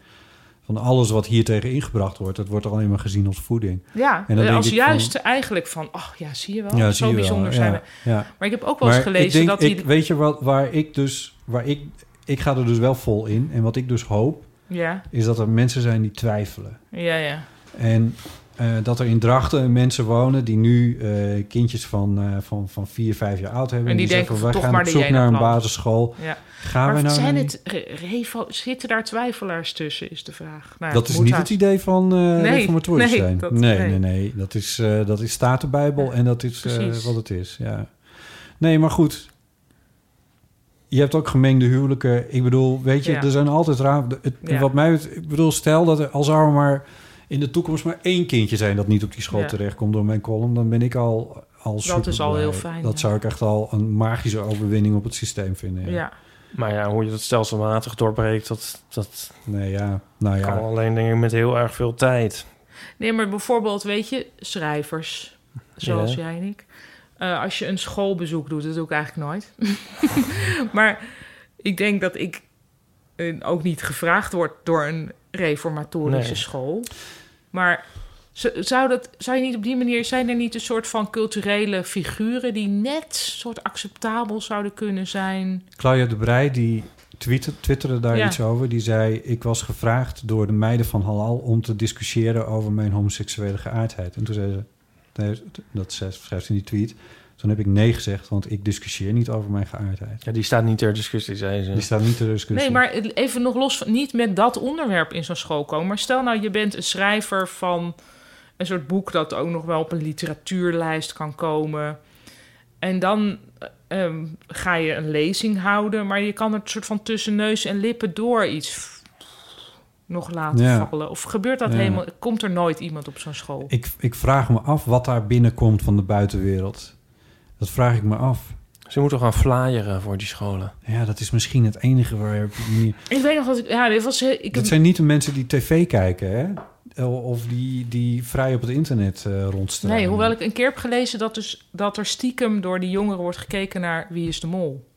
[SPEAKER 1] Van alles wat hier tegen ingebracht wordt, dat wordt alleen maar gezien als voeding.
[SPEAKER 2] <laughs> Ja,
[SPEAKER 1] En dan
[SPEAKER 2] eh,
[SPEAKER 1] denk
[SPEAKER 2] als
[SPEAKER 1] ik van-
[SPEAKER 2] juist eigenlijk van, ach ja, zie je wel,
[SPEAKER 1] Ja, zie
[SPEAKER 2] zo
[SPEAKER 1] je wel,
[SPEAKER 2] bijzonder
[SPEAKER 1] ja,
[SPEAKER 2] zijn we.
[SPEAKER 1] ja.
[SPEAKER 2] Maar ik heb ook wel eens
[SPEAKER 1] Maar
[SPEAKER 2] gelezen
[SPEAKER 1] ik denk-
[SPEAKER 2] dat die...
[SPEAKER 1] ik- weet je wat, waar ik dus... Waar ik, ik ga er dus wel vol in. En wat ik dus hoop,
[SPEAKER 2] Ja.
[SPEAKER 1] is dat er mensen zijn die twijfelen.
[SPEAKER 2] Ja, ja.
[SPEAKER 1] En eh, dat er in Drachten mensen wonen die nu eh, kindjes van, eh, van, van vier, vijf jaar oud hebben.
[SPEAKER 2] En die denken,
[SPEAKER 1] zeggen, wij
[SPEAKER 2] toch
[SPEAKER 1] gaan
[SPEAKER 2] maar
[SPEAKER 1] op
[SPEAKER 2] de
[SPEAKER 1] zoek naar een
[SPEAKER 2] Jenaplan."
[SPEAKER 1] basisschool.
[SPEAKER 2] Ja.
[SPEAKER 1] Gaan
[SPEAKER 2] maar
[SPEAKER 1] wij nou...
[SPEAKER 2] zijn
[SPEAKER 1] naar-
[SPEAKER 2] het re- revo, zitten daar twijfelaars tussen, is de vraag. Nou,
[SPEAKER 1] dat is
[SPEAKER 2] moet
[SPEAKER 1] niet
[SPEAKER 2] haast.
[SPEAKER 1] het idee van eh
[SPEAKER 2] Nee,
[SPEAKER 1] reformatorisch
[SPEAKER 2] nee,
[SPEAKER 1] zijn.
[SPEAKER 2] dat-
[SPEAKER 1] nee, nee,
[SPEAKER 2] nee.
[SPEAKER 1] nee, Dat is, eh, dat is Statenbijbel en dat is eh,
[SPEAKER 2] precies.
[SPEAKER 1] wat het is. Ja. Nee, maar goed. Je hebt ook gemengde huwelijken. Ik bedoel, weet je,
[SPEAKER 2] Ja.
[SPEAKER 1] er zijn altijd raar... Het,
[SPEAKER 2] Ja.
[SPEAKER 1] Wat mij... betreft- Ik bedoel, stel dat er, al zou er maar in de toekomst maar één kindje zijn... dat niet op die school
[SPEAKER 2] Ja.
[SPEAKER 1] terechtkomt door mijn column... dan ben ik al, al
[SPEAKER 2] Dat is
[SPEAKER 1] superblij.
[SPEAKER 2] al heel fijn,
[SPEAKER 1] Dat
[SPEAKER 2] ja.
[SPEAKER 1] zou ik echt al een magische overwinning op het systeem vinden. Ja.
[SPEAKER 2] Ja.
[SPEAKER 3] Maar ja, hoe je dat stelselmatig doorbreekt, dat, dat
[SPEAKER 1] nee, ja. Nou, ja.
[SPEAKER 3] kan alleen denk ik met heel erg veel tijd.
[SPEAKER 2] Nee, maar bijvoorbeeld, weet je, schrijvers, zoals
[SPEAKER 3] Ja.
[SPEAKER 2] jij en ik. Eh, als je een schoolbezoek doet, dat doe ik eigenlijk nooit. <laughs> maar ik denk dat ik eh, ook niet gevraagd word door een reformatorische
[SPEAKER 1] Nee.
[SPEAKER 2] school. Maar z- zou, dat, zou je niet op die manier... Zijn er niet een soort van culturele figuren... die net soort acceptabel zouden kunnen zijn?
[SPEAKER 1] Claudia de Brij die tweette, twitterde daar
[SPEAKER 2] Ja.
[SPEAKER 1] iets over. Die zei: Ik was gevraagd door de meiden van Halal om te discussiëren over mijn homoseksuele geaardheid. En toen zei ze: nee, Dat ze- schrijft ze in die tweet. Toen heb ik nee gezegd, want ik discussieer niet over mijn geaardheid.
[SPEAKER 3] Ja, die staat niet ter discussie, zei ze.
[SPEAKER 1] Die staat niet ter discussie.
[SPEAKER 2] Nee, maar het- even nog los van... Niet met dat onderwerp in zo'n school komen. Maar stel nou, je bent een schrijver van een soort boek... dat ook nog wel op een literatuurlijst kan komen. En dan eh, ehm, ga je een lezing houden... maar je kan er een soort van tussen neus en lippen door iets f- nog laten
[SPEAKER 1] Ja.
[SPEAKER 2] vallen. Of gebeurt dat
[SPEAKER 1] Ja.
[SPEAKER 2] helemaal... Komt er nooit iemand op zo'n school?
[SPEAKER 1] Ik, ik vraag me af wat daar binnenkomt van de buitenwereld. Dat vraag ik me af.
[SPEAKER 3] Ze moeten gaan flyeren voor die scholen.
[SPEAKER 1] Ja, dat is misschien het enige waar je op die manier-
[SPEAKER 2] Ik weet nog dat ik... Ja, dit was... heel- Ik heb-
[SPEAKER 1] Dit zijn niet de mensen die tv kijken, hè? Of die, die vrij op het internet eh rondstruinen.
[SPEAKER 2] Nee, hoewel ik een keer heb gelezen dat, dus, dat er stiekem door die jongeren wordt gekeken naar Wie is de Mol.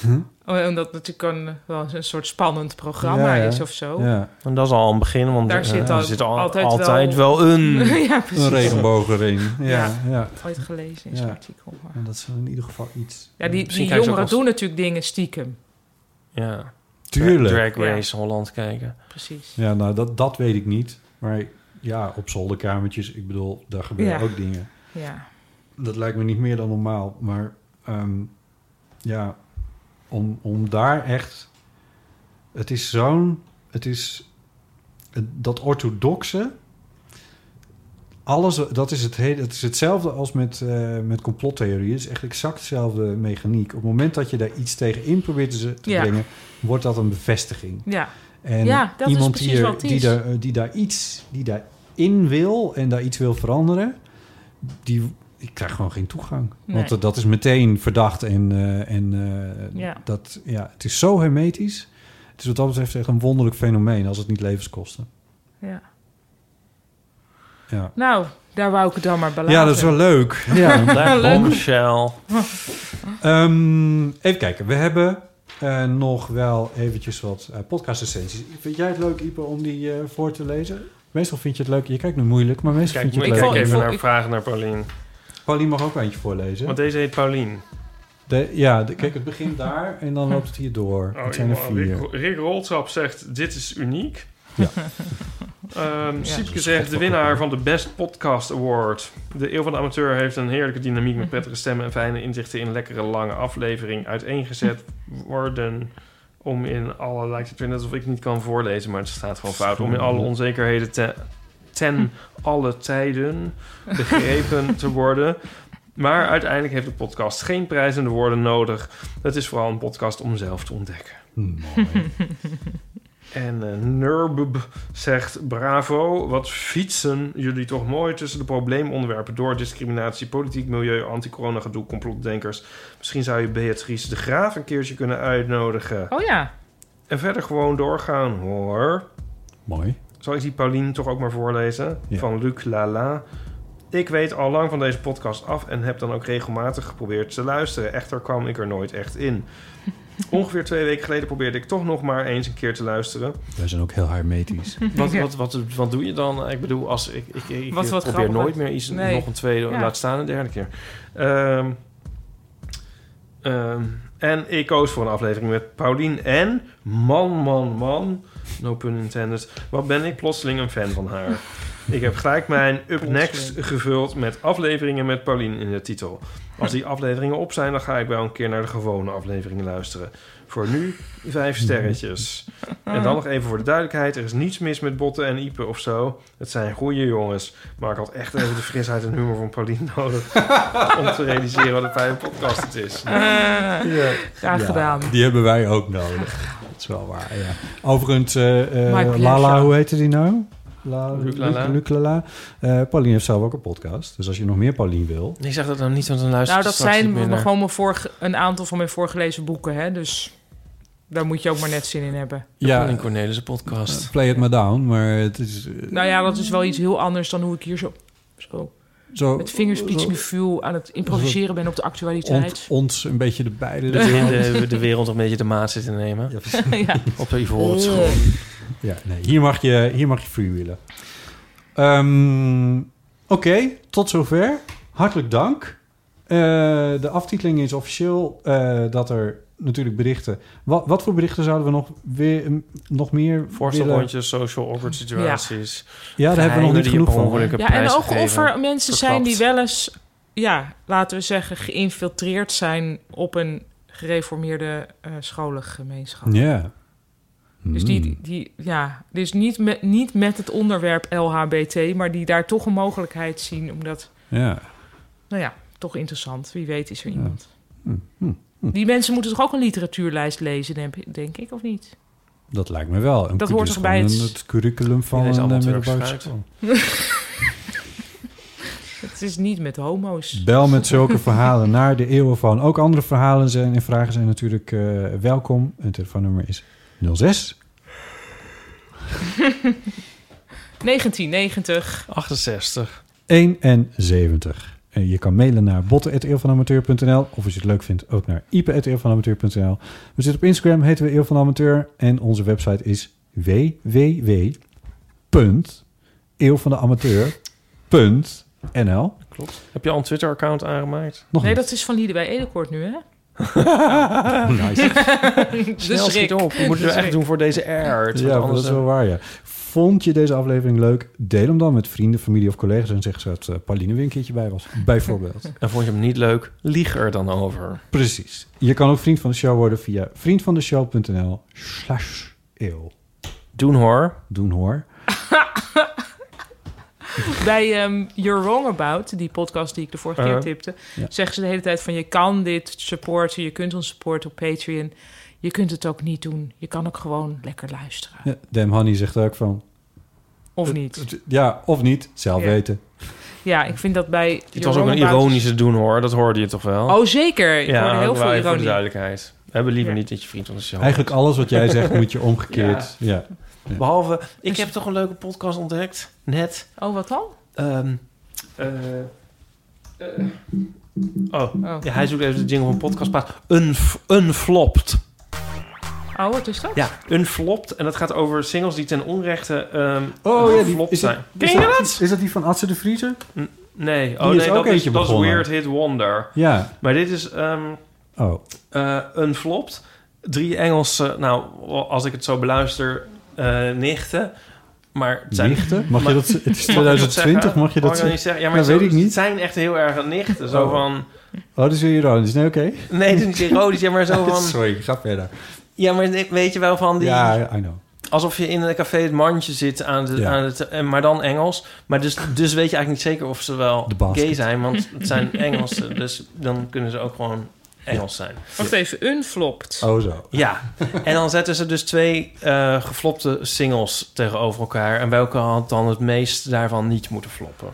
[SPEAKER 1] Hm?
[SPEAKER 2] Oh, Omdat het natuurlijk een, wel een soort spannend programma
[SPEAKER 3] Ja, ja.
[SPEAKER 2] is of zo.
[SPEAKER 1] Ja.
[SPEAKER 3] En dat is al een begin, want
[SPEAKER 2] Daar
[SPEAKER 3] eh,
[SPEAKER 2] zit
[SPEAKER 3] er
[SPEAKER 2] al-
[SPEAKER 3] zit al,
[SPEAKER 2] altijd
[SPEAKER 3] altijd,
[SPEAKER 2] wel-
[SPEAKER 3] wel, <laughs> een,
[SPEAKER 2] Ja, precies. Een regenboog
[SPEAKER 1] erin. Ja, ja.
[SPEAKER 2] Ooit gelezen in zo'n artikel.
[SPEAKER 1] En dat is in ieder geval iets.
[SPEAKER 2] Ja, die,
[SPEAKER 3] Misschien
[SPEAKER 2] die
[SPEAKER 3] krijgen ze ook
[SPEAKER 2] jongeren
[SPEAKER 3] wel-
[SPEAKER 2] doen natuurlijk dingen stiekem.
[SPEAKER 3] Ja.
[SPEAKER 1] Tuurlijk.
[SPEAKER 3] Drag Race Holland kijken.
[SPEAKER 2] Precies.
[SPEAKER 1] Ja, nou, dat, dat weet ik niet. Maar ja, op zolderkamertjes, ik bedoel, daar gebeuren
[SPEAKER 2] Ja.
[SPEAKER 1] ook dingen.
[SPEAKER 2] Ja.
[SPEAKER 1] Dat lijkt me niet meer dan normaal. Maar ehm, ja, om, om daar echt... Het is zo'n... Het is... het- Dat orthodoxe... Alles, dat is, het hele, het is hetzelfde als met, eh met complottheorieën. Het is echt exact dezelfde mechaniek. Op het moment dat je daar iets tegen in probeert te, te
[SPEAKER 2] Ja.
[SPEAKER 1] brengen... wordt dat een bevestiging.
[SPEAKER 2] Ja.
[SPEAKER 1] En
[SPEAKER 2] Ja, dat is dus
[SPEAKER 1] iemand
[SPEAKER 2] precies
[SPEAKER 1] die, er-
[SPEAKER 2] wat het
[SPEAKER 1] die,
[SPEAKER 2] is.
[SPEAKER 1] daar, eh, die daar iets die daarin wil en daar iets wil veranderen, die, die krijgt gewoon geen toegang.
[SPEAKER 2] Nee.
[SPEAKER 1] Want eh, dat is meteen verdacht en, eh, en eh,
[SPEAKER 2] Ja.
[SPEAKER 1] dat, ja, het is zo hermetisch. Het is wat dat betreft echt een wonderlijk fenomeen als het niet levens kostte.
[SPEAKER 2] Ja.
[SPEAKER 1] Ja.
[SPEAKER 2] Nou, daar wou ik het dan maar bij
[SPEAKER 1] Ja,
[SPEAKER 2] laten. Nou,
[SPEAKER 1] dat is wel
[SPEAKER 2] <laughs>
[SPEAKER 1] leuk. <laughs> Ja.
[SPEAKER 3] Daar
[SPEAKER 1] Leuk.
[SPEAKER 3] bombshell.
[SPEAKER 1] Ehm, even kijken, we hebben eh, nog wel eventjes wat eh podcast-essenties. Vind jij het leuk, Ipe, om die eh, voor te lezen? Meestal vind je het leuk. Je kijkt nu moeilijk, maar meestal
[SPEAKER 3] Kijk,
[SPEAKER 1] vind je
[SPEAKER 3] ik
[SPEAKER 1] het leuk.
[SPEAKER 3] kijk even naar vragen naar Paulien.
[SPEAKER 1] Paulien mag ook eentje voorlezen.
[SPEAKER 3] Want deze heet Paulien.
[SPEAKER 1] De, ja, de, kijk, het begint daar en dan loopt het hier door.
[SPEAKER 3] Oh,
[SPEAKER 1] het zijn er
[SPEAKER 3] joh,
[SPEAKER 1] vier.
[SPEAKER 3] Rick, Rick Roltrap zegt, dit is uniek.
[SPEAKER 1] Ja.
[SPEAKER 3] Ehm, Siepke zegt, de winnaar van de Best Podcast Award. De Eeuw van de Amateur heeft een heerlijke dynamiek met prettige stemmen en fijne inzichten in een lekkere lange aflevering uiteengezet worden om in alle, lijkt het weer net alsof ik niet kan voorlezen, maar het staat gewoon fout, om in alle onzekerheden te, ten alle tijden begrepen te worden. Maar uiteindelijk heeft de podcast geen prijzende woorden nodig. Het is vooral een podcast om zelf te ontdekken. En eh Nurbub zegt: Bravo, wat fietsen jullie toch mooi tussen de probleemonderwerpen door discriminatie, politiek, milieu, anti-corona gedoe, complotdenkers. Misschien zou je Beatrice de Graaf een keertje kunnen uitnodigen.
[SPEAKER 2] Oh ja.
[SPEAKER 3] En verder gewoon doorgaan hoor.
[SPEAKER 1] Mooi.
[SPEAKER 3] Zal ik die Pauline toch ook maar voorlezen?
[SPEAKER 1] Ja.
[SPEAKER 3] Van Luc Lala. Ik weet al lang van deze podcast af en heb dan ook regelmatig geprobeerd te luisteren. Echter kwam ik er nooit echt in. Ongeveer twee weken geleden probeerde ik toch nog maar eens een keer te luisteren.
[SPEAKER 1] Wij zijn ook heel
[SPEAKER 2] <laughs>
[SPEAKER 1] hermetisch.
[SPEAKER 3] Wat,
[SPEAKER 1] Ja.
[SPEAKER 3] wat, wat, wat doe je dan? Ik bedoel, als ik, ik, ik,
[SPEAKER 2] Wat- wat
[SPEAKER 3] probeer
[SPEAKER 2] grappig.
[SPEAKER 3] nooit meer iets,
[SPEAKER 2] Nee.
[SPEAKER 3] nog een tweede,
[SPEAKER 2] Ja.
[SPEAKER 3] laat staan een derde keer. Ehm, ehm, en ik koos voor een aflevering met Paulien en man, man, man, no pun intended, wat ben ik plotseling een fan van haar. Ik heb gelijk
[SPEAKER 2] <laughs>
[SPEAKER 3] mijn Up Next gevuld met afleveringen met Paulien in de titel. Als die afleveringen op zijn, dan ga ik wel een keer naar de gewone afleveringen luisteren. Voor nu vijf sterretjes. En
[SPEAKER 2] Ah.
[SPEAKER 3] dan nog even voor de duidelijkheid: er is niets mis met botten en iepen of zo. Het zijn goede jongens. Maar ik had echt even de frisheid en humor van Paulien
[SPEAKER 2] <laughs>
[SPEAKER 3] nodig. om te realiseren wat een fijne podcast het is.
[SPEAKER 2] Ja. Ah, Graag
[SPEAKER 1] Ja,
[SPEAKER 2] gedaan.
[SPEAKER 1] Die hebben wij ook nodig. Dat is wel waar, ja. <laughs> Overigens, eh, eh,
[SPEAKER 2] My pleasure.
[SPEAKER 1] Lala, hoe heette die nou? La,
[SPEAKER 3] Luc Lala.
[SPEAKER 1] Luc- Luc Lala. Eh, Paulien heeft zelf ook een podcast. Dus als je nog meer Paulien wil...
[SPEAKER 3] Ik zeg dat nou niet, want dan luister
[SPEAKER 2] Nou, dat zijn gewoon mijn vorige, een aantal van mijn voorgelezen boeken, hè. Dus daar moet je ook maar net zin in hebben.
[SPEAKER 3] in Cornelis' podcast.
[SPEAKER 1] eh, play it maar down, maar het is... eh,
[SPEAKER 2] Nou ja, dat is wel iets heel anders dan hoe ik hier zo, zo,
[SPEAKER 1] Zo-
[SPEAKER 2] met vingerspitsengevoel aan het improviseren ben op de actualiteit.
[SPEAKER 1] ont- ons een beetje de
[SPEAKER 2] <laughs>
[SPEAKER 1] beide...
[SPEAKER 3] De, de, de wereld een beetje de maat zitten nemen.
[SPEAKER 2] Ja.
[SPEAKER 3] Op de Ivoren
[SPEAKER 2] Eh.
[SPEAKER 3] school.
[SPEAKER 1] Ja, nee, hier mag je, hier mag je freewheelen. Ehm, Ehm, Oké, tot zover. Hartelijk dank. Eh, de aftiteling is officieel eh, dat er natuurlijk berichten... Wat, wat voor berichten zouden we nog, weer, nog meer willen?
[SPEAKER 3] Voorstelrondjes, social awkward situaties.
[SPEAKER 1] Ja, daar hebben we nog niet genoeg van.
[SPEAKER 2] Ja, en ook of er mensen zijn die wel eens, ja, laten we zeggen, geïnfiltreerd zijn op een gereformeerde eh scholengemeenschap.
[SPEAKER 1] Ja.
[SPEAKER 2] Dus die, die, ja, dus niet met, niet met het onderwerp LHBT, maar die daar toch een mogelijkheid zien, omdat,
[SPEAKER 1] Hmm, Ja.
[SPEAKER 2] nou ja, toch interessant. Wie weet is er
[SPEAKER 1] Ja.
[SPEAKER 2] iemand.
[SPEAKER 1] Hm, hm.
[SPEAKER 2] Die mensen moeten toch ook een literatuurlijst lezen, denk, denk ik, of niet?
[SPEAKER 1] Dat lijkt me wel.
[SPEAKER 2] Dat
[SPEAKER 1] cu-
[SPEAKER 2] hoort
[SPEAKER 1] dus
[SPEAKER 2] toch bij
[SPEAKER 1] gewoon
[SPEAKER 2] het-
[SPEAKER 1] een- het curriculum van eh,
[SPEAKER 3] Iedereen is
[SPEAKER 1] een
[SPEAKER 3] allemaal
[SPEAKER 1] middelbare
[SPEAKER 3] Turks
[SPEAKER 1] school.
[SPEAKER 2] Het is niet met homo's.
[SPEAKER 1] Bel met
[SPEAKER 2] <laughs>
[SPEAKER 1] zulke verhalen <laughs> naar de eeuwen van. Ook andere verhalen zijn en vragen zijn natuurlijk eh, welkom. Het telefoonnummer is 06
[SPEAKER 2] 1990.
[SPEAKER 3] 68.
[SPEAKER 1] 71. En je kan mailen naar botten.eeuwvanamateur.nl of als je het leuk vindt ook naar ipe.eeuwvanamateur.nl. We zitten op Instagram, heten we Eeuw van Amateur en onze website is www.eeuwvanamateur.nl.
[SPEAKER 3] Klopt. Heb je al een Twitter-account aangemaakt?
[SPEAKER 1] Nog
[SPEAKER 2] nee, dat is van Lieden bij
[SPEAKER 3] <laughs>
[SPEAKER 2] Edelkoort nu, hè? Oh,
[SPEAKER 1] Nice.
[SPEAKER 2] <laughs> De
[SPEAKER 3] Snel schiet
[SPEAKER 2] schrik.
[SPEAKER 3] op. We moeten
[SPEAKER 2] De
[SPEAKER 3] het dus echt
[SPEAKER 2] schrik.
[SPEAKER 3] doen voor deze air. Het wordt
[SPEAKER 1] Ja, dat
[SPEAKER 3] anders,
[SPEAKER 1] is
[SPEAKER 3] eh,
[SPEAKER 1] wel waar, ja. Vond je deze aflevering leuk? Deel hem dan met vrienden, familie of collega's... en zeg ze dat eh, Pauline weer een keertje bij was, <laughs> bijvoorbeeld.
[SPEAKER 3] <laughs> En vond je hem niet leuk? Lieg er dan over.
[SPEAKER 1] Precies. Je kan ook vriend van de show worden via vriendvandeshow.nl slash eeuw.
[SPEAKER 3] Doen hoor.
[SPEAKER 1] Doen hoor.
[SPEAKER 2] Bij ehm, You're Wrong About, die podcast die ik de vorige
[SPEAKER 3] Uh-huh.
[SPEAKER 1] Eh,
[SPEAKER 2] keer tipte,
[SPEAKER 1] ja.
[SPEAKER 2] zeggen ze de hele tijd van je kan dit supporten, je kunt ons supporten op Patreon. Je kunt het ook niet doen. Je kan ook gewoon lekker luisteren.
[SPEAKER 1] Ja, Dem Honey zegt ook van...
[SPEAKER 2] Of niet.
[SPEAKER 1] Ja, of niet. Zelf
[SPEAKER 2] Ja.
[SPEAKER 1] weten.
[SPEAKER 2] Ja, ik vind dat bij.
[SPEAKER 3] Het was ook een ironische doen hoor. Dat hoorde je toch wel?
[SPEAKER 2] Oh, zeker. Ik hoorde heel
[SPEAKER 3] dat
[SPEAKER 2] veel
[SPEAKER 3] wou je Voor de
[SPEAKER 2] ironie.
[SPEAKER 3] duidelijkheid. We hebben liever niet dat je vriend van de show
[SPEAKER 1] Eigenlijk
[SPEAKER 3] wordt.
[SPEAKER 1] alles wat jij
[SPEAKER 3] <laughs>
[SPEAKER 1] zegt moet je omgekeerd.
[SPEAKER 3] Ja.
[SPEAKER 1] Ja.
[SPEAKER 3] Behalve, ik heb toch een leuke podcast ontdekt. Net.
[SPEAKER 2] Oh, wat dan?
[SPEAKER 3] Ehm, eh, eh, oh, Ja, hij zoekt even de jingle van podcastpaas. Een, een flopt.
[SPEAKER 2] Oh, wat is dat?
[SPEAKER 3] Ja, Unflopped. En dat gaat over singles die ten onrechte ehm
[SPEAKER 1] Oh ja, die,
[SPEAKER 3] geflopt
[SPEAKER 1] is,
[SPEAKER 3] zijn.
[SPEAKER 1] het, is, dat, is dat die van Atze de Vriezer?
[SPEAKER 3] Nee,
[SPEAKER 1] Die
[SPEAKER 3] oh,
[SPEAKER 1] is
[SPEAKER 3] nee
[SPEAKER 1] ook
[SPEAKER 3] dat, is,
[SPEAKER 1] eentje
[SPEAKER 3] dat is
[SPEAKER 1] begonnen.
[SPEAKER 3] Weird Hit Wonder.
[SPEAKER 1] Ja.
[SPEAKER 3] Maar dit is ehm
[SPEAKER 1] Oh.
[SPEAKER 3] eh, Unflopped. Drie Engelse, nou, als ik het zo beluister, eh, nichten. Maar het zijn,
[SPEAKER 1] Nichten? Mag je
[SPEAKER 3] maar-
[SPEAKER 1] dat z- het is
[SPEAKER 3] <laughs> mag ik
[SPEAKER 1] 2020,
[SPEAKER 3] zeggen?
[SPEAKER 1] mag je dat
[SPEAKER 3] niet
[SPEAKER 1] zeggen?
[SPEAKER 3] zeggen? Ja, maar
[SPEAKER 1] Ja,
[SPEAKER 3] zo-
[SPEAKER 1] weet ik niet.
[SPEAKER 3] Het zijn echt heel erg nichten. Zo
[SPEAKER 1] Oh.
[SPEAKER 3] van,
[SPEAKER 1] Oh, dat is weer ironisch. Nee, oké.
[SPEAKER 3] nee, het is niet ironisch, ja, maar
[SPEAKER 1] <laughs>
[SPEAKER 3] zo van...
[SPEAKER 1] Sorry, ik ga verder.
[SPEAKER 3] Ja, maar weet je wel van die...
[SPEAKER 1] Ja, I know.
[SPEAKER 3] Alsof je in een café het mandje zit, aan de,
[SPEAKER 1] Ja.
[SPEAKER 3] aan het, en- maar dan Engels. Maar dus, dus weet je eigenlijk niet zeker of ze wel
[SPEAKER 1] basket.
[SPEAKER 3] gay zijn, want het zijn Engelsen. Dus dan kunnen ze ook gewoon Engels zijn.
[SPEAKER 2] Wacht even, unflopt.
[SPEAKER 1] Oh, zo.
[SPEAKER 3] Ja, en dan zetten ze dus twee eh geflopte singles tegenover elkaar. En welke had dan het meest daarvan niet moeten floppen?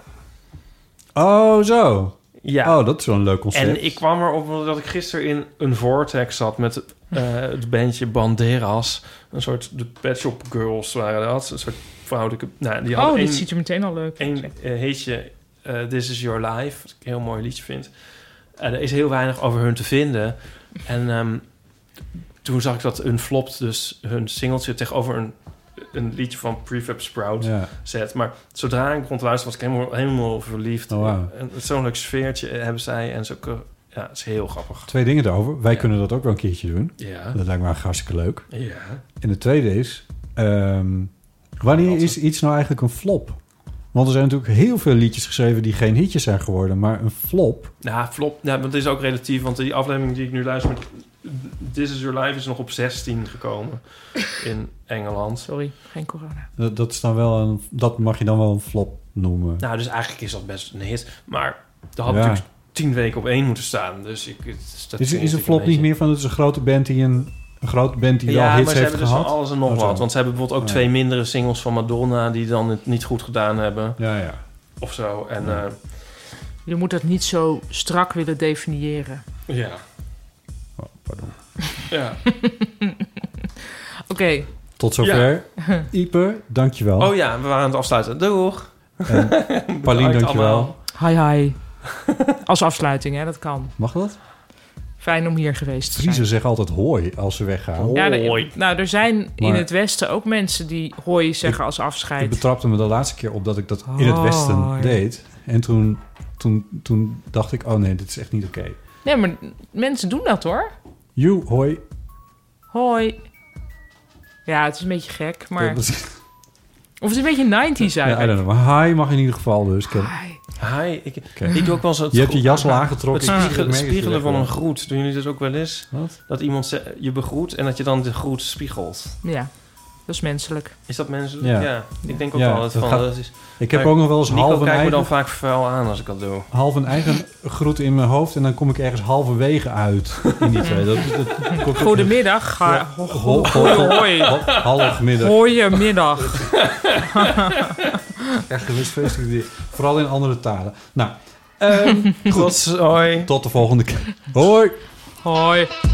[SPEAKER 1] Oh, zo.
[SPEAKER 3] Ja.
[SPEAKER 1] Oh, dat is wel een leuk concept.
[SPEAKER 3] En ik kwam erop omdat ik gisteren in een vortex zat met eh, het bandje Banderas. Een soort de Pet Shop Girls waren dat. Een soort vrouwelijke... Nou, die
[SPEAKER 2] Oh,
[SPEAKER 3] hadden
[SPEAKER 2] dit
[SPEAKER 3] één-
[SPEAKER 2] ziet er meteen al leuk
[SPEAKER 3] Eén eh, heetje eh, This Is Your Life, wat ik een heel mooi liedje vind. En er is heel weinig over hun te vinden. En ehm, toen zag ik dat Unflopped dus hun singeltje tegenover een, een liedje van Prefab Sprout
[SPEAKER 1] Ja.
[SPEAKER 3] zet. Maar zodra ik rond luisteren was ik helemaal, helemaal verliefd.
[SPEAKER 1] Oh, wauw.
[SPEAKER 3] En Zo'n leuk sfeertje eh, hebben zij en zo. Ja, het is heel grappig.
[SPEAKER 1] Twee dingen daarover. Wij kunnen dat ook wel een keertje doen.
[SPEAKER 3] Ja.
[SPEAKER 1] Dat lijkt me echt hartstikke leuk.
[SPEAKER 3] Ja.
[SPEAKER 1] En het tweede is... ehm, wanneer is iets nou eigenlijk een flop? Want er zijn natuurlijk heel veel liedjes geschreven die geen hitjes zijn geworden. Maar een flop...
[SPEAKER 3] Nou, flop. Nou, want het is ook relatief, want die aflevering die ik nu luister met This Is Your Life is nog op 16
[SPEAKER 2] <laughs>
[SPEAKER 3] gekomen in Engeland.
[SPEAKER 2] Sorry, geen corona.
[SPEAKER 1] Dat, dat, is dan wel een, dat mag je dan wel een flop noemen.
[SPEAKER 3] Nou, dus eigenlijk is dat best een hit. Maar dat had
[SPEAKER 1] Ja.
[SPEAKER 3] natuurlijk tien weken op één moeten staan. Dus ik, het- dat
[SPEAKER 1] is,
[SPEAKER 3] vind
[SPEAKER 1] is
[SPEAKER 3] ik
[SPEAKER 1] een flop
[SPEAKER 3] beetje-
[SPEAKER 1] niet meer van... Het is een grote band die een, een grote band die wel
[SPEAKER 3] Ja, maar
[SPEAKER 1] hits
[SPEAKER 3] ze
[SPEAKER 1] heeft
[SPEAKER 3] hebben dus
[SPEAKER 1] gehad?
[SPEAKER 3] van alles en nog
[SPEAKER 1] Oh, zo.
[SPEAKER 3] wat. Want ze hebben bijvoorbeeld ook
[SPEAKER 1] Ja.
[SPEAKER 3] twee mindere singles van Madonna... die dan het niet goed gedaan hebben.
[SPEAKER 1] Ja, ja.
[SPEAKER 3] Of zo. En eh,
[SPEAKER 2] Je moet dat niet zo strak willen definiëren. <laughs>
[SPEAKER 3] eh, ja.
[SPEAKER 1] Oh,
[SPEAKER 3] <laughs> pardon.
[SPEAKER 2] Oké.
[SPEAKER 1] Tot zover.
[SPEAKER 2] <laughs>
[SPEAKER 1] Ipe, dankjewel.
[SPEAKER 3] Ja. Oh ja, we waren aan het afsluiten. Doeg! <laughs>
[SPEAKER 1] En Paulien,
[SPEAKER 3] Bedankt
[SPEAKER 1] dankjewel.
[SPEAKER 3] allemaal.
[SPEAKER 2] Hi, hi. Als afsluiting, hè? Dat kan.
[SPEAKER 1] Mag dat?
[SPEAKER 2] Fijn om hier geweest te zijn.
[SPEAKER 1] Friesen zeggen altijd hoi als ze weggaan.
[SPEAKER 2] Ja, er, nou, er zijn in
[SPEAKER 1] Maar-
[SPEAKER 2] het Westen ook mensen die hooi zeggen als afscheid.
[SPEAKER 1] Ik betrapte me de laatste keer op dat ik dat in het
[SPEAKER 2] Oh,
[SPEAKER 1] Westen
[SPEAKER 2] ja.
[SPEAKER 1] deed. En toen, toen, toen dacht ik, oh nee, dit is echt niet oké.
[SPEAKER 2] Nee, maar mensen doen dat hoor.
[SPEAKER 1] You, hoi.
[SPEAKER 2] Hoi. Ja, het is een beetje gek, maar...
[SPEAKER 1] Dat is-
[SPEAKER 2] Of het is een beetje 90s
[SPEAKER 1] Ja, I
[SPEAKER 2] eigenlijk.
[SPEAKER 1] don't know. Maar hi mag in ieder geval dus. Ken-
[SPEAKER 3] Hi, ik,
[SPEAKER 1] Oké.
[SPEAKER 3] ik doe ook wel eens het
[SPEAKER 1] Je hebt je
[SPEAKER 3] gro-
[SPEAKER 1] jas al aangetrokken.
[SPEAKER 3] Het
[SPEAKER 1] Ik-
[SPEAKER 3] spiegel-
[SPEAKER 1] ik merk het
[SPEAKER 3] spiegelen
[SPEAKER 1] direct
[SPEAKER 3] van
[SPEAKER 1] wel.
[SPEAKER 3] een groet. Doen jullie dat ook wel eens? Dat iemand ze- je begroet en dat je dan de groet spiegelt.
[SPEAKER 2] Ja, dat is menselijk.
[SPEAKER 3] Is dat menselijk? Ja. Ik denk ook
[SPEAKER 1] Ja,
[SPEAKER 3] wel dat
[SPEAKER 1] dat
[SPEAKER 3] van...
[SPEAKER 1] gaat-
[SPEAKER 3] dat is,
[SPEAKER 1] Ik heb
[SPEAKER 3] Maar
[SPEAKER 1] ook nog wel eens
[SPEAKER 3] Nico
[SPEAKER 1] half een
[SPEAKER 3] kijkt me dan
[SPEAKER 1] eigen-
[SPEAKER 3] vaak vuil aan als ik dat doe.
[SPEAKER 1] half een eigen groet in mijn hoofd en dan kom ik ergens halverwege uit in die twee. Dat, dat komt ook-
[SPEAKER 2] Goedemiddag.
[SPEAKER 1] Ja.
[SPEAKER 2] Ja.
[SPEAKER 1] Ho- ho- ho- ho- halfmiddag.
[SPEAKER 2] Hooiemiddag.
[SPEAKER 3] <laughs>
[SPEAKER 1] Echt een feestelijk idee. Vooral in andere talen. Nou, ehm, goed.
[SPEAKER 3] Tot,
[SPEAKER 1] Tot de volgende keer. Hoi.
[SPEAKER 2] Hoi.